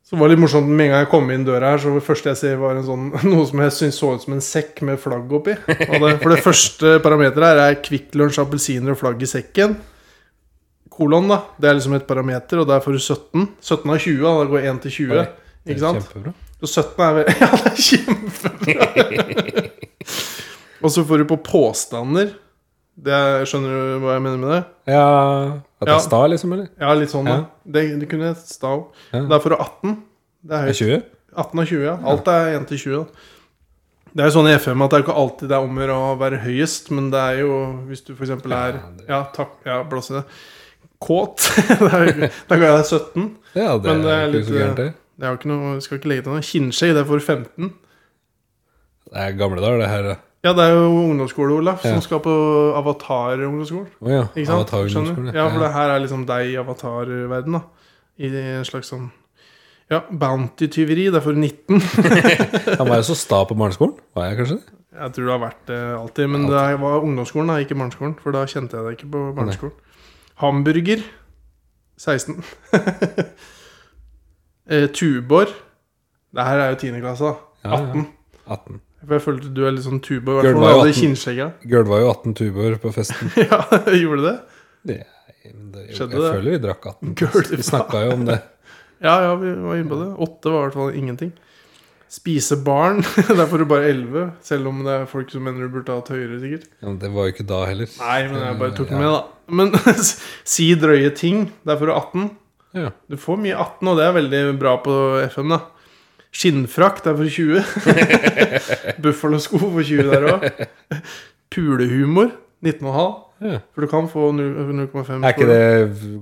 [SPEAKER 1] så var det litt morsomt Med en gang jeg kom inn døra her, så det første jeg ser, var en sånn, noe som jeg syns så ut som en sekk med flagg oppi. Og det, for det første parameteret her er Kvikk Lunsj, appelsiner og flagg i sekken. Kolon, da. Det er liksom et parameter, og der får du 17. 17 av 20, da. Da går 1 til 20.
[SPEAKER 2] Oi,
[SPEAKER 1] Ikke sant?
[SPEAKER 2] Kjempebra.
[SPEAKER 1] Så 17 er vel Ja, det er kjempebra! og så får du på påstander. Det er, skjønner du hva jeg mener med det?
[SPEAKER 2] Ja, at det
[SPEAKER 1] Ja.
[SPEAKER 2] er sta liksom, eller?
[SPEAKER 1] Ja, litt sånn,
[SPEAKER 2] Ja.
[SPEAKER 1] da. Det, det kunne jeg sta òg.
[SPEAKER 2] Ja.
[SPEAKER 1] Da får du 18. Det er
[SPEAKER 2] Er
[SPEAKER 1] høyt.
[SPEAKER 2] 20?
[SPEAKER 1] 18 og 20, ja. Alt er 1 til 20. da. Det er jo sånn i FM at det er jo ikke alltid det er om å gjøre å være høyest, men det er jo hvis du f.eks. er Ja, takk, ja, blås i det. Kåt. det er jo ikke- da ga jeg deg 17.
[SPEAKER 2] Ja, det
[SPEAKER 1] Men det er
[SPEAKER 2] er ikke
[SPEAKER 1] litt,
[SPEAKER 2] så gærent det.
[SPEAKER 1] Det er jo ikke noe, skal ikke legge til noe. Kinnskje, det får 15.
[SPEAKER 2] Det er gamle dager, det her. da.
[SPEAKER 1] Ja, det er jo ungdomsskole, Olaf,
[SPEAKER 2] Ja.
[SPEAKER 1] som skal på avatar-ungdomsskolen.
[SPEAKER 2] Å ja.
[SPEAKER 1] Ikke sant?
[SPEAKER 2] Avatar
[SPEAKER 1] Skjønner
[SPEAKER 2] ungdomsskole.
[SPEAKER 1] du? Ja, for det her er liksom deg i avatar-verden, da. I en slags sånn Ja, bounty-tyveri. Det er for 19.
[SPEAKER 2] Han var jo så sta på barneskolen. Var jeg kanskje det?
[SPEAKER 1] Jeg tror det har vært det alltid, men det var ungdomsskolen, da, ikke barneskolen. For da kjente jeg det ikke på barneskolen. Hamburger 16. eh, Tubor Det her er jo 10. klasse, da.
[SPEAKER 2] Ja, ja.
[SPEAKER 1] 18.
[SPEAKER 2] 18.
[SPEAKER 1] For jeg følte du er litt sånn Tubor. I
[SPEAKER 2] Bjørn
[SPEAKER 1] hvert
[SPEAKER 2] var
[SPEAKER 1] fall
[SPEAKER 2] jo
[SPEAKER 1] hadde
[SPEAKER 2] 18.
[SPEAKER 1] kinnskjegget.
[SPEAKER 2] Gøl var jo 18 tuber på festen.
[SPEAKER 1] ja, gjorde det?
[SPEAKER 2] Det, men det, jeg
[SPEAKER 1] Skjedde det?
[SPEAKER 2] føler vi drakk 18.
[SPEAKER 1] Gøl,
[SPEAKER 2] Vi snakka jo om det.
[SPEAKER 1] Ja, ja, vi var inne på det. Åtte var i hvert fall ingenting. Spise barn. Der får du bare elleve. Selv om det er folk som mener du burde hatt høyere, sikkert.
[SPEAKER 2] Ja, men det var jo ikke da heller.
[SPEAKER 1] Nei, men jeg bare tok
[SPEAKER 2] Ja.
[SPEAKER 1] den med, da. Men si drøye ting. Der får du 18.
[SPEAKER 2] Ja.
[SPEAKER 1] Du får mye 18, og det er veldig bra på FM, da. Skinnfrakk, der får du 20. Buffalo-sko får 20 der òg. Pulehumor, 19,5.
[SPEAKER 2] Ja.
[SPEAKER 1] For du kan få 0,5
[SPEAKER 2] Er ikke det,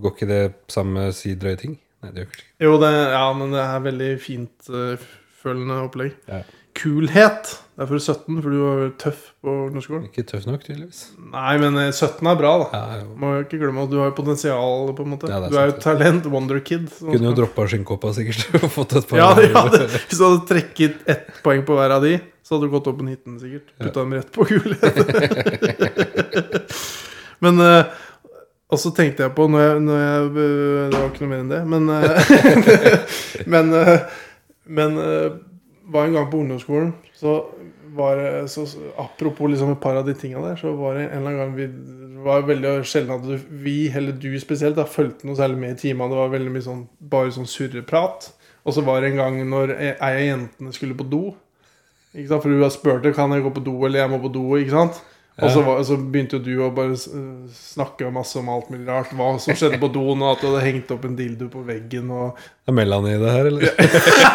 [SPEAKER 2] går ikke det samme si drøye ting? Nei, det gjør kanskje ikke
[SPEAKER 1] Jo, det, ja, men det er veldig fint eh, følende opplegg.
[SPEAKER 2] Ja.
[SPEAKER 1] Kulhet. Det er for 17, for du var tøff på ungdomsskolen.
[SPEAKER 2] Ikke tøff nok, tydeligvis.
[SPEAKER 1] Nei, men eh, 17 er bra, da.
[SPEAKER 2] Ja, jo.
[SPEAKER 1] Må jo ikke glemme at du har jo potensial, på en måte.
[SPEAKER 2] Ja, det er
[SPEAKER 1] du er jo
[SPEAKER 2] sant,
[SPEAKER 1] talent, wonderkid. sånn som
[SPEAKER 2] Kunne jo
[SPEAKER 1] skal-
[SPEAKER 2] droppa skinnkåpa sikkert og fått et par
[SPEAKER 1] Ja, det- ja det, Hvis du hadde trekket ett poeng på hver av de, så hadde du gått opp på 19, sikkert. Putta dem rett på kulhet. men eh, Og så tenkte jeg på når jeg, når jeg eh, Det var ikke noe mer enn det, men eh, Men, eh, men eh, var en gang på ungdomsskolen, så var det så, så- Apropos liksom et par av de tinga der, så var det en eller annen gang vi det var veldig sjelden at du- vi, eller du spesielt, da, fulgte noe særlig med i timene. Det var veldig mye sånn bare sånn surreprat. Og så var det en gang når ei ei av jentene skulle på do. Ikke sant? For hun spurte kan jeg gå på do, eller jeg må på do. ikke sant? Og så, var, så begynte jo du å bare s- øh, snakke masse om alt mulig rart. Hva som skjedde på doen, og at du hadde hengt opp en dildo på veggen. og
[SPEAKER 2] Er Melanie det her, eller?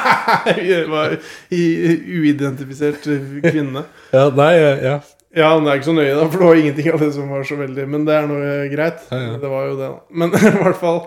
[SPEAKER 1] jeg var i- uidentifisert kvinne.
[SPEAKER 2] Ja, nei, ja.
[SPEAKER 1] Ja, men det er ikke så nøye, da, for det var ingenting av det som var så veldig Men det er nå eh, greit.
[SPEAKER 2] Ja, ja.
[SPEAKER 1] Det var jo det, da. Men i hvert fall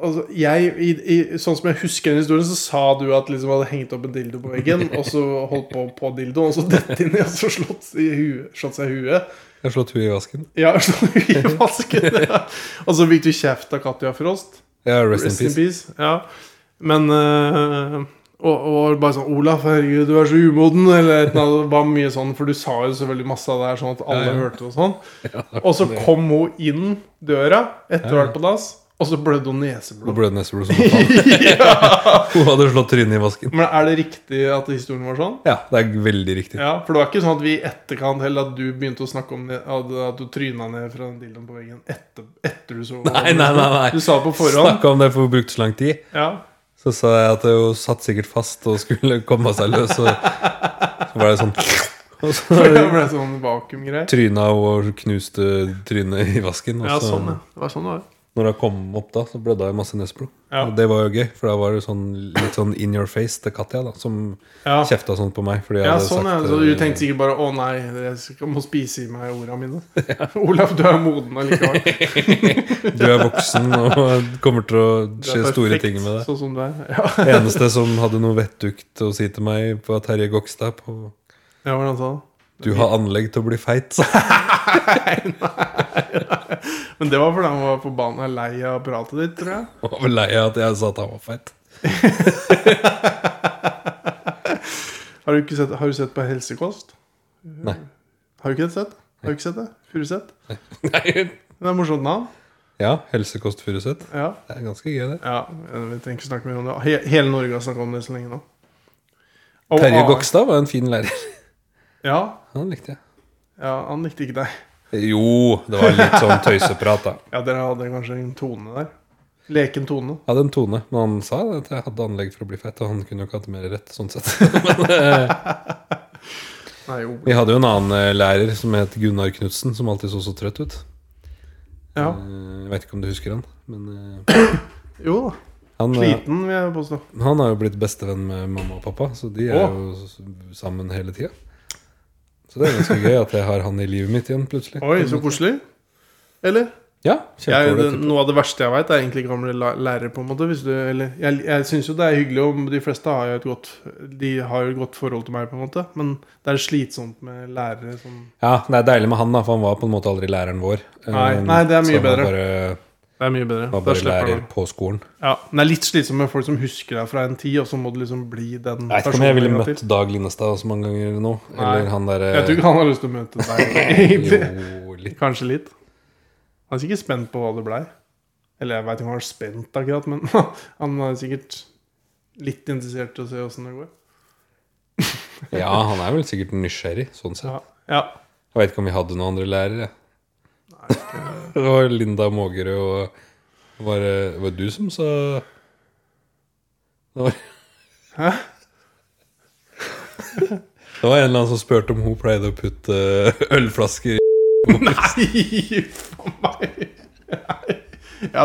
[SPEAKER 1] altså, jeg, i, i, Sånn som jeg husker den historien, så sa du at liksom hadde hengt opp en dildo på veggen, og så holdt på på dildoen, og så dette inn i, og så slått, i huet, slått seg i huet.
[SPEAKER 2] Jeg har slått henne i vasken.
[SPEAKER 1] Ja, slått i vasken. Ja. Og så fikk du kjeft av Katja Frost.
[SPEAKER 2] Ja, rest,
[SPEAKER 1] Rest
[SPEAKER 2] in
[SPEAKER 1] in
[SPEAKER 2] peace.
[SPEAKER 1] peace. Ja. Men eh, og, og bare sånn 'Olaf, herregud, du er så umoden', eller et eller annet. Det var mye sånn, for du sa jo selvfølgelig masse av det her, sånn at alle
[SPEAKER 2] Ja, ja.
[SPEAKER 1] hørte og sånn. Og så kom hun inn døra etter å ha vært på dass, Og så blødde hun neseblod.
[SPEAKER 2] Nå ble det neseblod som faen. Hun hadde slått trynet i vasken.
[SPEAKER 1] Men er det riktig at historien var sånn?
[SPEAKER 2] Ja, det er veldig riktig.
[SPEAKER 1] Ja, For det var ikke sånn at vi i etterkant heller at du begynte å snakke om det, at at du tryna ned fra den dildoen på veggen etter, etter du så
[SPEAKER 2] Nei, nei, nei. nei.
[SPEAKER 1] Du sa det på forhånd.
[SPEAKER 2] Snakka om det, for hun brukte så lang tid.
[SPEAKER 1] Ja.
[SPEAKER 2] Så sa jeg at hun satt sikkert fast og skulle komme seg løs. Og så var det sånn Og så
[SPEAKER 1] Det ble sånn vakuumgreier.
[SPEAKER 2] tryna hun og knuste trynet i vasken. Og
[SPEAKER 1] Ja,
[SPEAKER 2] så,
[SPEAKER 1] sånn, ja. Det var sånn det var.
[SPEAKER 2] når hun kom opp, da, så blødde hun masse neseblod.
[SPEAKER 1] Ja.
[SPEAKER 2] Og det var jo gøy, for da var det sånn, litt sånn in your face til Katja, da, som
[SPEAKER 1] Ja.
[SPEAKER 2] kjefta sånn på meg. Fordi jeg
[SPEAKER 1] Ja,
[SPEAKER 2] hadde
[SPEAKER 1] sånn, ja.
[SPEAKER 2] sagt
[SPEAKER 1] Så
[SPEAKER 2] eh,
[SPEAKER 1] du tenkte sikkert bare 'Å nei, jeg skal- må spise i meg orda mine'. Olaf, du er moden allikevel. Du
[SPEAKER 2] Du er voksen og kommer til å
[SPEAKER 1] er
[SPEAKER 2] skje store
[SPEAKER 1] perfekt
[SPEAKER 2] ting med deg.
[SPEAKER 1] Sånn som du er. Ja,
[SPEAKER 2] Det eneste som hadde noe vettugt å si til meg, var Terje Gokstad på
[SPEAKER 1] ja hvordan sa han?
[SPEAKER 2] Du har anlegg til å bli feit, sa jeg.
[SPEAKER 1] Men det var fordi han var forbanna lei av pratet ditt, tror jeg.
[SPEAKER 2] Jeg var vel lei av at jeg sa at han var feit.
[SPEAKER 1] Har du, ikke sett, har du sett på Helsekost?
[SPEAKER 2] Nei.
[SPEAKER 1] Har du ikke sett? Har du ikke sett det? Furuset?
[SPEAKER 2] Nei.
[SPEAKER 1] Det er et morsomt navn.
[SPEAKER 2] Ja, Helsekost Furuset.
[SPEAKER 1] Ja.
[SPEAKER 2] Det er ganske gøy, det.
[SPEAKER 1] ja. Vi trenger ikke snakke mer om det. He hele Norge har snakka om det så lenge nå. Og
[SPEAKER 2] Terje
[SPEAKER 1] A-
[SPEAKER 2] Gokstad var en fin lærer.
[SPEAKER 1] Ja,
[SPEAKER 2] Han likte jeg.
[SPEAKER 1] ja, han likte ikke deg.
[SPEAKER 2] Jo, det var litt sånn tøyseprat, da.
[SPEAKER 1] Ja, dere hadde kanskje en tone der. Leken tone.
[SPEAKER 2] Jeg hadde en tone, men han sa at jeg hadde anlegg for å bli feit, og han kunne jo ikke hatt mer rett, sånn sett.
[SPEAKER 1] Nei, Ole.
[SPEAKER 2] Vi hadde jo en annen eh, lærer som het Gunnar Knutsen, som alltid så så trøtt ut.
[SPEAKER 1] Ja.
[SPEAKER 2] Eh, Jeg vet ikke om du husker han, men eh,
[SPEAKER 1] Jo da.
[SPEAKER 2] han, eh,
[SPEAKER 1] Sliten, vil jeg påstå.
[SPEAKER 2] han har jo blitt bestevenn med mamma og pappa, så de er
[SPEAKER 1] Å.
[SPEAKER 2] jo s- sammen hele tida. Så det er ganske gøy at jeg har han i livet mitt igjen, plutselig.
[SPEAKER 1] Oi, så koselig. Eller?
[SPEAKER 2] Ja,
[SPEAKER 1] Jeg, det,
[SPEAKER 2] kjempeålreit.
[SPEAKER 1] noe av det verste jeg veit, er egentlig gamle la- lærere. på en måte hvis du, eller, Jeg, jeg syns jo det er hyggelig, og de fleste har jo et godt De har jo et godt forhold til meg, på en måte. Men det er slitsomt med lærere som
[SPEAKER 2] Ja, det er deilig med han, da, for han var på en måte aldri læreren vår. Eh,
[SPEAKER 1] Nei, nei, det er mye
[SPEAKER 2] så han var
[SPEAKER 1] bedre.
[SPEAKER 2] Bare,
[SPEAKER 1] Det er mye bedre.
[SPEAKER 2] var
[SPEAKER 1] Da
[SPEAKER 2] bare
[SPEAKER 1] slipper
[SPEAKER 2] lærer
[SPEAKER 1] man.
[SPEAKER 2] på skolen.
[SPEAKER 1] Ja, men det er litt slitsomt med folk som husker deg fra en tid, og så må du liksom bli den
[SPEAKER 2] Jeg vet ikke om jeg ville
[SPEAKER 1] en gang
[SPEAKER 2] møtt
[SPEAKER 1] til.
[SPEAKER 2] Dag Linnestad så mange ganger nå.
[SPEAKER 1] Nei.
[SPEAKER 2] Eller han derre
[SPEAKER 1] Jeg tror ikke han har lyst til å møte deg, egentlig.
[SPEAKER 2] Jo, litt.
[SPEAKER 1] Kanskje litt. Han er sikkert spent på hva det blei. Eller jeg veit ikke om han er spent akkurat, men han er sikkert litt interessert i å se åssen det går.
[SPEAKER 2] Ja, han er vel sikkert nysgjerrig, sånn sett.
[SPEAKER 1] Ja. ja.
[SPEAKER 2] Jeg vet ikke om vi hadde noen andre lærere. det var Linda Mågerø og Var det var det du som sa det var...
[SPEAKER 1] Hæ?
[SPEAKER 2] Det var en eller annen som spurte om hun pleide å putte ølflasker i
[SPEAKER 1] Nei, for meg! Ja,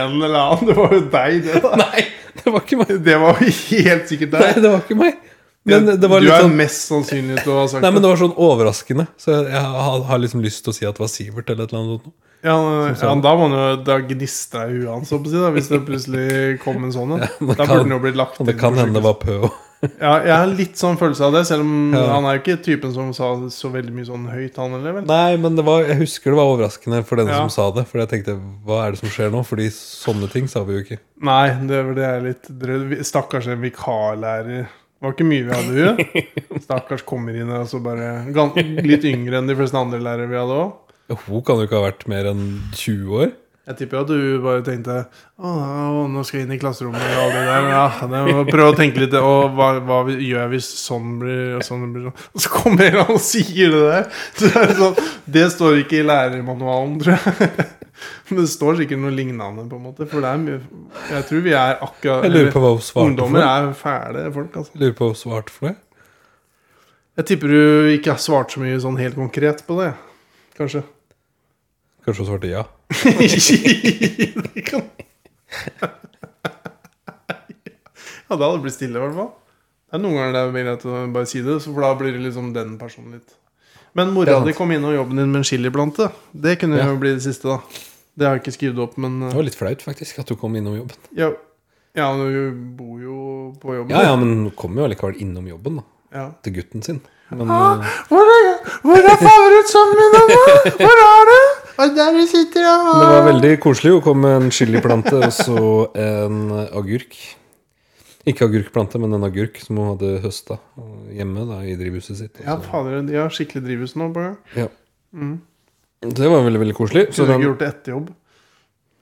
[SPEAKER 1] en eller annen. Det var jo deg, det. da
[SPEAKER 2] Nei, det var ikke meg!
[SPEAKER 1] Det var jo helt sikkert
[SPEAKER 2] Nei,
[SPEAKER 1] deg.
[SPEAKER 2] det var ikke meg. Men det var
[SPEAKER 1] du
[SPEAKER 2] litt
[SPEAKER 1] er
[SPEAKER 2] sånn
[SPEAKER 1] mest sannsynlig til å ha sagt
[SPEAKER 2] Nei, men det var sånn overraskende. Så jeg, jeg har, har liksom lyst til å si at det var Sivert eller et eller annet. sånt.
[SPEAKER 1] Ja, men- ja, men da må han jo Da gnister det i huet hans, holdt jeg på å si, da, hvis det plutselig kom en sånn en.
[SPEAKER 2] men det
[SPEAKER 1] Da
[SPEAKER 2] kan-
[SPEAKER 1] burde den jo blitt lagt
[SPEAKER 2] Og det
[SPEAKER 1] inn
[SPEAKER 2] kan
[SPEAKER 1] på
[SPEAKER 2] hende det var Pø òg.
[SPEAKER 1] Ja, jeg har litt sånn følelse av det, selv om
[SPEAKER 2] Ja.
[SPEAKER 1] han er jo ikke typen som sa så veldig mye sånn høyt, han heller, vel?
[SPEAKER 2] Nei, men det var, jeg husker det var overraskende for den
[SPEAKER 1] Ja.
[SPEAKER 2] som sa det. For jeg tenkte, hva er det som skjer nå? Fordi sånne ting sa vi jo ikke.
[SPEAKER 1] Nei, det, var- det er litt drøyt. Vi- Stakkars en vikarlærer. Det var ikke mye vi hadde, hun. Stakkars kommer inn her og så bare gan- Litt yngre enn de fleste andre lærere vi hadde òg.
[SPEAKER 2] Hun kan jo ikke ha vært mer enn 20 år.
[SPEAKER 1] Jeg tipper at du bare tenkte å, å, nå skal jeg inn i klasserommet og alt det der. Ja, det må prøve å tenke litt Å, hva, hva vi- gjør jeg hvis sånn blir og sånn blir sånn? Og så kommer en og sier det der! Så det, er sånn, det står ikke i lærermanualen, tror jeg. Men det står sikkert noe lignende, på en måte. For det er mye Jeg tror vi er akkurat
[SPEAKER 2] Jeg lurer på hva hun svarte
[SPEAKER 1] Ungdommer
[SPEAKER 2] for.
[SPEAKER 1] er fæle folk, altså.
[SPEAKER 2] Jeg lurer på hva hun svarte for det.
[SPEAKER 1] Jeg tipper du ikke har svart så mye sånn helt konkret på det, kanskje.
[SPEAKER 2] Kanskje hun svarte ja.
[SPEAKER 1] Det kan- ja, da hadde det blitt stille, i hvert fall. Det er noen ganger det er mer greit å bare si det, så for da blir det liksom den personen litt Men
[SPEAKER 2] Det er
[SPEAKER 1] mora
[SPEAKER 2] sant.
[SPEAKER 1] di kom innom jobben din med en chiliplante. Det kunne
[SPEAKER 2] Ja.
[SPEAKER 1] jo bli det siste, da. Det har jeg ikke skrevet opp, men eh,
[SPEAKER 2] Det var litt flaut, faktisk, at hun kom innom jobben.
[SPEAKER 1] ja, ja, hun bor jo på jobben.
[SPEAKER 2] Ja, ja, men hun kom jo allikevel innom jobben, da.
[SPEAKER 1] Ja.
[SPEAKER 2] Til gutten sin. Men eh,
[SPEAKER 1] Hvor er, hvor er favorittsønnen min nå? Hvor er du? Og der du sitter og
[SPEAKER 2] det var veldig koselig. Hun kom med en chiliplante og så en agurk. Ikke agurkplante, men en agurk som hun hadde høsta hjemme da, i drivhuset sitt.
[SPEAKER 1] Ja, fader, de har skikkelig drivhus nå. Bare.
[SPEAKER 2] Ja. Mm. Det var veldig veldig koselig. Så
[SPEAKER 1] Kunne du ikke
[SPEAKER 2] den,
[SPEAKER 1] gjort det etter jobb?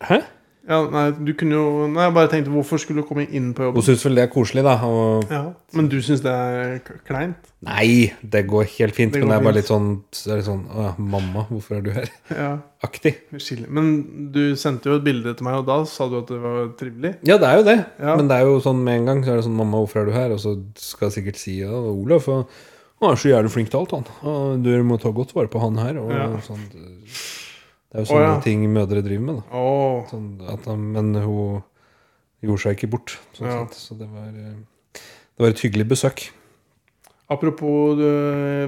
[SPEAKER 2] Hæ?
[SPEAKER 1] Ja, nei, du kunne jo Nei, jeg bare tenkte hvorfor skulle du komme inn på
[SPEAKER 2] Hun
[SPEAKER 1] jobb?
[SPEAKER 2] syns vel det er koselig, da. Og
[SPEAKER 1] Ja, men du syns det er k- kleint?
[SPEAKER 2] nei, det går helt fint,
[SPEAKER 1] Det går
[SPEAKER 2] men det er bare
[SPEAKER 1] fint.
[SPEAKER 2] litt sånn, så er det sånn Å ja, mamma, hvorfor er du her?
[SPEAKER 1] Ja,
[SPEAKER 2] Aktig.
[SPEAKER 1] skille. Men du sendte jo et bilde til meg, og da sa du at det var trivelig.
[SPEAKER 2] Ja, det er jo det.
[SPEAKER 1] Ja.
[SPEAKER 2] Men det er jo sånn med en gang så er det sånn 'Mamma, hvorfor er du her?' Og så skal jeg sikkert si ja, Olaf og, 'Han er så jævlig flink til alt, han. Og du må ta godt vare på han her.' Og
[SPEAKER 1] Ja.
[SPEAKER 2] sånn, det er jo sånne
[SPEAKER 1] Å, ja.
[SPEAKER 2] ting mødre driver med. da
[SPEAKER 1] Åh,
[SPEAKER 2] sånn at, han- Men hun gjorde seg ikke bort. Sånn
[SPEAKER 1] Ja.
[SPEAKER 2] sett. Så det var, eh, det var et hyggelig besøk.
[SPEAKER 1] Apropos du,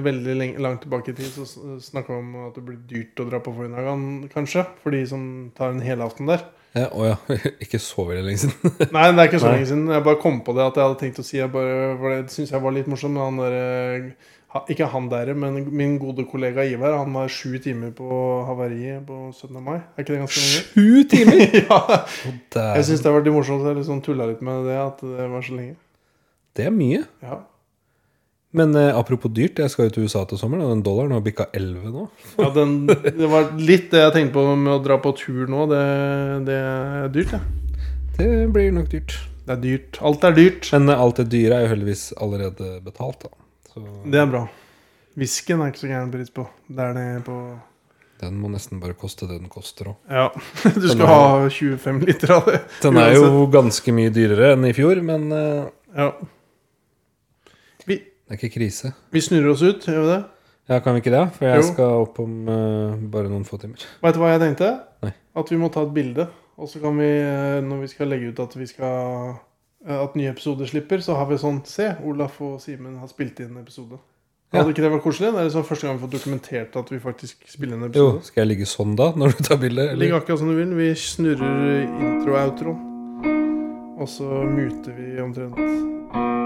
[SPEAKER 1] veldig lenge, langt tilbake i tid, så snakka vi om at det blir dyrt å dra på Forinagan, kanskje? For de som tar en helaften der.
[SPEAKER 2] Ja, Eh, å ja. Ikke så veldig lenge siden.
[SPEAKER 1] Nei, det er ikke så
[SPEAKER 2] Nei.
[SPEAKER 1] lenge siden. Jeg bare kom på det at jeg hadde tenkt å si jeg bare, for Det syns jeg var litt morsomt. Han der, eh, ha- ikke han der, men min gode kollega Ivar. Han var sju timer på havariet på 17. mai. Er ikke det ganske lenge?
[SPEAKER 2] Sju timer!
[SPEAKER 1] ja.
[SPEAKER 2] Det
[SPEAKER 1] Jeg
[SPEAKER 2] er,
[SPEAKER 1] syns det var litt morsomt. Jeg liksom tulla litt med det at det var så lenge.
[SPEAKER 2] det er mye.
[SPEAKER 1] Ja.
[SPEAKER 2] Men eh, apropos dyrt, jeg skal jo til USA til sommeren, og den dollaren har bikka 11 nå.
[SPEAKER 1] ja den, det var litt det jeg tenkte på med å dra på tur nå. Det, det er dyrt, ja.
[SPEAKER 2] Det blir nok dyrt.
[SPEAKER 1] Det er dyrt. Alt er dyrt.
[SPEAKER 2] Men eh, alt det dyre er jo heldigvis allerede betalt, da. Så
[SPEAKER 1] Det er bra. Whiskyen er ikke så gæren pris på. Det er det på
[SPEAKER 2] den må nesten bare koste det den koster òg.
[SPEAKER 1] Ja. Du
[SPEAKER 2] Den er-
[SPEAKER 1] skal ha 25 liter av det.
[SPEAKER 2] Den er jo ganske mye dyrere enn i fjor, men eh,
[SPEAKER 1] Ja. Vi,
[SPEAKER 2] det er ikke krise.
[SPEAKER 1] vi snurrer oss ut, gjør vi det?
[SPEAKER 2] Ja, kan vi ikke det? For jeg
[SPEAKER 1] Jo.
[SPEAKER 2] skal opp om eh, bare noen få timer.
[SPEAKER 1] Veit du hva jeg tenkte?
[SPEAKER 2] Nei.
[SPEAKER 1] At vi må ta et bilde. Og så kan vi, eh, når vi skal legge ut at vi skal eh, At nye episoder slipper, så har vi sånn Se, Olaf og Simen har spilt inn en episode.
[SPEAKER 2] Ja.
[SPEAKER 1] Hadde ikke det vært koselig? Det er liksom første gang vi får dokumentert at vi faktisk spiller inn en
[SPEAKER 2] Jo,
[SPEAKER 1] episode.
[SPEAKER 2] skal jeg ligge sånn da, når du tar bilde?
[SPEAKER 1] Det
[SPEAKER 2] eller?
[SPEAKER 1] ligger akkurat som du vil. Vi snurrer intro og outro. Og så muter vi omtrent.